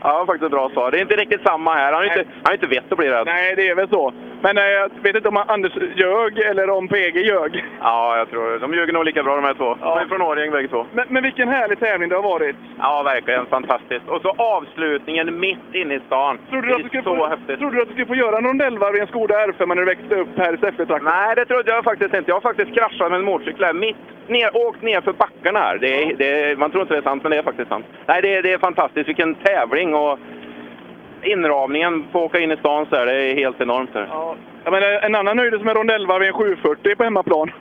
[SPEAKER 1] Ja, det var faktiskt ett bra svar. Det är inte riktigt samma här. Han har ju inte, han har ju inte vett att bli rädd.
[SPEAKER 25] Nej, det är väl så. Men eh, jag vet inte om Anders ljög eller om PG ljög.
[SPEAKER 1] Ja, jag tror De ljuger nog lika bra de här två. De är från Årjäng bägge två.
[SPEAKER 25] Men, men vilken härlig tävling det har varit.
[SPEAKER 1] Ja, verkligen fantastiskt. Och så avslutningen mitt inne i stan.
[SPEAKER 25] Trodde
[SPEAKER 1] det
[SPEAKER 25] du att du skulle
[SPEAKER 1] är
[SPEAKER 25] få-
[SPEAKER 1] så häftigt.
[SPEAKER 25] Trodde du att du skulle få göra en rondellvarv i en Skoda R5 när du växte upp här i Säffletrakten?
[SPEAKER 1] Nej, det trodde jag faktiskt inte. Jag har faktiskt kraschat med en motorcykel här. Mitt ner, åkt ner för backarna här. Det är, det är, man tror inte det är sant, men det är faktiskt sant. Nej, det, är- det är fantastiskt. Vilken tävling och inramningen på att åka in i stan så här, det är helt enormt. Här. Ja.
[SPEAKER 25] Jag menar, Eh, en annan nöjde som en rondellvarv i en 740 på hemmaplan.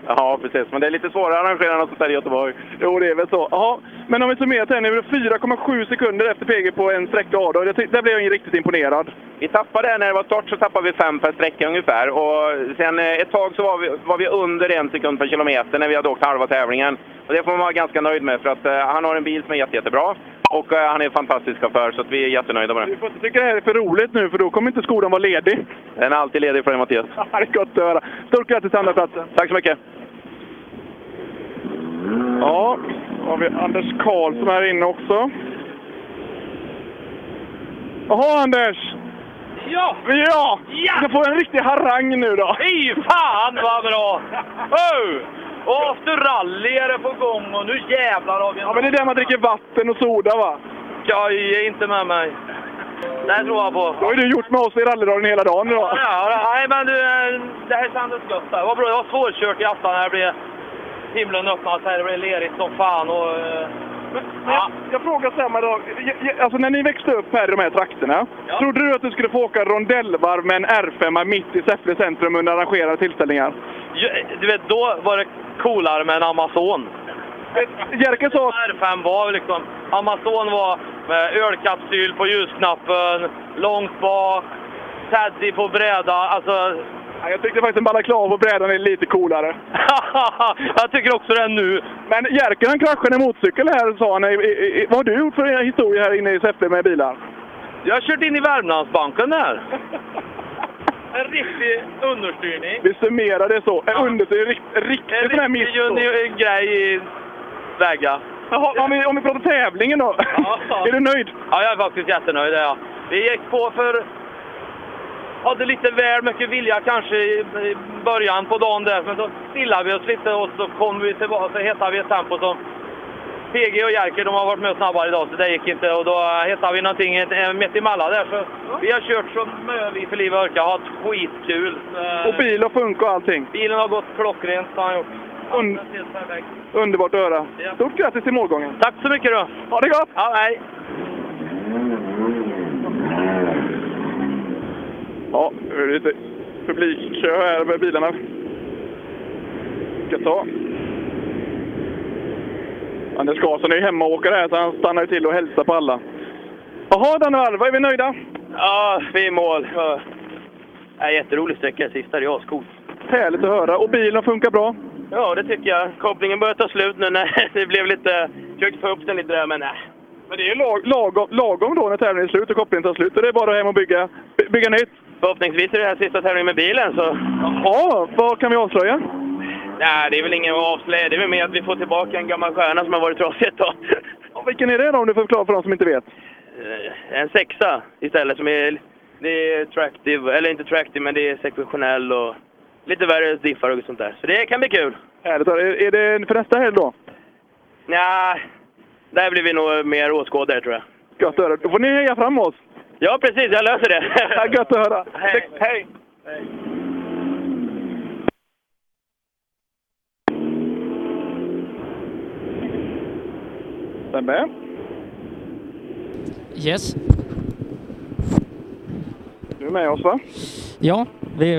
[SPEAKER 1] precis. Men det är lite svårare att arrangera något sånt här i Göteborg.
[SPEAKER 25] Jo, det är väl så. Jaha, men om vi summerar till nu, 4,7 sekunder efter PG på en sträcka av då. Jag ty- Där blev jag ju riktigt imponerad.
[SPEAKER 1] Vi tappade, när det var torrt så tappade vi fem per sträcka ungefär. Och sen eh, ett tag så var vi, var vi under en sekund per kilometer när vi hade åkt halva tävlingen. Och det får man vara ganska nöjd med för att eh, han har en bil som är jätte, jättebra. Och eh, han är en fantastisk chaufför så att vi är jättenöjda med det.
[SPEAKER 25] Du får inte tycka det här är för roligt nu, för då kommer inte skolan vara ledig.
[SPEAKER 1] Den är alltid ledig för dig Mattias.
[SPEAKER 25] Ja, det är gott att höra. Stort grattis till andraplatsen.
[SPEAKER 1] Tack så mycket.
[SPEAKER 25] Ja, då har vi Anders Karlsson här inne också. Jaha, Anders!
[SPEAKER 20] Ja!
[SPEAKER 25] Ja! ja! Du får en riktig harang nu då.
[SPEAKER 20] Fy fan vad bra! Oh! Och efter rally är det på gång och nu jävlar har vi en...
[SPEAKER 25] Ja, men det är där man dricker vatten och soda va?
[SPEAKER 20] Ja, ge inte med mig. Det här tror jag på.
[SPEAKER 25] Det har ju du gjort med oss i rallydagen hela dagen idag.
[SPEAKER 20] Ja, ja, nej men du, eh, det här kändes gött. Det var bra. Det var svårkört i afton när det blev... Himlen öppnades här, det blev lerigt som fan och... eh, ja.
[SPEAKER 25] Jag frågar samma dag. J- j- Alltså när ni växte upp här i de här trakterna, trodde du att du skulle få åka rondellvarv med en R5 mitt i Säffle centrum under arrangerade tillställningar?
[SPEAKER 20] Ju- Du vet, då var det coolare med en Amazon. Eh,
[SPEAKER 25] Jerker sa...
[SPEAKER 20] R5 var liksom... Amazon var med ölkapsyl på ljusknappen, långt bak, Teddy på bräda. Alltså...
[SPEAKER 25] Ja, Jag tyckte faktiskt en balaklava på brädan är lite coolare.
[SPEAKER 20] [LAUGHS] jag tycker också det nu.
[SPEAKER 25] Men Jerker han kraschade en motorcykel här sa han. I, i, i, vad har du gjort för historia här inne i Säffle med bilar?
[SPEAKER 20] Jag har kört in i Värmlandsbanken där. En riktig understyrning.
[SPEAKER 25] Vi summerar det så. En understyr, rikt, riktigt
[SPEAKER 20] En
[SPEAKER 25] sån här miss.
[SPEAKER 20] riktig juni- grej i väga.
[SPEAKER 25] Jaha, om vi, om vi pratar tävlingen då. [LAUGHS] är du nöjd?
[SPEAKER 20] Ja, jag är faktiskt jättenöjd. det är jag. Vi gick på för... Hade lite väl mycket vilja kanske i i början på dagen där, men så stillade vi oss lite och så kom vi tillbaka så hittade vi ett tempo som... PG och Jerker de har varit med snabbare idag, så det gick inte. Och då hittade vi någonting eh, mitt emellan där. Så vi har kört som eh, vi för livet orkar, har haft skitkul. Eh,
[SPEAKER 25] Och bil och funk och allting.
[SPEAKER 20] Bilen har gått klockrent, har han gjort.
[SPEAKER 25] Und-
[SPEAKER 20] Alldeles helt perfekt.
[SPEAKER 25] Underbart att höra.
[SPEAKER 20] Ja.
[SPEAKER 25] Stort grattis till målgången.
[SPEAKER 20] Tack så mycket då.
[SPEAKER 25] Ha det gott!
[SPEAKER 20] Ja, hej.
[SPEAKER 25] Ja, nu är det lite publikkö här med bilarna. Ska ta. Anders Karlsson är ju hemmaåkare här så han stannar ju till och hälsar på alla. Jaha Danne Alva, är vi nöjda?
[SPEAKER 20] Ja, vi är i mål. Ja. Ja, jätterolig sträcka sista, det är ascoolt.
[SPEAKER 25] Härligt att höra. Och bilen funkar bra?
[SPEAKER 20] Ja, det tycker jag. Kopplingen börjar ta slut nu när [LAUGHS] det blev lite... Försökte få upp den lite där, men nej.
[SPEAKER 25] Men det är ju lag, lagom, lagom då när tävlingen är slut och kopplingen tar slut. Och det är bara hem och bygga, by- bygga nytt.
[SPEAKER 20] Förhoppningsvis är det här sista tävlingen med bilen, så...
[SPEAKER 25] Ja, vad kan vi avslöja?
[SPEAKER 20] Nej, det är väl ingen att avslöja. Det är väl mer att vi får tillbaka en gammal stjärna som har varit trasig ett tag.
[SPEAKER 25] Ja, vilken är det då om du får förklara för de som inte vet?
[SPEAKER 20] Eh, En sexa istället, som är... Det är tractive, eller inte tractive, men det är sekventionell och lite värre diffar och sånt där. Så det kan bli kul.
[SPEAKER 25] Härligt att höra. är, är det för nästa helg då?
[SPEAKER 20] Nej, där blir vi nog mer åskådare tror jag.
[SPEAKER 25] Gött att höra. Då får ni heja fram oss.
[SPEAKER 20] Ja, precis. Jag löser [LAUGHS] det.
[SPEAKER 25] Ja, Gött att höra.
[SPEAKER 20] Hej.
[SPEAKER 25] Hej. Stämmer.
[SPEAKER 3] Yes.
[SPEAKER 25] Nu du med oss va?
[SPEAKER 3] Ja, vi,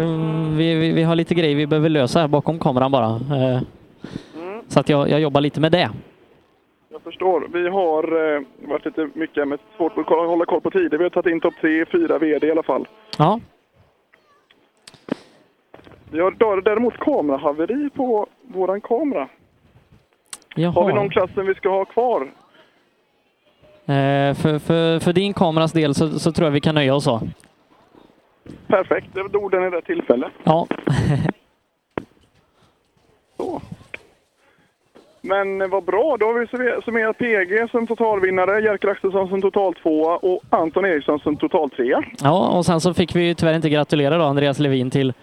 [SPEAKER 3] vi, vi, vi har lite grejer vi behöver lösa här bakom kameran bara. Eh, Så att jag, jag jobbar lite med det.
[SPEAKER 25] Jag förstår. Vi har eh, varit lite mycket med svårt att kolla- hålla koll på tider. Vi har tagit in topp tre, fyra VD i alla fall.
[SPEAKER 3] Ja,
[SPEAKER 25] Vi har dö- däremot kamerahaveri på våran kamera. Har vi någon klassen vi ska ha kvar?
[SPEAKER 3] Eh, för, för, för din kameras del så, så tror jag vi kan nöja oss så.
[SPEAKER 25] Perfekt, det var orden i det tillfället.
[SPEAKER 3] Ja. [LAUGHS]
[SPEAKER 25] Men eh, vad bra, då har vi summer- summerat PG som totalvinnare, Jerker Axelsson som totaltvåa och Anton Eriksson som totaltrea.
[SPEAKER 3] ja, och sen så fick vi ju tyvärr inte gratulera då Andreas Levin till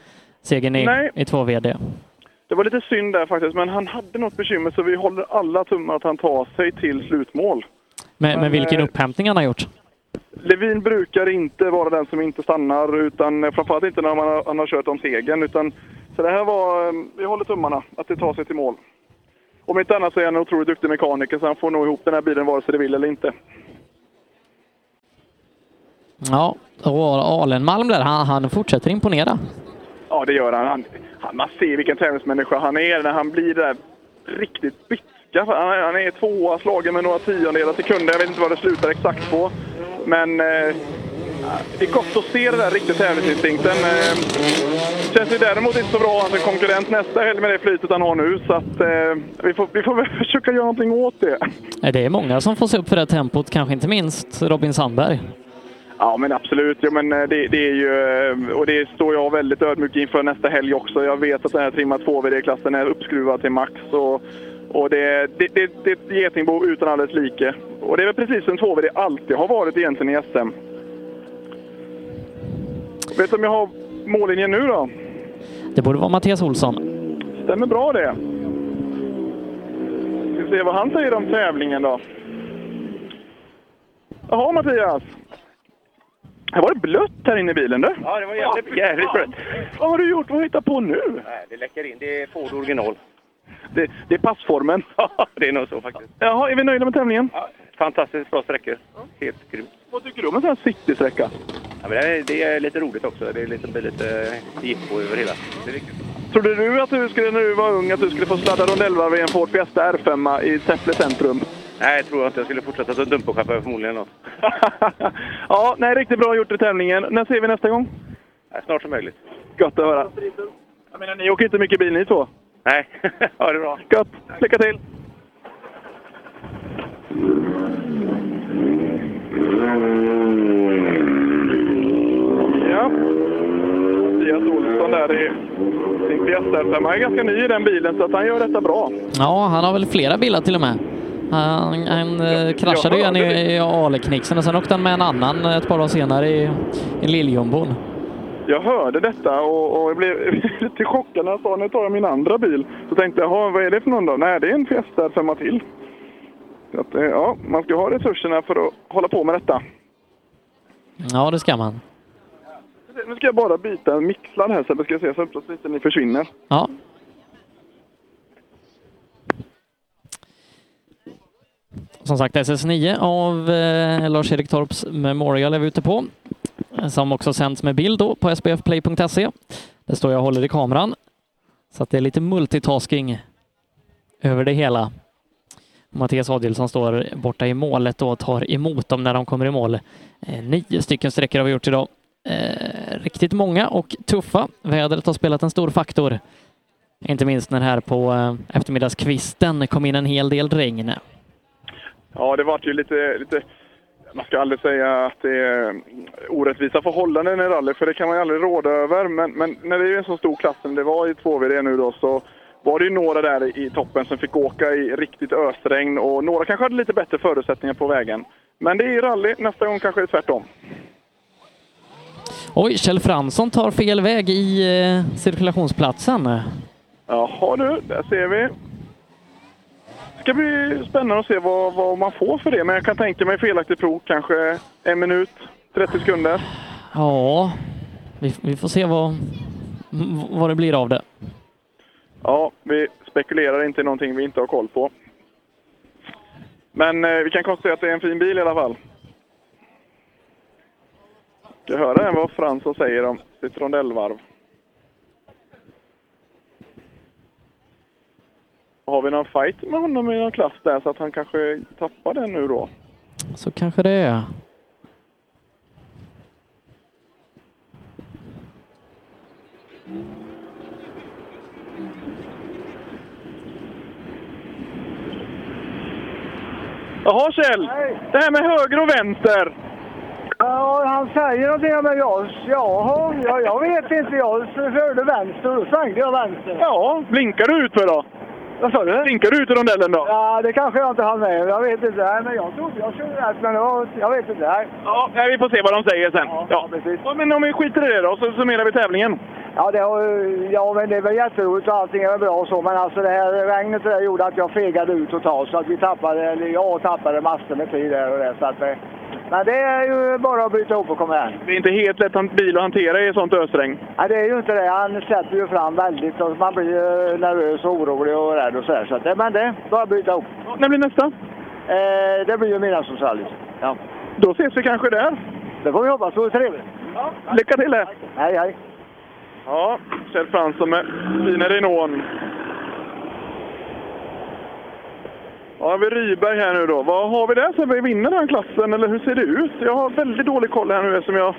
[SPEAKER 3] segern i,
[SPEAKER 25] Nej.
[SPEAKER 3] i 2VD.
[SPEAKER 25] Det var lite synd där faktiskt, men han hade något bekymmer så vi håller alla tummar att han tar sig till slutmål.
[SPEAKER 3] Med,
[SPEAKER 25] Men,
[SPEAKER 3] med vilken
[SPEAKER 25] eh,
[SPEAKER 3] upphämtning han har gjort.
[SPEAKER 25] Levin brukar inte vara den som inte stannar, utan eh, framförallt inte när man har, han har kört om segern. Utan, så det här var, eh, vi håller tummarna att det tar sig till mål. Om inte annat så är han en otroligt duktig mekaniker så han får nog ihop den här bilen vare sig det vill eller inte.
[SPEAKER 3] Ja, och Alenmalm där, han, han fortsätter imponera.
[SPEAKER 25] Ja, det gör han. han, han man ser vilken tävlingsmänniska han är när han blir där riktigt bitska. Han, är- han är tvåa, slagen med några tiondelar sekunder. Jag vet inte vad det slutar exakt på. Men eh, det är gott att se den där riktiga tävlingsinstinkten. Eh, känns ju däremot inte så bra att en konkurrent nästa helg med det flytet han har nu. Så att, eh, vi, får, vi får väl [LAUGHS] försöka göra någonting åt det.
[SPEAKER 3] Eh, Det är många som får se upp för det här tempot, kanske inte minst Robin Sandberg.
[SPEAKER 25] Ja, men absolut. Jo, men eh, det, det är ju, eh, och det står jag väldigt ödmjuk inför nästa helg också. Jag vet att den här trimma 2VD-klassen är uppskruvad till max. Och, och det, det, det, det är ett getingbo utan alldeles like. Och det är väl precis som 2VD alltid har varit egentligen i SM. Vet du om jag har mållinjen nu då?
[SPEAKER 3] Det borde vara Mattias Olsson.
[SPEAKER 25] Stämmer bra det. Vi ska se vad han säger om tävlingen då. Jaha Mattias. Här var det blött här inne i bilen du.
[SPEAKER 23] Ja, det var jävligt, jävligt blött.
[SPEAKER 25] Vad har du gjort? Vad har du hittat på nu?
[SPEAKER 23] Nej, det läcker in. Det är Ford original.
[SPEAKER 25] Det, det är passformen.
[SPEAKER 23] [LAUGHS] Ja, det är nog så faktiskt.
[SPEAKER 25] Jaha, är vi nöjda med tävlingen?
[SPEAKER 23] Fantastiskt bra sträckor. Helt grymt.
[SPEAKER 25] Vad tycker du om en sån här citysträcka?
[SPEAKER 23] Ja, men det, är, det är lite roligt också. Det är liksom, blir lite jippo över hela. Det är kul.
[SPEAKER 25] Trodde du att du skulle, när du var ung, att du skulle få sladda rondellvarv i en Ford Fiesta R5 i Säffle centrum?
[SPEAKER 23] Nej, jag tror inte jag skulle fortsätta som dumperchaufför förmodligen. Då.
[SPEAKER 25] Ja, nej, riktigt bra gjort i tävlingen. När ser vi nästa gång?
[SPEAKER 23] Nej, snart som möjligt.
[SPEAKER 25] Gott att höra. Jag menar, ni åker inte mycket bil ni två.
[SPEAKER 23] Nej, [LAUGHS] ha det bra.
[SPEAKER 25] Gött! Lycka till! Ja. Mattias Olsson där i sin Fiesta R5. Han är ganska ny i den bilen, så att han gör detta bra.
[SPEAKER 3] Ja, han har väl flera bilar till och med. Han, han eh, kraschade ju en i, i Aleknixen och sen åkte han med en annan eh, ett par dagar senare i, i Lilljumbon.
[SPEAKER 25] Jag hörde detta och, och jag blev [LAUGHS] lite chockad när han sa nu tar jag min andra bil. Så tänkte jag, "Jaha, vad är det för någon då? Nej, det är en Fiesta R5 till. Så att, eh, ja, man ska ha resurserna för att hålla på med detta.
[SPEAKER 3] Ja, det ska man.
[SPEAKER 25] Nu ska jag bara byta mixlar här Sebbe, ska jag se så hoppas inte ni försvinner.
[SPEAKER 3] Ja. Som sagt, SS9 av eh, Lars-Erik Torps Memorial är vi ute på. eh, Som också sänds med bild då på sbfplay.se. E. Där står jag och håller i kameran. Så att det är lite multitasking över det hela. Mattias Adielsson står borta i målet då och tar emot dem när de kommer i mål. Eh, Nio stycken sträckor har vi gjort idag. Eh, riktigt många och tuffa. Vädret har spelat en stor faktor. Inte minst när här på eh, eftermiddagskvisten kom in en hel del regn.
[SPEAKER 25] Ja, det vart ju lite, lite... Man ska aldrig säga att det är orättvisa förhållanden i rally, för det kan man ju aldrig råda över. Men, men när det är en så stor klass som det var i 2VD nu då, så var det ju några där i toppen som fick åka i riktigt ösregn och några kanske hade lite bättre förutsättningar på vägen. Men det är rally, nästa gång kanske det är tvärtom.
[SPEAKER 3] Oj, Kjell Fransson tar fel väg i eh, cirkulationsplatsen.
[SPEAKER 25] Jaha du, där ser vi. Det ska bli spännande att se vad, vad man får för det, men jag kan tänka mig felaktigt prov kanske en minut, 30 sekunder.
[SPEAKER 3] Ja, vi, vi får se vad, m- vad det blir av det.
[SPEAKER 25] Ja, vi spekulerar inte i någonting vi inte har koll på. Men eh, vi kan konstatera att det är en fin bil i alla fall. Ska höra vad Fransson säger om sitt rondellvarv. Har vi någon fight med honom i någon klass där så att han kanske tappar den nu då?
[SPEAKER 3] Så kanske det är.
[SPEAKER 25] Jaha Kjell! Det här med höger och vänster.
[SPEAKER 35] Ja, han säger någonting men jag, jaha, ja, jag vet inte. Jag förde vänster och då svängde jag vänster.
[SPEAKER 25] Ja, blinkar du ut för då?
[SPEAKER 35] Vad sa du?
[SPEAKER 25] Blinkar du ut i rondellen då?
[SPEAKER 35] Ja, det kanske jag inte hann med. Jag vet inte. Nej, men jag trodde jag körde rätt, men det var, jag vet inte. Nej.
[SPEAKER 25] Ja, nej, vi får se vad de säger sen. Ja,
[SPEAKER 35] precis.
[SPEAKER 25] Men om vi skiter i det då, så summerar vi tävlingen.
[SPEAKER 35] Ja, det har, ja, men det är väl jätteroligt och allting är väl bra och så, men alltså det här regnet det där gjorde att jag fegade ut totalt så att vi tappade, eller jag tappade massor med tid där och det. Så att, eh, men det är ju bara att byta ihop och komma igen.
[SPEAKER 25] Det är inte helt lätt att bil att hantera i sånt ösregn.
[SPEAKER 35] Ja, det är ju inte det. Han släpper ju fram väldigt och man blir ju nervös och orolig och rädd och sådär. Så att, det- men det, bara byta ihop.
[SPEAKER 25] När blir nästa?
[SPEAKER 35] Eh, det blir ju midnattsrallyt. Ja.
[SPEAKER 25] Då ses vi kanske där.
[SPEAKER 35] Det får vi hoppas. Det vore trevligt.
[SPEAKER 25] Lycka till! eh. er.
[SPEAKER 35] Hej, hej!
[SPEAKER 25] Ja, Kjell Fransson med fina Renaulten. Ja, vi Ryberg här nu då. Vad har vi där Sebbe? Vinner den här klassen eller hur ser det ut? Jag har väldigt dålig koll här nu eftersom jag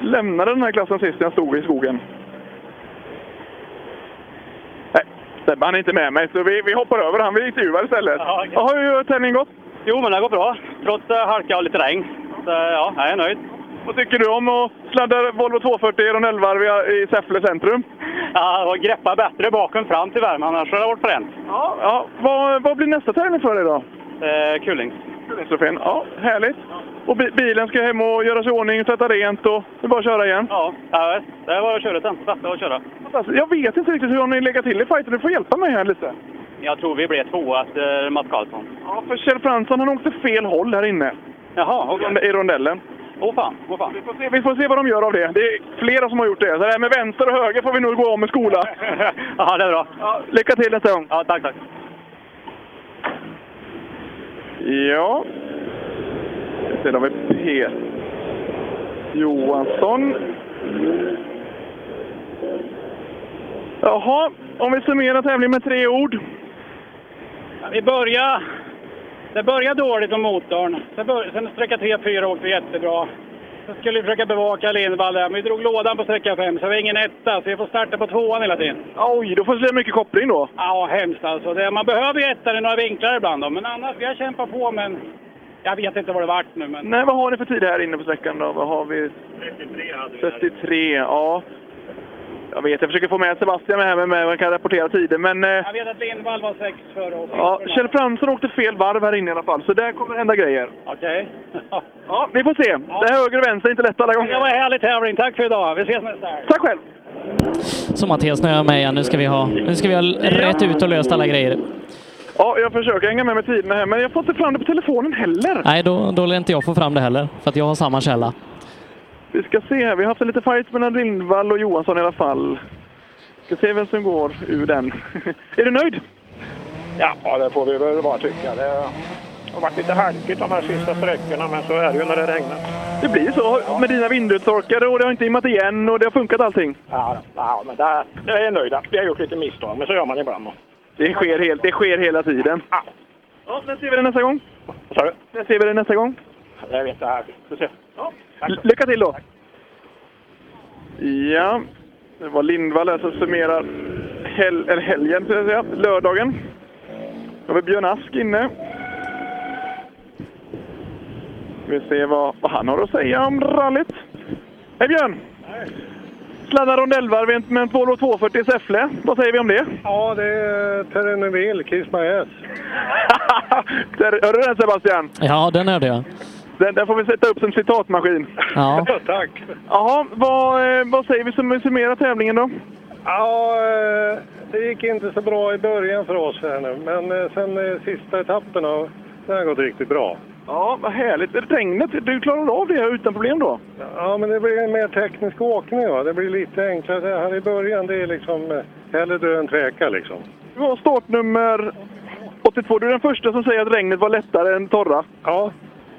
[SPEAKER 25] lämnade den här klassen sist när jag stod i skogen. Nej, Sebbe han är inte med mig så vi, vi hoppar över han. Vi intervjuar istället.
[SPEAKER 20] Ja, okej.
[SPEAKER 25] Jaha, hur har tävlingen gått?
[SPEAKER 20] Jo, men det går bra. Trots eh, halka och lite regn. Så, eh, ja, jag är nöjd.
[SPEAKER 25] Vad tycker du om att sladda Volvo 240 i rondellvarv i- i Säffle centrum?
[SPEAKER 20] Ja, och greppa bättre bakom fram till värmen, annars hade det varit fränt.
[SPEAKER 25] Ja, ja. Vad, vad blir nästa tävling för dig då?
[SPEAKER 20] Eh, Kullings.
[SPEAKER 25] Kullingstrofén, ja härligt. Och bi- bilen ska hem och göra sig i ordning, tvätta rent och det är bara att köra igen.
[SPEAKER 20] Ja, ja, det var att köra sen. Satte och köra.
[SPEAKER 25] Fantastiskt. Jag vet inte riktigt hur ni lägger till i fighten, du får hjälpa mig här lite.
[SPEAKER 20] Jag tror vi blev tvåa efter Mats Karlsson.
[SPEAKER 25] Ja, för Kjell Fransson han åkte fel håll här inne.
[SPEAKER 20] Jaha, okej.
[SPEAKER 25] I rondellen.
[SPEAKER 20] Åh fan, åh fan.
[SPEAKER 25] Vi får, se, vi får se vad de gör av det. Det är flera som har gjort det. Så det här med vänster och höger får vi nog gå om i skola.
[SPEAKER 20] Ja, det är bra.
[SPEAKER 25] [LAUGHS] Ja, lycka till nästa gång.
[SPEAKER 20] Ja, tack, tack.
[SPEAKER 25] Ja. Sen har vi Peter Johansson. Jaha, om vi summerar tävlingen med tre ord.
[SPEAKER 20] Ja, Vi började, det började dåligt med motorn. Sen, bör, sen sträcka 3-4 åkte vi jättebra. Sen skulle vi försöka bevaka Lindvall där, men vi drog lådan på sträcka 5, så vi har ingen etta. Så vi får starta på tvåan hela tiden.
[SPEAKER 25] Oj, då får det bli mycket koppling då.
[SPEAKER 20] Ja, hemskt alltså. Det, man behöver ju ettan i några vinklar ibland då. Men annars, vi har kämpat på, men jag vet inte vad det vart nu. Men...
[SPEAKER 25] Nej, vad har ni för tid här inne på sträckan då? Vad har vi?
[SPEAKER 20] 33 hade
[SPEAKER 25] 33, ja. Jag vet, jag försöker få med Sebastian med här, men man kan rapportera tiden. Men eh,
[SPEAKER 20] Jag vet att Lindvall var sex före oss.
[SPEAKER 25] ja, Kjell Fransson åkte fel varv här inne i alla fall, så där kommer det hända grejer.
[SPEAKER 20] Okej.
[SPEAKER 25] Ja, vi får se. Det här höger och vänster är inte lätt alla gånger.
[SPEAKER 20] Det var en härlig tävling. Tack för idag. Vi ses nästa helg.
[SPEAKER 25] Tack själv.
[SPEAKER 3] Så Mattias, nu är jag med igen. Nu ska vi ha, nu ska vi ha rätt ut och löst alla grejer.
[SPEAKER 25] Ja, jag försöker hänga med med tiderna här, men jag får inte fram det på telefonen heller.
[SPEAKER 3] Nej, då, då lär inte jag få fram det heller, för att jag har samma källa.
[SPEAKER 25] Vi ska se här. Vi har haft en liten fight mellan Lindvall och Johansson i alla fall. Ska se vem som går ur den. [LAUGHS] är du nöjd?
[SPEAKER 18] Ja, det får vi väl bara tycka. Det har varit lite halkigt de här sista sträckorna, men så är det ju när det regnar.
[SPEAKER 25] Det blir så med dina vindrutetorkare och det har inte immat igen och det har funkat allting.
[SPEAKER 18] Ja, ja men där, jag är nöjd. Vi har gjort lite misstag, men så gör man ibland.
[SPEAKER 25] Det sker, helt, det sker hela tiden. Ja, när ser vi det nästa gång?
[SPEAKER 18] Vad sa du?
[SPEAKER 25] När ser vi det nästa gång?
[SPEAKER 18] Jag vet det här. Vi får se.
[SPEAKER 25] Ly- Lycka till då! Ja, det var Lindvall här som summerar hel- eller helgen, ska jag säga, lördagen. Då har vi Björn Ask inne. Vi ser vad, vad han har att säga om rallyt. Hej Björn! Sladdar rondellvarv med en Volvo 240 i Säffle. Vad säger vi om det?
[SPEAKER 18] Ja, det är Terreneville, Kiss My
[SPEAKER 25] [LAUGHS]
[SPEAKER 18] Ass.
[SPEAKER 25] Där, hör du den Sebastian?
[SPEAKER 3] Ja, den hörde jag.
[SPEAKER 25] Den, den får vi sätta upp som citatmaskin. [LAUGHS]
[SPEAKER 3] Ja.
[SPEAKER 18] Tack.
[SPEAKER 25] Jaha, vad, eh, vad säger vi som summerar tävlingen då?
[SPEAKER 18] Ja, eh, det gick inte så bra i början för oss här nu, men eh, sen eh, sista etapperna, det har gått riktigt bra.
[SPEAKER 25] Ja, vad härligt. Regnet, du klarade av det utan problem då?
[SPEAKER 18] Ja, men det blir en mer teknisk åkning. Va? Det blir lite enklare. Det här i början, det är liksom eh, hellre dö än tveka liksom.
[SPEAKER 25] Du har startnummer 82. Du är den första som säger att regnet var lättare än torra.
[SPEAKER 18] Ja.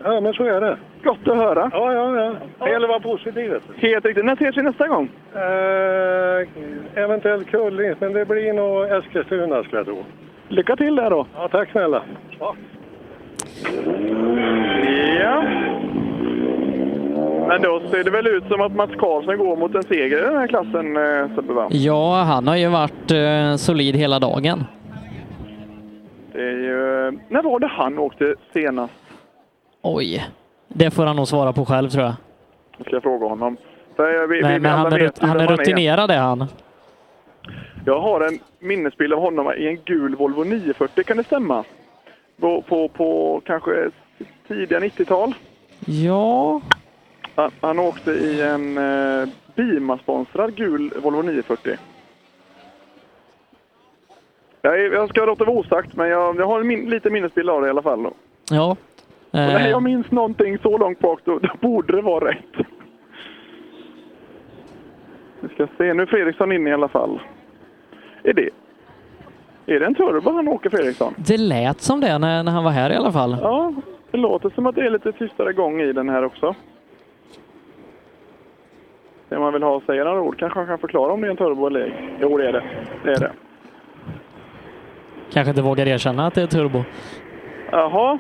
[SPEAKER 22] Ja, men så är det.
[SPEAKER 25] Gott att höra.
[SPEAKER 22] Ja, ja, ja. Det gäller att vara positiv. vet du.
[SPEAKER 25] Helt riktigt. När ses vi nästa gång?
[SPEAKER 22] Eh, eventuellt Kullings, men det blir nog Eskilstuna skulle jag tro.
[SPEAKER 25] Lycka till där då.
[SPEAKER 22] Ja, tack snälla.
[SPEAKER 25] Ja. Men då ser det väl ut som att Mats Karlsson går mot en seger i den här klassen, eh, Sebbe va?
[SPEAKER 3] Ja, han har ju varit eh, solid hela dagen.
[SPEAKER 25] Det är ju... eh, När var det han åkte senast?
[SPEAKER 3] Oj, det får han nog svara på själv tror jag.
[SPEAKER 25] Jag ska fråga honom. För jag- vi- vi-
[SPEAKER 3] Nej,
[SPEAKER 25] vi
[SPEAKER 3] men han
[SPEAKER 25] alla
[SPEAKER 3] är,
[SPEAKER 25] vet
[SPEAKER 3] rut-
[SPEAKER 25] ju
[SPEAKER 3] han
[SPEAKER 25] vem
[SPEAKER 3] är rutinerad är han.
[SPEAKER 25] Jag har en minnesbild av honom i en gul Volvo 940, kan det stämma? På, på, på kanske tidiga 90-tal.
[SPEAKER 3] Ja,
[SPEAKER 25] Han, han åkte i en eh, Bima-sponsrad gul Volvo 940. Jag, är- jag ska låta det vara osagt, men jag, jag har en min, lite minnesbild av det i alla fall. Då.
[SPEAKER 3] ja.
[SPEAKER 25] Och när
[SPEAKER 3] Eh,
[SPEAKER 25] jag minns någonting så långt bak, då, då borde det vara rätt. Vi ska se, nu är Fredriksson inne i alla fall. Är det, är det en turbo han åker, Fredriksson?
[SPEAKER 3] det lät som det när, när han var här i alla fall.
[SPEAKER 25] Ja, det låter som att det är lite tystare gång i den här också. Det man vill ha, säger några ord kanske han kan förklara om det är en turbo eller ej. Jo, det är det. det, är det.
[SPEAKER 3] Kanske inte vågar erkänna att det är turbo.
[SPEAKER 25] Jaha.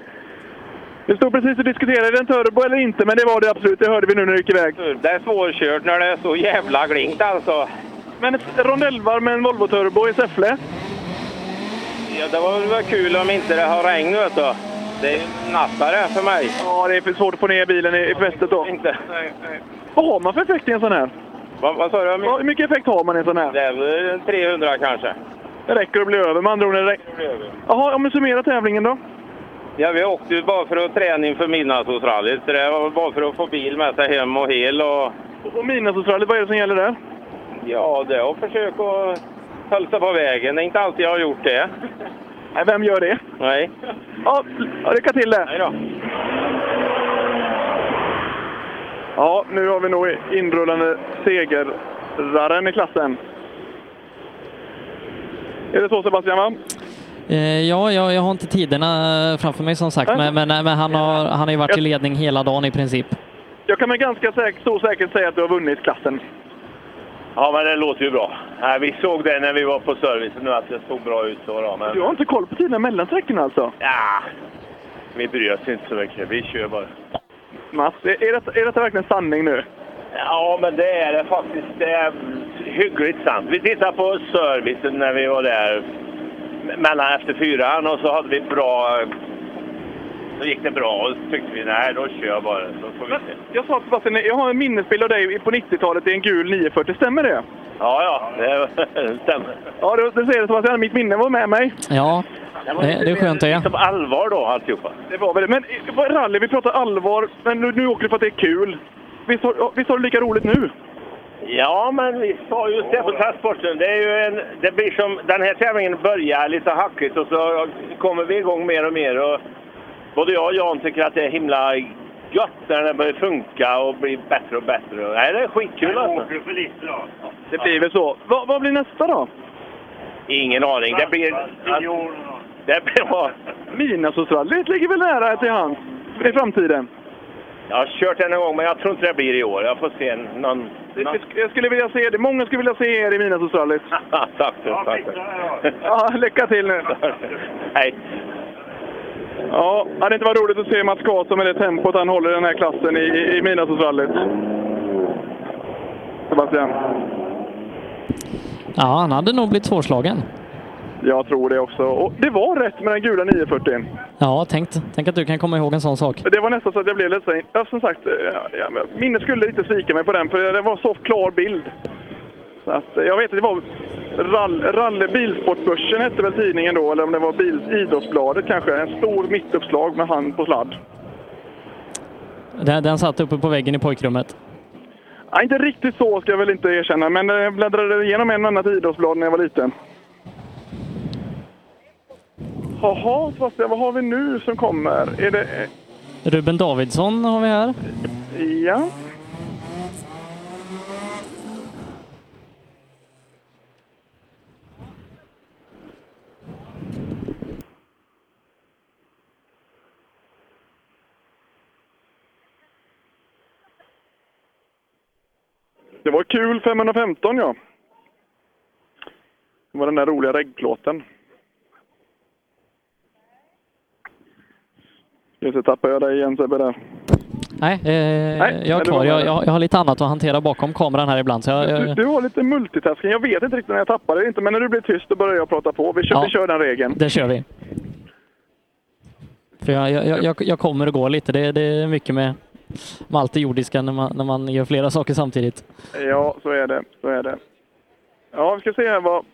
[SPEAKER 25] Vi stod precis och diskuterade en turbo eller inte, men det var det absolut. Det hörde vi nu när du gick iväg.
[SPEAKER 23] Det är svårkört när det är så jävla glinkt alltså.
[SPEAKER 25] Men ett rondellvarv med en Volvo Turbo i Säffle.
[SPEAKER 23] Ja, det var väl kul om inte det har regn vet du. Det är nattare för mig.
[SPEAKER 25] Ja, det är för svårt att få ner bilen i, i fästet då.
[SPEAKER 23] Inte.
[SPEAKER 25] Vad har man för effekt i en sån här?
[SPEAKER 23] Vad, vad sa du?
[SPEAKER 25] Ja, Hur mycket effekt har man i en sån här?
[SPEAKER 23] Det är väl 300 kanske.
[SPEAKER 25] Det räcker att bli över med andra ord. när det räcker. Jaha, om vi summerar tävlingen då?
[SPEAKER 23] Ja, vi åkte ju bara för att träna inför midnattsrallyt. så Det var väl bara för att få bil med sig hem och hel. Och,
[SPEAKER 25] Och midnattsrallyt, vad är det som gäller där?
[SPEAKER 23] ja, det är att försöka att hälsa på vägen. Det är inte alltid jag har gjort det.
[SPEAKER 25] Nej, vem gör det?
[SPEAKER 23] Nej.
[SPEAKER 25] Ja, lycka till där!
[SPEAKER 23] Nej då.
[SPEAKER 25] Ja, nu har vi nog inrullande segerraren i klassen. Är det så Sebastian? Va?
[SPEAKER 3] Eh, ja, jag, jag har inte tiderna eh, framför mig som sagt, men, men, men han, har, han har ju varit i ledning hela dagen i princip.
[SPEAKER 25] Jag kan med ganska säk- stor säkerhet säga att du har vunnit klassen.
[SPEAKER 24] Ja, men det låter ju bra. Nej, vi såg det när vi var på servicen nu att det såg bra ut. Så då, men
[SPEAKER 25] Du har inte koll på tiden mellan sträckorna alltså?
[SPEAKER 24] ja, vi bryr oss inte så mycket. Vi kör bara.
[SPEAKER 25] Mats, är, är, detta, är detta verkligen sanning nu?
[SPEAKER 24] Ja, men det är det faktiskt. Det är hyggligt sant. Vi tittade på servicen när vi var där mellan efter fyran och så hade vi bra... Så gick det bra och så tyckte vi nej, då kör jag bara. Så får vi se.
[SPEAKER 25] Jag sa till Sebastian, jag har en minnesbild av dig på 90-talet i en gul 940. Stämmer det?
[SPEAKER 24] Ja, ja, det det [LAUGHS] stämmer.
[SPEAKER 25] Ja, du, du ser det Sebastian. Mitt minne var med mig.
[SPEAKER 3] Ja, det, det är skönt det.
[SPEAKER 24] Som Liksom allvar då, alltihopa.
[SPEAKER 25] Det var väl det. Men eh, vad är rally, vi pratar allvar, men nu, nu åker vi för att det är kul. Visst har, visst har du lika roligt nu?
[SPEAKER 24] Ja, men vi sa just det på transporten. Det, är ju en, det blir som, den här tävlingen börjar lite hackigt och så kommer vi igång mer och mer. Och både jag och Jan tycker att det är himla gött när den börjar funka och blir bättre och bättre. Och- Nej, det är skitkul alltså.
[SPEAKER 25] för lite då. Det blir väl så. Vad, vad blir nästa då?
[SPEAKER 24] Ingen aning. Det blir... Det blir bra.
[SPEAKER 25] Midnattsrallyt ligger väl nära till hands i framtiden?
[SPEAKER 24] Jag har kört den en gång, men jag tror inte det blir i år. Jag får se en- någon... någon...
[SPEAKER 25] Jag skulle vilja se det. Många skulle vilja se er i midnattsrallyt.
[SPEAKER 24] [LAUGHS] tack så tack. så.
[SPEAKER 25] Ja, lycka till nu.
[SPEAKER 24] Hej.
[SPEAKER 25] Ja, hade inte varit roligt att se Mats Karlsson med det tempot han håller i den här klassen i, i, i midnattsrallyt? Sebastian?
[SPEAKER 3] Ja, han hade nog blivit svårslagen.
[SPEAKER 25] Jag tror det också. Och det var rätt med den gula 940.
[SPEAKER 3] Ja, tänkt, tänk att du kan komma ihåg en sån sak.
[SPEAKER 25] Det var nästan så att jag blev ledsen. Ja, som sagt, eh, ja, ja, men minnet skulle inte svika mig på den, för det var så klar bild. Så att, eh, jag vet, det var Rall, Ralle Bilsportbörsen hette väl tidningen då, eller om det var bil, Idrottsbladet kanske. En stor mittuppslag med hand på sladd.
[SPEAKER 3] Den, den satt uppe på väggen i pojkrummet.
[SPEAKER 25] Ja, inte riktigt så ska jag väl inte erkänna, men eh, jag bläddrade igenom en och annat idrottsblad när jag var liten. Jaha, Sebastian, vad har vi nu som kommer? Är det... eh,
[SPEAKER 3] Ruben Davidsson har vi här.
[SPEAKER 25] Ja. Det var kul 515 ja. Det var den där roliga reggplåten. Just det, tappade jag dig igen Sebbe där.
[SPEAKER 3] Nej, eh,
[SPEAKER 25] Nej,
[SPEAKER 3] jag är
[SPEAKER 25] det
[SPEAKER 3] kvar.
[SPEAKER 25] var
[SPEAKER 3] Jag,
[SPEAKER 25] bara-
[SPEAKER 3] jag, jag har lite annat att hantera bakom kameran här ibland. Så jag,
[SPEAKER 25] Du,
[SPEAKER 3] jag,
[SPEAKER 25] du var lite multitasking. Jag vet inte riktigt när jag tappade det inte, men när du blev tyst då började jag prata på. Vi kör,
[SPEAKER 3] Ja.
[SPEAKER 25] vi kör den regeln.
[SPEAKER 3] det kör vi. För jag, jag, jag- jag, jag kommer och går lite. Det, det är mycket med, med allt det jordiska när man, när man gör flera saker samtidigt.
[SPEAKER 25] Ja, så är det. Så är det. Ja, vi ska se här vad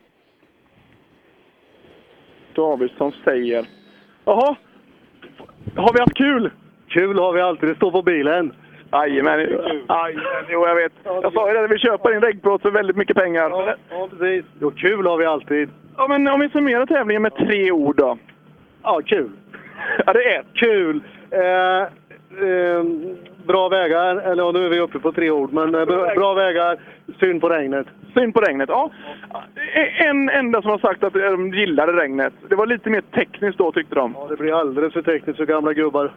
[SPEAKER 25] Davidsson säger. Jaha, har vi haft kul?
[SPEAKER 18] Kul har vi alltid, det står på bilen.
[SPEAKER 25] Jajamän, jajamän, jo jag vet. Jag sa ju det, vi köper in regnplåt för väldigt mycket pengar.
[SPEAKER 18] Ja, precis. Jo, kul har vi alltid.
[SPEAKER 25] Ja, men om vi summerar tävlingen med tre ord då?
[SPEAKER 18] Ja, kul.
[SPEAKER 25] Ja, det är
[SPEAKER 18] Kul. Eh, ehm, bra vägar, eller ja, nu är vi uppe på tre ord, men eh, bra, bra vägar, synd på regnet. Eh,
[SPEAKER 25] Synd på regnet, ja. En enda som har sagt att de gillade regnet. Det var lite mer tekniskt då tyckte de.
[SPEAKER 18] Ja, det blir alldeles för tekniskt för gamla gubbar.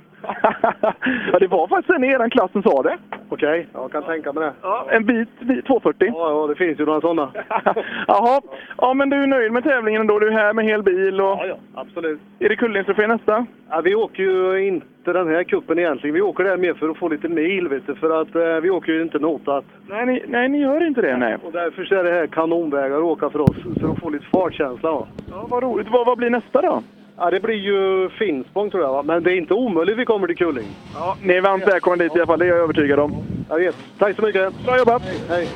[SPEAKER 25] Ja, det var faktiskt en i eran klass som sa det.
[SPEAKER 18] Okej, jag kan tänka mig det.
[SPEAKER 25] En bit, bit 240.
[SPEAKER 18] Ja, ja, det finns ju några sådana.
[SPEAKER 25] [LAUGHS] Jaha, ja men du är nöjd med tävlingen ändå? Du är här med hel bil och...
[SPEAKER 18] Ja, ja, absolut.
[SPEAKER 25] Är det Kullingstrofé nästa?
[SPEAKER 18] Ja, vi åker ju inte den här kuppen egentligen. Vi åker där mer för att få lite mil, vet du, för att eh, vi åker ju inte notat.
[SPEAKER 25] Nej ni, nej, ni gör inte det, nej.
[SPEAKER 18] Och därför så är det här kanonvägar att åka för oss, så att få lite fartkänsla. Va?
[SPEAKER 25] Ja, vad roligt. Vad, vad blir nästa då?
[SPEAKER 18] Ja, det blir ju Finspång tror jag, va? men det är inte omöjligt vi kommer till Kulling.
[SPEAKER 25] Ja, ni är varmt välkomna dit i alla fall, det är jag övertygad om.
[SPEAKER 18] Jag vet. Tack så mycket.
[SPEAKER 25] Bra jobbat.
[SPEAKER 18] Hej. Hej.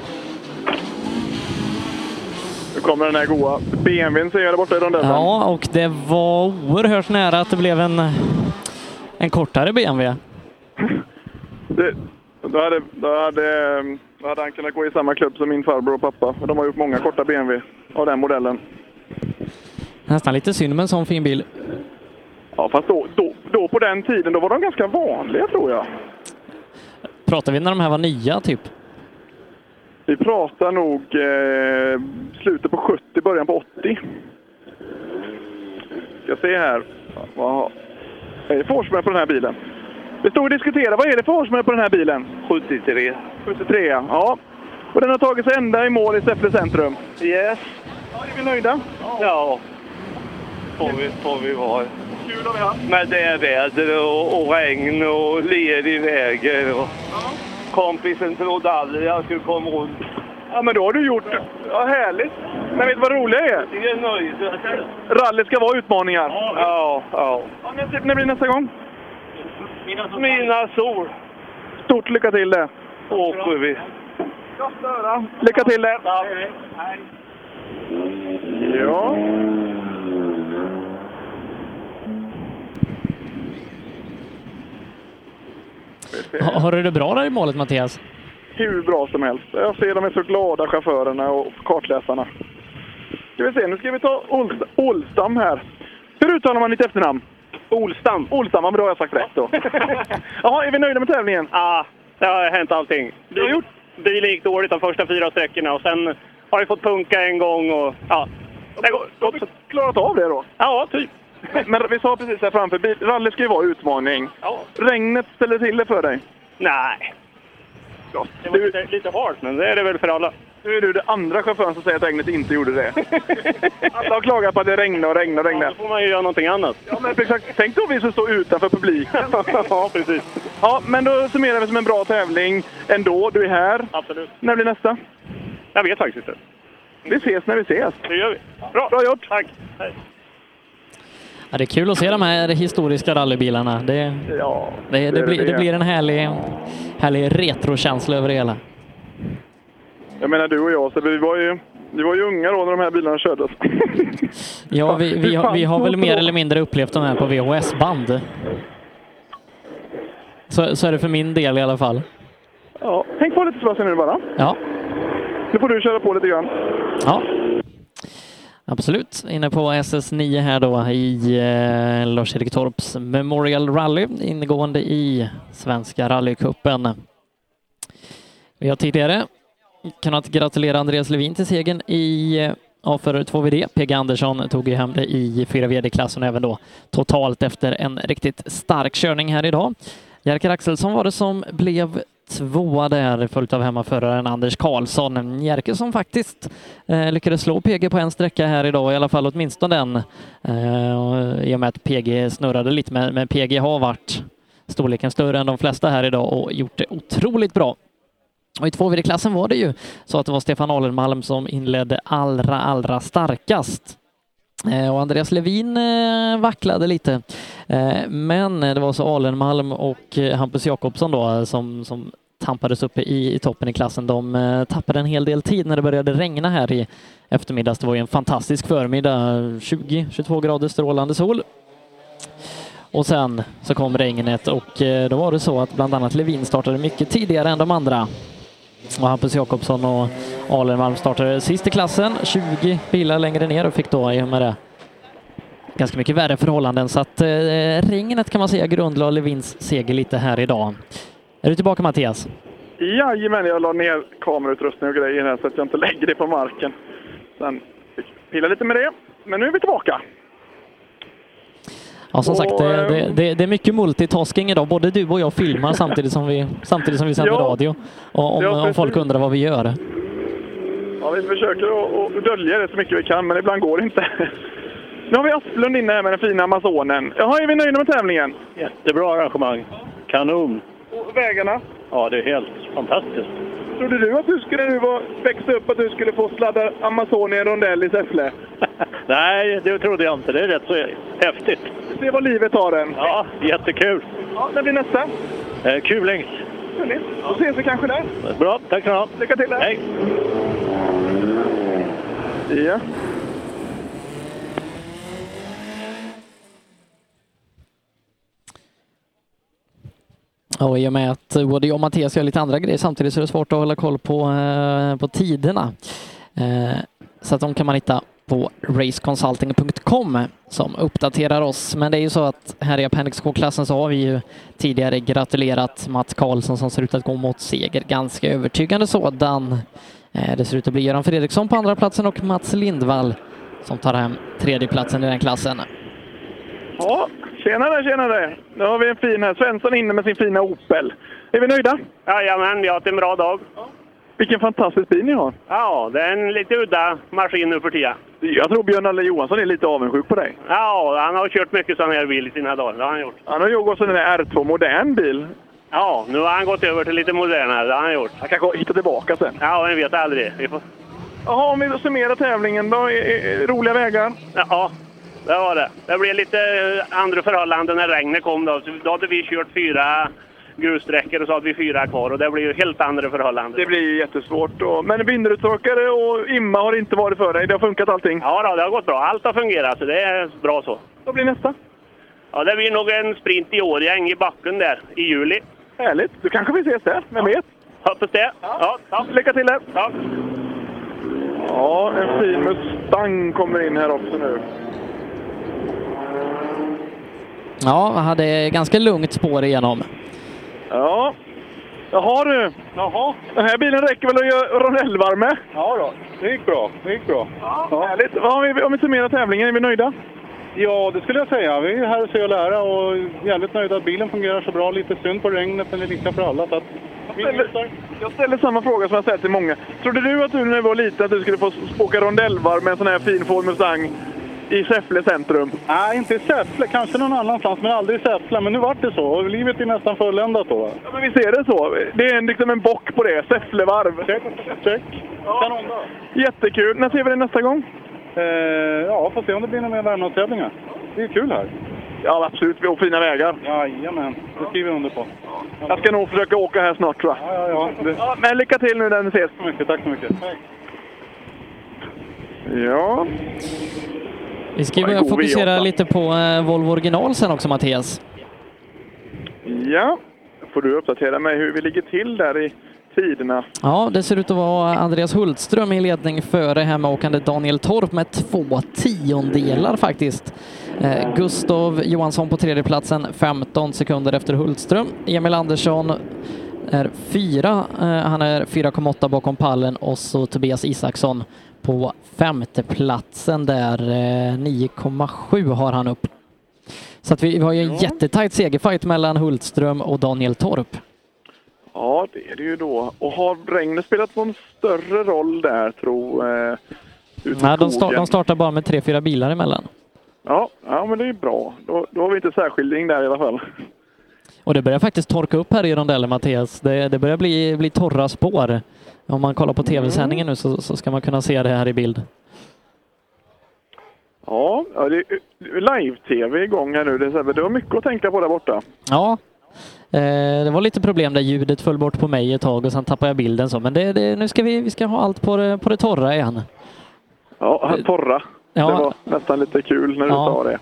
[SPEAKER 25] Nu kommer den här goa BMWn ser jag där borta i rondellen.
[SPEAKER 3] Ja, och det var oerhört nära att det blev en, en kortare BMW.
[SPEAKER 25] Det, då, hade, då, hade, ehm, då hade han kunnat gå i samma klubb som min farbror och pappa. Och de har gjort många korta BMW av den modellen.
[SPEAKER 3] Nästan lite synd med en sån fin bil.
[SPEAKER 25] Ja, fast då, då, då på den tiden då var de ganska vanliga tror jag.
[SPEAKER 3] Pratar vi när de här var nya typ?
[SPEAKER 25] Vi pratar nog eh, slutet på 70, början på 80. Ska se här. Vad vad är det för årsmodell på den här bilen? Vi stod och diskuterade, vad är det för årsmodell på den här bilen? 73. 73, ja. ja. Och den har tagit sig ända i mål i Säffle centrum.
[SPEAKER 18] Yes.
[SPEAKER 25] Ja, är vi nöjda?
[SPEAKER 18] Ja.
[SPEAKER 26] Får vi, får vi vara. Med det väder och, och regn och ledig väg. Och... Kompisen trodde aldrig jag skulle komma runt.
[SPEAKER 25] Ja, men då har du gjort... Ja, härligt. Men vet du vad roligt är?
[SPEAKER 26] Jag är nöjd.
[SPEAKER 25] Rally ska vara utmaningar.
[SPEAKER 26] Ja, ja.
[SPEAKER 25] Ja, men typ, När blir nästa gång?
[SPEAKER 26] Mina sol.
[SPEAKER 25] Stort lycka till det.
[SPEAKER 26] Åker vi.
[SPEAKER 25] Lycka till det. Ja.
[SPEAKER 3] Ha- Har du det bra där i målet Mattias?
[SPEAKER 25] hur bra som helst. Jag ser de är så glada, chaufförerna och kartläsarna. Ska vi se, nu ska vi ta Olst- Olstam här. Hur uttalar man ditt efternamn? Olstam. Olstam, ja, men då har jag sagt rätt
[SPEAKER 13] [LAUGHS]
[SPEAKER 25] då. Jaha, är vi nöjda med tävlingen?
[SPEAKER 13] Ja, det har hänt allting.
[SPEAKER 25] Bil, gjort...
[SPEAKER 13] bil gick dåligt de första fyra sträckorna och sen har vi fått punka en gång och ja. Det går,
[SPEAKER 25] Har vi klarat av det då?
[SPEAKER 13] Ja, typ.
[SPEAKER 25] Men, men vi sa precis här framför, bil- rally ska ju vara utmaning. Regnet ställer till det för dig.
[SPEAKER 13] Nej. Det var lite, lite hårt, men det är det väl för alla.
[SPEAKER 25] Nu är du den andra chauffören som säger att regnet inte gjorde det. Alla har klagat på att det regnar och regnar och regnar. Ja, då
[SPEAKER 13] får man ju göra någonting annat.
[SPEAKER 25] Ja, men exakt. Tänk då vi som står utanför publiken.
[SPEAKER 13] [LAUGHS] ja, precis.
[SPEAKER 25] Ja, men då summerar vi som en bra tävling ändå. Du är här.
[SPEAKER 13] Absolut.
[SPEAKER 25] När blir nästa?
[SPEAKER 13] Jag vet faktiskt inte.
[SPEAKER 25] Vi ses när vi ses.
[SPEAKER 13] Det gör vi. Bra,
[SPEAKER 25] Bra gjort.
[SPEAKER 13] Tack. Hej.
[SPEAKER 3] Ja, det är kul att se de här historiska rallybilarna. Det,
[SPEAKER 25] Ja,
[SPEAKER 3] det, det,
[SPEAKER 25] är
[SPEAKER 3] blir, det blir en härlig, härlig retrokänsla över det hela.
[SPEAKER 25] Jag menar du och jag, så vi var ju, vi var ju unga då när de här bilarna kördes. [LAUGHS]
[SPEAKER 3] Ja, vi, vi, har- vi har väl mer eller mindre upplevt de här på VHS-band. Så, så är det för min del i alla fall.
[SPEAKER 25] Ja, häng på lite Sebastian nu bara.
[SPEAKER 3] Ja,
[SPEAKER 25] Nu får du köra på lite grann.
[SPEAKER 3] ja. Absolut. Inne på SS9 här då i eh, Lars-Erik Torps Memorial Rally ingående i Svenska rallycupen. Vi har tidigare kunnat gratulera Andreas Levin till segern i eh, A4 2VD. PG Andersson tog ju hem det i 4VD-klassen även då totalt efter en riktigt stark körning här idag. Jerker Axelsson var det som blev tvåa där, följt av hemmaföraren Anders Karlsson. Jerker som faktiskt eh, lyckades slå PG på en sträcka här idag, i alla fall åtminstone den. Eh, och I och med att PG snurrade lite, men, men PG har varit storleken större än de flesta här idag och gjort det otroligt bra. Och i tvåvideklassen var det ju så att det var Stefan Alenmalm som inledde allra, allra starkast. Eh, Och Andreas Levin eh, vacklade lite. Eh, Men det var så Alenmalm och eh, Hampus Jakobsson då eh, som, som tampades uppe i, i toppen i klassen. De eh, tappade en hel del tid när det började regna här i eftermiddags. Det var ju en fantastisk förmiddag, 20-22 grader strålande sol. Och sen så kom regnet och eh, då var det så att bland annat Levin startade mycket tidigare än de andra. Och Hampus Jakobsson och Alenmalm startade sist i klassen, 20 bilar längre ner och fick då i och med det ganska mycket värre förhållanden. Så att eh, regnet kan man säga grundlade Levins seger lite här idag. Är du tillbaka Mattias?
[SPEAKER 25] Jajamän, jag la ner kamerautrustning och grejer här så att jag inte lägger det på marken. Sen fick jag pilla lite med det, men nu är vi tillbaka.
[SPEAKER 3] Ja, som sagt, det, det- det, det är mycket multitasking idag. Både du och jag filmar samtidigt som vi, samtidigt som vi sänder
[SPEAKER 25] Ja.
[SPEAKER 3] radio. Och om,
[SPEAKER 25] Ja,
[SPEAKER 3] om
[SPEAKER 25] precis.
[SPEAKER 3] folk undrar vad vi gör.
[SPEAKER 25] Ja, vi försöker att- att dölja det så mycket vi kan, men ibland går det inte. [LAUGHS] Nu har vi Asplund inne här med den fina Amazonen. Jaha, är vi nöjda med tävlingen?
[SPEAKER 29] Jättebra arrangemang. Kanon.
[SPEAKER 25] Och vägarna?
[SPEAKER 29] Ja, det är helt fantastiskt.
[SPEAKER 25] Trodde du att du skulle nu vara- växa upp att du skulle få sladda Amazon i en rondell i
[SPEAKER 29] [LAUGHS]
[SPEAKER 25] Säffle?
[SPEAKER 29] Nej, det trodde jag inte. Det är rätt så häftigt.
[SPEAKER 25] Se vad livet tar en.
[SPEAKER 29] Ja, jättekul.
[SPEAKER 25] Ja, det blir nästa.
[SPEAKER 29] Eh, Kulings.
[SPEAKER 25] Härligt. Då ses vi kanske där.
[SPEAKER 29] Bra, tack ska du ha.
[SPEAKER 25] Lycka till!
[SPEAKER 29] Hej!
[SPEAKER 25] Ja.
[SPEAKER 3] Och i och med att både jag och Mattias gör lite andra grejer samtidigt så är det svårt att hålla koll på, eh, på tiderna. Eh, Så att de kan man hitta på raceconsulting.com som uppdaterar oss. Men det är ju så att här i Appendix K-klassen så har vi ju tidigare gratulerat Mats Karlsson som ser ut att gå mot seger. Ganska övertygande sådan. Eh, Det ser ut att bli Göran Fredriksson på andra platsen och Mats Lindvall som tar hem tredjeplatsen i den klassen.
[SPEAKER 25] Ja, tjenare, tjenare! Nu har vi en fin här. Svensson inne med sin fina Opel. Är vi nöjda?
[SPEAKER 34] Jajamän, vi har haft en bra dag.
[SPEAKER 25] Vilken fantastisk bil ni har!
[SPEAKER 34] Ja, det är en lite udda maskin nu för tiden.
[SPEAKER 25] Jag tror Björn Alle Johansson är lite avundsjuk på dig.
[SPEAKER 34] Ja, han har kört mycket sån här bil i sina dagar. Det har han gjort.
[SPEAKER 25] Han har ju gått en R2 modern bil.
[SPEAKER 34] Ja, nu har han gått över till lite modernare. Det har han gjort.
[SPEAKER 25] Han kanske hittar tillbaka sen.
[SPEAKER 34] Ja, vi vet aldrig. Vi får...
[SPEAKER 25] Jaha, om vi summerar tävlingen då. i- i- Roliga vägar?
[SPEAKER 34] Ja, det var det. Det blev lite eh, andra förhållanden när regnet kom. Då, Så då hade vi kört fyra grussträckor och så hade vi fyra kvar. Och det blev ju helt andra förhållanden.
[SPEAKER 25] Det blir ju jättesvårt. Och, men vindrutetorkare och imma har inte varit för dig. Det har funkat allting.
[SPEAKER 34] Ja, då, det har gått bra. Allt har fungerat, så det är bra så.
[SPEAKER 25] Vad blir nästa?
[SPEAKER 34] Ja, det blir nog en sprint i Årjäng i backen där i juli.
[SPEAKER 25] Härligt. Då kanske vi ses där. Vem vet?
[SPEAKER 34] Hoppas det. Ja, tack.
[SPEAKER 25] Lycka till! er.
[SPEAKER 34] Tack.
[SPEAKER 25] Ja, en fin Mustang kommer in här också nu.
[SPEAKER 3] Ja, hade ganska lugnt spår igenom.
[SPEAKER 25] Ja. Jaha du.
[SPEAKER 29] Jaha.
[SPEAKER 25] Den här bilen räcker väl att göra rondellvarme?
[SPEAKER 29] Ja då, det gick bra. Det gick bra.
[SPEAKER 25] Ja. Härligt. Vad har vi, om vi summerar tävlingen, är vi nöjda?
[SPEAKER 29] Ja, det skulle jag säga. Vi är här och ser och lära och jävligt nöjda att bilen fungerar så bra. Lite synd på regnet, men det är lika för alla. Så att...
[SPEAKER 25] Jag ställer samma fråga som jag ställt till många. Trodde du att du när du var liten att du skulle få s- åka rondellvarv med en sån här fin Ford Mustang i Säffle centrum?
[SPEAKER 29] Nej, inte i Säffle. Kanske någon annanstans, men aldrig i Säffle. Men nu vart det så. Och livet är nästan fulländat då. va?
[SPEAKER 25] Ja, men visst är det så? Det är en, liksom en bock på det. Säfflevarv.
[SPEAKER 29] Check, check.
[SPEAKER 25] Jättekul. När ser vi det nästa gång?
[SPEAKER 29] Eh, ja, får se om det blir några mer Värmlandstävlingar. Det är kul här.
[SPEAKER 25] Ja, absolut. Och fina vägar.
[SPEAKER 29] Jajamän, det skriver jag under på.
[SPEAKER 25] Jag ska nog försöka åka här snart tror jag.
[SPEAKER 29] Ja, ja, det...
[SPEAKER 25] Ja, men lycka till nu när ni ses.
[SPEAKER 29] Tack så mycket.
[SPEAKER 25] Ja.
[SPEAKER 3] Vi ska ju
[SPEAKER 25] Ja, en
[SPEAKER 3] börja
[SPEAKER 25] god
[SPEAKER 3] fokusera
[SPEAKER 25] V8.
[SPEAKER 3] lite på eh, Volvo original sen också Mattias.
[SPEAKER 25] Ja. Får du uppdatera mig hur vi ligger till där i tiderna?
[SPEAKER 3] Ja, det ser ut att vara Andreas Hultström i ledning före hemmaåkande Daniel Torp med två tiondelar faktiskt. Eh, Gustav Johansson på tredjeplatsen 15 sekunder efter Hultström. Emil Andersson är fyra, eh, han är 4,8 bakom pallen och så Tobias Isaksson på femteplatsen där. Eh, 9,7 har han upp. Så att vi, vi har ju en jättetajt segerfight mellan Hultström och Daniel Torp.
[SPEAKER 25] Ja, det är det ju då. Och har regnet spelat någon större roll där, tro? Eh, ut i
[SPEAKER 3] Nej, de, sta-
[SPEAKER 25] skogen?
[SPEAKER 3] de startar bara med tre, fyra bilar emellan.
[SPEAKER 25] Ja, ja, men det är bra. Då, då har vi inte särskiljning där i alla fall.
[SPEAKER 3] Och det börjar faktiskt torka upp här i rondellen, Mattias. Det, det börjar bli, bli torra spår. Om man kollar på tv-sändningen nu så, så ska man kunna se det här i bild.
[SPEAKER 25] Ja, ja, det är eh, live-tv igång här nu. Det, är så här, men det var mycket att tänka på där borta.
[SPEAKER 3] Ja, eh, det var lite problem där ljudet föll bort på mig ett tag och sen tappade jag bilden. Så. Men det, det, nu ska vi, vi ska ha allt på det, på det torra igen.
[SPEAKER 25] Ja, torra.
[SPEAKER 3] Eh, Ja.
[SPEAKER 25] Det var nästan lite kul när du
[SPEAKER 3] Ja.
[SPEAKER 25] sa det.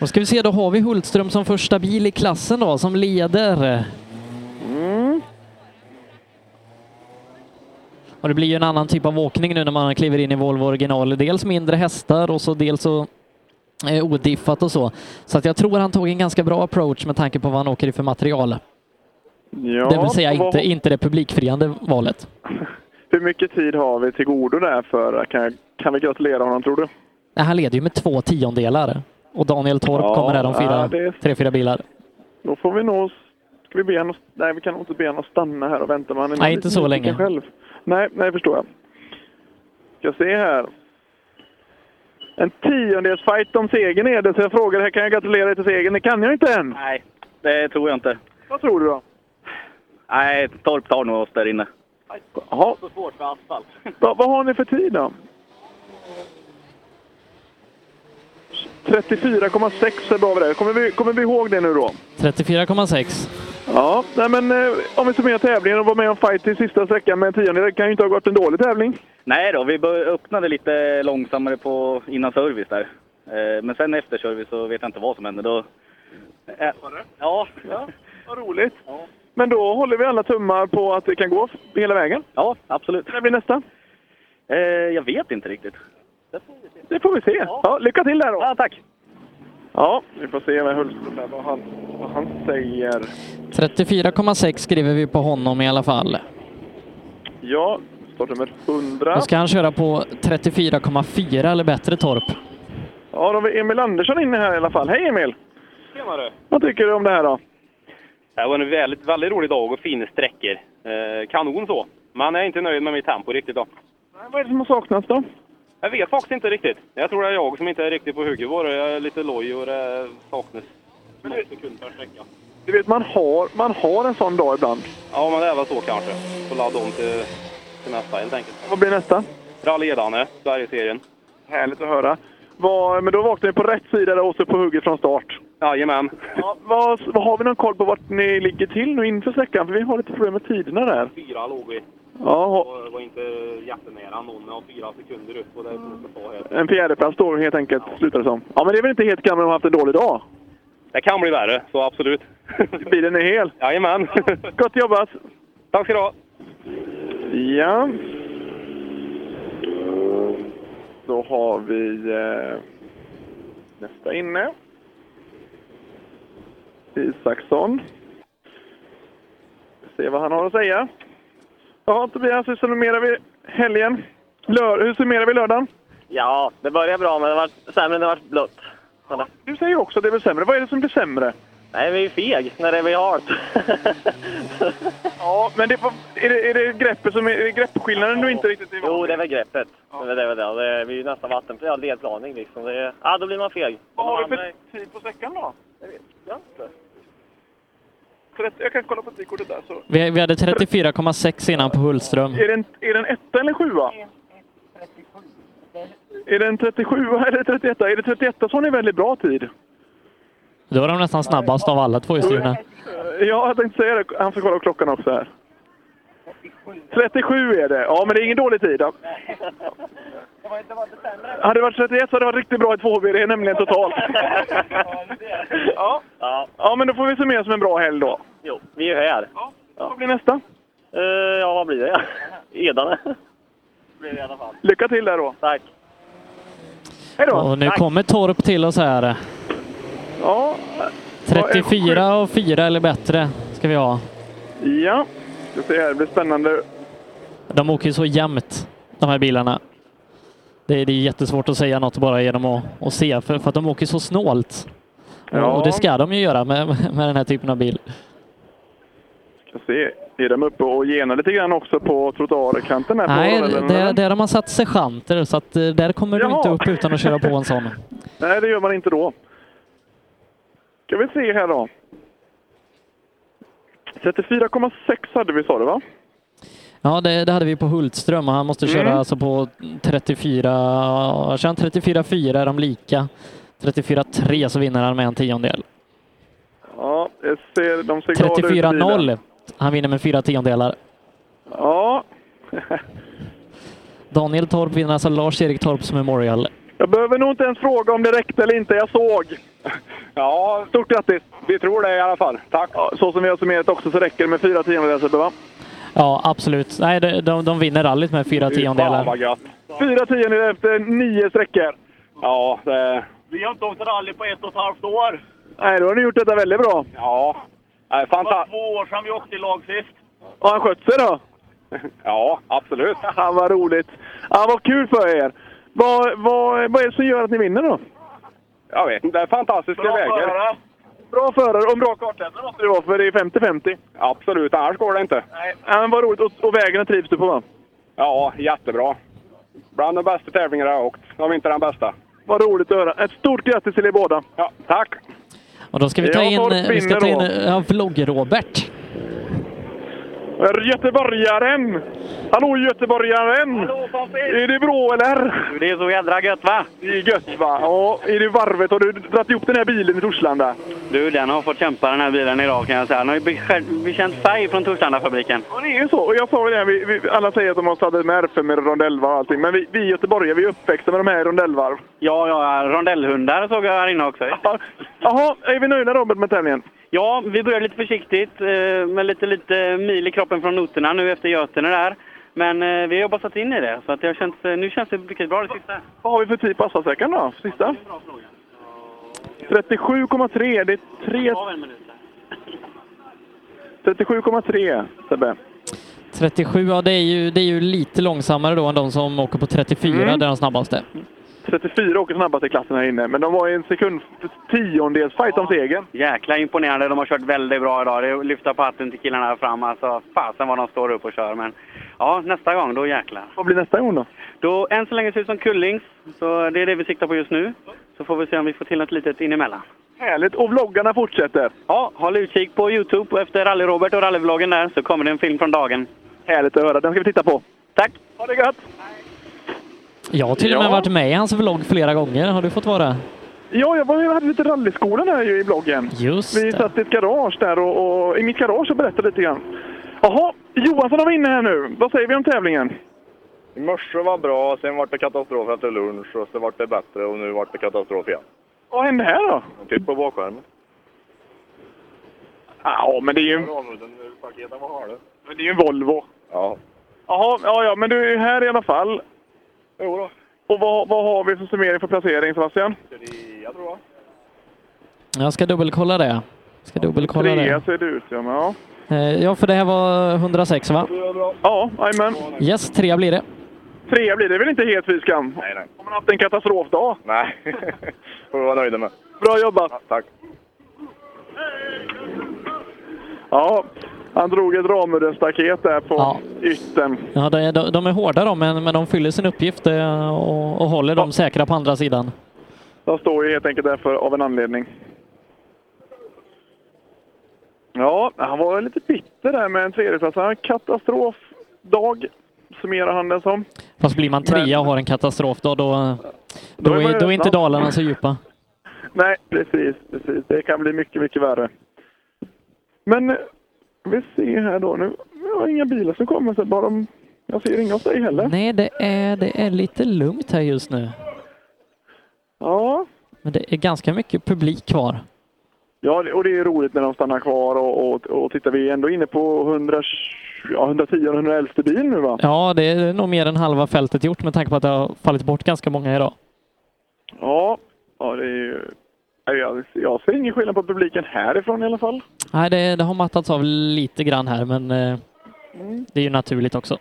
[SPEAKER 3] Och ska vi se, då har vi Hultström som första bil i klassen då, som leder. Och det blir ju en annan typ av åkning nu när man kliver in i Volvo original. Dels mindre hästar och så dels så eh, odiffat och så. Så att jag tror han tog en ganska bra approach med tanke på vad han åker i för material.
[SPEAKER 25] Ja,
[SPEAKER 3] det vill säga
[SPEAKER 25] vad-
[SPEAKER 3] inte, inte det publikfriande valet.
[SPEAKER 25] Hur mycket tid har vi till godo där för? Kan, kan vi gratulera honom, tror du?
[SPEAKER 3] Nej, han leder ju med två tiondelar. Och Daniel Torp
[SPEAKER 25] Ja,
[SPEAKER 3] kommer där om fyra,
[SPEAKER 25] ja, det-
[SPEAKER 3] tre, fyra bilar.
[SPEAKER 25] Då får vi nog... Ska vi be honom... Nej, vi kan nog inte be honom stanna här och vänta. men Han är
[SPEAKER 3] Nej, inte så
[SPEAKER 25] nyfiken
[SPEAKER 3] länge.
[SPEAKER 25] Själv. Nej, nej, förstår jag. Ska se här. En tiondels fight om segern är det, så jag frågar här, kan jag gratulera dig till segern? Det kan jag inte
[SPEAKER 35] Mm.
[SPEAKER 25] än!
[SPEAKER 9] Nej, det tror jag inte.
[SPEAKER 25] Vad tror du då?
[SPEAKER 9] Nej, Torp tar nog oss där inne.
[SPEAKER 25] Jaha.
[SPEAKER 9] Så svårt för asfalt.
[SPEAKER 25] Va, vad har ni för tid då? 34,6 är bra vi där. Kommer vi, kommer vi ihåg det nu då?
[SPEAKER 3] 34,6.
[SPEAKER 25] Ja, nej men eh, om vi summerar tävlingen och var med om fight i sista sträckan med en tiondel, det kan ju inte ha gått en dålig tävling.
[SPEAKER 9] Nej då, vi bör- öppnade lite långsammare på innan service där. Eh, Men sen efter service så vet jag inte vad som hände. Då... Eh, Ja.
[SPEAKER 25] ja, vad roligt. Men då håller vi alla tummar på att det kan gå f- hela vägen.
[SPEAKER 9] Ja, absolut.
[SPEAKER 25] När blir nästa?
[SPEAKER 9] eh, Jag vet inte riktigt.
[SPEAKER 25] Det får vi se. Ja. lycka till där då!
[SPEAKER 9] Ja, tack!
[SPEAKER 25] Ja, vi får se med Hultström där, vad han, vad han säger.
[SPEAKER 3] 34,6 skriver vi på honom i alla fall.
[SPEAKER 25] Ja, startnummer 100.
[SPEAKER 3] Då ska han köra på 34,4 eller bättre Torp.
[SPEAKER 25] Ja, då har vi Emil Andersson inne här i alla fall. Hej Emil!
[SPEAKER 35] Tjenare!
[SPEAKER 25] Vad tycker du om det här då?
[SPEAKER 35] Det var en väldigt, väldigt rolig dag och fina sträckor. Eh, kanon så. Men jag är inte nöjd med mitt tempo riktigt då.
[SPEAKER 25] Vad är det som har saknats då?
[SPEAKER 35] Jag vet faktiskt inte riktigt. Jag tror det är jag som inte är riktigt på hugget bara. Jag är lite loj och det saknas någon sekund per sträcka.
[SPEAKER 25] Du vet, man har, man har en sån dag ibland.
[SPEAKER 35] Ja, men det är väl så kanske. Får ladda om till, till nästa helt enkelt.
[SPEAKER 25] Vad blir nästa?
[SPEAKER 35] Rally Edane, Sverigeserien.
[SPEAKER 25] Härligt att höra. Vad- men då vaknade ni på rätt sida där och så på hugget från start.
[SPEAKER 35] Jajamän.
[SPEAKER 25] Ja, vad, vad har vi någon koll på vart ni ligger till nu inför sträckan? För vi har lite problem med tiderna där.
[SPEAKER 35] Fyra låg vi.
[SPEAKER 25] Ja, ho-
[SPEAKER 35] Och det var inte jättenära någon. Jag har fyra sekunder upp och det är svårt att ta här.
[SPEAKER 25] en fjärdeplats då helt enkelt, slutar det som. Ja, men det är väl inte helt gammal om haft en dålig dag?
[SPEAKER 35] Det kan bli värre, så absolut.
[SPEAKER 25] Bilen är hel?
[SPEAKER 35] Jajamän.
[SPEAKER 25] Gott jobbat!
[SPEAKER 35] Tack ska du ha!
[SPEAKER 25] Ja. Då har vi eh, nästa inne. Isaksson. Se vad han har att säga. Ja, Tobias, hur summerar vi helgen? Lör, hur summerar vi lördagen?
[SPEAKER 16] Ja, det började bra men det var sämre när det var blött.
[SPEAKER 25] Du säger också att det blir sämre. Vad är det som blir sämre?
[SPEAKER 16] Nej, vi är ju feg när det blir halt.
[SPEAKER 25] ja, men det var, är, det, är det greppet som är, är det greppskillnaden du inte riktigt är
[SPEAKER 16] Jo, det är väl greppet. Det är väl det. Det är ju nästan vattenplan, ja, ledplaning liksom. Det är, ja, då blir man feg.
[SPEAKER 25] Vad har vi
[SPEAKER 16] [LAUGHS]
[SPEAKER 25] för tid på sträckan då? Jag vet inte. Jag kan kolla på tidkortet där. Så.
[SPEAKER 3] Vi, vi hade 34,6 innan på Hultström.
[SPEAKER 25] Är det en, är det en etta eller en sjua? Är det en 37 eller 31? Är det 31 så har ni väldigt bra tid.
[SPEAKER 3] Då är de nästan snabbast av alla tvåhjulsdrivna.
[SPEAKER 25] Ja, jag tänkte säga det. Han ska kolla på klockan också här. 37 är det. Ja, men det är ingen dålig tid. Ja. Hade det varit 31 så hade det varit riktigt bra i 2HB. Det är nämligen totalt. ja.
[SPEAKER 16] Ja,
[SPEAKER 25] ja, men då får vi summera som en bra helg då.
[SPEAKER 16] jo, vi är ju här.
[SPEAKER 25] Vad blir nästa?
[SPEAKER 16] Eh, ja, vad blir det? Edane. blir det i alla fall.
[SPEAKER 25] Lycka till där då.
[SPEAKER 16] Tack.
[SPEAKER 25] Hej då.
[SPEAKER 3] Och nu kommer Torp till oss här.
[SPEAKER 25] Ja.
[SPEAKER 3] 34 och 4 eller bättre ska vi ha.
[SPEAKER 25] Ja, ska se här. Det blir spännande.
[SPEAKER 3] De åker ju så jämnt, de här bilarna. Det är, det är jättesvårt att säga något bara genom att, att se, för, för att de åker så snålt. Och-
[SPEAKER 25] Ja.
[SPEAKER 3] Och det ska de ju göra med, med den här typen av bil.
[SPEAKER 25] Ska se, är de uppe och genar lite grann också på trottoarkanten här? på
[SPEAKER 3] Nej,
[SPEAKER 25] rällen,
[SPEAKER 3] där,
[SPEAKER 25] eller?
[SPEAKER 3] där har man satt sergeanter, så att eh, där kommer du
[SPEAKER 25] Jaha.
[SPEAKER 3] inte upp utan att köra på en sån.
[SPEAKER 25] Nej, det gör man inte då. Ska vi se här då. 34,6 hade vi sa du va?
[SPEAKER 3] Ja, det, det hade vi på Hultström och han måste köra
[SPEAKER 25] Mm.
[SPEAKER 3] alltså på 34... Kör han 34-4 är de lika. 34-3 så vinner han med en tiondel.
[SPEAKER 25] Ja, jag ser, de ser glada ut i bilen.
[SPEAKER 3] 34-0. Han vinner med fyra tiondelar.
[SPEAKER 25] Ja. [LAUGHS]
[SPEAKER 3] Daniel Torp vinner alltså Lars-Erik Torps Memorial.
[SPEAKER 25] Jag behöver nog inte ens fråga om det räckte eller inte. Jag såg. [LAUGHS] Ja, stort grattis. Vi tror det i alla fall. Tack. Ja, så som vi har summerat också så räcker det med fyra tiondelar Sebbe va?
[SPEAKER 3] Ja, absolut. Nej, de, de, de vinner rallyt med fyra tiondelar.
[SPEAKER 25] gött. Fyra tiondelar efter nio sträckor. Ja, det...
[SPEAKER 34] Vi har inte åkt rally på ett och ett halvt år.
[SPEAKER 25] Nej, då har ni gjort detta väldigt bra.
[SPEAKER 34] Ja.
[SPEAKER 25] Nej,
[SPEAKER 34] Det var två år sedan vi åkte i lag sist.
[SPEAKER 25] Har han skött sig då? [LAUGHS] Ja, absolut. Han var roligt. Ja, vad kul för er. Vad, vad, vad är det som gör att ni vinner då?
[SPEAKER 26] Jag vet inte, det är fantastiska
[SPEAKER 25] Bra
[SPEAKER 26] vägar.
[SPEAKER 25] förare. Bra förare och bra kartläsare måste det vara, för det är 50-50.
[SPEAKER 26] Absolut, annars går det inte.
[SPEAKER 25] Nej. Ja, men vad roligt. Och, och vägarna trivs du på va?
[SPEAKER 26] Ja, jättebra. Bland de bästa tävlingarna jag har åkt, om inte den bästa.
[SPEAKER 25] Vad roligt att höra. Ett stort grattis till er båda.
[SPEAKER 26] Ja, tack!
[SPEAKER 3] Och då ska vi ta
[SPEAKER 25] Ja,
[SPEAKER 3] in... eh,
[SPEAKER 25] Torp
[SPEAKER 3] Vi ska ta in
[SPEAKER 25] vinner då.
[SPEAKER 3] ja, vlogg-Robert.
[SPEAKER 25] Göteborgaren! Hallå göteborgaren! är det bra eller?
[SPEAKER 13] Det är så jädra gött va?
[SPEAKER 25] Det är gött va? Ja, är det varvet? Har du dragit ihop den här bilen i Torslanda?
[SPEAKER 13] Du, den har fått kämpa den här bilen idag kan jag säga. Den har ju bekä- bekänt färg från Torslandafabriken.
[SPEAKER 25] Ja, det är ju så. Och jag sa ju det, här, vi, vi, alla säger att de har saddat med R5 och rondellvarv och allting. Men vi, vi göteborgare, vi är uppväxta med de här i rondellvarv.
[SPEAKER 13] Ja, ja, rondellhundar såg jag här inne också.
[SPEAKER 25] Jaha, är vi nöjda Robert med tävlingen?
[SPEAKER 13] Ja, vi börjar lite försiktigt eh, med lite, lite mil i kroppen från noterna nu efter Götene där. Men eh, vi har bara satt in i det, så att jag känns, nu känns det riktigt bra det sista.
[SPEAKER 25] Vad har vi för tid på Assasäcken då? Sista? 37,3. Det är tre...
[SPEAKER 13] Av en minut.
[SPEAKER 25] 37,3 Sebbe.
[SPEAKER 3] 37, ja det är, ju, det är ju lite långsammare då än de som åker på 34,
[SPEAKER 25] Mm.
[SPEAKER 3] där de snabbaste.
[SPEAKER 25] 34 åker snabbast i klassen här inne, men de var i en sekund tiondels fight om segern.
[SPEAKER 13] Jäkla imponerande. De har kört väldigt bra idag. Det är att lyfta på hatten till killarna här fram. Alltså, fasen vad de står upp och kör. Men ja, nästa gång, då jäklar.
[SPEAKER 25] Vad blir nästa gång då?
[SPEAKER 13] Då, än så länge ser det ut som Kullings. Så det är det vi siktar på just nu. Så får vi se om vi får till något litet inemellan.
[SPEAKER 25] Härligt! Och vloggarna fortsätter.
[SPEAKER 13] Ja, håll utkik på Youtube och efter Rally-Robert och rallyvloggen där så kommer det en film från dagen.
[SPEAKER 25] Härligt att höra. Den ska vi titta på.
[SPEAKER 13] Tack!
[SPEAKER 25] Ha det gött!
[SPEAKER 3] Jag har till och med
[SPEAKER 25] Ja.
[SPEAKER 3] varit med i hans vlogg flera gånger. Har du fått vara?
[SPEAKER 25] Ja, jag var, jag hade lite rallyskolan här ju i bloggen.
[SPEAKER 3] Just
[SPEAKER 25] Vi satt i ett garage där och, och i mitt garage och berättade lite grann. Jaha, Johansson var inne här nu. Vad säger vi om tävlingen?
[SPEAKER 8] I morse var bra, sen var det katastrof efter lunch och sen var det bättre och nu var det katastrof igen.
[SPEAKER 25] Vad hände här då?
[SPEAKER 8] Typ på bakskärmen.
[SPEAKER 25] Ja, men det är ju,
[SPEAKER 8] Paketen var halva.
[SPEAKER 25] men det är ju en Volvo.
[SPEAKER 8] Ja.
[SPEAKER 25] Jaha, ja, ja, men du är ju här i alla fall.
[SPEAKER 8] Jo då.
[SPEAKER 25] Och vad, vad har vi för summering för placering Sebastian?
[SPEAKER 8] Jag tror det.
[SPEAKER 3] Jag ska dubbelkolla det. Ska dubbelkolla
[SPEAKER 25] Trea
[SPEAKER 3] det.
[SPEAKER 25] ser det ut som, ja.
[SPEAKER 3] Eh, Ja, för det här var 106 va?
[SPEAKER 25] Ja, jajamän.
[SPEAKER 3] Yes, trea blir det.
[SPEAKER 25] Trea blir det väl inte helt fy skam? Nej, nej. Har man haft en katastrofdag? [LAUGHS]
[SPEAKER 8] Nej. Får vi vara nöjda med.
[SPEAKER 25] Bra jobbat!
[SPEAKER 8] tack.
[SPEAKER 25] Ja, han drog ett Ramudden-staket där på yttern.
[SPEAKER 3] Ja, de, de- de är hårda de, men, men de fyller sin uppgift eh, och, och håller dem säkra på andra sidan.
[SPEAKER 25] De står ju helt enkelt där för, av en anledning. Ja, han var lite bitter där med en tredjeplats. Han har en katastrofdag, summerar han den som.
[SPEAKER 3] Fast blir man trea och har en katastrof då, då,
[SPEAKER 25] Då
[SPEAKER 3] då,
[SPEAKER 25] är man
[SPEAKER 3] är, då är inte
[SPEAKER 25] redan-
[SPEAKER 3] dalarna så djupa.
[SPEAKER 25] Nej, precis, precis. Det kan bli mycket, mycket värre. Men eh, vi ser här då nu. Jag har inga bilar som kommer, så bara de... Jag ser inga hos dig heller.
[SPEAKER 3] Nej, det är, det är lite lugnt här just nu.
[SPEAKER 25] Ja,
[SPEAKER 3] Men det är ganska mycket publik kvar.
[SPEAKER 25] Ja, det- och det är roligt när de stannar kvar och, och, och tittar. Vi är ändå inne på 100, ja, 110 och 111 bil nu va?
[SPEAKER 3] Ja, det är nog mer än halva fältet gjort med tanke på att det har fallit bort ganska många idag.
[SPEAKER 25] Ja, ja det är ju... nej, Jag, jag ser ingen skillnad på publiken härifrån i alla fall.
[SPEAKER 3] Nej, det, det har mattats av lite grann här, men eh,
[SPEAKER 25] Mm.
[SPEAKER 3] det är ju naturligt också.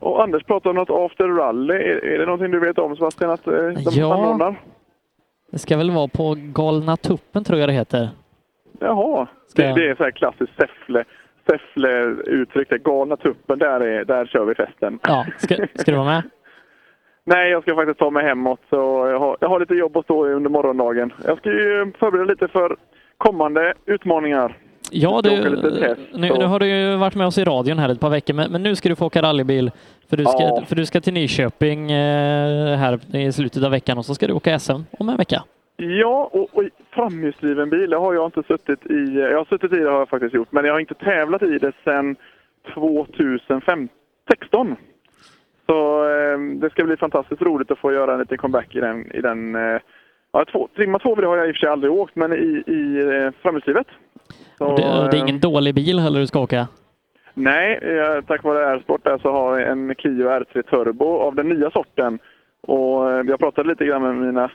[SPEAKER 25] Och Anders pratade om något after rally. Är, är det någonting du vet om Sebastian, att eh, de
[SPEAKER 3] Ja.
[SPEAKER 25] anordnar?
[SPEAKER 3] Det ska väl vara på Galna tuppen tror jag det heter.
[SPEAKER 25] Jaha. Det, det är så här klassiskt Säffle, Säffle-uttryck. det. Galna tuppen, där, är, där kör vi festen.
[SPEAKER 3] Ja, ska, ska du vara med?
[SPEAKER 25] Nej, jag ska faktiskt ta mig hemåt. Så jag, har, jag har lite jobb att stå i under morgondagen. Jag ska ju förbereda lite för kommande utmaningar.
[SPEAKER 3] Ja,
[SPEAKER 25] Jag ska åka
[SPEAKER 3] du, eh,
[SPEAKER 25] lite test,
[SPEAKER 3] nu,
[SPEAKER 25] så-
[SPEAKER 3] nu har du ju varit med oss i radion här ett par veckor, men, men nu ska du få åka rallybil. För du, ska,
[SPEAKER 25] Ja.
[SPEAKER 3] för du ska till Nyköping eh, här i slutet av veckan och så ska du åka SM om en vecka.
[SPEAKER 25] Ja, och, och i framhjulsdriven bil det har jag inte suttit i. Jag har suttit i det har jag faktiskt gjort, men jag har inte tävlat i det sedan 2016. Så eh, det ska bli fantastiskt roligt att få göra en liten comeback i den. I den eh, ja, två, trimma 2 har jag i och för sig aldrig åkt, men i, i eh, framhjulsdrivet. Så,
[SPEAKER 3] Och det, och det
[SPEAKER 25] eh,
[SPEAKER 3] är ingen dålig bil heller du ska åka.
[SPEAKER 25] Nej, eh, tack vare R-sport där så har jag en Kia R3 Turbo av den nya sorten. Och eh, jag pratade lite grann med mina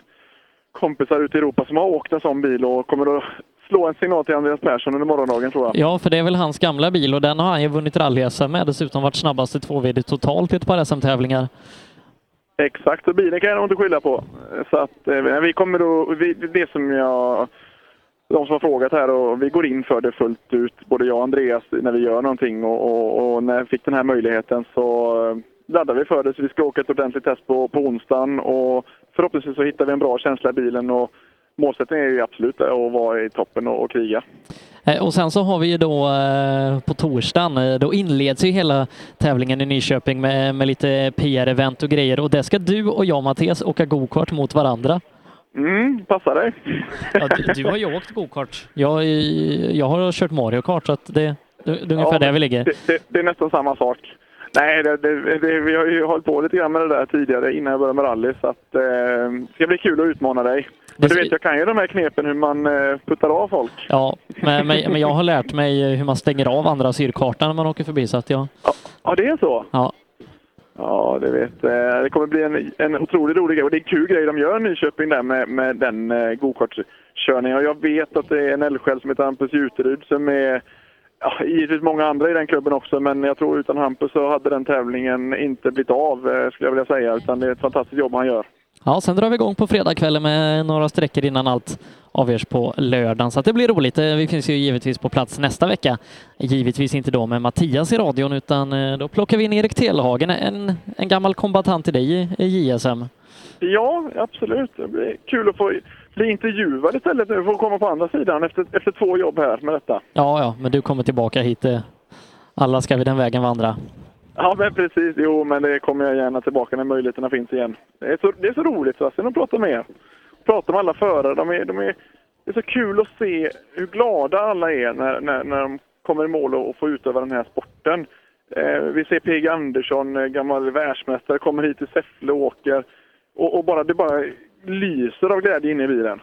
[SPEAKER 25] kompisar ute i Europa som har åkt en sån bil och kommer att slå en signal till Andreas Persson under morgondagen tror jag.
[SPEAKER 3] Ja, för det är väl hans gamla bil och den har han ju vunnit rally-SM med. Dessutom varit snabbast i tvåvd totalt i ett par SM-tävlingar.
[SPEAKER 25] Exakt, och bilen kan jag nog inte skylla på. Så att eh, vi kommer då, vi, det som jag, de som har frågat här och vi går in för det fullt ut, både jag och Andreas, när vi gör någonting och, och, och när jag fick den här möjligheten så eh, laddar vi för det. Så vi ska åka ett ordentligt test på, på onsdagen och förhoppningsvis så hittar vi en bra känsla i bilen och målsättningen är ju absolut att vara i toppen och, och kriga.
[SPEAKER 3] Eh, Och sen så har vi ju då eh, på torsdagen, eh, då inleds ju hela tävlingen i Nyköping med, med lite PR-event och grejer och där ska du och jag Mattias åka gokart mot varandra.
[SPEAKER 25] Mm, passar dig.
[SPEAKER 3] Ja, du, du har ju åkt gokart. Jag, eh, jag har kört Mario Kart så att det, det är ungefär
[SPEAKER 25] Ja,
[SPEAKER 3] där vi ligger.
[SPEAKER 25] Det, det, det är nästan samma sak. Nej, det, det, det, vi har ju hållit på lite grann med det där tidigare innan jag började med rally. Så att, eh, det ska bli kul att utmana dig. Men du vet, jag kan ju de här knepen hur man eh, puttar av folk.
[SPEAKER 3] Ja, men, men, men jag har lärt mig hur man stänger av andra syrkartan när man åker förbi så att jag...
[SPEAKER 25] Ja, det är så?
[SPEAKER 3] Ja.
[SPEAKER 25] Ja, det vet eh, Det kommer bli en, en otroligt rolig grej. Och det är en kul grej de gör i Nyköping där med, med den eh, gokartkörningen. Och jag vet att det är en eldsjäl som heter Hampus Juterud som är Ja, givetvis många andra i den klubben också, men jag tror utan Hampus så hade den tävlingen inte blivit av, eh, skulle jag vilja säga. Utan det är ett fantastiskt jobb han gör.
[SPEAKER 3] Ja, sen drar vi igång på fredagskvällen med några sträckor innan allt avgörs på lördagen. Så att det blir roligt. Eh, Vi finns ju givetvis på plats nästa vecka. Givetvis inte då med Mattias i radion, utan eh, då plockar vi in Erik Telhagen, en, en gammal kombatant till dig i- i JSM.
[SPEAKER 25] Ja, absolut. Det blir kul att få bli intervjuad istället nu. Få komma på andra sidan efter, efter två jobb här med detta.
[SPEAKER 3] Ja, ja, men du kommer tillbaka hit. eh. Alla ska vi den vägen vandra.
[SPEAKER 25] Ja, men precis. Jo, men det kommer jag gärna tillbaka när möjligheterna finns igen. Det är så, det är så roligt Sebastian att prata med er. Prata med alla förare. De är, de är, det är så kul att se hur glada alla är när, när, när de kommer i mål och, och får utöva den här sporten. Eh, vi ser P.G. Andersson, eh, gammal världsmästare, kommer hit till Säffle och åker. Och, och bara, det bara lyser av glädje inne i bilen.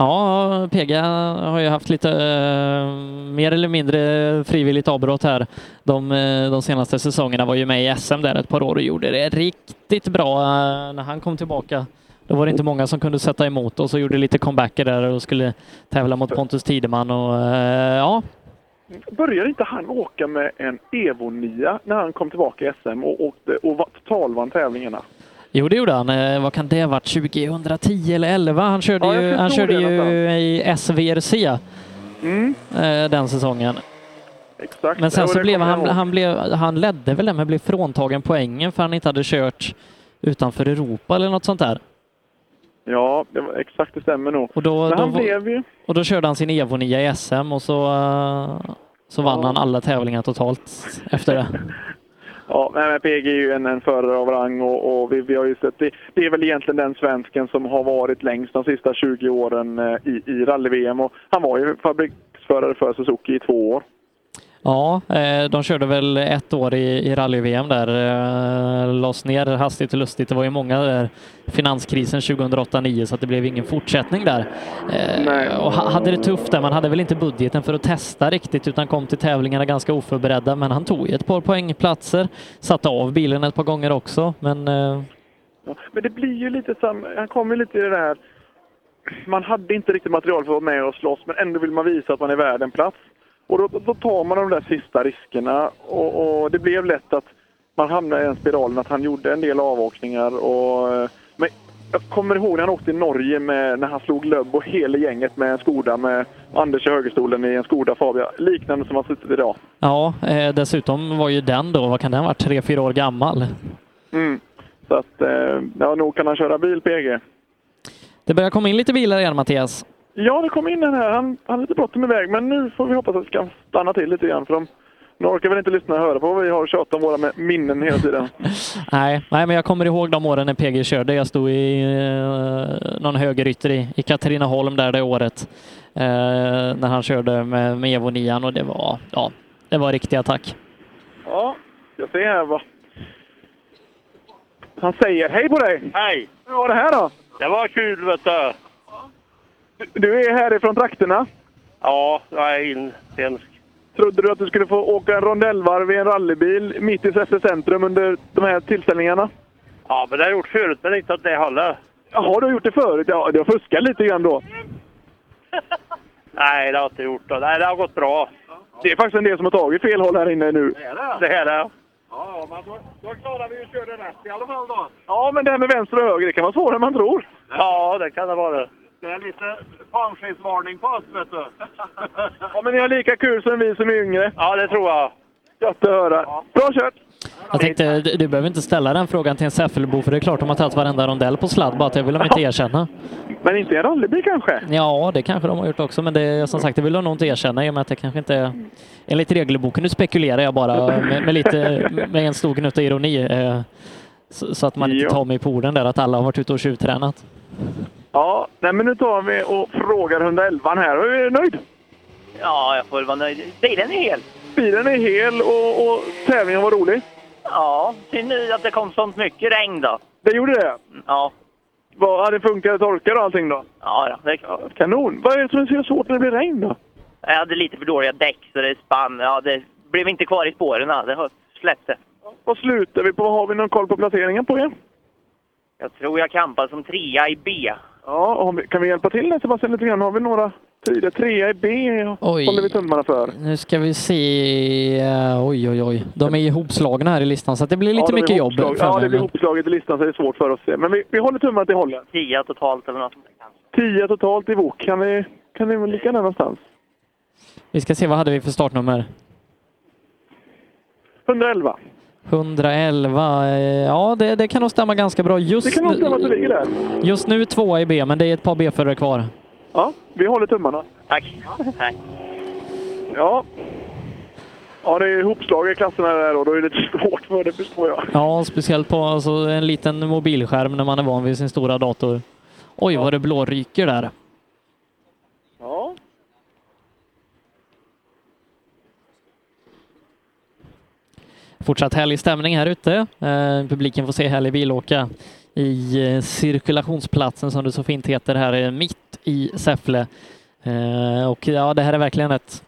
[SPEAKER 3] Ja, PG har ju haft lite eh, mer eller mindre frivilligt avbrott här. De, eh, de senaste säsongerna var ju med i SM där ett par år och gjorde det riktigt bra eh, när han kom tillbaka. Då var det inte många som kunde sätta emot och så gjorde lite comebacker där och skulle tävla mot Pontus Tideman och eh, ja,
[SPEAKER 25] Började inte han åka med en Evo 9 när han kom tillbaka i SM och, åkte, och va- totalvann tävlingarna?
[SPEAKER 3] jo det gjorde han. Eh, Vad kan det ha varit? 2010 eller 11? Han körde
[SPEAKER 25] Ja, jag
[SPEAKER 3] ju, han
[SPEAKER 25] förstod
[SPEAKER 3] körde
[SPEAKER 25] det
[SPEAKER 3] ju i SVRC
[SPEAKER 25] Mm.
[SPEAKER 3] eh, den säsongen.
[SPEAKER 25] Exakt.
[SPEAKER 3] Men
[SPEAKER 25] Jo,
[SPEAKER 3] sen så
[SPEAKER 25] det
[SPEAKER 3] blev
[SPEAKER 25] kommer jag
[SPEAKER 3] han,
[SPEAKER 25] ihåg.
[SPEAKER 3] han, blev, han ledde väl det men blev fråntagen poängen för han inte hade kört utanför Europa eller något sånt där.
[SPEAKER 25] Ja, det var, exakt det stämmer nog.
[SPEAKER 3] Och då,
[SPEAKER 25] Men
[SPEAKER 3] då,
[SPEAKER 25] han
[SPEAKER 3] var-
[SPEAKER 25] blev ju...
[SPEAKER 3] och då körde han sin Evo 9 i SM och så, eh, så vann
[SPEAKER 25] Ja.
[SPEAKER 3] han alla tävlingar totalt efter det.
[SPEAKER 25] Ja, nej, men PG är ju en, en förare av rang och, och vi, vi har ju sett... Det, det är väl egentligen den svensken som har varit längst de sista 20 åren eh, i, i rally-VM. Och han var ju fabriksförare för Suzuki i två år.
[SPEAKER 3] Ja, eh, de körde väl ett år i, i rally-VM där. eh, Lades ner hastigt och lustigt. Det var ju många där. Finanskrisen 2008-2009 så att det blev ingen fortsättning där. Eh, Och ha- hade det tufft där. Man hade väl inte budgeten för att testa riktigt utan kom till tävlingarna ganska oförberedda. Men han tog ju ett par poängplatser. Satte av bilen ett par gånger också. Men eh,
[SPEAKER 25] Ja, Men det blir ju lite sam... Han kommer ju lite i det här... Man hade inte riktigt material för att vara med och slåss, men ändå vill man visa att man är värd en plats. Och då, då tar man de där sista riskerna och, och det blev lätt att man hamnade i den spiralen att han gjorde en del avåkningar. Och, men Jag kommer ihåg när han åkte i Norge med, när han slog Löbb och hela gänget med en Skoda med Anders i högerstolen i en Skoda Fabia. Liknande som han suttit idag.
[SPEAKER 3] Ja, eh, dessutom var ju den då, vad kan den vara, tre, fyra år gammal?
[SPEAKER 25] Mm. Så att, eh, ja, nog kan han köra bil, PG.
[SPEAKER 3] Det börjar komma in lite bilar igen Mattias.
[SPEAKER 25] Ja, det kom in den här. Han hade lite bråttom iväg, men nu får vi hoppas att det kan stanna till lite grann. För de, de orkar väl inte lyssna och höra på vad vi har tjatat om våra minnen
[SPEAKER 33] [LAUGHS]
[SPEAKER 25] hela tiden.
[SPEAKER 3] Nej, nej, men jag kommer ihåg de åren när PG körde. Jag stod i eh, någon högerytter i, i Katrineholm där det året. Eh, när han körde med, med Evo 9 och det var, ja, det var riktig attack.
[SPEAKER 25] Ja, jag ser här vad... Han säger hej på dig!
[SPEAKER 33] Hej!
[SPEAKER 25] Hur var det här då?
[SPEAKER 33] Det var kul vet du.
[SPEAKER 25] Du är härifrån trakterna.
[SPEAKER 33] Ja, jag är inhemsk.
[SPEAKER 25] Trodde du att du skulle få åka en rondellvarv i en rallybil mitt i Säffle centrum under de här tillställningarna?
[SPEAKER 33] Ja, men det har jag gjort förut, men inte åt det hållet.
[SPEAKER 25] Jaha, du har gjort det förut? Ja, du har fuskat lite grann då.
[SPEAKER 33] Nej, det har jag inte gjort. då. Nej, det har gått bra.
[SPEAKER 25] Det är faktiskt en del som har tagit fel håll här inne nu.
[SPEAKER 33] Det här är...
[SPEAKER 39] Ja, men då, då klarar vi ju att köra rätt i alla fall då.
[SPEAKER 25] Ja, men det här med vänster och höger, det kan vara svårare än man tror.
[SPEAKER 33] Ja, det kan det vara.
[SPEAKER 39] Det är lite panskinsvarning på oss, vet du.
[SPEAKER 25] Ja, men ni har lika kul som vi som är yngre.
[SPEAKER 33] Ja, det tror jag.
[SPEAKER 25] Gött att höra. Bra kört!
[SPEAKER 3] Jag tänkte, du du behöver inte ställa den frågan till en Säffelbo för det är klart de har tagit varenda rondell på sladd, bara att det vill de inte erkänna.
[SPEAKER 25] Men inte en rallybil kanske?
[SPEAKER 3] Ja, det kanske de har gjort också, men det, som sagt, det vill de nog inte erkänna i och med att det kanske inte är... Enligt regelboken, nu spekulerar jag bara med, med, lite, med en stor gnutta ironi, eh, så, så att man inte
[SPEAKER 25] Ja.
[SPEAKER 3] tar mig på orden där att alla har varit ute och tjuvtränat.
[SPEAKER 25] Ja, nej, men nu tar vi och frågar 111 här. Är du nöjd?
[SPEAKER 33] Ja, jag får väl vara nöjd. Bilen är hel.
[SPEAKER 25] Bilen är hel och, och tävlingen var rolig.
[SPEAKER 33] Ja, synd nu att det kom sånt mycket regn då.
[SPEAKER 25] Det gjorde det?
[SPEAKER 33] Ja.
[SPEAKER 25] Vad, hade det funkat torkar och allting då?
[SPEAKER 33] Ja, ja, det är klart.
[SPEAKER 25] Kanon! Vad är det som är så svårt när det blir regn då?
[SPEAKER 33] Jag hade lite för dåliga däck så det spann. Ja, det blev inte kvar i spåren. ja. Det har- släppte.
[SPEAKER 25] Vad slutar vi på? Har vi någon koll på placeringen på er?
[SPEAKER 33] Jag tror jag kampade som trea i B.
[SPEAKER 25] Ja, om vi, kan vi hjälpa till där Sebastian lite grann? Har vi några tider? Trea i B
[SPEAKER 3] Oj.
[SPEAKER 25] håller vi tummarna för.
[SPEAKER 3] Nu ska vi se... eh, Oj, oj, oj. De är ihopslagna här i listan så att det blir lite
[SPEAKER 25] ja, de är
[SPEAKER 3] mycket jobb.
[SPEAKER 25] ihopslag- Ja,
[SPEAKER 3] framöver.
[SPEAKER 25] det blir ihopslaget i listan så det är svårt för oss att se. Men vi, vi håller tummarna att det håller.
[SPEAKER 33] Tia totalt eller något sånt där kanske.
[SPEAKER 25] Tio totalt i VOK. Kan vi, kan vi väl ligga där någonstans?
[SPEAKER 3] Vi ska se, vad hade vi för startnummer?
[SPEAKER 25] 111.
[SPEAKER 3] 111, eh, ja det, det kan nog stämma ganska bra. Just,
[SPEAKER 25] Det kan nog stämma att det ligger där.
[SPEAKER 3] just nu tvåa i B, men det är ett par B-förare kvar.
[SPEAKER 25] Ja, vi håller tummarna.
[SPEAKER 33] Tack. Tack.
[SPEAKER 25] Ja. Ja, det är ihopslag i klasserna där och då är det lite svårt för det förstår jag.
[SPEAKER 3] Ja, speciellt på alltså, en liten mobilskärm när man är van vid sin stora dator. Oj, vad det blåryker där.
[SPEAKER 25] Ja.
[SPEAKER 3] Fortsatt härlig stämning här ute. Eh, publiken får se härlig bilåka i eh, cirkulationsplatsen som det så fint heter här eh, mitt i Säffle. Eh, och ja, det här är verkligen ett,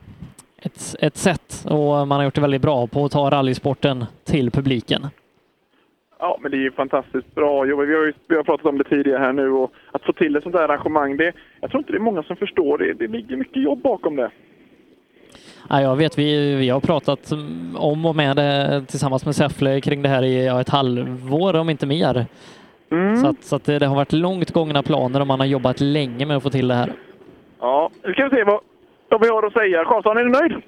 [SPEAKER 3] ett, ett sätt och man har gjort det väldigt bra på att ta rallysporten till publiken.
[SPEAKER 25] Ja, men det är ju fantastiskt bra jobb. Vi har ju vi har pratat om det tidigare här nu och att få till ett sånt här arrangemang, det, jag tror inte det är många som förstår det. Det ligger mycket jobb bakom det.
[SPEAKER 3] Ja, jag vet, vi, vi har pratat mm, om och med det tillsammans med Säffle kring det här i ja, ett halvår om inte mer.
[SPEAKER 25] Mm.
[SPEAKER 3] Så, att, så att eh, det, det har varit långt gångna planer och man har jobbat länge med att få till det här.
[SPEAKER 25] Ja, nu ska vi se vad, vad vi har att säga. Karlsson, är du nöjd?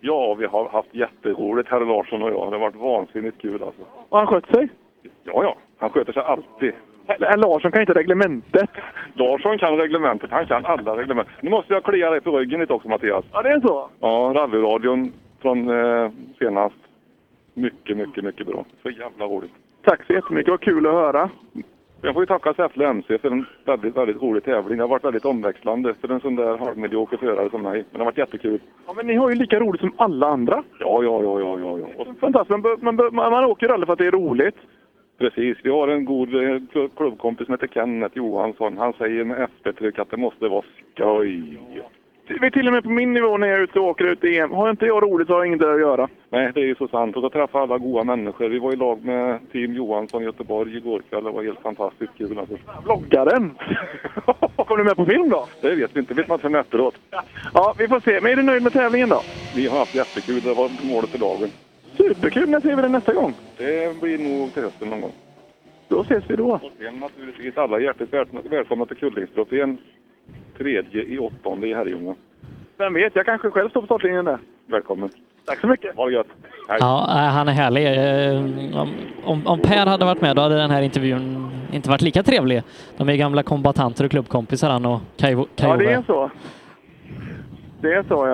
[SPEAKER 17] Ja, vi har haft jätteroligt, herr Larsson och jag. Det har varit vansinnigt kul alltså.
[SPEAKER 25] Och han skött sig?
[SPEAKER 17] Ja, ja, han sköter sig alltid.
[SPEAKER 25] Herr Larsson kan inte reglementet.
[SPEAKER 17] Larsson kan reglementet, han kan alla reglement. Nu måste jag klia dig på ryggen lite också, Mattias.
[SPEAKER 25] Ja, det är så.
[SPEAKER 17] Ja, rallyradion från eh, senast. Mycket, mycket, mycket bra. Så jävla roligt.
[SPEAKER 25] Tack så jättemycket, vad kul att höra.
[SPEAKER 17] Jag får ju tacka Säffle MC för en väldigt, väldigt rolig tävling. Det har varit väldigt omväxlande för en sån där halvmedioker förare som mig. Men det har varit jättekul.
[SPEAKER 25] Ja, men ni har ju lika roligt som alla andra.
[SPEAKER 17] Ja, ja, ja, ja, ja. ja. Och
[SPEAKER 25] Fantastiskt, man, bör- man, bör- man, man åker ju rally för att det är roligt.
[SPEAKER 17] Precis. Vi har en god eh, kl- klubbkompis som heter Kenneth Johansson. Han säger med eftertryck att det måste vara skoj.
[SPEAKER 25] Vi är till och med på min nivå när jag är ute och åker ut i EM. Har inte jag roligt så har jag inget där att göra.
[SPEAKER 17] Nej, det är ju så sant. Och så träffa alla goda människor. Vi var i lag med Team Johansson i Göteborg igår kväll. Det var helt fantastiskt kul. Alltså.
[SPEAKER 25] [LAUGHS] Bloggaren! Kom du med på film då?
[SPEAKER 17] Det vet vi inte. vet man förrän efteråt.
[SPEAKER 25] Ja, vi får se. Men är du nöjd med tävlingen då?
[SPEAKER 17] Vi har haft jättekul. Det var målet för dagen.
[SPEAKER 25] Superkul! När ser vi den nästa gång?
[SPEAKER 17] Det blir nog till hösten någon gång. Då ses vi då. Återigen naturligtvis alla hjärtligt väl- välkomna till Kullingstrofén. Tredje i åttonde i Herrljunga.
[SPEAKER 25] Vem vet, jag kanske själv står på startlinjen där.
[SPEAKER 17] Välkommen.
[SPEAKER 25] Tack så mycket.
[SPEAKER 17] Ha det gött. Hej.
[SPEAKER 3] Ja, eh, han är härlig. Eh, om- Om, om Per hade varit med då hade den här intervjun inte varit lika trevlig. De är ju gamla kombatanter och klubbkompisar han och Kajove.
[SPEAKER 25] Ja, det är så. Det är så,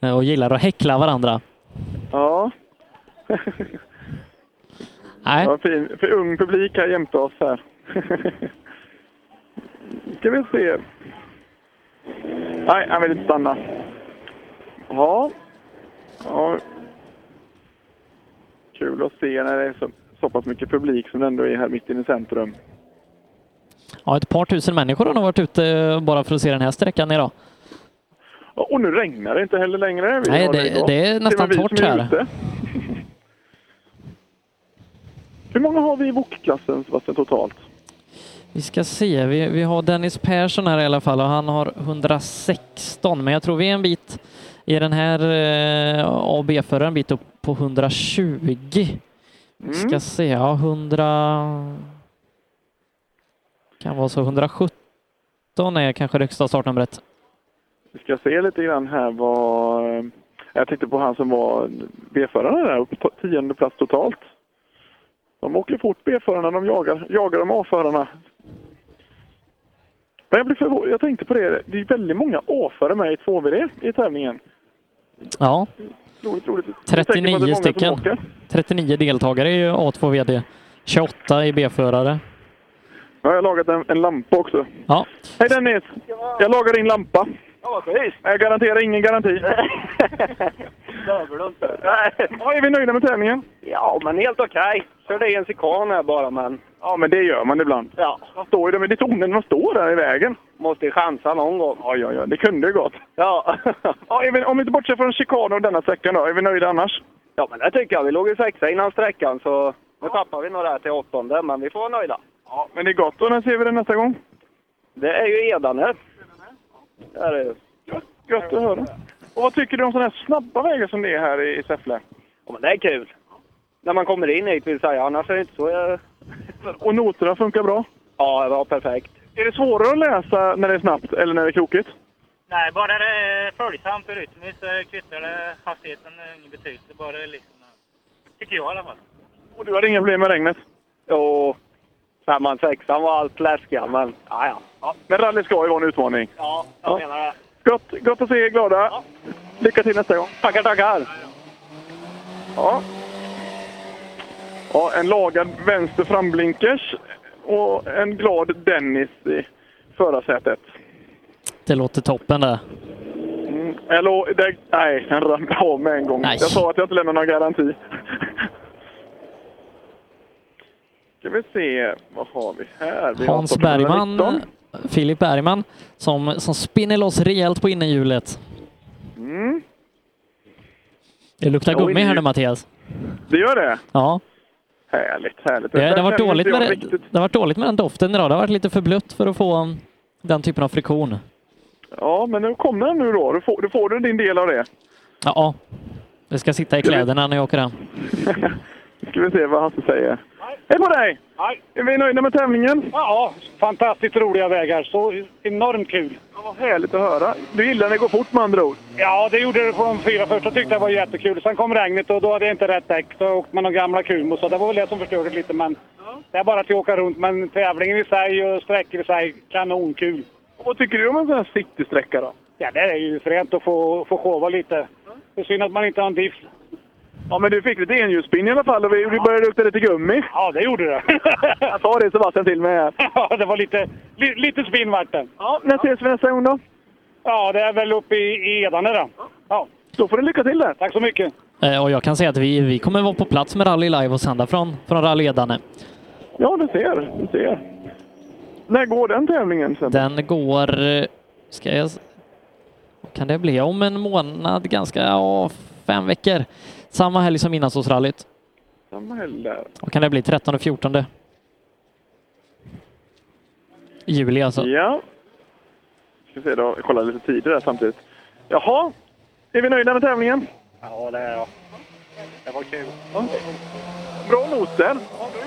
[SPEAKER 25] ja.
[SPEAKER 3] Eh, Och gillar att häckla varandra.
[SPEAKER 25] Ja.
[SPEAKER 3] [LAUGHS] Nej.
[SPEAKER 25] Ja, fin, för ung publik här jämte oss här. [LAUGHS] ska vi se. Nej, han vill inte stanna. Ja. ja. Kul att se när det är så, så pass mycket publik som det ändå är här mitt inne i centrum.
[SPEAKER 3] Ja, ett par tusen människor har nog varit ute eh, bara för att se den här sträckan idag.
[SPEAKER 25] Ja, Och nu regnar det inte heller längre. Vi
[SPEAKER 3] Nej,
[SPEAKER 25] har
[SPEAKER 3] det-
[SPEAKER 25] idag.
[SPEAKER 3] det är
[SPEAKER 25] Till
[SPEAKER 3] nästan
[SPEAKER 25] och med vi
[SPEAKER 3] torrt
[SPEAKER 25] som är
[SPEAKER 3] här.
[SPEAKER 25] ute. Hur många har vi i wokklassen Sebastian totalt?
[SPEAKER 3] Vi ska se, vi, vi har Dennis Persson här i alla fall och han har 116 men jag tror vi är en bit i den här eh, A och B-föraren en bit upp på 120. Vi ska
[SPEAKER 25] Mm.
[SPEAKER 3] se, ja 100... Kan vara så 117 är kanske det högsta startnumret.
[SPEAKER 25] Vi ska se lite grann här vad... eh, Jag tänkte på han som var B-förare där, uppe på tionde plats totalt. De åker fort B-förarna, de jagar, jagar de A-förarna. Men jag, blev förvå- jag tänkte på det, det är väldigt många A-förare med i 2VD i tävlingen.
[SPEAKER 3] Ja,
[SPEAKER 25] Roligt, roligt. Jag tänker på att det är många
[SPEAKER 3] 39
[SPEAKER 25] som
[SPEAKER 3] stycken.
[SPEAKER 25] åker.
[SPEAKER 3] 39 deltagare är ju A2 VD. 28 är B-förare.
[SPEAKER 25] Nu har jag lagat en, en lampa också.
[SPEAKER 3] Ja.
[SPEAKER 25] Hej Dennis! Jag lagar din lampa.
[SPEAKER 26] Ja, precis.
[SPEAKER 25] Jag garanterar
[SPEAKER 26] [LAUGHS]
[SPEAKER 25] ingen garanti.
[SPEAKER 26] behöver du inte.
[SPEAKER 25] Ja, är vi nöjda med tävlingen?
[SPEAKER 26] Ja, men helt okej. Körde i en sikan här bara, men...
[SPEAKER 25] Ja, men det gör man ibland.
[SPEAKER 26] Ja.
[SPEAKER 25] De står ju där, men det är tonen de står där i vägen.
[SPEAKER 26] Måste ju chansa någon gång.
[SPEAKER 25] Ja, ja, ja, det kunde ju gått.
[SPEAKER 26] Ja.
[SPEAKER 25] [LAUGHS] ja är vi, om vi inte bortser från chikanen och denna sträckan då, är vi nöjda annars?
[SPEAKER 26] Ja, men det tycker jag. Vi låg ju sexa innan sträckan, så nu tappar vi några här till åttonde, men vi får vara nöjda.
[SPEAKER 25] Ja, men det är gott och när ser vi det nästa gång?
[SPEAKER 26] Det är ju Edane. Det är det ju.
[SPEAKER 25] Gött att höra. Och vad tycker du om sådana här snabba vägar som det är här i, i Säffle?
[SPEAKER 26] Ja, men det är kul. När man kommer in hit vill säga, annars är det inte så... eh,
[SPEAKER 25] Och noterna funkar bra?
[SPEAKER 26] Ja, det var perfekt.
[SPEAKER 25] Är det svårare att läsa när det är snabbt eller när det är krokigt?
[SPEAKER 1] Nej, bara det är följsamt och rytmiskt så kvittar det hastigheten eh, ingen betydelse. Bara det liksom, eh, tycker jag i alla fall.
[SPEAKER 25] Och du hade inga problem med regnet?
[SPEAKER 26] Jo, femman, sexan var allt läskiga, men ja, ja.
[SPEAKER 25] Men rally ska ju vara en utmaning.
[SPEAKER 26] Ja,
[SPEAKER 25] jag
[SPEAKER 26] menar det.
[SPEAKER 25] Gott, gott att se er glada. Lycka till nästa gång. Tackar, tackar. Ja. ja, en lagad vänster framblinkers och en glad Dennis i förarsätet.
[SPEAKER 3] Det låter toppen det.
[SPEAKER 25] Mm. Jag lo- det, nej, han rann av med en gång.
[SPEAKER 3] Nej.
[SPEAKER 25] Jag sa att jag inte lämnar någon garanti. Ska vi se, vad har vi här? Vi har
[SPEAKER 3] Hans
[SPEAKER 25] 819.
[SPEAKER 3] Bergman, Filip Bergman, som, som spinner loss rejält på innerhjulet.
[SPEAKER 25] Mm.
[SPEAKER 3] Det luktar
[SPEAKER 25] Ja,
[SPEAKER 3] gummi här nu
[SPEAKER 25] innerhjul.
[SPEAKER 3] Mattias.
[SPEAKER 25] Det gör det?
[SPEAKER 3] Ja.
[SPEAKER 25] Härligt, härligt.
[SPEAKER 3] Det, det,
[SPEAKER 25] där
[SPEAKER 3] har varit
[SPEAKER 25] känner
[SPEAKER 3] dåligt
[SPEAKER 25] inte
[SPEAKER 3] med,
[SPEAKER 25] jag
[SPEAKER 3] det,
[SPEAKER 25] riktigt.
[SPEAKER 3] det har varit dåligt med den doften idag. Det har varit lite för blött för att få um, den typen av friktion.
[SPEAKER 25] Ja, men nu kommer den nu då. Då får, då får du din del av det.
[SPEAKER 3] Ja, Ja, det ska sitta i kläderna när jag åker hem.
[SPEAKER 25] ska vi se vad Hasse säger. Hej på dig!
[SPEAKER 22] Hej.
[SPEAKER 25] Är vi nöjda med tävlingen?
[SPEAKER 22] Ja, fantastiskt roliga vägar. Så enormt kul.
[SPEAKER 25] Ja, vad härligt att höra. Du gillar när det går fort med andra ord?
[SPEAKER 22] Ja, det gjorde det på de fyra första. tyckte jag var jättekul. Sen kom regnet och då hade jag inte rätt däck. Så åkte man några gamla Kumos så det var väl det som förstörde lite. Men det är bara att åka runt. Men tävlingen i sig och sträckor i sig, kanonkul.
[SPEAKER 25] Och vad tycker du om en sån här citysträcka då?
[SPEAKER 22] Ja, det är ju fränt att få, få showa lite. Det är synd att man inte har en diff.
[SPEAKER 25] Ja, men du fick lite enhjulsspinn i alla fall och vi, vi började lukta lite gummi.
[SPEAKER 22] Ja, det gjorde det.
[SPEAKER 25] [LAUGHS] jag sa det Sebastian till mig här.
[SPEAKER 16] [LAUGHS]
[SPEAKER 22] Ja, det var lite, li, lite spinn vart det.
[SPEAKER 25] Ja, när ses vi nästa gång då?
[SPEAKER 22] Ja, det är väl uppe i, i Edane då. Ja.
[SPEAKER 25] Då får du lycka till där.
[SPEAKER 22] Tack så mycket.
[SPEAKER 3] Eh, Och jag kan säga att vi, vi kommer vara på plats med Rally Live och sända från, från Rally Edane.
[SPEAKER 25] Ja, du ser. Du ser. När går den tävlingen sen?
[SPEAKER 3] Den går... eh, Ska jag... s- Vad kan det bli? Om en månad, ganska... Ja, fem veckor. Samma helg som inlandsåsrallyt.
[SPEAKER 25] Samma helg där.
[SPEAKER 3] Vad kan det bli? 13 och 14 juli alltså.
[SPEAKER 25] Ja. Ska se då, kolla lite tider där samtidigt. Jaha, är vi nöjda med tävlingen?
[SPEAKER 22] Ja, det är jag. Det var kul.
[SPEAKER 25] Bra noter.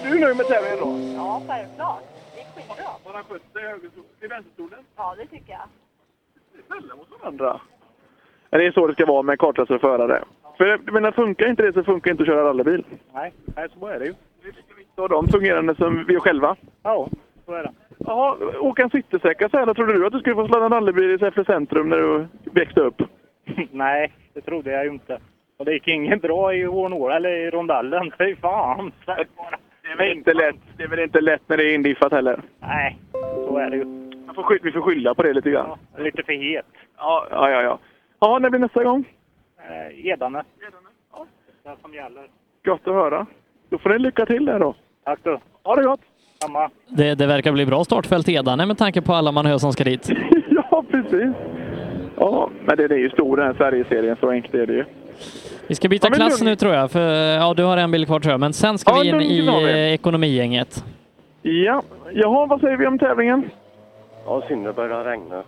[SPEAKER 39] Är du nöjd med tävlingen då?
[SPEAKER 43] Ja, självklart. Det gick skitbra.
[SPEAKER 39] Har han skött sig i högerstolen- i vänsterstolen?
[SPEAKER 43] Ja, det tycker jag.
[SPEAKER 39] Snälla mot honom.
[SPEAKER 25] Andra.
[SPEAKER 34] Det är så det ska vara med kartläsare förare.
[SPEAKER 25] För jag menar, funkar inte det så funkar inte att köra rallybil.
[SPEAKER 34] Nej, nej, så är det ju.
[SPEAKER 25] Så de fungerande som vi själva.
[SPEAKER 34] Ja, så är det.
[SPEAKER 25] Jaha, åka en cykelsträcka så här. då Trodde du att du skulle få sladda en rallybil i Säffle centrum när du växte upp?
[SPEAKER 16] Nej, det trodde jag ju inte. Och det gick ingen bra i Hornåla, eller i rondellen. Fy fan!
[SPEAKER 25] Det är väl inte lätt, det är väl inte lätt när det är indiffat heller.
[SPEAKER 16] Nej, så är det ju.
[SPEAKER 25] Man får skylla, vi får skylla på det lite grann.
[SPEAKER 16] Lite för het.
[SPEAKER 25] Ja, ja, ja. ja. Jaha, när blir nästa gång?
[SPEAKER 16] Eh, Edane. Ja, det är det som gäller.
[SPEAKER 25] Gott att höra. Då får ni lycka till där då.
[SPEAKER 16] Tack du.
[SPEAKER 25] Ha det gott!
[SPEAKER 16] Samma.
[SPEAKER 3] Det, det verkar bli bra startfält Edane med tanke på alla man hör som
[SPEAKER 25] [LAUGHS]
[SPEAKER 3] ska dit.
[SPEAKER 25] [LAUGHS] ja, precis. Ja, men den är ju stor den här Sverigeserien, så enkelt är det ju.
[SPEAKER 3] Vi ska byta
[SPEAKER 25] Ja, men
[SPEAKER 3] klass
[SPEAKER 25] lugn.
[SPEAKER 3] nu tror jag, för ja, du har en bil kvar tror jag. Men sen ska
[SPEAKER 25] Ja,
[SPEAKER 3] vi in
[SPEAKER 25] lugn,
[SPEAKER 3] i
[SPEAKER 25] det har vi.
[SPEAKER 3] eh, ekonomigänget.
[SPEAKER 25] Ja, jaha, vad säger vi om tävlingen?
[SPEAKER 20] Ja, synd det börjar regna.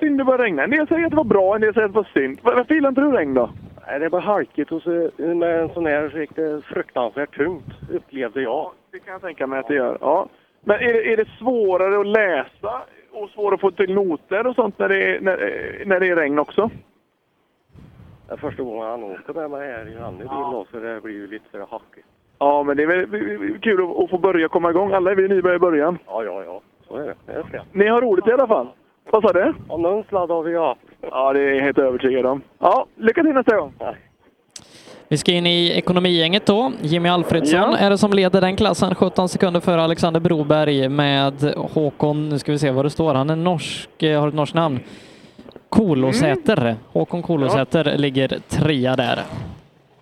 [SPEAKER 25] Synd det börjar regna. En del säger att det var bra, en del säger att det var synd. Var- Varför gillar inte du regn då?
[SPEAKER 20] Nej, det var halkigt och så, med en sån här så gick det fruktansvärt tungt, upplevde jag.
[SPEAKER 25] Det kan jag tänka mig att det gör. Ja. Men är det, är det svårare att läsa och svårare att få till noter och sånt när det är, när, eh, när det är regn också?
[SPEAKER 20] Det är första gången han åker med mig här i Rannebil då, så det blir ju lite så här hackigt.
[SPEAKER 25] Ja, men det är väl kul att, att få börja komma igång. Alla är vi nybörjare i början.
[SPEAKER 20] Ja, ja, ja.
[SPEAKER 39] [LAUGHS]
[SPEAKER 20] Så är det. Det är det.
[SPEAKER 25] Ni har roligt i alla fall. Vad sa du?
[SPEAKER 20] Ja, någon sladd har vi haft.
[SPEAKER 25] Ja, det är jag helt övertygad om. Ja, lycka till nästa gång!
[SPEAKER 3] Vi ska in i ekonomigänget då. Jimmy Alfredsson
[SPEAKER 25] Ja.
[SPEAKER 3] är det som leder den klassen, 17 sekunder före Alexander Broberg med Håkon, nu ska vi se vad det står, han är norsk, eh, har ett norskt namn. Kolåsäter. Håkon Kolåsäter ligger trea där.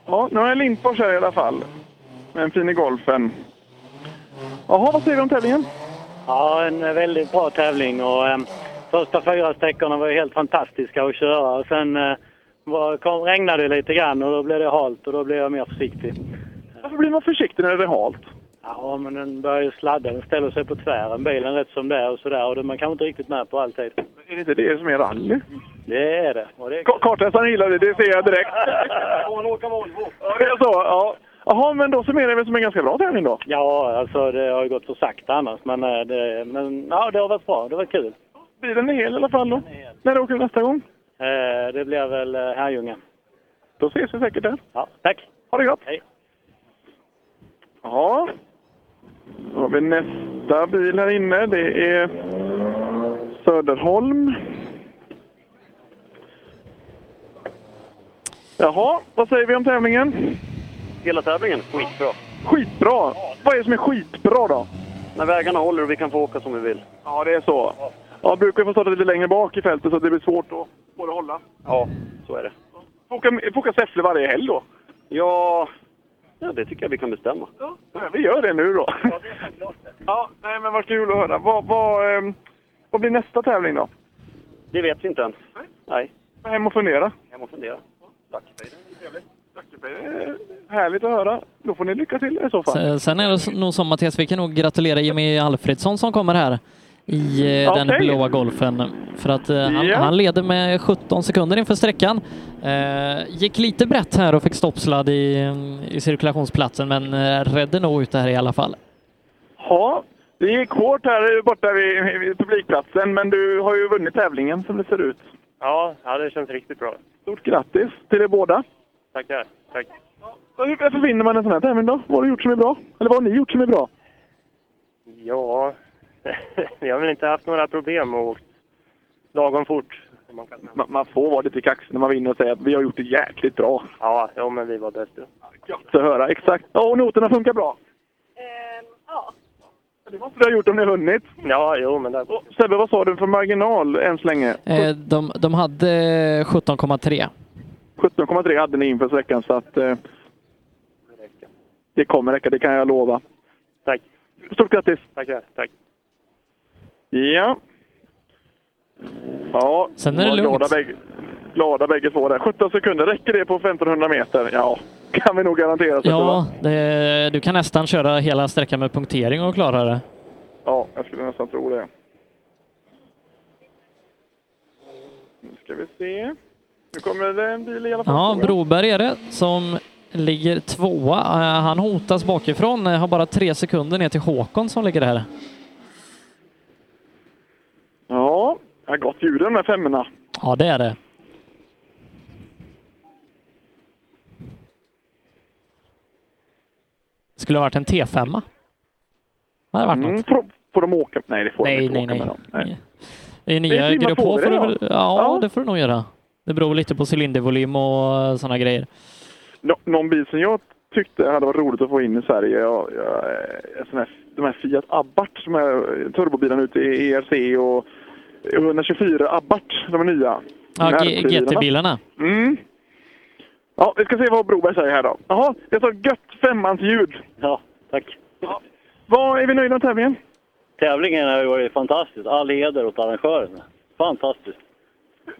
[SPEAKER 25] Ja, nu har jag Lindfors här i alla fall. Med en fin i golfen. Jaha, vad säger du om tävlingen?
[SPEAKER 16] Ja, en väldigt bra tävling och eh, första fyra sträckorna var ju helt fantastiska att köra. Och sen eh, var, kom, regnade det lite grann och då blev det halt och då blev jag mer försiktig.
[SPEAKER 25] Varför blir man försiktig när det är halt?
[SPEAKER 16] Ja, men den börjar ju sladda. Den ställer sig på tvären, bilen rätt som det är och sådär. Och det, man kanske inte riktigt med på alltid.
[SPEAKER 25] Är det inte det som är rally?
[SPEAKER 16] Det är det. Och det är...
[SPEAKER 25] Ka- Kartläsaren gillar det, det ser
[SPEAKER 39] [LAUGHS]
[SPEAKER 25] jag direkt.
[SPEAKER 16] Hon åker Volvo.
[SPEAKER 25] Ja, det är så. Ja. Jaha, men då summerar vi som en ganska bra tävling då.
[SPEAKER 16] Ja, alltså det har ju gått så sakta annars. Men, eh, det, men ja, det har varit bra. Det har varit kul.
[SPEAKER 25] Bilen är hel i alla fall då. När åker du nästa gång?
[SPEAKER 16] Eh, det blir väl eh, Herrljunga.
[SPEAKER 25] Då ses vi säkert där.
[SPEAKER 16] Ja, tack.
[SPEAKER 25] Ha det gott!
[SPEAKER 16] Hej.
[SPEAKER 25] Ja. Då har vi nästa bil här inne. Det är Söderholm. Jaha, vad säger vi om tävlingen?
[SPEAKER 19] Hela tävlingen? Skitbra.
[SPEAKER 25] Skitbra! Vad är det som är skitbra då?
[SPEAKER 19] När vägarna håller och vi kan få åka som vi vill.
[SPEAKER 25] Ja, det är så. Ja, brukar få starta lite längre bak i fältet så att det blir svårt att få det att hålla.
[SPEAKER 19] Ja, så är det.
[SPEAKER 25] Får åka, får åka Säffle varje helg då?
[SPEAKER 19] Ja, ja, det tycker jag vi kan bestämma.
[SPEAKER 25] Ja, vi gör det nu då. Ja, nej, men vad kul att höra. Vad, vad, ehm, vad blir nästa tävling då?
[SPEAKER 19] Det vet vi inte än. Nej.
[SPEAKER 25] Hem och fundera.
[SPEAKER 19] Jag måste fundera.
[SPEAKER 25] Eh, Härligt att höra. Då får ni lycka till i så fall.
[SPEAKER 3] Se- Sen är det s- nog så Mattias, vi kan nog gratulera Jimmy Alfredsson som kommer här i eh, den
[SPEAKER 25] Okej.
[SPEAKER 3] blåa golfen. För att eh, han,
[SPEAKER 25] Ja.
[SPEAKER 3] han leder med 17 sekunder inför sträckan. Eh, gick lite brett här och fick stoppsladd i, mm, i cirkulationsplatsen men eh, redde nog ut det här i alla fall.
[SPEAKER 25] Ja, det gick hårt här borta vid, vid publikplatsen, men du har ju vunnit tävlingen som det ser ut.
[SPEAKER 19] Ja, ja, det känns riktigt bra.
[SPEAKER 25] Stort grattis till er båda.
[SPEAKER 19] Tackar. Tack.
[SPEAKER 25] Hur- Varför vinner man en sån här tävling då? Vad har du gjort som är bra? Eller vad har ni gjort som är bra?
[SPEAKER 34] [LAUGHS]
[SPEAKER 19] Ja, vi har väl inte haft några problem och åkt lagom fort.
[SPEAKER 25] Man, man får vara lite kaxig när man vinner och säga att vi har gjort det jäkligt bra.
[SPEAKER 19] Ja, ja men vi var bäst. då.
[SPEAKER 25] Så höra, exakt. Ja, och noterna funkar bra. ja. Det måste du ha gjort om ni har hunnit.
[SPEAKER 19] Ja, jo, men där...
[SPEAKER 25] Sebbe, vad sa du för marginal än så länge?
[SPEAKER 3] Eh, de, de hade 17,3.
[SPEAKER 25] 17,3 hade ni inför sträckan, så att... Eh, det kommer räcka, det kan jag lova.
[SPEAKER 19] Tack.
[SPEAKER 25] Stort grattis!
[SPEAKER 19] Tackar. Tack.
[SPEAKER 25] Ja. Ja,
[SPEAKER 3] Sen är det
[SPEAKER 25] var
[SPEAKER 3] lugnt.
[SPEAKER 25] Glada bägge, glada bägge två där. 17 sekunder, räcker det på 1500 meter? Ja, kan vi nog garantera. Sebbe, va?
[SPEAKER 3] Ja, det, du kan nästan köra hela sträckan med punktering och klara det.
[SPEAKER 25] Ja, jag skulle nästan tro det. Nu ska vi se. Nu kommer det en bil i alla fall.
[SPEAKER 3] Ja,
[SPEAKER 25] tror jag.
[SPEAKER 3] Broberg är det som ligger tvåa. Eh, Han hotas bakifrån, eh, har bara tre sekunder ner till Håkon som ligger där.
[SPEAKER 25] Ja, jag har gott ljud i de här femmorna.
[SPEAKER 3] Ja, det är det. Skulle ha varit en T5. Det hade varit
[SPEAKER 25] Mm,
[SPEAKER 3] något.
[SPEAKER 25] får- Får de åka? Nej, det får de
[SPEAKER 3] Nej,
[SPEAKER 25] inte
[SPEAKER 3] nej,
[SPEAKER 25] åka
[SPEAKER 3] nej.
[SPEAKER 25] med dem. Nej.
[SPEAKER 3] Det är nya
[SPEAKER 25] Det är fina
[SPEAKER 3] grupp H.
[SPEAKER 25] frågor
[SPEAKER 3] Får du,
[SPEAKER 25] idag.
[SPEAKER 3] väl- ja, ja, det får du nog göra. Det beror lite på cylindervolym och sådana grejer.
[SPEAKER 25] Nå- Någon bil som jag tyckte hade varit roligt att få in i Sverige, ja, ja, eh, sån här, de här Fiat Abarth, de här turbobilarna ute i ERC och 124 Abarth, de är nya.
[SPEAKER 3] Ja, G-
[SPEAKER 25] R3-bilarna.
[SPEAKER 3] GT-bilarna.
[SPEAKER 25] Mm. Ja, vi ska se vad Broberg säger här då. Jaha, det sa gött femmans ljud.
[SPEAKER 20] Ja, tack.
[SPEAKER 25] Vad Är vi nöjda med tävlingen?
[SPEAKER 20] Tävlingen har ju varit fantastisk. All heder åt arrangörerna. Fantastiskt.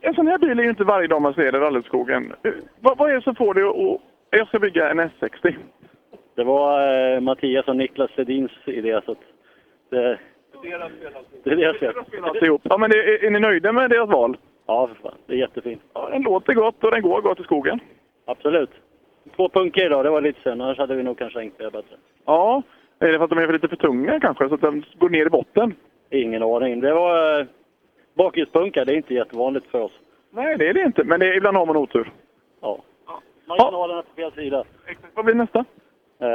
[SPEAKER 25] En sån här bil är ju inte varje dag man ser i rallyskogen. Eh, Vad, vad är det som får dig att... att- Jag ska bygga en S60.
[SPEAKER 20] Det var eh, Mattias och Niklas Sedins idé, så att
[SPEAKER 19] eh,
[SPEAKER 20] det, det är deras fel.
[SPEAKER 25] Alltihop. Ja, men det, är, är ni nöjda med deras val?
[SPEAKER 20] Ja, för fan. Det är jättefint.
[SPEAKER 25] Ja, den låter gott och den går gott i skogen.
[SPEAKER 20] Absolut. Två punker idag, det var lite synd. Annars hade vi nog kanske hängt det bättre.
[SPEAKER 25] Ja, är det för att de är lite för tunga kanske, så att den går ner i botten?
[SPEAKER 20] Ingen aning. Det var eh, bakhjulspunkar. Det är inte jättevanligt för oss.
[SPEAKER 25] Nej, det är det inte, men det är, ibland har man otur.
[SPEAKER 20] Ja. Marginalerna på fel sida.
[SPEAKER 25] Vad blir nästa?
[SPEAKER 20] Eh,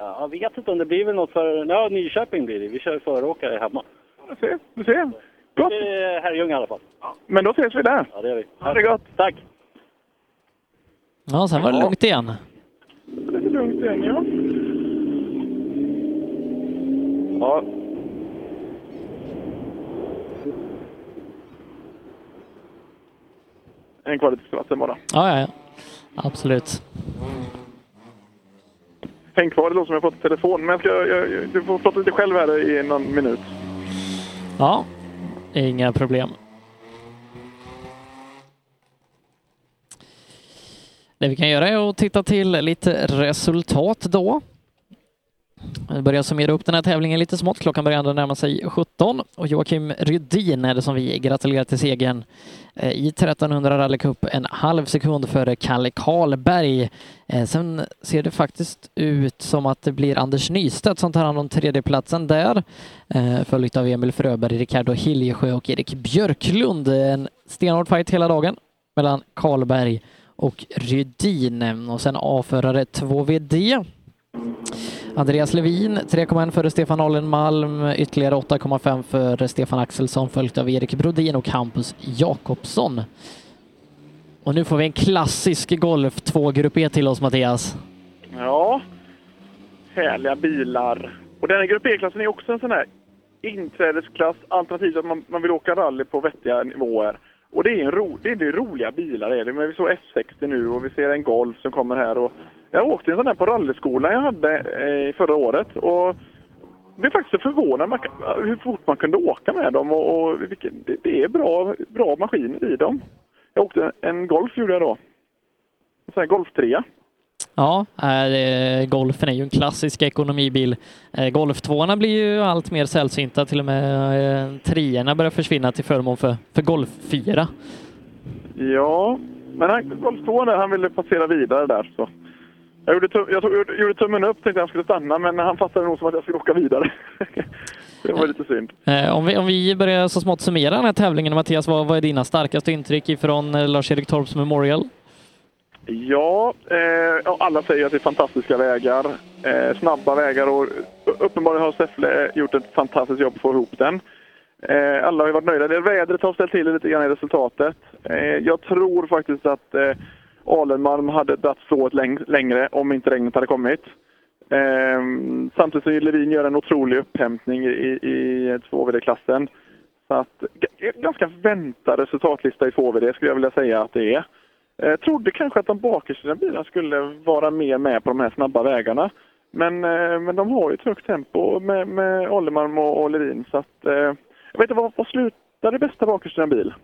[SPEAKER 20] jag vet inte om det blir väl något för... Ja, Nyköping blir det. Vi kör föråkare hemma.
[SPEAKER 25] Du ser, du ser. Gott.
[SPEAKER 20] Det är Herrljunga i alla fall.
[SPEAKER 25] Men då ses vi där.
[SPEAKER 20] Ja, det gör vi.
[SPEAKER 25] Ha det gott!
[SPEAKER 20] Tack!
[SPEAKER 3] Ja, sen var det lugnt igen.
[SPEAKER 25] Lite lugnt igen, ja.
[SPEAKER 8] Ja.
[SPEAKER 25] En kvalitetsvatten bara.
[SPEAKER 3] Ja, ja, ja. Absolut.
[SPEAKER 25] Häng kvar, det låter som jag fått telefon. Men jag ska, jag, jag, du får prata lite själv här i någon minut.
[SPEAKER 3] Ja, inga problem. Det vi kan göra är att titta till lite resultat då. Vi börjar summera upp den här tävlingen lite smått. Klockan börjar ändå närma sig 17 och Joakim Rydin är det som vi gratulerar till segern eh, i 1300 rallycup en halv sekund före Kalle Karlberg. Eh, Sen ser det faktiskt ut som att det blir Anders Nystedt som tar hand om tredjeplatsen där, eh, följt av Emil Fröberg, Ricardo Hiljesjö och Erik Björklund. En stenhård fight hela dagen mellan Karlberg och Rydin och sen avförare 2VD. Andreas Levin 3,1 före Stefan Allen Malm, ytterligare 8,5 före Stefan Axelsson följt av Erik Brodin och Campus Jakobsson. Och nu får vi en klassisk Golf 2-grupp E till oss Mattias.
[SPEAKER 25] Ja, härliga bilar. Och den här Grupp E-klassen är också en sån här inträdesklass alternativt att man, man vill åka rally på vettiga nivåer. Och det är, en ro, det är det är roliga bilar det är det. Men vi såg F60 nu och vi ser en Golf som kommer här. Och jag åkte en sån här på rallyskolan jag hade eh, förra året. Och blev faktiskt så förvånad man, kan- hur fort man kunde åka med dem. Och, och vilken, det, det är bra, bra maskiner i dem. Jag åkte en Golf gjorde jag då. En sån här Golf 3.
[SPEAKER 3] Ja, här, eh, Golfen är ju en klassisk ekonomibil. Eh, Golf 2 blir ju allt mer sällsynta, till och med eh, treorna börjar försvinna till förmån för, för Golf 4.
[SPEAKER 25] Ja, men han, Golf 2 där, han ville passera vidare där. Så. Jag, gjorde tum, jag, tog, jag gjorde tummen upp, tänkte han skulle stanna, men han fattade nog som att jag skulle åka vidare. [LAUGHS] det var lite synd.
[SPEAKER 3] Eh, Om vi, om vi börjar så smått summera den här tävlingen, Mattias, vad, vad är dina starkaste intryck ifrån eh, Lars-Erik Torps Memorial?
[SPEAKER 25] Ja, eh, ja, alla säger att det är fantastiska vägar. Eh, snabba vägar och uppenbarligen har Säffle gjort ett fantastiskt jobb för att få ihop den. Eh, alla har ju varit nöjda. Det vädret har ställt till det lite grann i resultatet. Eh, jag tror faktiskt att eh, Alenmalm hade dragit strået läng- längre om inte regnet hade kommit. Ehm, samtidigt som Levin gör en otrolig upphämtning i, i, i 2VD-klassen. Så att, g- ganska väntad resultatlista i 2VD skulle jag vilja säga att det är. Eh, trodde kanske att de bakersta bilarna skulle vara mer med på de här snabba vägarna. Men, eh, men de har ju ett högt tempo med, med Oldermalm och, och Levin. Så att, eh, jag vet inte, vad, vad slutade bästa bakersta bil?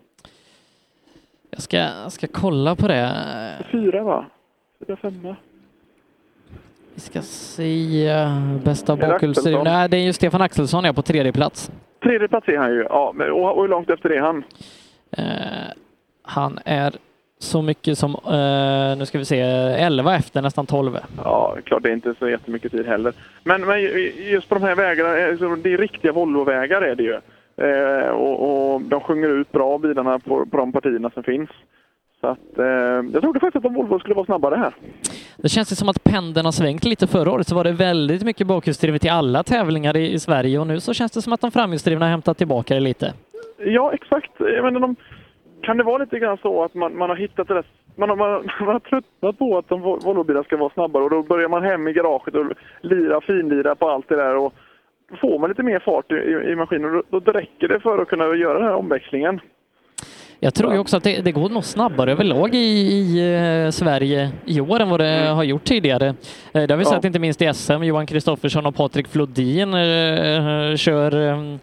[SPEAKER 3] Jag ska, jag ska kolla på det.
[SPEAKER 25] Fyra va? Fyra, femma?
[SPEAKER 3] Vi ska se eh, bästa
[SPEAKER 25] Är det
[SPEAKER 3] bakhjulsdriv.
[SPEAKER 25] Axelsson?
[SPEAKER 3] Nej, det är ju Stefan Axelsson ja, på tredje plats.
[SPEAKER 25] Tredje plats är han ju. Ja, men, och, och hur långt efter det är han?
[SPEAKER 3] Eh, Han är så mycket som, eh, nu ska vi se, 11 efter, nästan 12.
[SPEAKER 25] Ja, klart det är inte så jättemycket tid heller. Men, men just på de här vägarna, eh, så det är riktiga Volvo-vägar är det ju. Eh, och, och de sjunger ut bra bilarna på, på de partierna som finns. Så att, eh, jag trodde faktiskt att Volvo skulle vara snabbare här.
[SPEAKER 3] Det känns ju som att pendeln har svängt lite. Förra året så var det väldigt mycket bakhjulsdrivet till alla tävlingar i, i Sverige och nu så känns det som att de framhjulsdrivna har hämtat tillbaka det lite.
[SPEAKER 25] Ja, exakt. Jag menar, de, kan det vara lite grann så att man, man har hittat det där, man, har, man, man har tröttnat på att de Vol- Volvobilar ska vara snabbare och då börjar man hem i garaget och lira, finlira på allt det där och då får man lite mer fart i, i, i maskinen och då, då räcker det för att kunna göra den här omväxlingen.
[SPEAKER 3] Jag tror ju också att det, det går nog snabbare överlag i, i eh, Sverige i år än vad det har gjort tidigare. Eh, det har vi
[SPEAKER 25] Ja.
[SPEAKER 3] sett inte minst i SM. Johan Kristoffersson och Patrik Flodin eh, kör eh,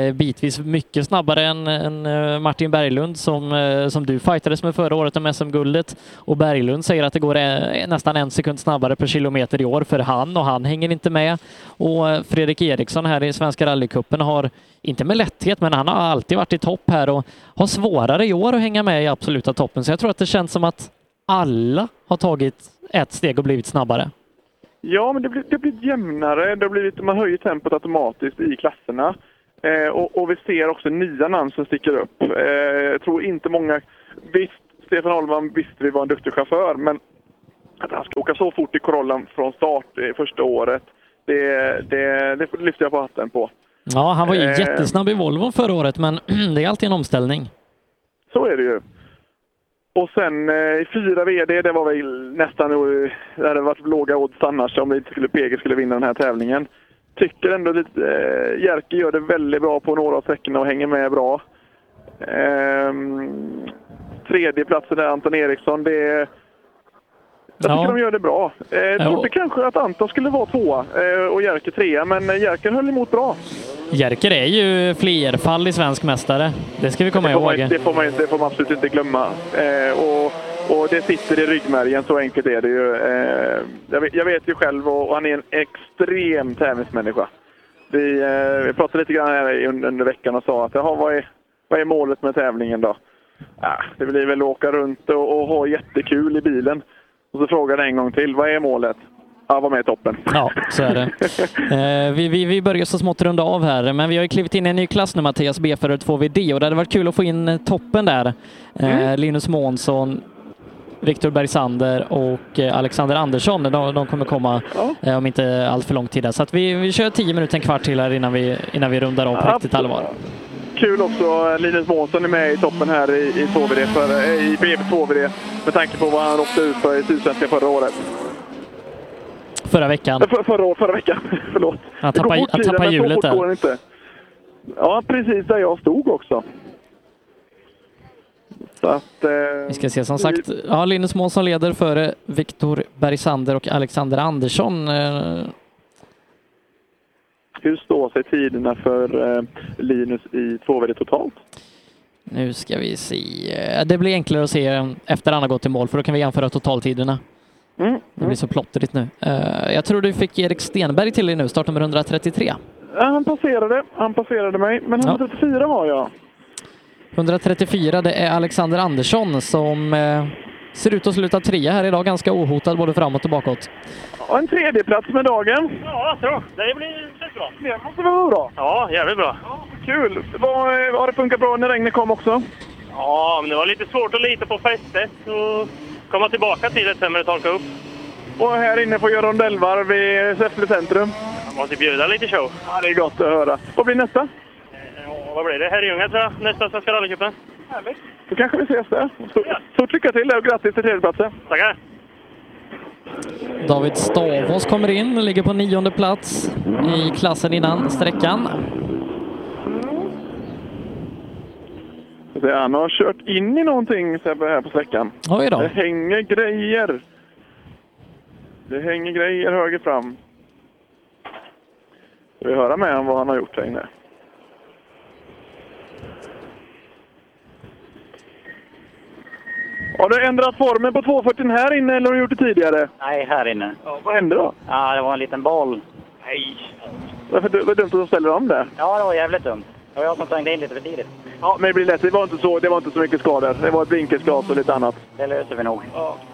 [SPEAKER 3] eh, bitvis mycket snabbare än, än eh, Martin Berglund som, eh, som du fightades med förra året om SM-guldet. Och Berglund säger att det går eh, nästan en sekund snabbare per kilometer i år för han och han hänger inte med. Och eh, Fredrik Eriksson här i Svenska rallycupen har, inte med lätthet, men han har alltid varit i topp här och har svårare i år att hänga med i absoluta toppen. Så jag tror att det känns som att alla har tagit ett steg och blivit snabbare.
[SPEAKER 25] Ja, men det blir, det blir jämnare. Det har blivit, man höjer tempot automatiskt i klasserna. Eh, och, och vi ser också nya namn som sticker upp. Eh, jag tror inte många... Visst, Stefan Holman visste vi var en duktig chaufför, men att han ska åka så fort i Corollan från start eh, första året, det, det, det lyfter jag på hatten på.
[SPEAKER 3] Ja, han var ju
[SPEAKER 25] Eh.
[SPEAKER 3] jättesnabb i Volvo förra året, men [CLEARS THROAT] det är alltid en omställning.
[SPEAKER 25] Så är det ju. Och sen eh, fyra VD, det var väl nästan... eh, Det hade varit låga odds annars om det inte skulle, PG skulle vinna den här tävlingen. Tycker ändå lite... Eh, Jerker gör det väldigt bra på några av sträckorna och hänger med bra. Ehm, tredje platsen är Anton Eriksson. Det är, jag tycker
[SPEAKER 3] Ja.
[SPEAKER 25] de gör det bra. Eh, jag
[SPEAKER 3] Ja.
[SPEAKER 25] trodde kanske att Anton skulle vara tvåa eh, och Jerker trea, men eh, Jerker höll emot bra.
[SPEAKER 3] Jerker är ju flerfallig svensk mästare. Det ska vi komma
[SPEAKER 25] det, får man,
[SPEAKER 3] ihåg.
[SPEAKER 25] det, får man, det får man absolut inte glömma. Eh, och, och det sitter i ryggmärgen, så enkelt är det ju. Eh, jag, vet, jag vet ju själv, och, och han är en extrem tävlingsmänniska. Vi, eh, vi pratade lite grann här i- under, under veckan och sa att jaha, vad, är, vad är målet med tävlingen då? Ah, det blir väl att åka runt och, och ha jättekul i bilen. Och så frågade jag en gång till, vad är målet? Ja, vara med i toppen.
[SPEAKER 3] Ja, så är det. Eh, vi, vi, vi börjar så smått runda av här, men vi har ju klivit in i en ny klass nu Mattias, B402VD, och det hade varit kul att få in eh, toppen där. Eh,
[SPEAKER 25] Mm.
[SPEAKER 3] Linus Månsson, Viktor Bergsander och eh, Alexander Andersson, de, de kommer komma eh, om inte allt för lång tid. här. Så att vi, vi kör 10 minuter, en kvart till här innan vi, innan vi rundar av på riktigt allvar.
[SPEAKER 25] Kul också, Linus Månsson är med i toppen här i, i, 2VD för, eh, i BB2VD med tanke på vad han råkade ut för i Sydsvenskan förra året.
[SPEAKER 3] Förra veckan.
[SPEAKER 25] För, förra, år- förra veckan, [LAUGHS] förlåt.
[SPEAKER 3] Han
[SPEAKER 25] Det går
[SPEAKER 3] tappade-
[SPEAKER 25] fort
[SPEAKER 3] han
[SPEAKER 25] tiden,
[SPEAKER 3] tappade
[SPEAKER 25] men så
[SPEAKER 3] hjulet
[SPEAKER 25] fort
[SPEAKER 3] där.
[SPEAKER 25] går den inte. Ja, precis där jag stod också. Så att, eh,
[SPEAKER 3] Vi ska se, som sagt, ja, Linus Månsson leder före Viktor Bergsander och Alexander Andersson. eh,
[SPEAKER 25] Hur står sig tiderna för eh, Linus i 2VD totalt?
[SPEAKER 3] Nu ska vi se. Eh, Det blir enklare att se efter han har gått i mål för då kan vi jämföra totaltiderna.
[SPEAKER 25] Mm,
[SPEAKER 3] Det blir så plottrigt nu. Eh, Jag tror du fick Erik Stenberg till dig nu, startnummer 133.
[SPEAKER 25] Ja, han passerade, han passerade mig, men 134 var jag.
[SPEAKER 3] 134, det är Alexander Andersson som eh, ser ut att sluta trea här idag, ganska ohotad både framåt och bakåt.
[SPEAKER 25] Och en tredjeplats med dagen.
[SPEAKER 34] Ja, så. Det blir känns bra.
[SPEAKER 25] Det måste vara bra.
[SPEAKER 34] Ja, jävligt bra.
[SPEAKER 25] Kul! Vad, eh, har det funkat bra när regnet kom också?
[SPEAKER 34] Ja, men det var lite svårt att lita på fästet och komma tillbaka till det sen när det torkade upp.
[SPEAKER 25] Och här inne får jag rondellvarv i Säffle centrum.
[SPEAKER 34] Man måste bjuda lite show.
[SPEAKER 25] Ja, det är gott att höra. Vad blir nästa?
[SPEAKER 34] Ja, vad blir det? Herrljunga tror jag, nästa Svenska rallycupen. Härligt.
[SPEAKER 25] Då kanske vi ses där. Stort, stort lycka till och grattis till tredjeplatsen!
[SPEAKER 34] Tackar!
[SPEAKER 3] David Stavås kommer in, ligger på nionde plats i klassen innan sträckan.
[SPEAKER 25] Det är- Han har kört in i någonting Sebbe, här på sträckan.
[SPEAKER 3] Oj då.
[SPEAKER 25] Det hänger grejer. Det hänger grejer höger fram. Ska vi höra med honom vad han har gjort här inne? Har du ändrat formen på 240 här inne eller har du gjort det tidigare?
[SPEAKER 23] Nej, här inne.
[SPEAKER 25] Ja, vad hände då?
[SPEAKER 23] Ja, det var en liten boll.
[SPEAKER 25] Varför, vad dumt att de ställer om det.
[SPEAKER 23] Ja, det var jävligt dumt. Det var jag som svängde in lite för tidigt.
[SPEAKER 25] Ja, men det blir lätt. Det var inte så, det var inte så mycket skador. Det var ett blinkersglas och lite annat.
[SPEAKER 23] Det löser vi nog.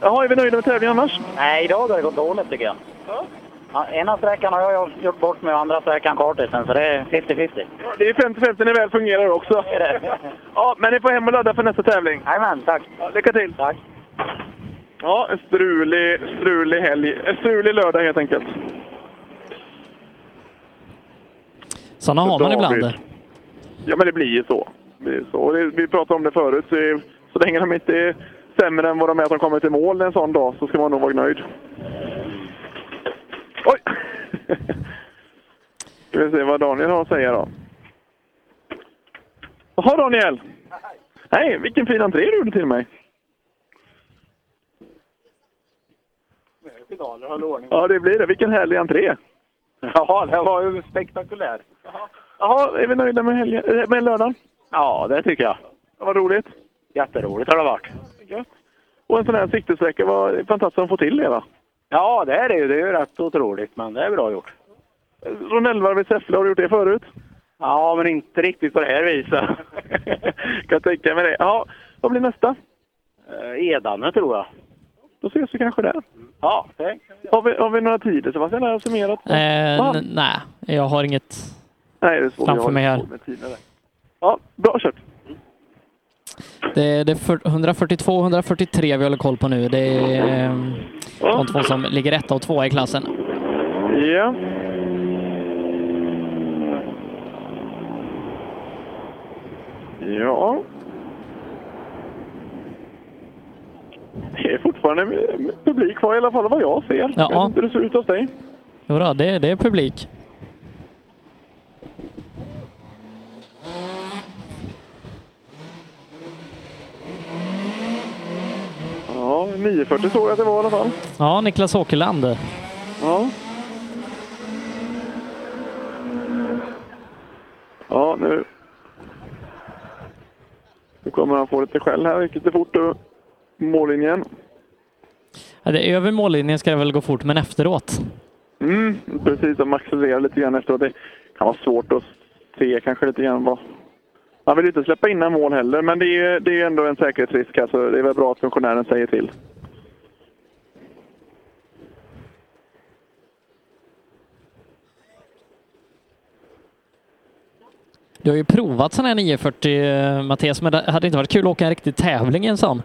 [SPEAKER 25] Jaha, är vi nöjda med tävlingen annars?
[SPEAKER 23] Nej, idag har det gått dåligt tycker jag. Ja, ena sträckan har jag gjort bort mig och andra sträckan kartisen, så det är 50-50.
[SPEAKER 25] Det är 50-50 när det väl fungerar också.
[SPEAKER 23] Det är det.
[SPEAKER 25] Ja, men ni får hem och ladda för nästa tävling.
[SPEAKER 23] Jajamän, tack.
[SPEAKER 25] Lycka till.
[SPEAKER 23] Tack.
[SPEAKER 25] Ja, en strulig, strulig helg. En strulig lördag helt enkelt.
[SPEAKER 3] Sådana har man ibland.
[SPEAKER 25] Ja, men det blir ju så. Det blir ju så. Och det, vi pratade om det förut, så, är- så länge de inte är sämre än vad de är att de kommer till mål en sån dag så ska man nog vara nöjd. Oj! [LAUGHS] ska vi se vad Daniel har att säga då. Jaha Daniel! Hej! Vilken fin entré du gjorde till mig!
[SPEAKER 12] Pedaler håller ordning.
[SPEAKER 25] Ja, det blir det. Vilken härlig entré!
[SPEAKER 12] Ja, det var ju spektakulär.
[SPEAKER 25] Jaha, är vi nöjda med, helgen, eh, med lördagen?
[SPEAKER 12] Ja, det tycker jag.
[SPEAKER 25] Vad roligt!
[SPEAKER 12] Jätteroligt har det varit.
[SPEAKER 25] Och en sån här siktesträcka, vad fantastiskt att få till det va?
[SPEAKER 12] Ja, det är det ju. Det är ju rätt otroligt, men det är bra gjort.
[SPEAKER 25] Ronellvarv i Säffle, har du gjort det förut?
[SPEAKER 12] Ja, men inte riktigt på det här viset.
[SPEAKER 25] [LAUGHS] kan tänka mig det. Ja, vad blir nästa?
[SPEAKER 12] Eh, Edane, tror jag.
[SPEAKER 25] Då ses vi kanske där.
[SPEAKER 12] Ja,
[SPEAKER 25] Har vi, har vi några tider Sebastian? Har jag summerat?
[SPEAKER 3] Eh,
[SPEAKER 25] Ja.
[SPEAKER 3] n- nej, jag har inget
[SPEAKER 25] Nej, det är svårt. Jag
[SPEAKER 3] framför
[SPEAKER 25] har
[SPEAKER 3] mig här.
[SPEAKER 25] svårt med tider där. Ja, bra kört.
[SPEAKER 3] Det, det är för- 142 och 143 vi håller koll på nu. Det är eh, de två som ligger etta och tvåa i klassen.
[SPEAKER 25] Ja. Ja. Det är fortfarande publik kvar i alla fall vad jag ser.
[SPEAKER 3] Ja.
[SPEAKER 25] Jag vet inte hur det ser ut hos dig.
[SPEAKER 3] Jodå, det, det är publik.
[SPEAKER 25] Ja, 940 såg jag att det var i alla fall.
[SPEAKER 3] Ja, Niklas Åkerland.
[SPEAKER 25] Ja. Ja, nu... Nu kommer han få lite skäll här. Gick lite fort över mållinjen.
[SPEAKER 3] Ja, det, över mållinjen ska det väl gå fort, men efteråt.
[SPEAKER 25] Mm, precis. De accelererar lite grann efteråt. Det kan vara svårt att se kanske lite grann vad... Man vill ju inte släppa in en mål heller, men det är ju det är ju ändå en säkerhetsrisk. Alltså, det är väl bra att funktionären säger till.
[SPEAKER 3] Du har ju provat sån här 940 eh, Mattias, men det hade inte varit kul att åka en riktig tävling i en sån.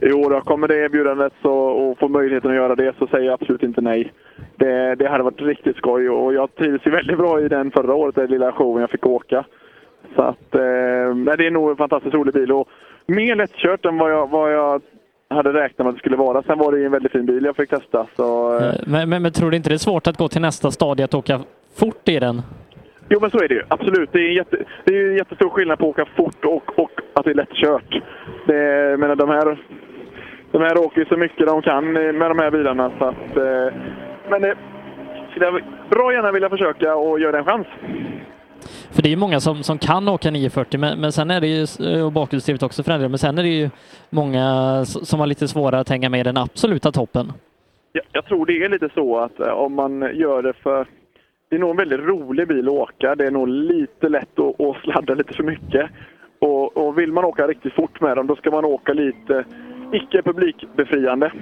[SPEAKER 25] Jo, då kommer det erbjudandet så, och får möjligheten att göra det så säger jag absolut inte nej. Det, det hade varit riktigt skoj och jag trivs ju väldigt bra i den förra året, den lilla showen jag fick åka. Så att, eh, nej, det är nog en fantastiskt rolig bil och mer lättkört än vad jag, vad jag hade räknat med att det skulle vara. Sen var det ju en väldigt fin bil jag fick testa. Så, eh,
[SPEAKER 3] Men, men, men tror du inte det är svårt att gå till nästa stadie att åka fort i den?
[SPEAKER 25] Jo, men så är det ju. Absolut. Det är, en jätte, det är en jättestor skillnad på att åka fort och, och att det är lättkört. Det, jag menar, de, här, de här åker ju så mycket de kan eh, med de här bilarna. Så att, eh, men det skulle jag bra gärna vilja försöka och göra det en chans.
[SPEAKER 3] För det är ju många som, som kan åka 940, men, men sen är det ju, s- och bakhjulsdrivet också för den delen, men sen är det ju många s- som har lite svårare att hänga med i den absoluta toppen.
[SPEAKER 25] Jag, jag tror det är lite så att eh, om man gör det för... Det är nog en väldigt rolig bil att åka. Det är nog lite lätt att, att sladda lite för mycket. Och, och vill man åka riktigt fort med dem, då ska man åka lite icke publikbefriande.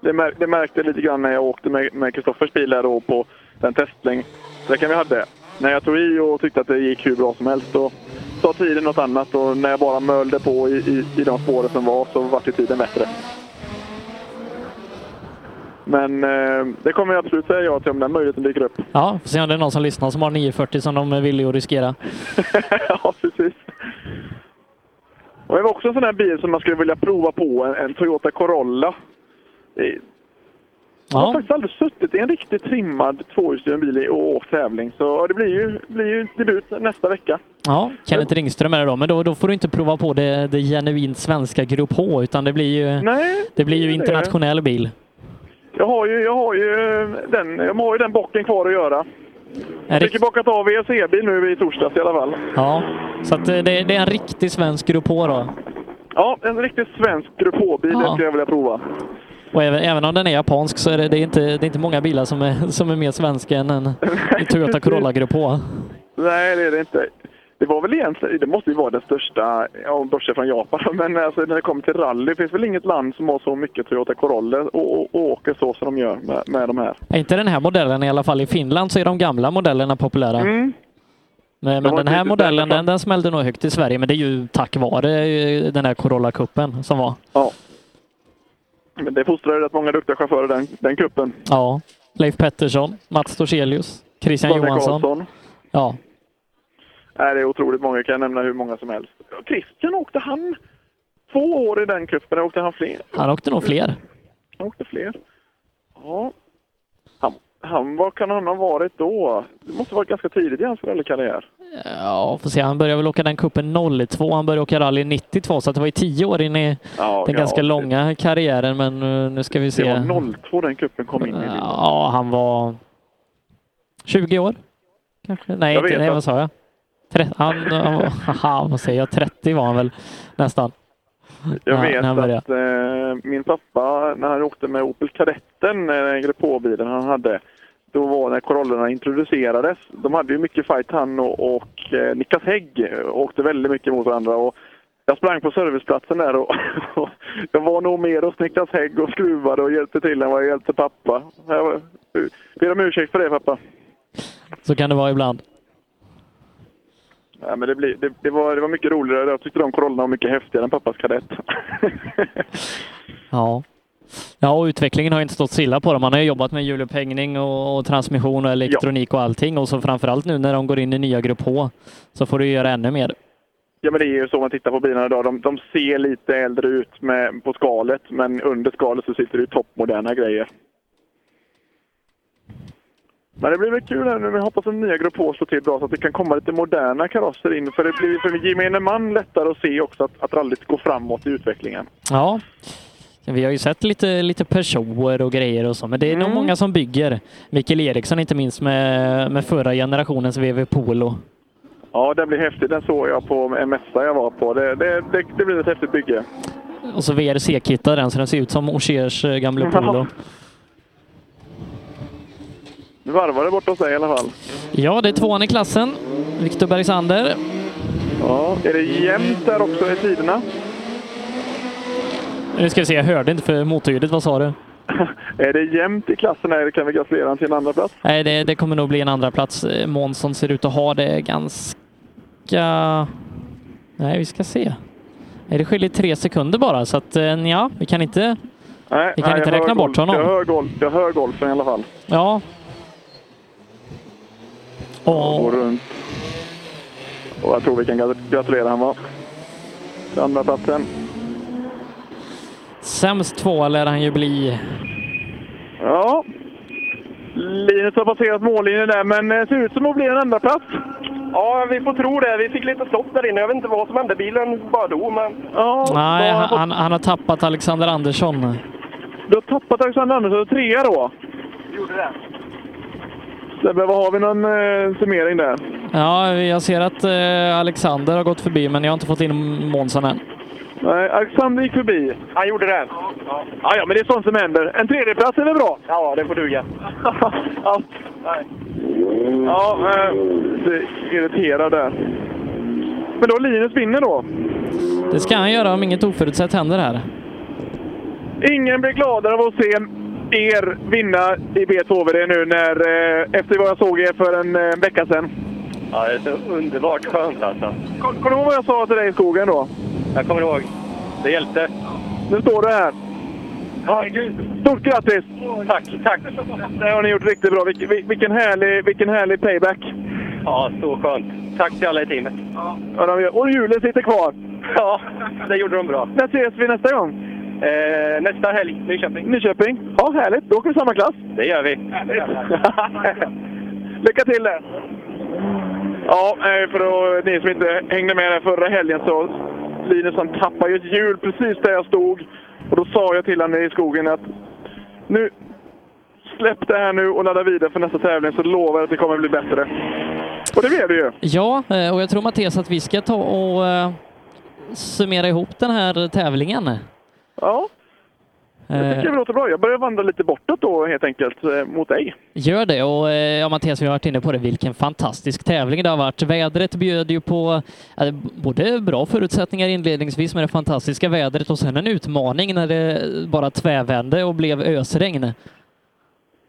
[SPEAKER 25] Det, mär, det märkte jag lite grann när jag åkte med med Kristoffers bil där då på den teststräckan vi hade. När jag tog i och tyckte att det gick hur bra som helst, då sa tiden något annat. Och när jag bara mölde på i, i, i de spåren som var, så vart ju tiden bättre. Men eh, det kommer jag absolut säga ja till om den möjligheten dyker upp.
[SPEAKER 3] Ja, får se om det är någon som lyssnar som har 940 som de är villiga att riskera.
[SPEAKER 25] ja, precis. Och det var också en sån här bil som man skulle vilja prova på, en, en Toyota Corolla. Eh, Jag har faktiskt aldrig suttit i en riktigt trimmad tvåhjulsdriven bil i- och åkt tävling. Så ja, det blir ju, blir ju debut nästa vecka.
[SPEAKER 3] Ja, Kenneth Ringström är det då, men då, då får du inte prova på det, det genuint svenska Grupp H, utan det blir ju, det blir ju
[SPEAKER 25] det är det.
[SPEAKER 3] internationell bil.
[SPEAKER 25] Jag har ju, jag har ju, eh, den, jag har ju den bocken kvar att göra. Jag fick ju bockat av VRC-bil nu i torsdags i alla fall.
[SPEAKER 3] Ja, så att eh, det, det är en riktig svensk Grupp H då.
[SPEAKER 25] Ja, en riktigt svensk Grupp H-bil det skulle jag vilja prova.
[SPEAKER 3] Och även, även om den är japansk så är det, det, är inte, det är inte många bilar
[SPEAKER 25] [LAUGHS]
[SPEAKER 3] som är, som är mer svenska än en Toyota Corolla Grupp H.
[SPEAKER 25] Nej, det är det inte. Det var väl egentligen, det måste ju vara den största, ja, bortsett från Japan, då, [LAUGHS] men alltså, när det kommer till rally finns väl inget land som har så mycket Toyota Corolla och, och, och åker så som de gör med, med de här.
[SPEAKER 3] Ja, Inte den här modellen i alla fall. I Finland så är de gamla modellerna populära. Men,
[SPEAKER 25] Mm. De
[SPEAKER 3] men
[SPEAKER 25] har
[SPEAKER 3] den
[SPEAKER 25] inte
[SPEAKER 3] här
[SPEAKER 25] riktigt
[SPEAKER 3] modellen
[SPEAKER 25] släppt fram.
[SPEAKER 3] den, den smällde nog högt i Sverige, men det är ju tack vare eh, den här Corolla-cupen som var.
[SPEAKER 25] Ja. Men det fostrar ju rätt många duktiga chaufförer den, den kuppen.
[SPEAKER 3] Ja, Leif Pettersson, Mats Torselius, Christian
[SPEAKER 25] Sonny
[SPEAKER 3] Johansson.
[SPEAKER 25] Karlsson.
[SPEAKER 3] Ja,
[SPEAKER 25] Nej, det är otroligt många. Jag kan nämna hur många som helst. Christian åkte han två år i den kuppen. Åkte han fler?
[SPEAKER 3] han åkte nog fler.
[SPEAKER 25] Han åkte fler. Ja. Han, han, vad kan han ha varit då? Det måste ha varit ganska tidigt i hans rallykarriär.
[SPEAKER 3] Ja, får se. Han började väl åka den kuppen 02, han började åka rally 92, så att det var ju tio år in i
[SPEAKER 25] Ja,
[SPEAKER 3] den
[SPEAKER 25] ja,
[SPEAKER 3] ganska
[SPEAKER 25] det-
[SPEAKER 3] långa karriären. Men eh, nu ska vi se.
[SPEAKER 25] Det var 02 den kuppen kom in i bilden.
[SPEAKER 3] Ja, han var 20 år. Kanske? Nej,
[SPEAKER 25] Jag
[SPEAKER 3] inte,
[SPEAKER 25] vet
[SPEAKER 3] nej
[SPEAKER 25] att-
[SPEAKER 3] vad sa jag? Tre, han, han var, [LAUGHS] haha, vad säger jag? 30 var han väl nästan.
[SPEAKER 25] Jag
[SPEAKER 3] när-
[SPEAKER 25] vet
[SPEAKER 3] när han började.
[SPEAKER 25] att eh, min pappa, när han åkte med Opel Kadetten, eh, grepåbilen han hade, då var när Corollorna introducerades. De hade ju mycket fight han och, och eh, Niklas Hägg eh, åkte väldigt mycket mot varandra. Och jag sprang på serviceplatsen där och [LAUGHS] jag var nog mer hos Niklas Hägg och skruvade och hjälpte till än vad jag hjälpte pappa. Jag var- ber om ursäkt för det pappa.
[SPEAKER 3] Så kan det vara ibland.
[SPEAKER 25] Nej, men det, blir, det, det, var, det var mycket roligare. Jag tyckte de Corollorna var mycket häftigare än pappas kadett.
[SPEAKER 3] Ja. Ja, och utvecklingen har ju inte stått stilla på dem. Man har ju jobbat med hjulupphängning och, och transmission och elektronik och allting. Och så framförallt nu när de går in i nya Grupp H så får du ju göra ännu mer.
[SPEAKER 25] Ja, men det är ju så man tittar på bilarna idag. De, de ser lite äldre ut med, på skalet, men under skalet så sitter det ju toppmoderna grejer. Men det blir väl kul här nu. Vi hoppas att den nya Grupp H slår till bra så att det kan komma lite moderna karosser in. För det blir för gemene man lättare att se också att, att rallyt går framåt i utvecklingen.
[SPEAKER 3] Ja, vi har ju sett lite, lite personer och grejer och så, men det är nog många som bygger. Mikael Eriksson inte minst med, med förra generationens VW Polo.
[SPEAKER 25] Ja, den blir häftig. Den såg jag på en mässa jag var på. Det, det, det, det blir ett häftigt bygge.
[SPEAKER 3] Och så VRC-kittar den, så den ser ut som Ogiers eh, gamla Polo.
[SPEAKER 25] Nu varvar det bort hos dig i alla fall.
[SPEAKER 3] Ja, det är tvåan i klassen. Viktor Bergsander.
[SPEAKER 25] Ja, är det jämnt där också i tiderna?
[SPEAKER 3] Nu ska vi se, jag hörde inte för motorljudet. Vad sa du?
[SPEAKER 25] Är det jämnt i klassen här kan vi gratulera honom till en andra plats.
[SPEAKER 3] Nej, det, det kommer nog bli en andra plats. Eh, Månsson ser ut att ha det ganska... Nej, vi ska se. Nej, det skiljer tre sekunder bara, så att eh, ja, vi kan inte...
[SPEAKER 25] Nej,
[SPEAKER 3] Vi kan
[SPEAKER 25] nej,
[SPEAKER 3] inte
[SPEAKER 25] jag hör
[SPEAKER 3] räkna bort
[SPEAKER 25] golf.
[SPEAKER 3] honom.
[SPEAKER 25] Jag hör, golf, jag hör golfen i alla fall.
[SPEAKER 3] Ja.
[SPEAKER 25] Och går runt. Och jag tror vi kan grat- gratulera honom va? Till andra platsen.
[SPEAKER 3] Sämst två lär han ju bli.
[SPEAKER 25] Ja. Linus har passerat mållinjen där, men det ser ut som att bli en andra plats.
[SPEAKER 20] Ja, vi får tro det. Vi fick lite stopp där inne. Jag vet inte vad som hände. Bilen bara dog, men...
[SPEAKER 25] Ja,
[SPEAKER 3] Nej,
[SPEAKER 25] då har
[SPEAKER 3] han,
[SPEAKER 25] jag fått-
[SPEAKER 3] han, han har tappat Alexander Andersson.
[SPEAKER 25] Du har tappat Alexander Andersson och trea då.
[SPEAKER 20] Gjorde det?
[SPEAKER 25] Sebbe, vad har vi någon eh, summering där?
[SPEAKER 3] Ja, jag ser att eh, Alexander har gått förbi, men jag har inte fått in Månsson än.
[SPEAKER 25] Nej, Alexander gick förbi.
[SPEAKER 20] Han gjorde det.
[SPEAKER 25] Ja, ja, men det är sånt som händer. En tredjeplats är väl bra?
[SPEAKER 20] Ja, det får duga.
[SPEAKER 25] ja. Ja, eh, det- irriterad där. Men då Linus vinner då.
[SPEAKER 3] Det ska han göra om inget oförutsett händer här.
[SPEAKER 25] Ingen blir gladare av att se er vinna i BTHVD nu när, eh, efter vad jag såg er för en eh, vecka sedan.
[SPEAKER 20] Ja, det är så underbart skönt alltså.
[SPEAKER 25] Kom- Kommer du ihåg vad jag sa till dig i skogen då?
[SPEAKER 20] Jag kommer ihåg. Det hjälpte.
[SPEAKER 25] Nu står du här. Stort grattis!
[SPEAKER 20] Tack, tack!
[SPEAKER 25] Det har ni gjort riktigt bra. Vilken, vil- vilken, härlig, vilken härlig payback!
[SPEAKER 20] Ja, så skönt. Tack till alla i teamet.
[SPEAKER 25] Ja, de gör- Och hjulen sitter kvar!
[SPEAKER 20] Ja, det gjorde de bra.
[SPEAKER 25] När ses vi nästa gång?
[SPEAKER 20] Eh, nästa helg, Nyköping.
[SPEAKER 25] Nyköping? Ja, härligt. Då åker vi samma klass.
[SPEAKER 20] Det gör vi.
[SPEAKER 25] [LAUGHS] Lycka till där! Ja, eh, för då, ni som inte hängde med där förra helgen så Linus han tappade ju ett hjul precis där jag stod. Och då sa jag till honom i skogen att nu släpp det här nu och ladda vidare för nästa tävling så lovar jag att det kommer bli bättre. Och det blev det ju!
[SPEAKER 3] Ja, eh, och jag tror Mattias att vi ska ta och eh, summera ihop den här tävlingen.
[SPEAKER 25] Ja. Jag tycker det låter bra. Jag börjar vandra lite bortåt då helt enkelt eh, mot dig.
[SPEAKER 3] Gör det och eh, ja, Mattias, vi har varit inne på det, vilken fantastisk tävling det har varit. Vädret bjöd ju på eh, både bra förutsättningar inledningsvis med det fantastiska vädret och sen en utmaning när det bara tvärvände och blev ösregn.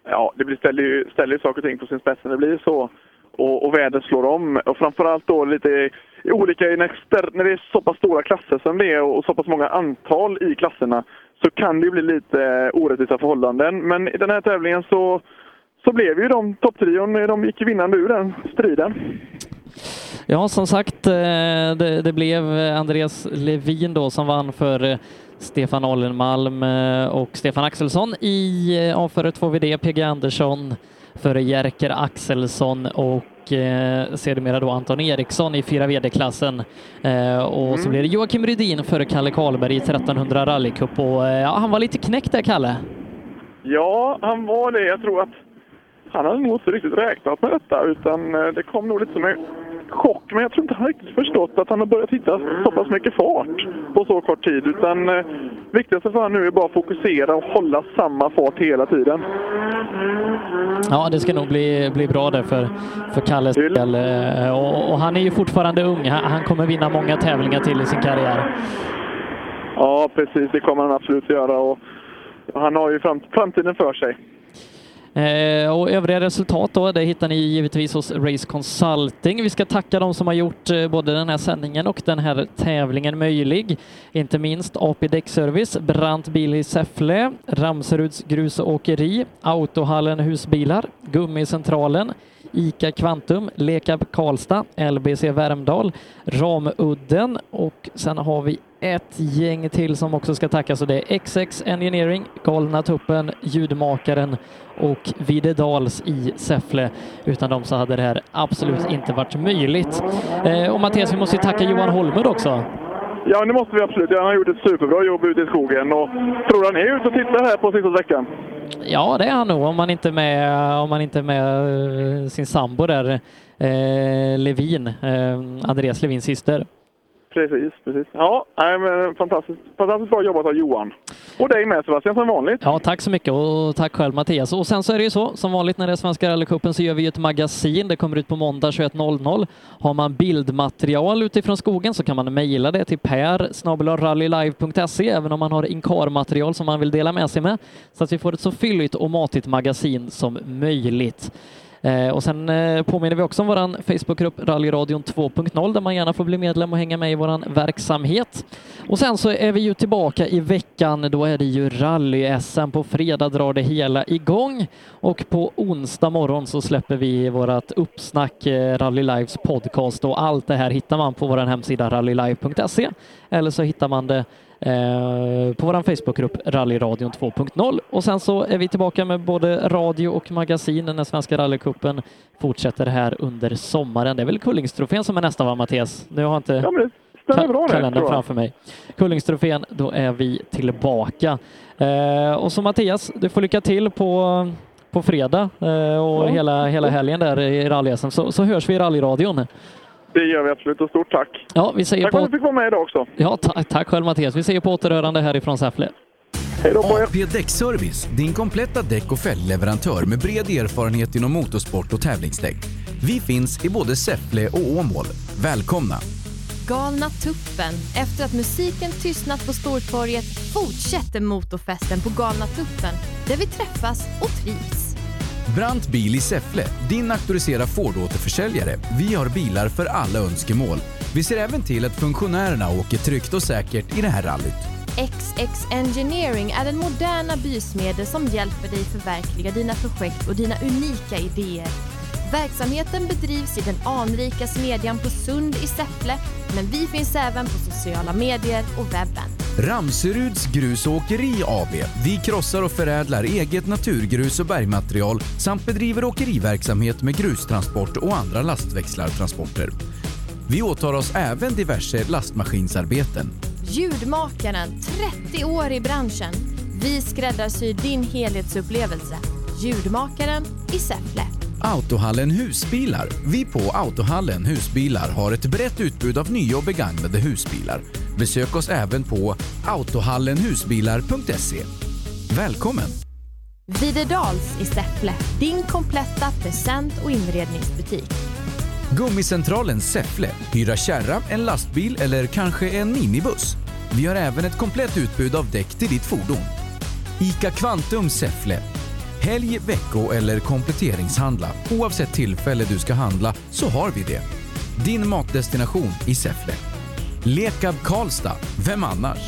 [SPEAKER 25] Ja, det blir, ställer, ju, ställer ju saker och ting på sin spets när det blir så. Och, och vädret slår om. Och framförallt då lite i olika, i nästa- när det är så pass stora klasser som det är och så pass många antal i klasserna så kan det ju bli lite eh, orättvisa förhållanden. Men i den här tävlingen så, så blev ju de topptrion, eh, de gick ju vinnande ur den striden.
[SPEAKER 3] Ja, som sagt, eh, det, det blev Andreas Levin då som vann för eh, Stefan Ollenmalm eh, och Stefan Axelsson i eh, ja, före 2VD, PG Andersson före Jerker Axelsson och eh, sedermera då Anton Eriksson i 4VD-klassen. Eh, och så blev det Joakim Rydin före Kalle Karlberg i 1300 rallycup och eh, ja, han var lite knäckt där, Kalle.
[SPEAKER 25] Ja, han var det. Jag tror att han hade nog inte riktigt räknat med detta utan eh, det kom nog lite som en chock. Men jag tror inte han riktigt förstått att han har börjat hitta så pass mycket fart på så kort tid. Utan eh, viktigaste för honom nu är bara att fokusera och hålla samma fart hela tiden.
[SPEAKER 3] Ja, det ska nog bli, bli bra där för, för Kalles del. Eh, Och, och han är ju fortfarande ung. Han, han kommer vinna många tävlingar till i sin karriär.
[SPEAKER 25] Ja, precis. Det kommer han absolut göra. Och han har ju fram- framtiden för sig.
[SPEAKER 3] Eh, Och övriga resultat då, det hittar ni givetvis hos Race Consulting. Vi ska tacka de som har gjort eh, både den här sändningen och den här tävlingen möjlig. Inte minst AP Däckservice, Brant Bil i Säffle, Ramseruds Grus och Åkeri, Autohallen Husbilar, Gummicentralen, ICA Kvantum, Lekab Karlstad, LBC Värmdal, Ramudden och sen har vi ett gäng till som också ska tackas och det är XX Engineering, Galna Tuppen, Ljudmakaren och Videdals i Säffle. Utan dem så hade det här absolut inte varit möjligt. Eh, och Mattias, vi måste ju tacka Johan Holmud också.
[SPEAKER 25] Ja, det måste vi absolut göra. Han har gjort ett superbra jobb ute i skogen. Och tror han är ute och tittar här på sista veckan?
[SPEAKER 3] Ja, det är han nog om man inte är med, om man inte är med eh, sin sambo där, eh, Levin, eh, Andreas Levins syster.
[SPEAKER 25] Precis, precis. Ja, nej, men fantastiskt, fantastiskt bra jobbat av Johan. Och dig med Sebastian som vanligt.
[SPEAKER 3] Ja, tack så mycket och tack själv Mattias. Och sen så är det ju så, som vanligt när det är Svenska rallycupen så gör vi ju ett magasin. Det kommer ut på måndag 21.00. Har man bildmaterial utifrån skogen så kan man mejla det till per.rallylive.se även om man har inkarmaterial som man vill dela med sig med. Så att vi får ett så fylligt och matigt magasin som möjligt. Eh, och sen eh, påminner vi också om våran Facebookgrupp Rallyradion 2.0 där man gärna får bli medlem och hänga med i våran verksamhet. Och sen så är vi ju tillbaka i veckan. Då är det ju rally-SM. På fredag drar det hela igång och på onsdag morgon så släpper vi vårat uppsnack eh, Rally Lives podcast och allt det här hittar man på vår hemsida rallylive.se eller så hittar man det eh, på vår Facebookgrupp Rallyradion 2.0. Och sen så är vi tillbaka med både radio och magasin när Svenska rallycupen fortsätter här under sommaren. Det är väl Kullingstrofén som är nästa va Mattias? Nu har jag inte
[SPEAKER 25] stämmer bra det,
[SPEAKER 3] kalendern
[SPEAKER 25] tror jag.
[SPEAKER 3] framför mig. Kullingstrofén, då är vi tillbaka. Eh, och så Mattias, du får lycka till på, på fredag eh, och hela, hela helgen där i rally så, så hörs vi i rallyradion.
[SPEAKER 25] Det gör vi absolut och stort tack.
[SPEAKER 3] Ja, vi säger
[SPEAKER 25] tack för
[SPEAKER 3] på...
[SPEAKER 25] att du fick vara med idag också.
[SPEAKER 3] Ja, ta- tack själv Mattias. Vi säger på återhörande härifrån Säffle.
[SPEAKER 9] AP Däckservice, din kompletta däck och fällleverantör med bred erfarenhet inom motorsport och tävlingsdäck. Vi finns i både Säffle och Åmål. Välkomna!
[SPEAKER 12] Galna tuppen. Efter att musiken tystnat på Stortorget fortsätter motorfesten på Galna tuppen där vi träffas och trivs.
[SPEAKER 9] Brant Bil i Säffle, din auktoriserade Ford-återförsäljare. Vi har bilar för alla önskemål. Vi ser även till att funktionärerna åker tryggt och säkert i det här rallyt.
[SPEAKER 12] XX Engineering är den moderna bysmedel som hjälper dig förverkliga dina projekt och dina unika idéer. Verksamheten bedrivs i den anrika smedjan på Sund i Säffle, men vi finns även på sociala medier och webben.
[SPEAKER 9] Ramseruds Grus och Åkeri AB. Vi krossar och förädlar eget naturgrus och bergmaterial samt bedriver åkeriverksamhet med grustransport och andra lastväxlartransporter. Vi åtar oss även diverse lastmaskinsarbeten.
[SPEAKER 12] Ljudmakaren, 30 år i branschen. Vi skräddarsyr din helhetsupplevelse. Ljudmakaren i Säffle.
[SPEAKER 9] Autohallen Husbilar. Vi på Autohallen Husbilar har ett brett utbud av nya och begagnade husbilar. Besök oss även på autohallenhusbilar.se. Välkommen!
[SPEAKER 12] Videdals i Säffle, din kompletta present och inredningsbutik.
[SPEAKER 9] Gummicentralen Säffle. Hyra kärra, en lastbil eller kanske en minibuss. Vi har även ett komplett utbud av däck till ditt fordon. ICA Kvantum Säffle. Helg, vecko eller kompletteringshandla. Oavsett tillfälle du ska handla så har vi det. Din matdestination i Säffle. Lekab Karlstad. Vem annars?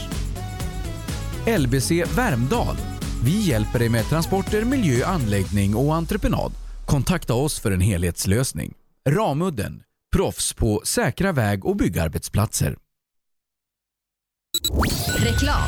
[SPEAKER 9] LBC Värmdal. Vi hjälper dig med transporter, miljö, anläggning och entreprenad. Kontakta oss för en helhetslösning. Ramudden, proffs på säkra väg och byggarbetsplatser.
[SPEAKER 44] Reklam.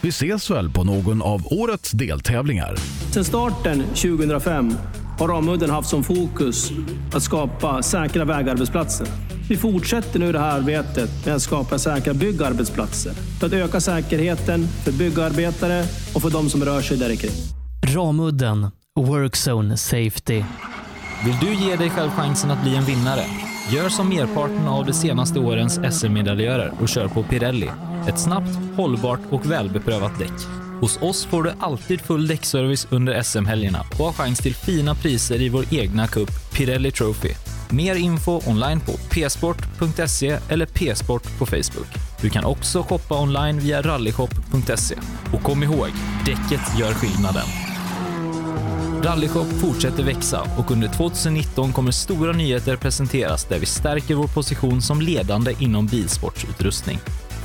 [SPEAKER 1] Vi ses väl på någon av årets deltävlingar.
[SPEAKER 2] Sedan starten 2005 har Ramudden haft som fokus att skapa säkra vägarbetsplatser. Vi fortsätter nu det här arbetet med att skapa säkra byggarbetsplatser för att öka säkerheten för byggarbetare och för de som rör sig där i kring.
[SPEAKER 45] Ramudden Workzone Safety.
[SPEAKER 4] Vill du ge dig själv chansen att bli en vinnare? Gör som merparten av de senaste årens SM-medaljörer och kör på Pirelli. Ett snabbt, hållbart och välbeprövat däck. Hos oss får du alltid full däckservice under SM-helgerna och har chans till fina priser i vår egna cup Pirelli Trophy. Mer info online på psport.se eller psport på Facebook. Du kan också shoppa online via rallyshop.se. Och kom ihåg, däcket gör skillnaden. Rallyshop fortsätter växa och under 2019 kommer stora nyheter presenteras där vi stärker vår position som ledande inom bilsportsutrustning.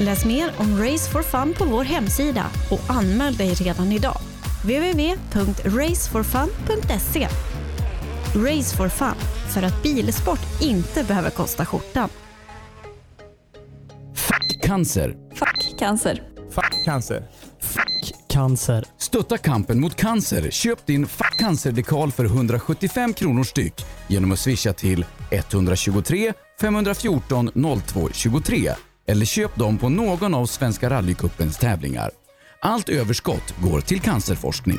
[SPEAKER 7] Läs mer om Race for Fun på vår hemsida och anmäl dig redan idag. www.raceforfun.se Race for Fun, för att bilsport inte behöver kosta skjortan.
[SPEAKER 9] Cancer.
[SPEAKER 7] Fuck cancer.
[SPEAKER 46] Fuck cancer.
[SPEAKER 9] Cancer. Stötta kampen mot cancer. Köp din Fuck cancer-dekal för 175 kronor styck genom att swisha till 123 514 02 23 eller köp dem på någon av Svenska rallycupens tävlingar. Allt överskott går till cancerforskning.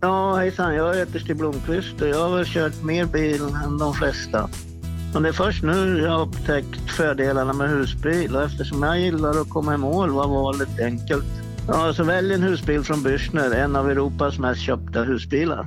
[SPEAKER 10] Ja, hejsan. Jag heter Stig Blomqvist och jag har väl kört mer bil än de flesta. Men det är först nu jag har upptäckt fördelarna med husbil och eftersom jag gillar att komma i mål var valet enkelt. Ja, så välj en husbil från Bürstner, en av Europas mest köpta husbilar.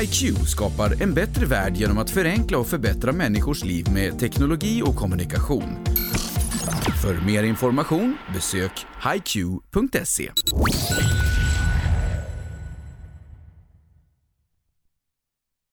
[SPEAKER 9] HiQ skapar en bättre värld genom att förenkla och förbättra människors liv med teknologi och kommunikation. För mer information besök hiq.se.